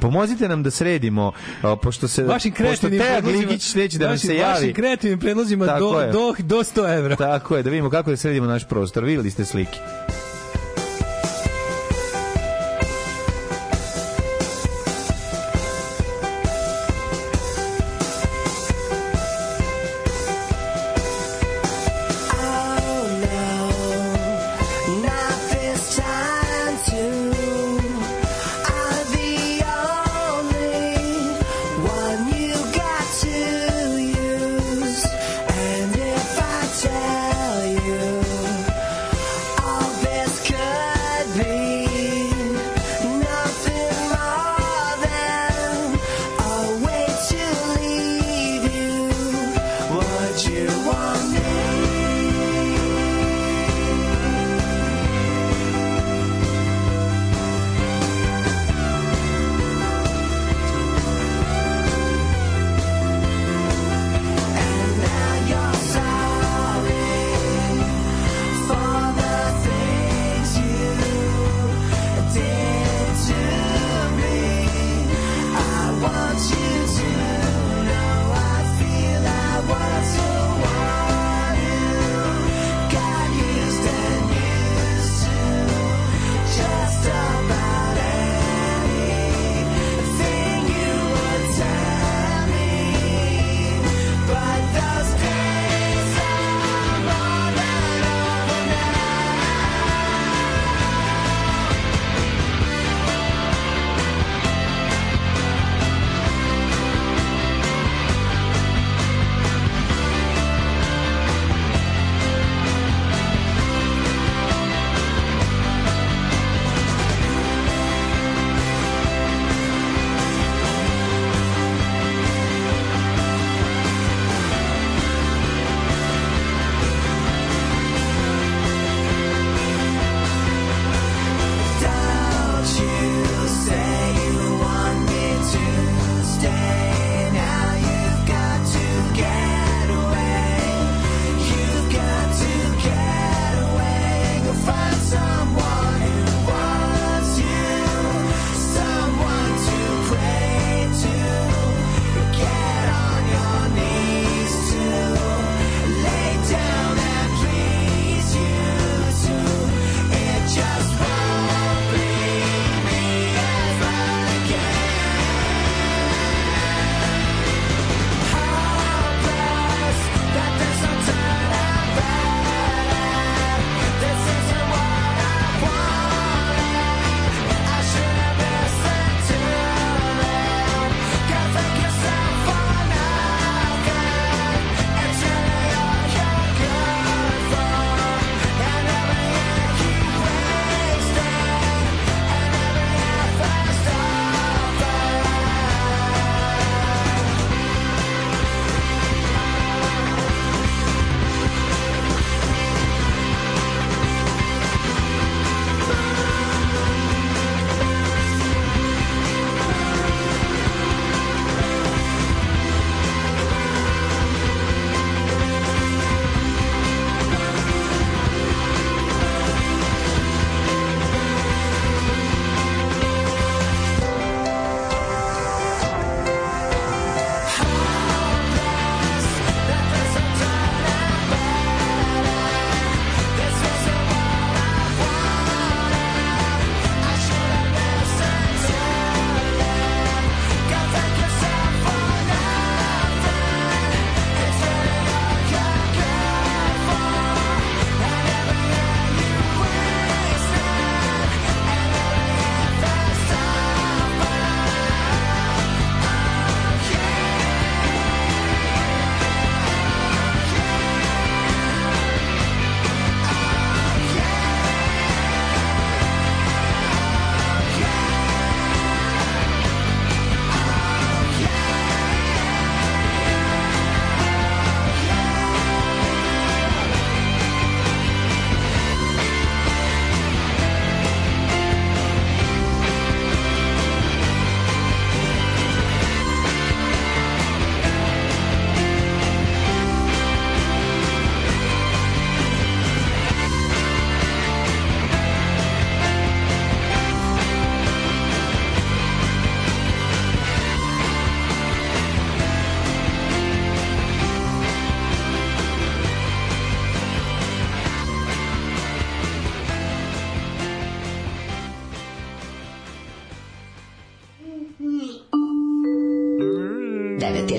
Speaker 5: Pomozite nam da sredimo, a, pošto se...
Speaker 7: Vašim
Speaker 5: pošto
Speaker 7: kreativnim
Speaker 5: Teja
Speaker 7: predlozima-
Speaker 5: Gligić neće da nam
Speaker 7: vašim-
Speaker 5: se javi.
Speaker 7: Vašim kreativnim predlozima
Speaker 5: Tako
Speaker 7: do,
Speaker 5: je.
Speaker 7: do, do 100 evra.
Speaker 5: Tako je, da vidimo kako da sredimo naš prostor. Videli ste slike.
Speaker 1: Tell you all this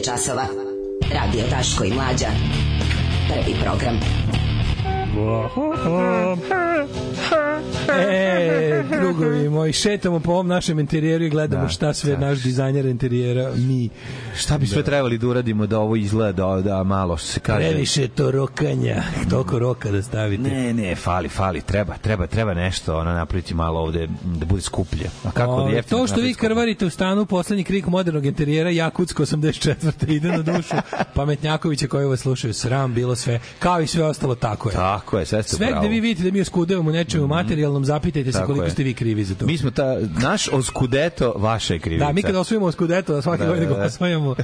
Speaker 4: časova. Radio Daško i Mlađa. Prvi program.
Speaker 7: E, drugovi moji, šetamo po ovom našem interijeru i gledamo da, šta sve naš dizajner interijera, mi.
Speaker 5: Šta bi sve trebali da uradimo da ovo izgleda, da malo što se kaže.
Speaker 7: Previše to rokanja, toliko roka da stavite.
Speaker 5: Ne, ne, fali, fali, treba, treba, treba nešto ono napraviti malo ovde da bude skuplje. A kako da
Speaker 7: Ove,
Speaker 5: jeftino
Speaker 7: Ovaj, To što vi
Speaker 5: napraviti skuplje?
Speaker 7: krvarite u stanu, poslednji krik modernog interijera, Jakutsko 84. ide na dušu pametnjakovića koji vas slušaju. Sram bilo sve, kao i sve ostalo, tako je.
Speaker 5: Tako je, sve ste
Speaker 7: Sve
Speaker 5: pravo.
Speaker 7: gde vi vidite da mi oskudevamo nečemu materijalnom, zapitajte se
Speaker 5: Tako
Speaker 7: koliko
Speaker 5: je.
Speaker 7: ste vi krivi za to.
Speaker 5: Mi smo ta, naš oskudeto, vaša je krivica.
Speaker 7: Da, mi kada osvojimo skudeto, svake
Speaker 5: Da,
Speaker 7: da, godine
Speaker 5: da,
Speaker 7: da,
Speaker 5: da.
Speaker 7: da. osvojimo,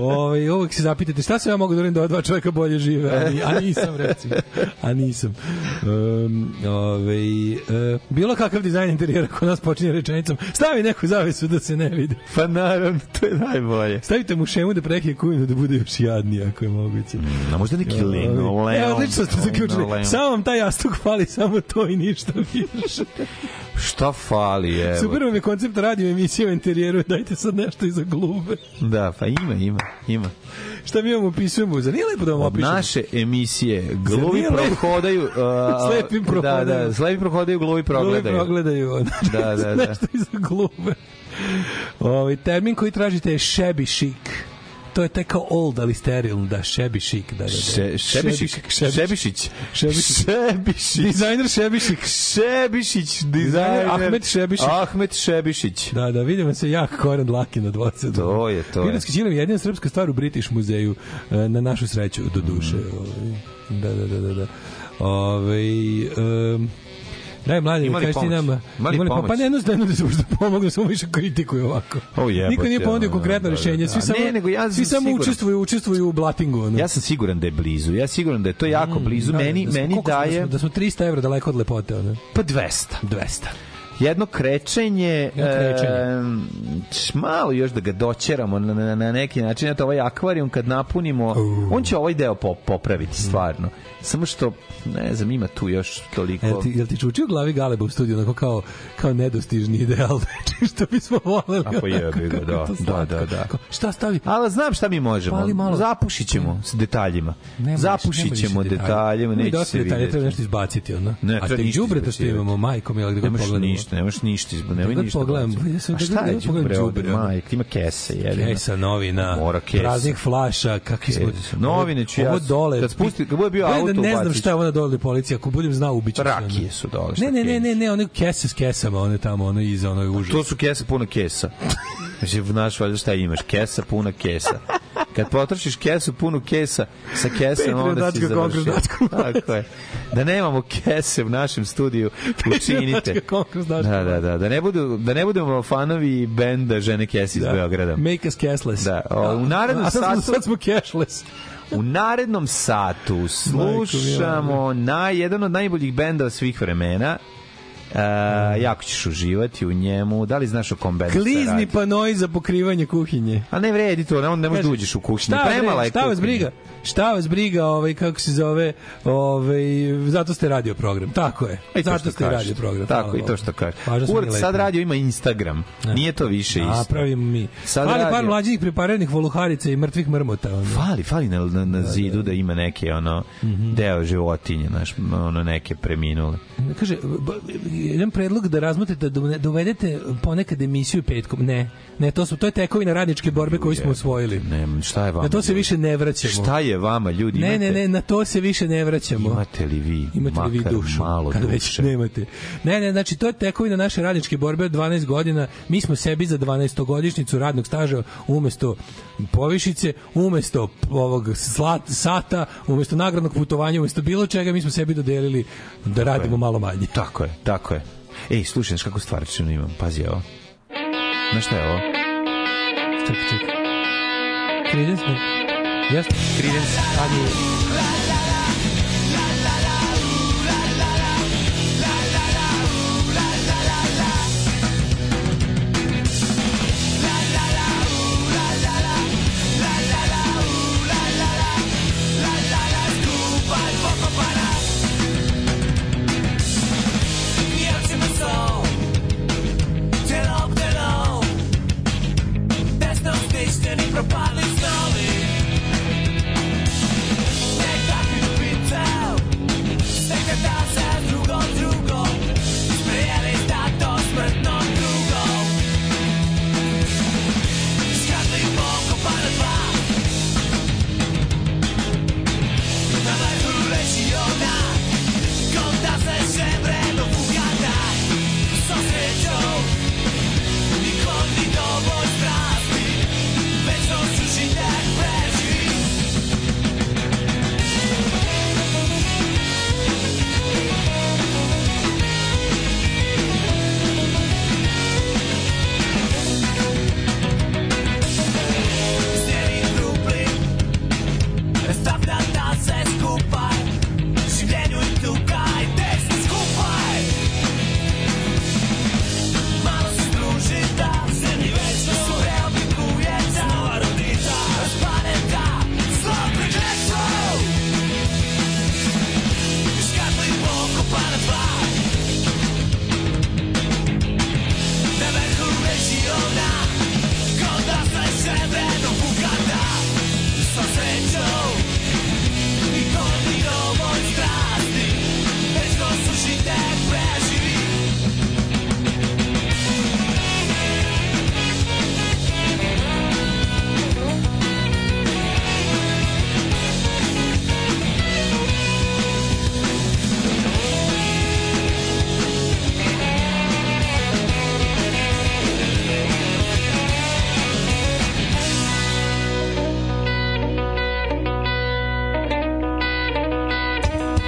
Speaker 7: ovaj, uvek se zapitate šta sam ja mogu da uradim da ova dva čovjeka bolje žive, a, ni- a nisam, recimo. A nisam. Um, ovaj, e, bilo kakav dizajn interijera kod nas počinje rečenicom, stavi neku zavesu da se ne vidi.
Speaker 5: Pa naravno, to je najbolje.
Speaker 7: Stavite mu šemu da prekije kujnu da bude još jadnije, ako je moguće.
Speaker 5: A možda neki linoleum.
Speaker 7: E, odlično ste zaključili.
Speaker 5: Linoleum.
Speaker 7: Samo vam taj jastuk fali, samo to i ništa više.
Speaker 5: Šta fali, evo.
Speaker 7: Super vam je koncept radio emisije o interijeru, dajte sad nešto iza glube.
Speaker 5: Da, pa ima, ima, ima.
Speaker 7: Šta mi vam opisujemo? Zar nije lepo da vam
Speaker 5: Od
Speaker 7: opišemo?
Speaker 5: naše emisije gluvi
Speaker 7: nije lepo?
Speaker 5: prohodaju... Uh,
Speaker 7: Slepi
Speaker 5: Da,
Speaker 7: prohodaju.
Speaker 5: da, slepi prohodaju, gluvi progledaju.
Speaker 7: Gluvi progledaju.
Speaker 5: Da, da, da.
Speaker 7: Nešto iza glube. Ovaj termin koji tražite je shabby chic. To je taj kao old, ali sterilno, da, shabby chic. Da, da, da.
Speaker 5: Še, šebišić.
Speaker 7: Shabby chic.
Speaker 5: Šebišić.
Speaker 7: Šebišić.
Speaker 5: Šebišić.
Speaker 7: Dizajner shabby chic.
Speaker 5: Šebišić, dizajner.
Speaker 7: Ahmet Šebišić.
Speaker 5: Ahmet Šebišić.
Speaker 7: Da, da, vidimo se jak koren laki na 20.
Speaker 5: To je, to je.
Speaker 7: Piratski ćilim je jedina srpska stvar u British muzeju, e, na našu sreću, do duše.
Speaker 5: Mhm.
Speaker 7: ovaj. Da, da, da, da. da. Ove, um, Daj, mladi,
Speaker 5: Ima li
Speaker 7: kaži ti
Speaker 5: pomoć?
Speaker 7: nama.
Speaker 5: Ima li
Speaker 7: Ima li- pa-
Speaker 5: pomoć?
Speaker 7: Pa ne jednostavno da se možda pomognu, samo više kritikuju ovako.
Speaker 5: O, jebote,
Speaker 7: Niko nije ponudio
Speaker 5: ono,
Speaker 7: konkretno
Speaker 5: da, da,
Speaker 7: rješenje.
Speaker 5: da.
Speaker 7: Svi samo,
Speaker 5: Ne, nego ja
Speaker 7: svi
Speaker 5: sam
Speaker 7: samo
Speaker 5: siguran.
Speaker 7: učestvuju, učestvuju u blatingu. Ono.
Speaker 5: Ja sam siguran da je blizu. Ja siguran da je to jako blizu.
Speaker 7: Mm, Da,
Speaker 5: meni
Speaker 7: da smo-
Speaker 5: meni
Speaker 7: koliko smo-
Speaker 5: daje
Speaker 7: Da smo, da smo 300 evra daleko od lepote. Ono.
Speaker 5: pa 200.
Speaker 7: 200.
Speaker 5: Jedno krećenje,
Speaker 7: Jedno krečenje.
Speaker 5: em, č- malo još da ga dočeramo na, na, na neki način. Eto, ovaj akvarijum kad napunimo, on će ovaj deo po, popraviti stvarno. Samo što, ne znam, ima tu još toliko...
Speaker 7: Jel ti, jel ti čuči u glavi Galeba u studiju, onako kao, kao nedostižni ideal, znači što bismo voleli.
Speaker 5: A pa jebi ga,
Speaker 7: Kako
Speaker 5: da,
Speaker 7: je to
Speaker 5: da,
Speaker 7: slatko.
Speaker 5: da, da.
Speaker 7: Šta stavi?
Speaker 5: Ali znam šta mi možemo.
Speaker 7: Pali malo.
Speaker 5: Zapušit ćemo s detaljima.
Speaker 7: Ne možeš- ne
Speaker 5: Zapušit
Speaker 7: možeš
Speaker 5: ćemo
Speaker 7: detalje.
Speaker 5: detaljima,
Speaker 7: Ima i
Speaker 5: neće
Speaker 7: dosta
Speaker 5: se
Speaker 7: detalja,
Speaker 5: vidjeti.
Speaker 7: Treba nešto izbaciti, ono.
Speaker 5: Ne,
Speaker 7: A
Speaker 5: treba
Speaker 7: te
Speaker 5: ništa
Speaker 7: džubreta što
Speaker 5: izbacivati.
Speaker 7: imamo, majkom, jel, da ga
Speaker 5: Nemaš
Speaker 7: pogledamo.
Speaker 5: ništa, nemaš ništa, izbo- nemoj
Speaker 7: Da ga
Speaker 5: ništa.
Speaker 7: pogledam,
Speaker 5: baciti.
Speaker 7: ja sam-
Speaker 5: A
Speaker 7: da ga-
Speaker 5: šta
Speaker 7: da
Speaker 5: je
Speaker 7: ga pogledam
Speaker 5: đubre ovde,
Speaker 7: đubre, ono.
Speaker 5: majk, ima kese, jedino.
Speaker 7: Kesa novina,
Speaker 5: Mora kesa.
Speaker 7: praznih flaša, kakvi smo...
Speaker 5: Kesa. Novine ću ja-
Speaker 7: Ovo dole...
Speaker 5: kad pusti- kad bude bio
Speaker 7: Gledaj
Speaker 5: auto,
Speaker 7: Da ne znam
Speaker 5: ubacit ću.
Speaker 7: šta je ovo na dole policiji, ako budem znao, ubiću se, ono.
Speaker 5: Rakije su dole, šta
Speaker 7: Ne, ne,
Speaker 5: kenjiš?
Speaker 7: ne, ne, ne, one kese s kesama, one tamo, ono iza, ono je užas.
Speaker 5: To su kese puna kesa. Znači, znaš valjda šta imaš, kesa puna kesa. Kad potrošiš kesu punu kesa sa kesem, onda si
Speaker 7: Patreon.com,
Speaker 5: završio.
Speaker 7: Patreon.com.
Speaker 5: Tako je. Da nemamo kese u našem studiju, učinite.
Speaker 7: Patreon.com, kroz naš
Speaker 5: Da, da, da. Da ne, budu, da ne budemo fanovi benda žene kese iz Beograda.
Speaker 7: Make us cashless.
Speaker 5: Da, o, u narednom
Speaker 7: A sad smo,
Speaker 5: satu-
Speaker 7: sad smo cashless.
Speaker 5: U narednom satu slušamo na jedan od najboljih benda svih vremena. E, jako ćeš uživati u njemu. Da li znaš o kom bendu se radi?
Speaker 7: Klizni panoji za pokrivanje kuhinje.
Speaker 5: A ne vredi to, ne, onda ne možeš da uđeš u kuhinju.
Speaker 7: Šta,
Speaker 5: Premala
Speaker 7: bre,
Speaker 5: je
Speaker 7: šta vas
Speaker 5: kuhinja.
Speaker 7: briga? Šta vas briga, ovaj, kako se zove, ovaj, zato ste radio program. Tako je.
Speaker 5: I to
Speaker 7: zato
Speaker 5: što
Speaker 7: ste
Speaker 5: kažeš.
Speaker 7: radio program.
Speaker 5: Tako,
Speaker 7: Hvala
Speaker 5: i to
Speaker 7: vam.
Speaker 5: što kaže.
Speaker 7: Važno smo
Speaker 5: Kurc,
Speaker 7: mi
Speaker 5: sad
Speaker 7: lepi.
Speaker 5: radio ima Instagram. Nije to više isto.
Speaker 7: Napravimo mi.
Speaker 5: Sad
Speaker 7: Sad Fali par
Speaker 5: radio.
Speaker 7: mlađih preparenih voluharica i mrtvih mrmota. Ono.
Speaker 5: Fali, fali na, na, na zidu da ima neke ono
Speaker 7: Mhm.
Speaker 5: deo životinje, znaš, ono neke preminule.
Speaker 7: Kaže, b- jedan predlog da razmotrite, da une- da uvedete ponekad emisiju petkom. Ne, ne, to, su, to je tekovina radničke borbe koju smo osvojili.
Speaker 5: Ne, šta je vama?
Speaker 7: Na to se
Speaker 5: ljudi?
Speaker 7: više ne vraćamo.
Speaker 5: Šta je vama, ljudi?
Speaker 7: Ne, ne,
Speaker 5: Imate-
Speaker 7: ne, na to se više ne vraćamo.
Speaker 5: Imate li vi
Speaker 7: imate li vi
Speaker 5: makar
Speaker 7: dušu,
Speaker 5: malo
Speaker 7: kad već
Speaker 5: duše?
Speaker 7: nemate. Ne, ne, znači to je tekovina naše radničke borbe od 12 godina. Mi smo sebi za 12-godišnjicu radnog staža umesto povišice, umesto ovog slat, sata, umesto nagradnog putovanja, umesto bilo čega, mi smo sebi dodelili da radimo malo manje.
Speaker 5: Tako je, tako je. Ej, slušaj, znaš kako stvarčinu imam, pazi ovo. Znaš šta je ovo?
Speaker 7: Ček, ček. Credence, ne? Jeste? Credence. A nije.
Speaker 1: There's no station in properly snowing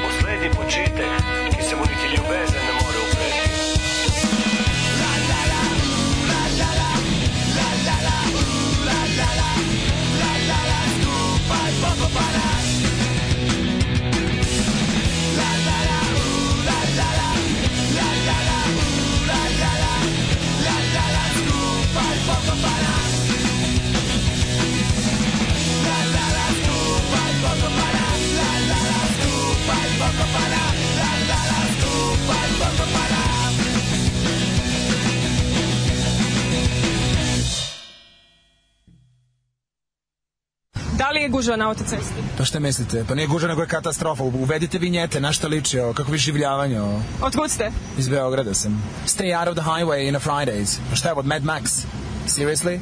Speaker 1: Osledi počitek, ki se voditi ljubezen ne more upreti.
Speaker 22: Da li je gužva na autocesti?
Speaker 23: Pa šta mislite? Pa nije gužva, nego je katastrofa. Uvedite vinjete, na šta liči ovo, kako vi življavanje ovo.
Speaker 22: Otkud ste?
Speaker 23: Iz Beograda sam. Stay out of the highway in a Fridays. Pa šta je od Mad Max? Seriously?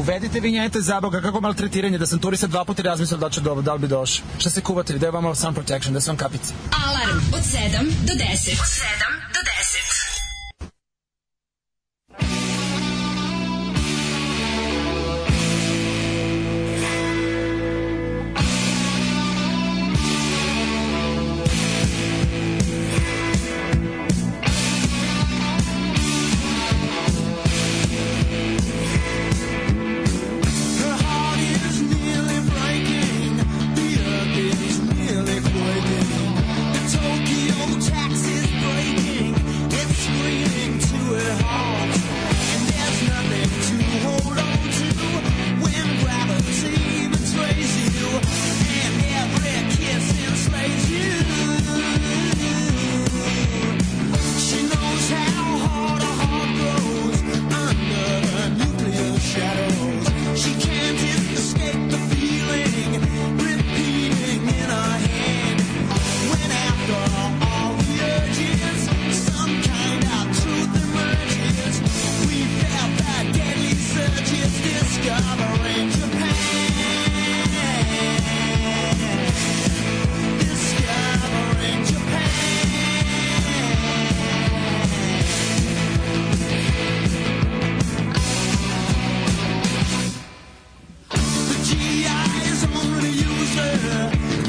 Speaker 23: Uvedite vinjete za Boga, kako maltretiranje, da sam turista dva puta razmislio da, ću do, da li bi došao. Šta se kuvate, da je vam sun protection, da su vam kapice.
Speaker 4: Alarm od 7 do 10. Od 7 do 10.
Speaker 1: Her heart is nearly breaking, the earth is nearly quaking. The Tokyo tax is breaking, it's screaming to her heart. And there's nothing to hold on to when gravity betrays you, and every kiss enslaves you. She knows how hard a heart goes under the nuclear shadows. She can't escape the feeling repeating in her head. When after all the urges, some kind of truth emerges. We felt that deadly surges discovering Japan. Discovering Japan. The GIs only use her.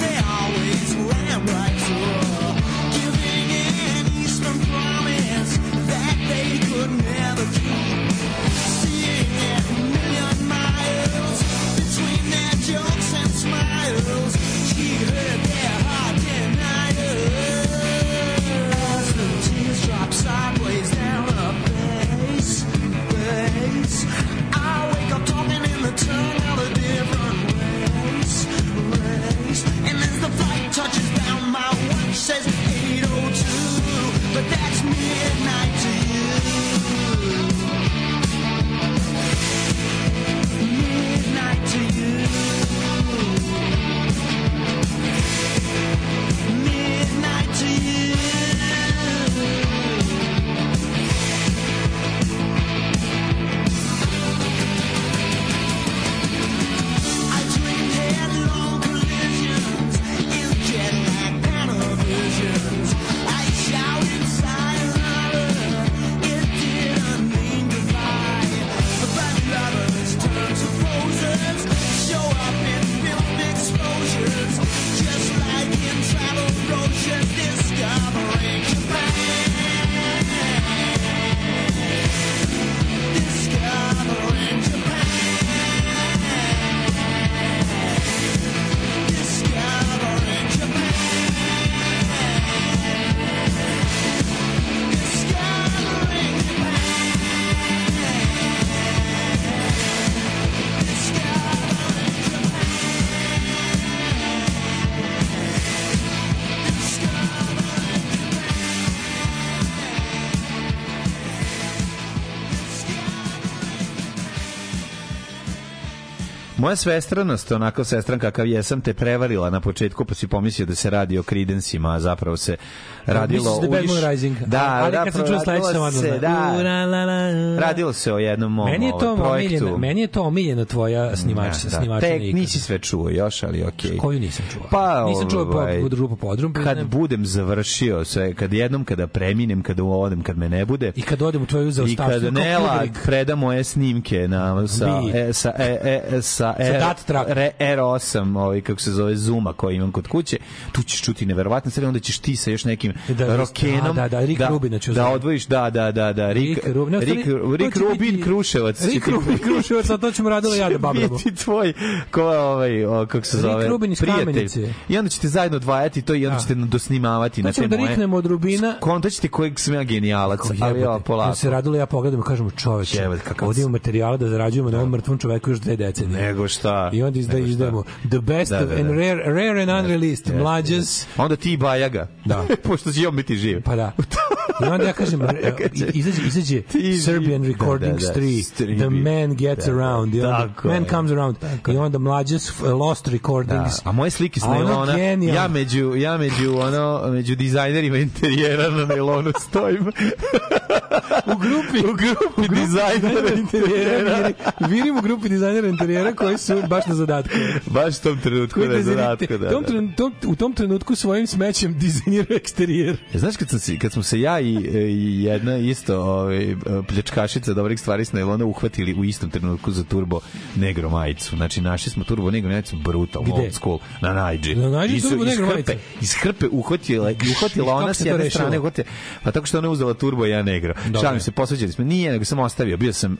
Speaker 1: They always ran right through her, giving an Eastern promise that they could never keep. Seeing it a million miles between their jokes and smiles, she heard their heart deniers. The tears drop sideways down her face, face. I wake up talking in the tongue out of different ways, ways. And as the flight touches down, my watch says 8:02, but that's midnight to you. Midnight to you. Midnight to you. I dream headlong collisions in jet lag panavisions. I shout in silence
Speaker 5: Moja svestranost, onako sestran kakav jesam, te prevarila na početku, pa si pomislio da se radi o Credensima, a zapravo se radilo...
Speaker 7: Misliš da je Bad
Speaker 5: iš-
Speaker 7: Moon Rising?
Speaker 5: Da,
Speaker 7: ali
Speaker 5: da,
Speaker 7: kad sam čuo sledeće sam
Speaker 5: radilo
Speaker 7: odmah.
Speaker 5: se, da. Radilo se o jednom mom
Speaker 7: Meni je to
Speaker 5: ovaj, projektu.
Speaker 7: omiljena, meni je to omiljena tvoja snimač,
Speaker 5: Da, da.
Speaker 7: snimača
Speaker 5: Tek
Speaker 7: Nika.
Speaker 5: nisi sve čuo još, ali okej.
Speaker 7: Koju nisam čuo?
Speaker 5: Pa,
Speaker 7: nisam čuo
Speaker 5: ovaj,
Speaker 7: po grupu podrum. pa
Speaker 5: kad budem završio sve, kad jednom kada preminem, kada odem, kad me ne bude.
Speaker 7: I kad odem u tvoju
Speaker 5: I
Speaker 7: zaostavštinu,
Speaker 5: kad
Speaker 7: kao
Speaker 5: Nela
Speaker 7: Kubrick.
Speaker 5: preda moje snimke na, sa,
Speaker 7: Bi.
Speaker 5: e, sa, e, e, e, sa,
Speaker 7: Sa
Speaker 5: R,
Speaker 7: dat track.
Speaker 5: re, R8, ovaj, kako se zove, Zuma koji imam kod kuće, tu ćeš čuti neverovatne stvari, onda ćeš ti sa još nekim
Speaker 7: da,
Speaker 5: rokenom
Speaker 7: da, da, Rick
Speaker 5: da,
Speaker 7: Rubina ću
Speaker 5: da
Speaker 7: zvati.
Speaker 5: odvojiš, da, da, da, da, Rick,
Speaker 7: Rick Rubin, ne,
Speaker 5: Rick,
Speaker 7: ostani, to
Speaker 5: Rick
Speaker 7: će
Speaker 5: Rubin
Speaker 7: biti-
Speaker 5: Kruševac. će
Speaker 7: Rick
Speaker 5: ti-
Speaker 7: Rubin Kruševac, a to ćemo radila ja da
Speaker 5: će
Speaker 7: babramo.
Speaker 5: biti tvoj, ko, ovaj, o, kako se
Speaker 7: Rick
Speaker 5: zove,
Speaker 7: Rubin iz
Speaker 5: prijatelj.
Speaker 7: Kamenice.
Speaker 5: I onda ćete zajedno odvajati to i onda
Speaker 7: Da.
Speaker 5: ćete dosnimavati
Speaker 7: To
Speaker 5: na te
Speaker 7: ćemo da
Speaker 5: moje.
Speaker 7: riknemo od Rubina.
Speaker 5: Konta ćete kojeg sam ja genijalac, ali ovo polako.
Speaker 7: Kad se radilo ja pogledam i kažemo čoveče, ovdje imamo materijala da zarađujemo na ovom mrtvom čoveku još dve decenije.
Speaker 5: Nego šta.
Speaker 7: I onda izda,
Speaker 5: nego šta.
Speaker 7: izdajemo the best
Speaker 5: Da, da,
Speaker 7: of and
Speaker 5: da.
Speaker 7: rare, rare and unreleased,
Speaker 5: Jeste,
Speaker 7: mlađes.
Speaker 5: jeste. Onda ti i Bajaga. Da. Pošto će i on biti živ.
Speaker 7: Pa da. I onda ja kažem, e, izađe, izađe Serbian Recordings
Speaker 5: Da, da, da,
Speaker 7: 3,
Speaker 5: Strip.
Speaker 7: The Man Gets
Speaker 5: Da, da.
Speaker 7: Around, i onda
Speaker 5: Tako
Speaker 7: Man
Speaker 5: je.
Speaker 7: Comes Around, i onda mlađes f- Lost
Speaker 5: Da,
Speaker 7: Recordings.
Speaker 5: a moje slike s
Speaker 7: A ono
Speaker 5: nailona,
Speaker 7: genijalno.
Speaker 5: ja među, ja među, ono, među dizajnerima interijera na nailonu stojim.
Speaker 7: u grupi,
Speaker 5: u grupi, dizajnera
Speaker 7: interijera. viri- Virim u grupi dizajnera interijera koji su baš na zadatku.
Speaker 5: Baš u tom trenutku
Speaker 7: Koji
Speaker 5: na
Speaker 7: dizajniraju-
Speaker 5: zadatku, da.
Speaker 7: tom
Speaker 5: da.
Speaker 7: tren- tom- u tom trenutku svojim smećem dizajniraju eksterijer.
Speaker 5: E, Znaš kad, sam, si- kad smo se ja i, e, i jedna isto ovaj, pljačkašica dobrih stvari s nailona uhvatili u istom trenutku za turbo negro majicu. Znači našli smo turbo negro majicu brutalno
Speaker 7: Gde?
Speaker 5: old school na Najdži.
Speaker 7: Na Najdži
Speaker 5: I su-
Speaker 7: Turbo
Speaker 5: iz
Speaker 7: negro
Speaker 5: hrpe-
Speaker 7: majicu?
Speaker 5: Iz hrpe uhvatila, i
Speaker 7: I
Speaker 5: uhvatila
Speaker 7: kako
Speaker 5: ona
Speaker 7: se
Speaker 5: s
Speaker 7: to
Speaker 5: jedne
Speaker 7: rešilo?
Speaker 5: strane. Uhvatila, pa tako što ona je uzela turbo ja negro.
Speaker 7: Dobro.
Speaker 5: Šalim se, posveđali smo. Nije, nego sam ostavio. Bio sam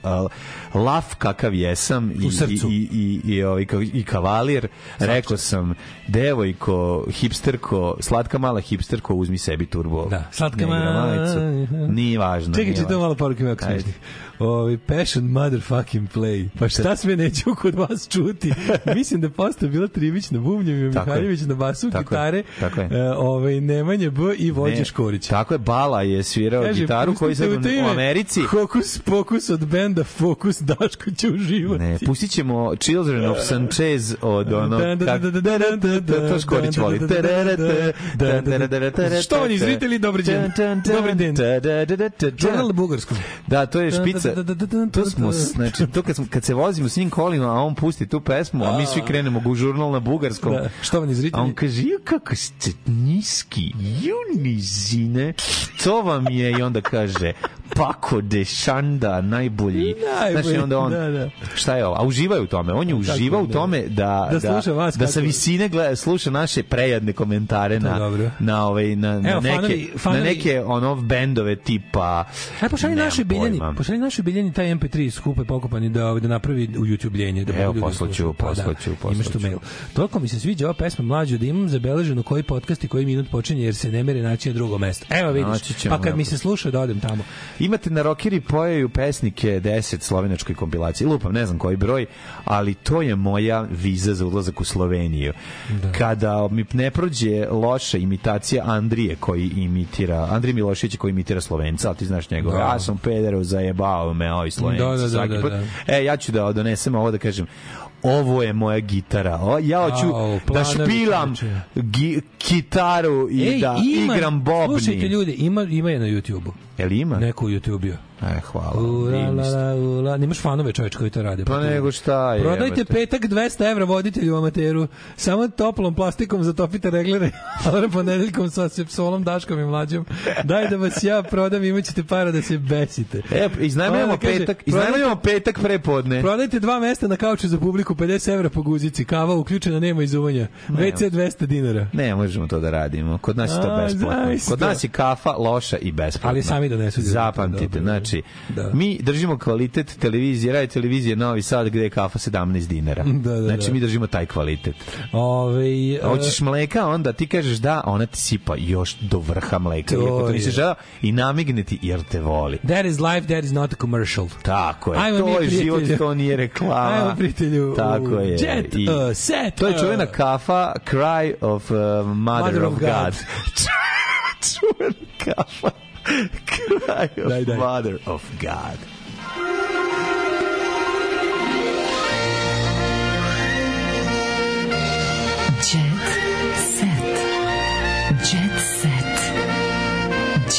Speaker 5: uh, laf kakav jesam i,
Speaker 7: U srcu.
Speaker 5: i, i, i, i, ovaj, kao- i kavalir. Rekao sam, devojko, hipsterko, slatka mala hipsterko, uzmi sebi turbo
Speaker 7: Da, slatka
Speaker 5: Negra
Speaker 7: ma-
Speaker 5: majicu. Nije važno.
Speaker 7: Čekaj,
Speaker 5: nije
Speaker 7: čitam
Speaker 5: važno.
Speaker 7: malo poruke ovako
Speaker 5: Ajde.
Speaker 7: smešnih. Ovi, passion motherfucking play. Pa šta sve neću kod vas čuti? Mislim da posta bila Trivić na bubnjem,
Speaker 5: Tako je.
Speaker 7: Mihajlović na basu,
Speaker 5: Tako je.
Speaker 7: gitare,
Speaker 5: Tako je.
Speaker 7: e, ovaj, Nemanja B i Vođe
Speaker 5: Ne,
Speaker 7: Škorić.
Speaker 5: Tako je, Bala je svirao
Speaker 7: Kaže,
Speaker 5: gitaru koji
Speaker 7: pustite
Speaker 5: sad u,
Speaker 7: to ime
Speaker 5: u Americi.
Speaker 7: Hokus pokus od benda Fokus Daško će uživati.
Speaker 5: Ne, pustit ćemo Children of Sanchez od ono... kak- To Škorić voli.
Speaker 7: Štovani izvitelji, dobri dan. Dobri dan. Žurnal na bugarskom.
Speaker 5: Da, to je špica. To smo, znači, to kad, smo, kad se vozimo s njim kolima, a on pusti tu pesmu, a mi svi krenemo u žurnal na bugarskom.
Speaker 7: Da, štovani izvitelji.
Speaker 5: A on kaže, ju kako ste niski, ju nizine, to vam je, i onda kaže, Pako de Šanda, najbolji.
Speaker 7: Najbolji,
Speaker 5: Znači, onda on,
Speaker 7: da, da.
Speaker 5: šta je ovo? A uživa u tome, on je uživa
Speaker 7: je,
Speaker 5: u
Speaker 7: da.
Speaker 5: tome da,
Speaker 7: Da sluša vas
Speaker 5: da sa
Speaker 7: kako-
Speaker 5: visine gleda, sluša naše prejadne komentare
Speaker 7: To je
Speaker 5: na,
Speaker 7: dobro.
Speaker 5: na, ovaj, na, na,
Speaker 7: Evo,
Speaker 5: neke,
Speaker 7: fanovi- fanovi-
Speaker 5: na neke ono bendove tipa...
Speaker 7: Aj pošalji
Speaker 5: nemam
Speaker 7: našoj biljani,
Speaker 5: pojma.
Speaker 7: pošalji našoj biljani taj MP3 skupe pokopani da ovaj, da napravi u YouTube ljenje da
Speaker 5: Evo,
Speaker 7: ljudi
Speaker 5: poslaću,
Speaker 7: slušaju. Pa da,
Speaker 5: poslaću,
Speaker 7: Imaš tu
Speaker 5: poslaću.
Speaker 7: mail. Toliko mi se sviđa ova pesma mlađu da imam zabeleženo koji podcast i koji minut počinje jer se ne mere naći na drugo mesto. Evo
Speaker 5: Naći
Speaker 7: vidiš.
Speaker 5: ćemo,
Speaker 7: Pa kad
Speaker 5: evo.
Speaker 7: mi se sluša da odem tamo.
Speaker 5: Imate na Rockeri pojaju pesnike 10 slovenačkoj kompilaciji, lupam, ne znam koji broj, ali to je moja viza za ulazak u Sloveniju. Kada mi ne prođe loša imitacija Andrije koji imitira, Andrije Miloševića koji imitira Slovenca, ali ti znaš njegove,
Speaker 7: Da.
Speaker 5: ja sam pederu, zajebao me ovi Slovenci
Speaker 7: Da, da, da,
Speaker 5: svaki
Speaker 7: da,
Speaker 5: put.
Speaker 7: da.
Speaker 5: E, ja ću da donesem ovo da kažem, ovo je moja gitara. O, ja hoću
Speaker 7: Au,
Speaker 5: da
Speaker 7: planovi
Speaker 5: špilam
Speaker 7: čoveče.
Speaker 5: gi, gitaru i
Speaker 7: Ej,
Speaker 5: da
Speaker 7: ima-
Speaker 5: igram bobni.
Speaker 7: Slušajte ljudi, ima ima je na YouTubeu.
Speaker 5: Jel ima?
Speaker 7: Neko u YouTube-u.
Speaker 5: E, hvala.
Speaker 7: Ura,
Speaker 5: Divni
Speaker 7: la,
Speaker 5: ste.
Speaker 7: la, ula. Nemaš fanove čovječ koji to rade.
Speaker 5: Pa nego šta je.
Speaker 7: Prodajte
Speaker 5: jebote.
Speaker 7: petak 200 evra voditelju amateru. Samo toplom plastikom zatopite reglere. Alarm ponedeljkom sa sepsolom, daškom i mlađom. Daj da vas ja prodam, imaćete para da se besite.
Speaker 5: E,
Speaker 7: Ona
Speaker 5: iznajmljamo
Speaker 7: kaže,
Speaker 5: petak, iznajmljamo petak prepodne.
Speaker 7: Prodajte dva mesta na kauču za publiku, 50 evra po guzici, kava uključena, nema izuvanja. WC 200 dinara.
Speaker 5: Ne, možemo to da radimo. Kod nas je to
Speaker 7: A,
Speaker 5: besplatno.
Speaker 7: zaista.
Speaker 5: Kod nas je kafa loša i besplatna.
Speaker 7: Ali sami donesu ljudi.
Speaker 5: Zapamtite,
Speaker 7: Dobro.
Speaker 5: znači,
Speaker 7: Da.
Speaker 5: mi držimo kvalitet televizije, radi televizije Novi Sad gde je kafa 17 dinara.
Speaker 7: Da, da,
Speaker 5: znači,
Speaker 7: da.
Speaker 5: mi držimo taj kvalitet.
Speaker 7: Ove,
Speaker 5: Hoćeš mleka, onda ti kažeš da, a ona ti sipa još do vrha mleka.
Speaker 7: To
Speaker 5: Iako to
Speaker 7: je.
Speaker 5: nisi želao i namigne ti jer te voli.
Speaker 7: That is life, that is not a commercial.
Speaker 5: Tako je.
Speaker 7: Ajmo mi,
Speaker 5: to je
Speaker 7: prijatelju.
Speaker 5: život, to nije reklama.
Speaker 7: Ajmo, prijatelju,
Speaker 5: Tako
Speaker 7: u
Speaker 5: je.
Speaker 7: jet, uh, set,
Speaker 5: To je
Speaker 7: uh.
Speaker 5: čuvena kafa Cry of uh, Mother, of God. čuvena kafa Cry of
Speaker 7: Daj, daj.
Speaker 5: Mother of God.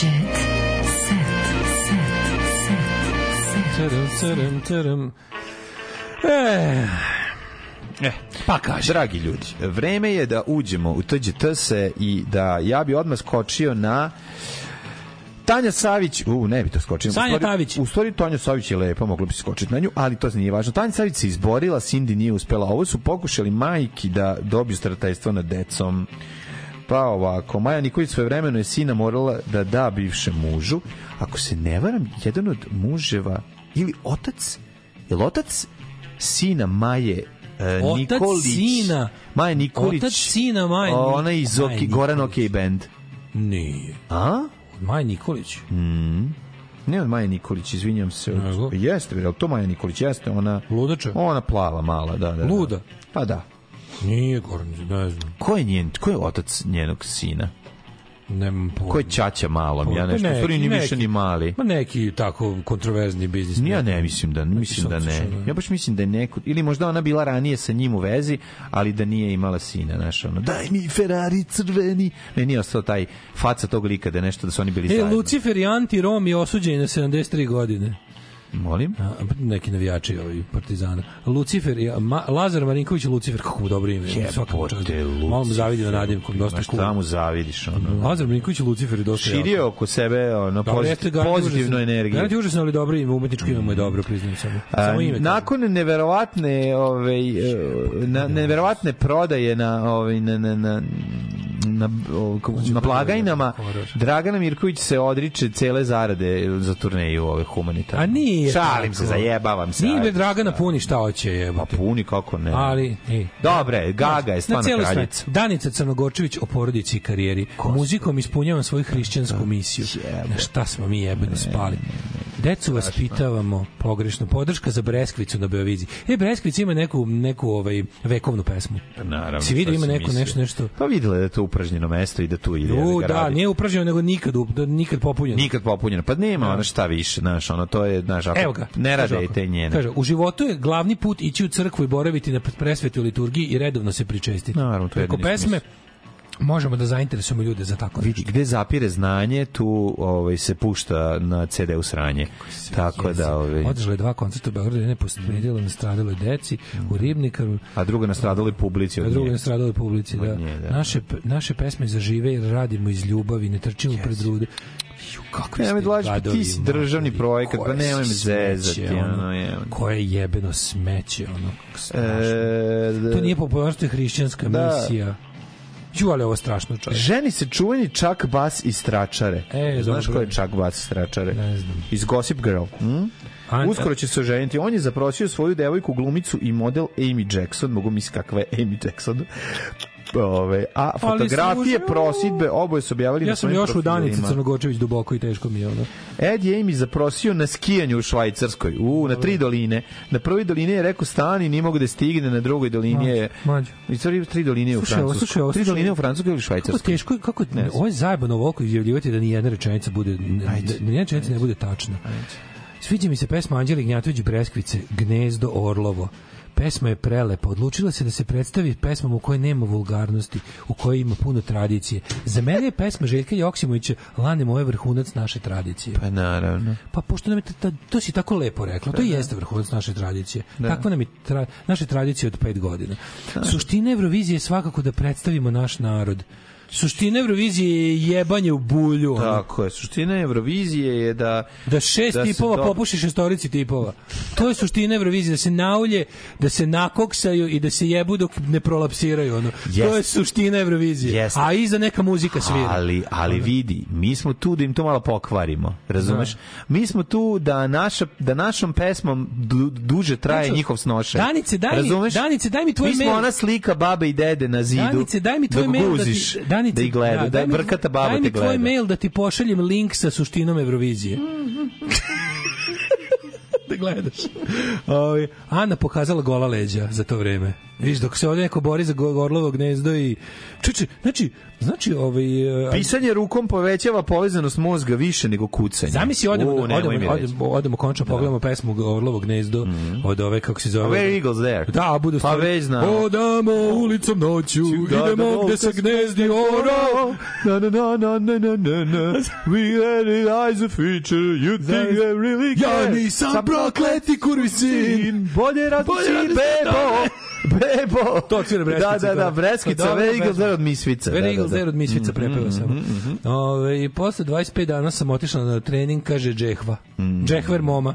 Speaker 10: Jet set.
Speaker 7: Tadam, tadam, tadam. E,
Speaker 5: Eh, pa kaže. Dragi ljudi, vreme je da uđemo u TGT se i da ja bi odmah skočio na Tanja Savić, u, ne bi to skočio.
Speaker 7: Sanja
Speaker 5: u stvari, Tavić. U stvari Tanja Savić je lepa, moglo bi se skočiti na nju, ali to nije važno. Tanja Savić se izborila, Cindy nije uspela. Ovo su pokušali majki da dobiju stratajstvo nad decom. Pa ovako, Maja Nikolić svoje vremeno je sina morala da da bivšem mužu. Ako se ne varam, jedan od muževa ili otac, je otac sina Maje e,
Speaker 7: Otac
Speaker 5: Nikolić.
Speaker 7: sina.
Speaker 5: Maja Nikolić.
Speaker 7: Otac sina Maje
Speaker 5: O,
Speaker 7: Nikolić.
Speaker 5: Ona je iz
Speaker 7: Maje
Speaker 5: Oki, Goran OK Band.
Speaker 7: Nije.
Speaker 5: A?
Speaker 7: Maj Nikolić.
Speaker 5: Mm. Ne od Maje Nikolić, izvinjam se. Od...
Speaker 7: Nego?
Speaker 5: Jeste, bre, ali to Maja Nikolić jeste, ona...
Speaker 7: Ludača?
Speaker 5: Ona plava mala, da, da. da.
Speaker 7: Luda?
Speaker 5: Pa da.
Speaker 7: Nije Goran, ne znam.
Speaker 5: Ko je, njen, ko je otac njenog sina?
Speaker 7: Nemam pojma.
Speaker 5: Ko je Čača malom?
Speaker 7: Pa
Speaker 5: Ja nešto, u
Speaker 7: neki,
Speaker 5: stvari ni više
Speaker 7: neki.
Speaker 5: ni mali.
Speaker 7: Ma neki tako kontroverzni biznis.
Speaker 5: Ja ne mislim da, mislim da ne. Ja baš mislim da je neko, ili možda ona bila ranije sa njim u vezi, ali da nije imala sina, znaš, ono, daj mi Ferrari crveni. Meni je ostao taj faca tog lika da je nešto, da su oni bili
Speaker 7: E,
Speaker 5: zajedno.
Speaker 7: Lucifer i Anti-Rom je osuđen na 73 godine.
Speaker 5: Molim?
Speaker 7: A, neki navijači ovi partizana. Lucifer, i- ma, Lazar Marinković i Lucifer, kako mu dobro ime. svaka mu čast. Malo mu zavidio nadimkom, dosta
Speaker 5: Znaš,
Speaker 7: cool.
Speaker 5: šta mu zavidiš, ono.
Speaker 7: Lazar Marinković i Lucifer je dosta jako.
Speaker 5: Širio oko sebe ono,
Speaker 7: Da, ali jeste
Speaker 5: pozit,
Speaker 7: Garant
Speaker 5: pozitivnu
Speaker 7: užasno-
Speaker 5: energiju.
Speaker 7: Garant je užasno, ali dobro ime, umetničko ime mu je dobro, priznajem samo.
Speaker 5: A,
Speaker 7: Samo ime.
Speaker 5: nakon neverovatne ove na neverovatne prodaje na ovaj na na na na, o, kako- na blagajnama Dragana Mirković se odriče cele zarade za turneju ove humanitarne.
Speaker 7: A nije.
Speaker 5: Šalim
Speaker 7: tako.
Speaker 5: se, zajebavam se.
Speaker 7: Nije
Speaker 5: ajde.
Speaker 7: bre Dragana puni šta hoće,
Speaker 5: Pa
Speaker 7: jebote.
Speaker 5: puni kako ne.
Speaker 7: Ali, ej.
Speaker 5: Dobre, Gaga je
Speaker 7: Na
Speaker 5: stvarno
Speaker 7: cijelu
Speaker 5: kraljica.
Speaker 7: sve. Danica Crnogorčević o porodici i karijeri. Muzikom ispunjavam svoju hrišćansku misiju. Na šta smo mi jebeno spali? Decu vas pitavamo pogrešno. Podrška za Breskvicu na Beovizi. E, Breskvica ima neku, neku ovaj, vekovnu pesmu.
Speaker 5: Naravno.
Speaker 7: Si vidio,
Speaker 5: šta
Speaker 7: ima
Speaker 5: si
Speaker 7: neko
Speaker 5: mislio.
Speaker 7: nešto, nešto.
Speaker 5: Pa videla je da je to upražnjeno mesto i da tu ide.
Speaker 7: U,
Speaker 5: ga
Speaker 7: da,
Speaker 5: radi.
Speaker 7: nije upražnjeno, nego nikad, up- da- nikad popunjeno.
Speaker 5: Nikad popunjeno. Pa nema ona šta više, znaš, ono, to je, znaš, ako
Speaker 7: Evo ga.
Speaker 5: ne
Speaker 7: Kaže
Speaker 5: rade
Speaker 7: ovako.
Speaker 5: te njene.
Speaker 7: Kaže, u životu je glavni put ići u crkvu i boraviti na presvetu liturgiji i redovno se pričestiti.
Speaker 5: Naravno, to je
Speaker 7: Preko
Speaker 5: jedini
Speaker 7: pesme možemo da zainteresujemo ljude za tako
Speaker 5: vidi
Speaker 7: nešto.
Speaker 5: gde zapire znanje tu ovaj se pušta na CD u sranje tako da ovaj
Speaker 7: Održala je dva koncerta u Beogradu, jedna je
Speaker 5: Mm.
Speaker 7: posledila na stradaloj deci, u Ribnikaru,
Speaker 5: a druga nastradala i publici
Speaker 7: a
Speaker 5: od
Speaker 7: druga
Speaker 5: nje.
Speaker 7: je stradaloj publici. Da.
Speaker 5: Od nje, da.
Speaker 7: Naše, p- naše pesme zažive jer radimo iz ljubavi, ne trčimo pred rude. Ju, kako
Speaker 5: Nemoj dlači, pa ti si državni projekat, pa nemoj me zezati, ono, je.
Speaker 7: Koje jebeno smeće, ono, kako strašno.
Speaker 5: E, da-
Speaker 7: To nije popularnost, to je hrišćanska
Speaker 5: Da.
Speaker 7: misija. Ju, ali ovo je strašno čovječe.
Speaker 5: Ženi se čuveni Čak Bas iz Tračare.
Speaker 7: E,
Speaker 5: Znaš
Speaker 7: dobro.
Speaker 5: ko je Čak Bas iz Tračare?
Speaker 7: Ne znam.
Speaker 5: Iz Gossip Girl. Hm?
Speaker 7: An-
Speaker 5: Uskoro će se oženiti. On je zaprosio svoju devojku, glumicu i model Amy Jackson. Mogu misliti kakva je Amy Jackson. Ove, a
Speaker 7: sam
Speaker 5: fotografije,
Speaker 7: užao.
Speaker 5: prosidbe, oboje su objavili na
Speaker 7: Ja sam
Speaker 5: svojim
Speaker 7: još u Danici
Speaker 5: profilima.
Speaker 7: Crnogorčević duboko i teško mi je ono.
Speaker 5: Ed je Amy zaprosio na skijanju u Švajcarskoj, u, na tri doline. Na prvoj dolini je rekao stani, nije mogu da stigne, na drugoj dolini je...
Speaker 7: Mlađo.
Speaker 5: I stvari tri doline je u
Speaker 7: Slušaj, ovo,
Speaker 5: Francuskoj.
Speaker 7: slušaj, ovo,
Speaker 5: tri
Speaker 7: slušaj.
Speaker 5: doline u Francuskoj ili
Speaker 7: Kako
Speaker 5: Švajcarskoj?
Speaker 7: teško, je, kako
Speaker 5: Ne
Speaker 7: ne,
Speaker 5: znam.
Speaker 7: ovo je zajebano ovoliko izjavljivati da ni jedna rečenica bude
Speaker 5: Ajde.
Speaker 7: da ni jedna rečenica ne bude tačna. Sviđa mi se pesma Anđeli Gnjatović Breskvice Gnezdo Orlovo. Pesma je prelepa. Odlučila se da se predstavi pesmom u kojoj nema vulgarnosti, u kojoj ima puno tradicije. Za mene je pesma Željka Joksimovića Lane moje vrhunac naše tradicije.
Speaker 5: Pa naravno.
Speaker 7: Pa pošto nam je ta, ta- to si tako lepo rekla, to jeste vrhunac naše tradicije. Takva nam je tra, naše tradicije od pet godina. Suština Eurovizije je svakako da predstavimo naš narod. Suština Eurovizije je jebanje u bulju. ono.
Speaker 5: Tako je. Suština Eurovizije je da...
Speaker 7: Da šest
Speaker 5: se
Speaker 7: tipova
Speaker 5: do-
Speaker 7: popuši šestorici tipova. To je suština Eurovizije, da se naulje, da se nakoksaju i da se jebu dok ne prolapsiraju. Ono. To
Speaker 5: Jeste.
Speaker 7: je suština Eurovizije.
Speaker 5: Jeste.
Speaker 7: A iza neka muzika svira.
Speaker 5: Ali, ali
Speaker 7: Ono.
Speaker 5: vidi, mi smo tu da im to malo pokvarimo, razumeš? Mi smo tu da, naša, da našom pesmom du, duže traje
Speaker 7: Danica,
Speaker 5: njihov snošaj.
Speaker 7: Danice, daj mi-
Speaker 5: razumeš?
Speaker 7: Danice, daj mi tvoj
Speaker 5: Mi smo
Speaker 7: mail.
Speaker 5: ona slika babe i dede na zidu.
Speaker 7: Danice, daj mi tvoj
Speaker 5: dok
Speaker 7: mail
Speaker 5: guziš,
Speaker 7: da ti,
Speaker 5: da ih gleda, da,
Speaker 7: daj mi-
Speaker 5: brkata baba
Speaker 7: daj mi
Speaker 5: te gleda.
Speaker 7: tvoj mail da ti pošaljem link sa suštinom Eurovizije. te gledaš. Ovi, Ana pokazala gola leđa za to vreme. Viš, dok se ovde neko bori za go- Gorlovo gnezdo i... Čuče, znači, znači, ovaj... e,
Speaker 5: Pisanje rukom povećava povezanost mozga više nego kucanje.
Speaker 7: Zamisli odemo,
Speaker 5: U,
Speaker 7: o,
Speaker 5: nemoj
Speaker 7: odemo,
Speaker 5: mi
Speaker 7: odemo,
Speaker 5: reći.
Speaker 7: odemo, končno pogledamo pesmu Orlovo gnezdo od ove kako se zove.
Speaker 5: Where Eagles There.
Speaker 7: Da, budu
Speaker 5: Pa već znamo.
Speaker 7: Odamo ulicom noću,
Speaker 5: Da, da,
Speaker 7: idemo
Speaker 5: da,
Speaker 7: gde se
Speaker 5: da,
Speaker 7: gnezdi oro.
Speaker 5: Na, na, na, na, na, na, na, na. We had the eyes of future, you think I really
Speaker 7: Ja
Speaker 5: care.
Speaker 7: nisam
Speaker 5: Sam
Speaker 7: prokleti kurvi sin.
Speaker 5: sin, Bolje različit,
Speaker 7: različit,
Speaker 5: bebo. Bebo.
Speaker 7: To odsvira Breskica.
Speaker 5: Da, da, da,
Speaker 7: koja-
Speaker 5: Breskica,
Speaker 7: Dobra
Speaker 5: Where Eagles
Speaker 7: pesma.
Speaker 5: There od Misvica.
Speaker 7: Where
Speaker 5: da, da,
Speaker 7: Eagles
Speaker 5: da.
Speaker 7: There od Misvica
Speaker 5: Mhm,
Speaker 7: prepeva samo.
Speaker 5: mhm, mhm.
Speaker 7: Ove, I posle 25 dana sam otišla na trening, kaže Džehva.
Speaker 5: Mhm.
Speaker 7: Džehver moma.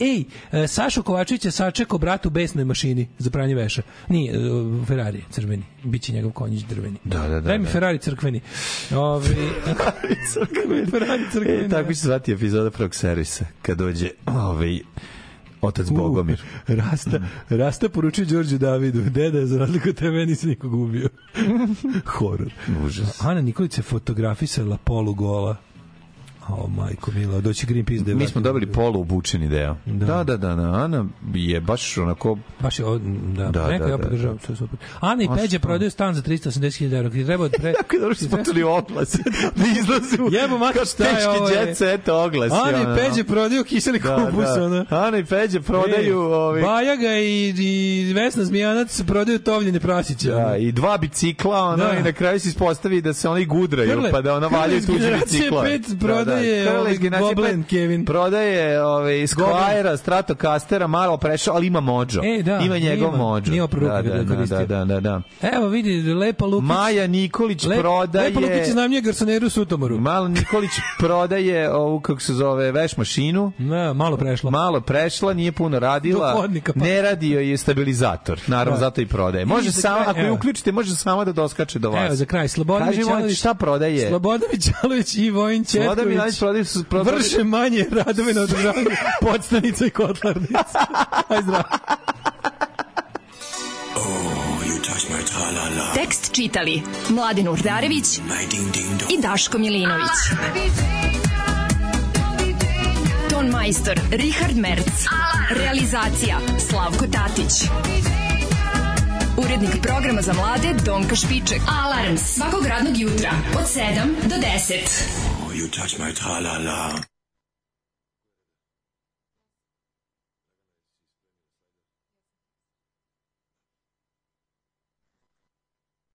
Speaker 7: Ej, e, Sašo Kovačević je sačekao brat u besnoj mašini za pranje veša. Nije, e, Ferrari je crveni. Biće njegov konjić drveni. Da,
Speaker 5: da,
Speaker 7: Daj mi
Speaker 5: da.
Speaker 7: Ferrari crkveni. Ovi, Ferrari crkveni.
Speaker 5: E, tako će se zvati epizoda prvog servisa, kad dođe ovaj, otac Bogomir.
Speaker 7: Rasta, Rasta poručio Đorđu Davidu, deda, za razliku od tebe nisi nikog ubio. Horor.
Speaker 5: Užas.
Speaker 7: Ana Nikolić se fotografisala polugola. O, majko mila, doći Greenpeace da je
Speaker 5: Mi
Speaker 7: vrati.
Speaker 5: smo dobili polu obučeni deo.
Speaker 7: Da.
Speaker 5: Da, da, da, da. Ana je baš onako...
Speaker 7: Baš je, od- da,
Speaker 5: Da,
Speaker 7: da, neko
Speaker 5: da,
Speaker 7: ja
Speaker 5: da,
Speaker 7: podržavam,
Speaker 5: da.
Speaker 7: sve super. Ana i
Speaker 5: A
Speaker 7: Peđa
Speaker 5: što?
Speaker 7: prodaju stan za 380.000 evra. Kada treba od pre...
Speaker 5: Tako je dobro što smo počeli oglas. Da izlazimo.
Speaker 7: Jebo, mater,
Speaker 5: kao
Speaker 7: šta je ovaj?
Speaker 5: teški
Speaker 7: ovo, je?
Speaker 5: jet set oglas.
Speaker 7: Ana
Speaker 5: ono.
Speaker 7: i Peđa prodaju kiseli kupus, ono.
Speaker 5: Ana i Peđa prodaju...
Speaker 7: E,
Speaker 5: ovi,
Speaker 7: Bajaga i, i Vesna Zmijanac prodaju tovljene prasiće. ono.
Speaker 5: Da, i dva bicikla, ono,
Speaker 7: Da.
Speaker 5: i na kraju se ispostavi da se oni gudraju,
Speaker 7: Krle-
Speaker 5: pa da ona
Speaker 7: Krle
Speaker 5: valja
Speaker 7: iz
Speaker 5: tuđe
Speaker 7: generacije
Speaker 5: bicikla.
Speaker 7: pet prodaje, ovaj, Goblin, Kevin.
Speaker 5: Prodaje ovaj, Squire-a, Stratocastera, malo prešao, ali ima mođo.
Speaker 7: E, da,
Speaker 5: ima njegov
Speaker 7: ima.
Speaker 5: mođo.
Speaker 7: Nije opravo
Speaker 5: da,
Speaker 7: ruke
Speaker 5: da,
Speaker 7: da
Speaker 5: da,
Speaker 7: koristio.
Speaker 5: da, da, da, da.
Speaker 7: Evo vidi, Lepa Lukić.
Speaker 5: Maja Nikolić
Speaker 7: Lep-
Speaker 5: prodaje...
Speaker 7: Lepa Lukić znam nje garsoneru Sutomoru.
Speaker 5: Malo Nikolić prodaje ovu, kako se zove, veš mašinu.
Speaker 7: Ne, malo prešlo.
Speaker 5: Malo prešla, nije puno radila.
Speaker 7: Do hodnika, pa.
Speaker 5: Ne radio je stabilizator. Naravno,
Speaker 7: Da.
Speaker 5: zato i prodaje.
Speaker 7: I
Speaker 5: Može
Speaker 7: za
Speaker 5: samo,
Speaker 7: kraj,
Speaker 5: ako je
Speaker 7: evo.
Speaker 5: uključite, može samo da doskače do vas.
Speaker 7: Evo za kraj, Slobodan
Speaker 5: Kaži mi,
Speaker 7: Mićalović.
Speaker 5: šta prodaje?
Speaker 7: Slobodan Mićalović i Vojin Četković.
Speaker 5: Slobodan Mićalović prodaje su- prodaje-
Speaker 7: Vrše manje radove na održavanju podstanica i kotlarnica. Aj zdravo.
Speaker 10: Tekst čitali Mladin Urdarević i Daško Milinović. Ton majstor Richard Merc. Realizacija Slavko Tatić. Urednik programa za mlade Donka Špiček. Alarms svakog radnog jutra od 7 do 10.
Speaker 24: You touch my tra-la-la.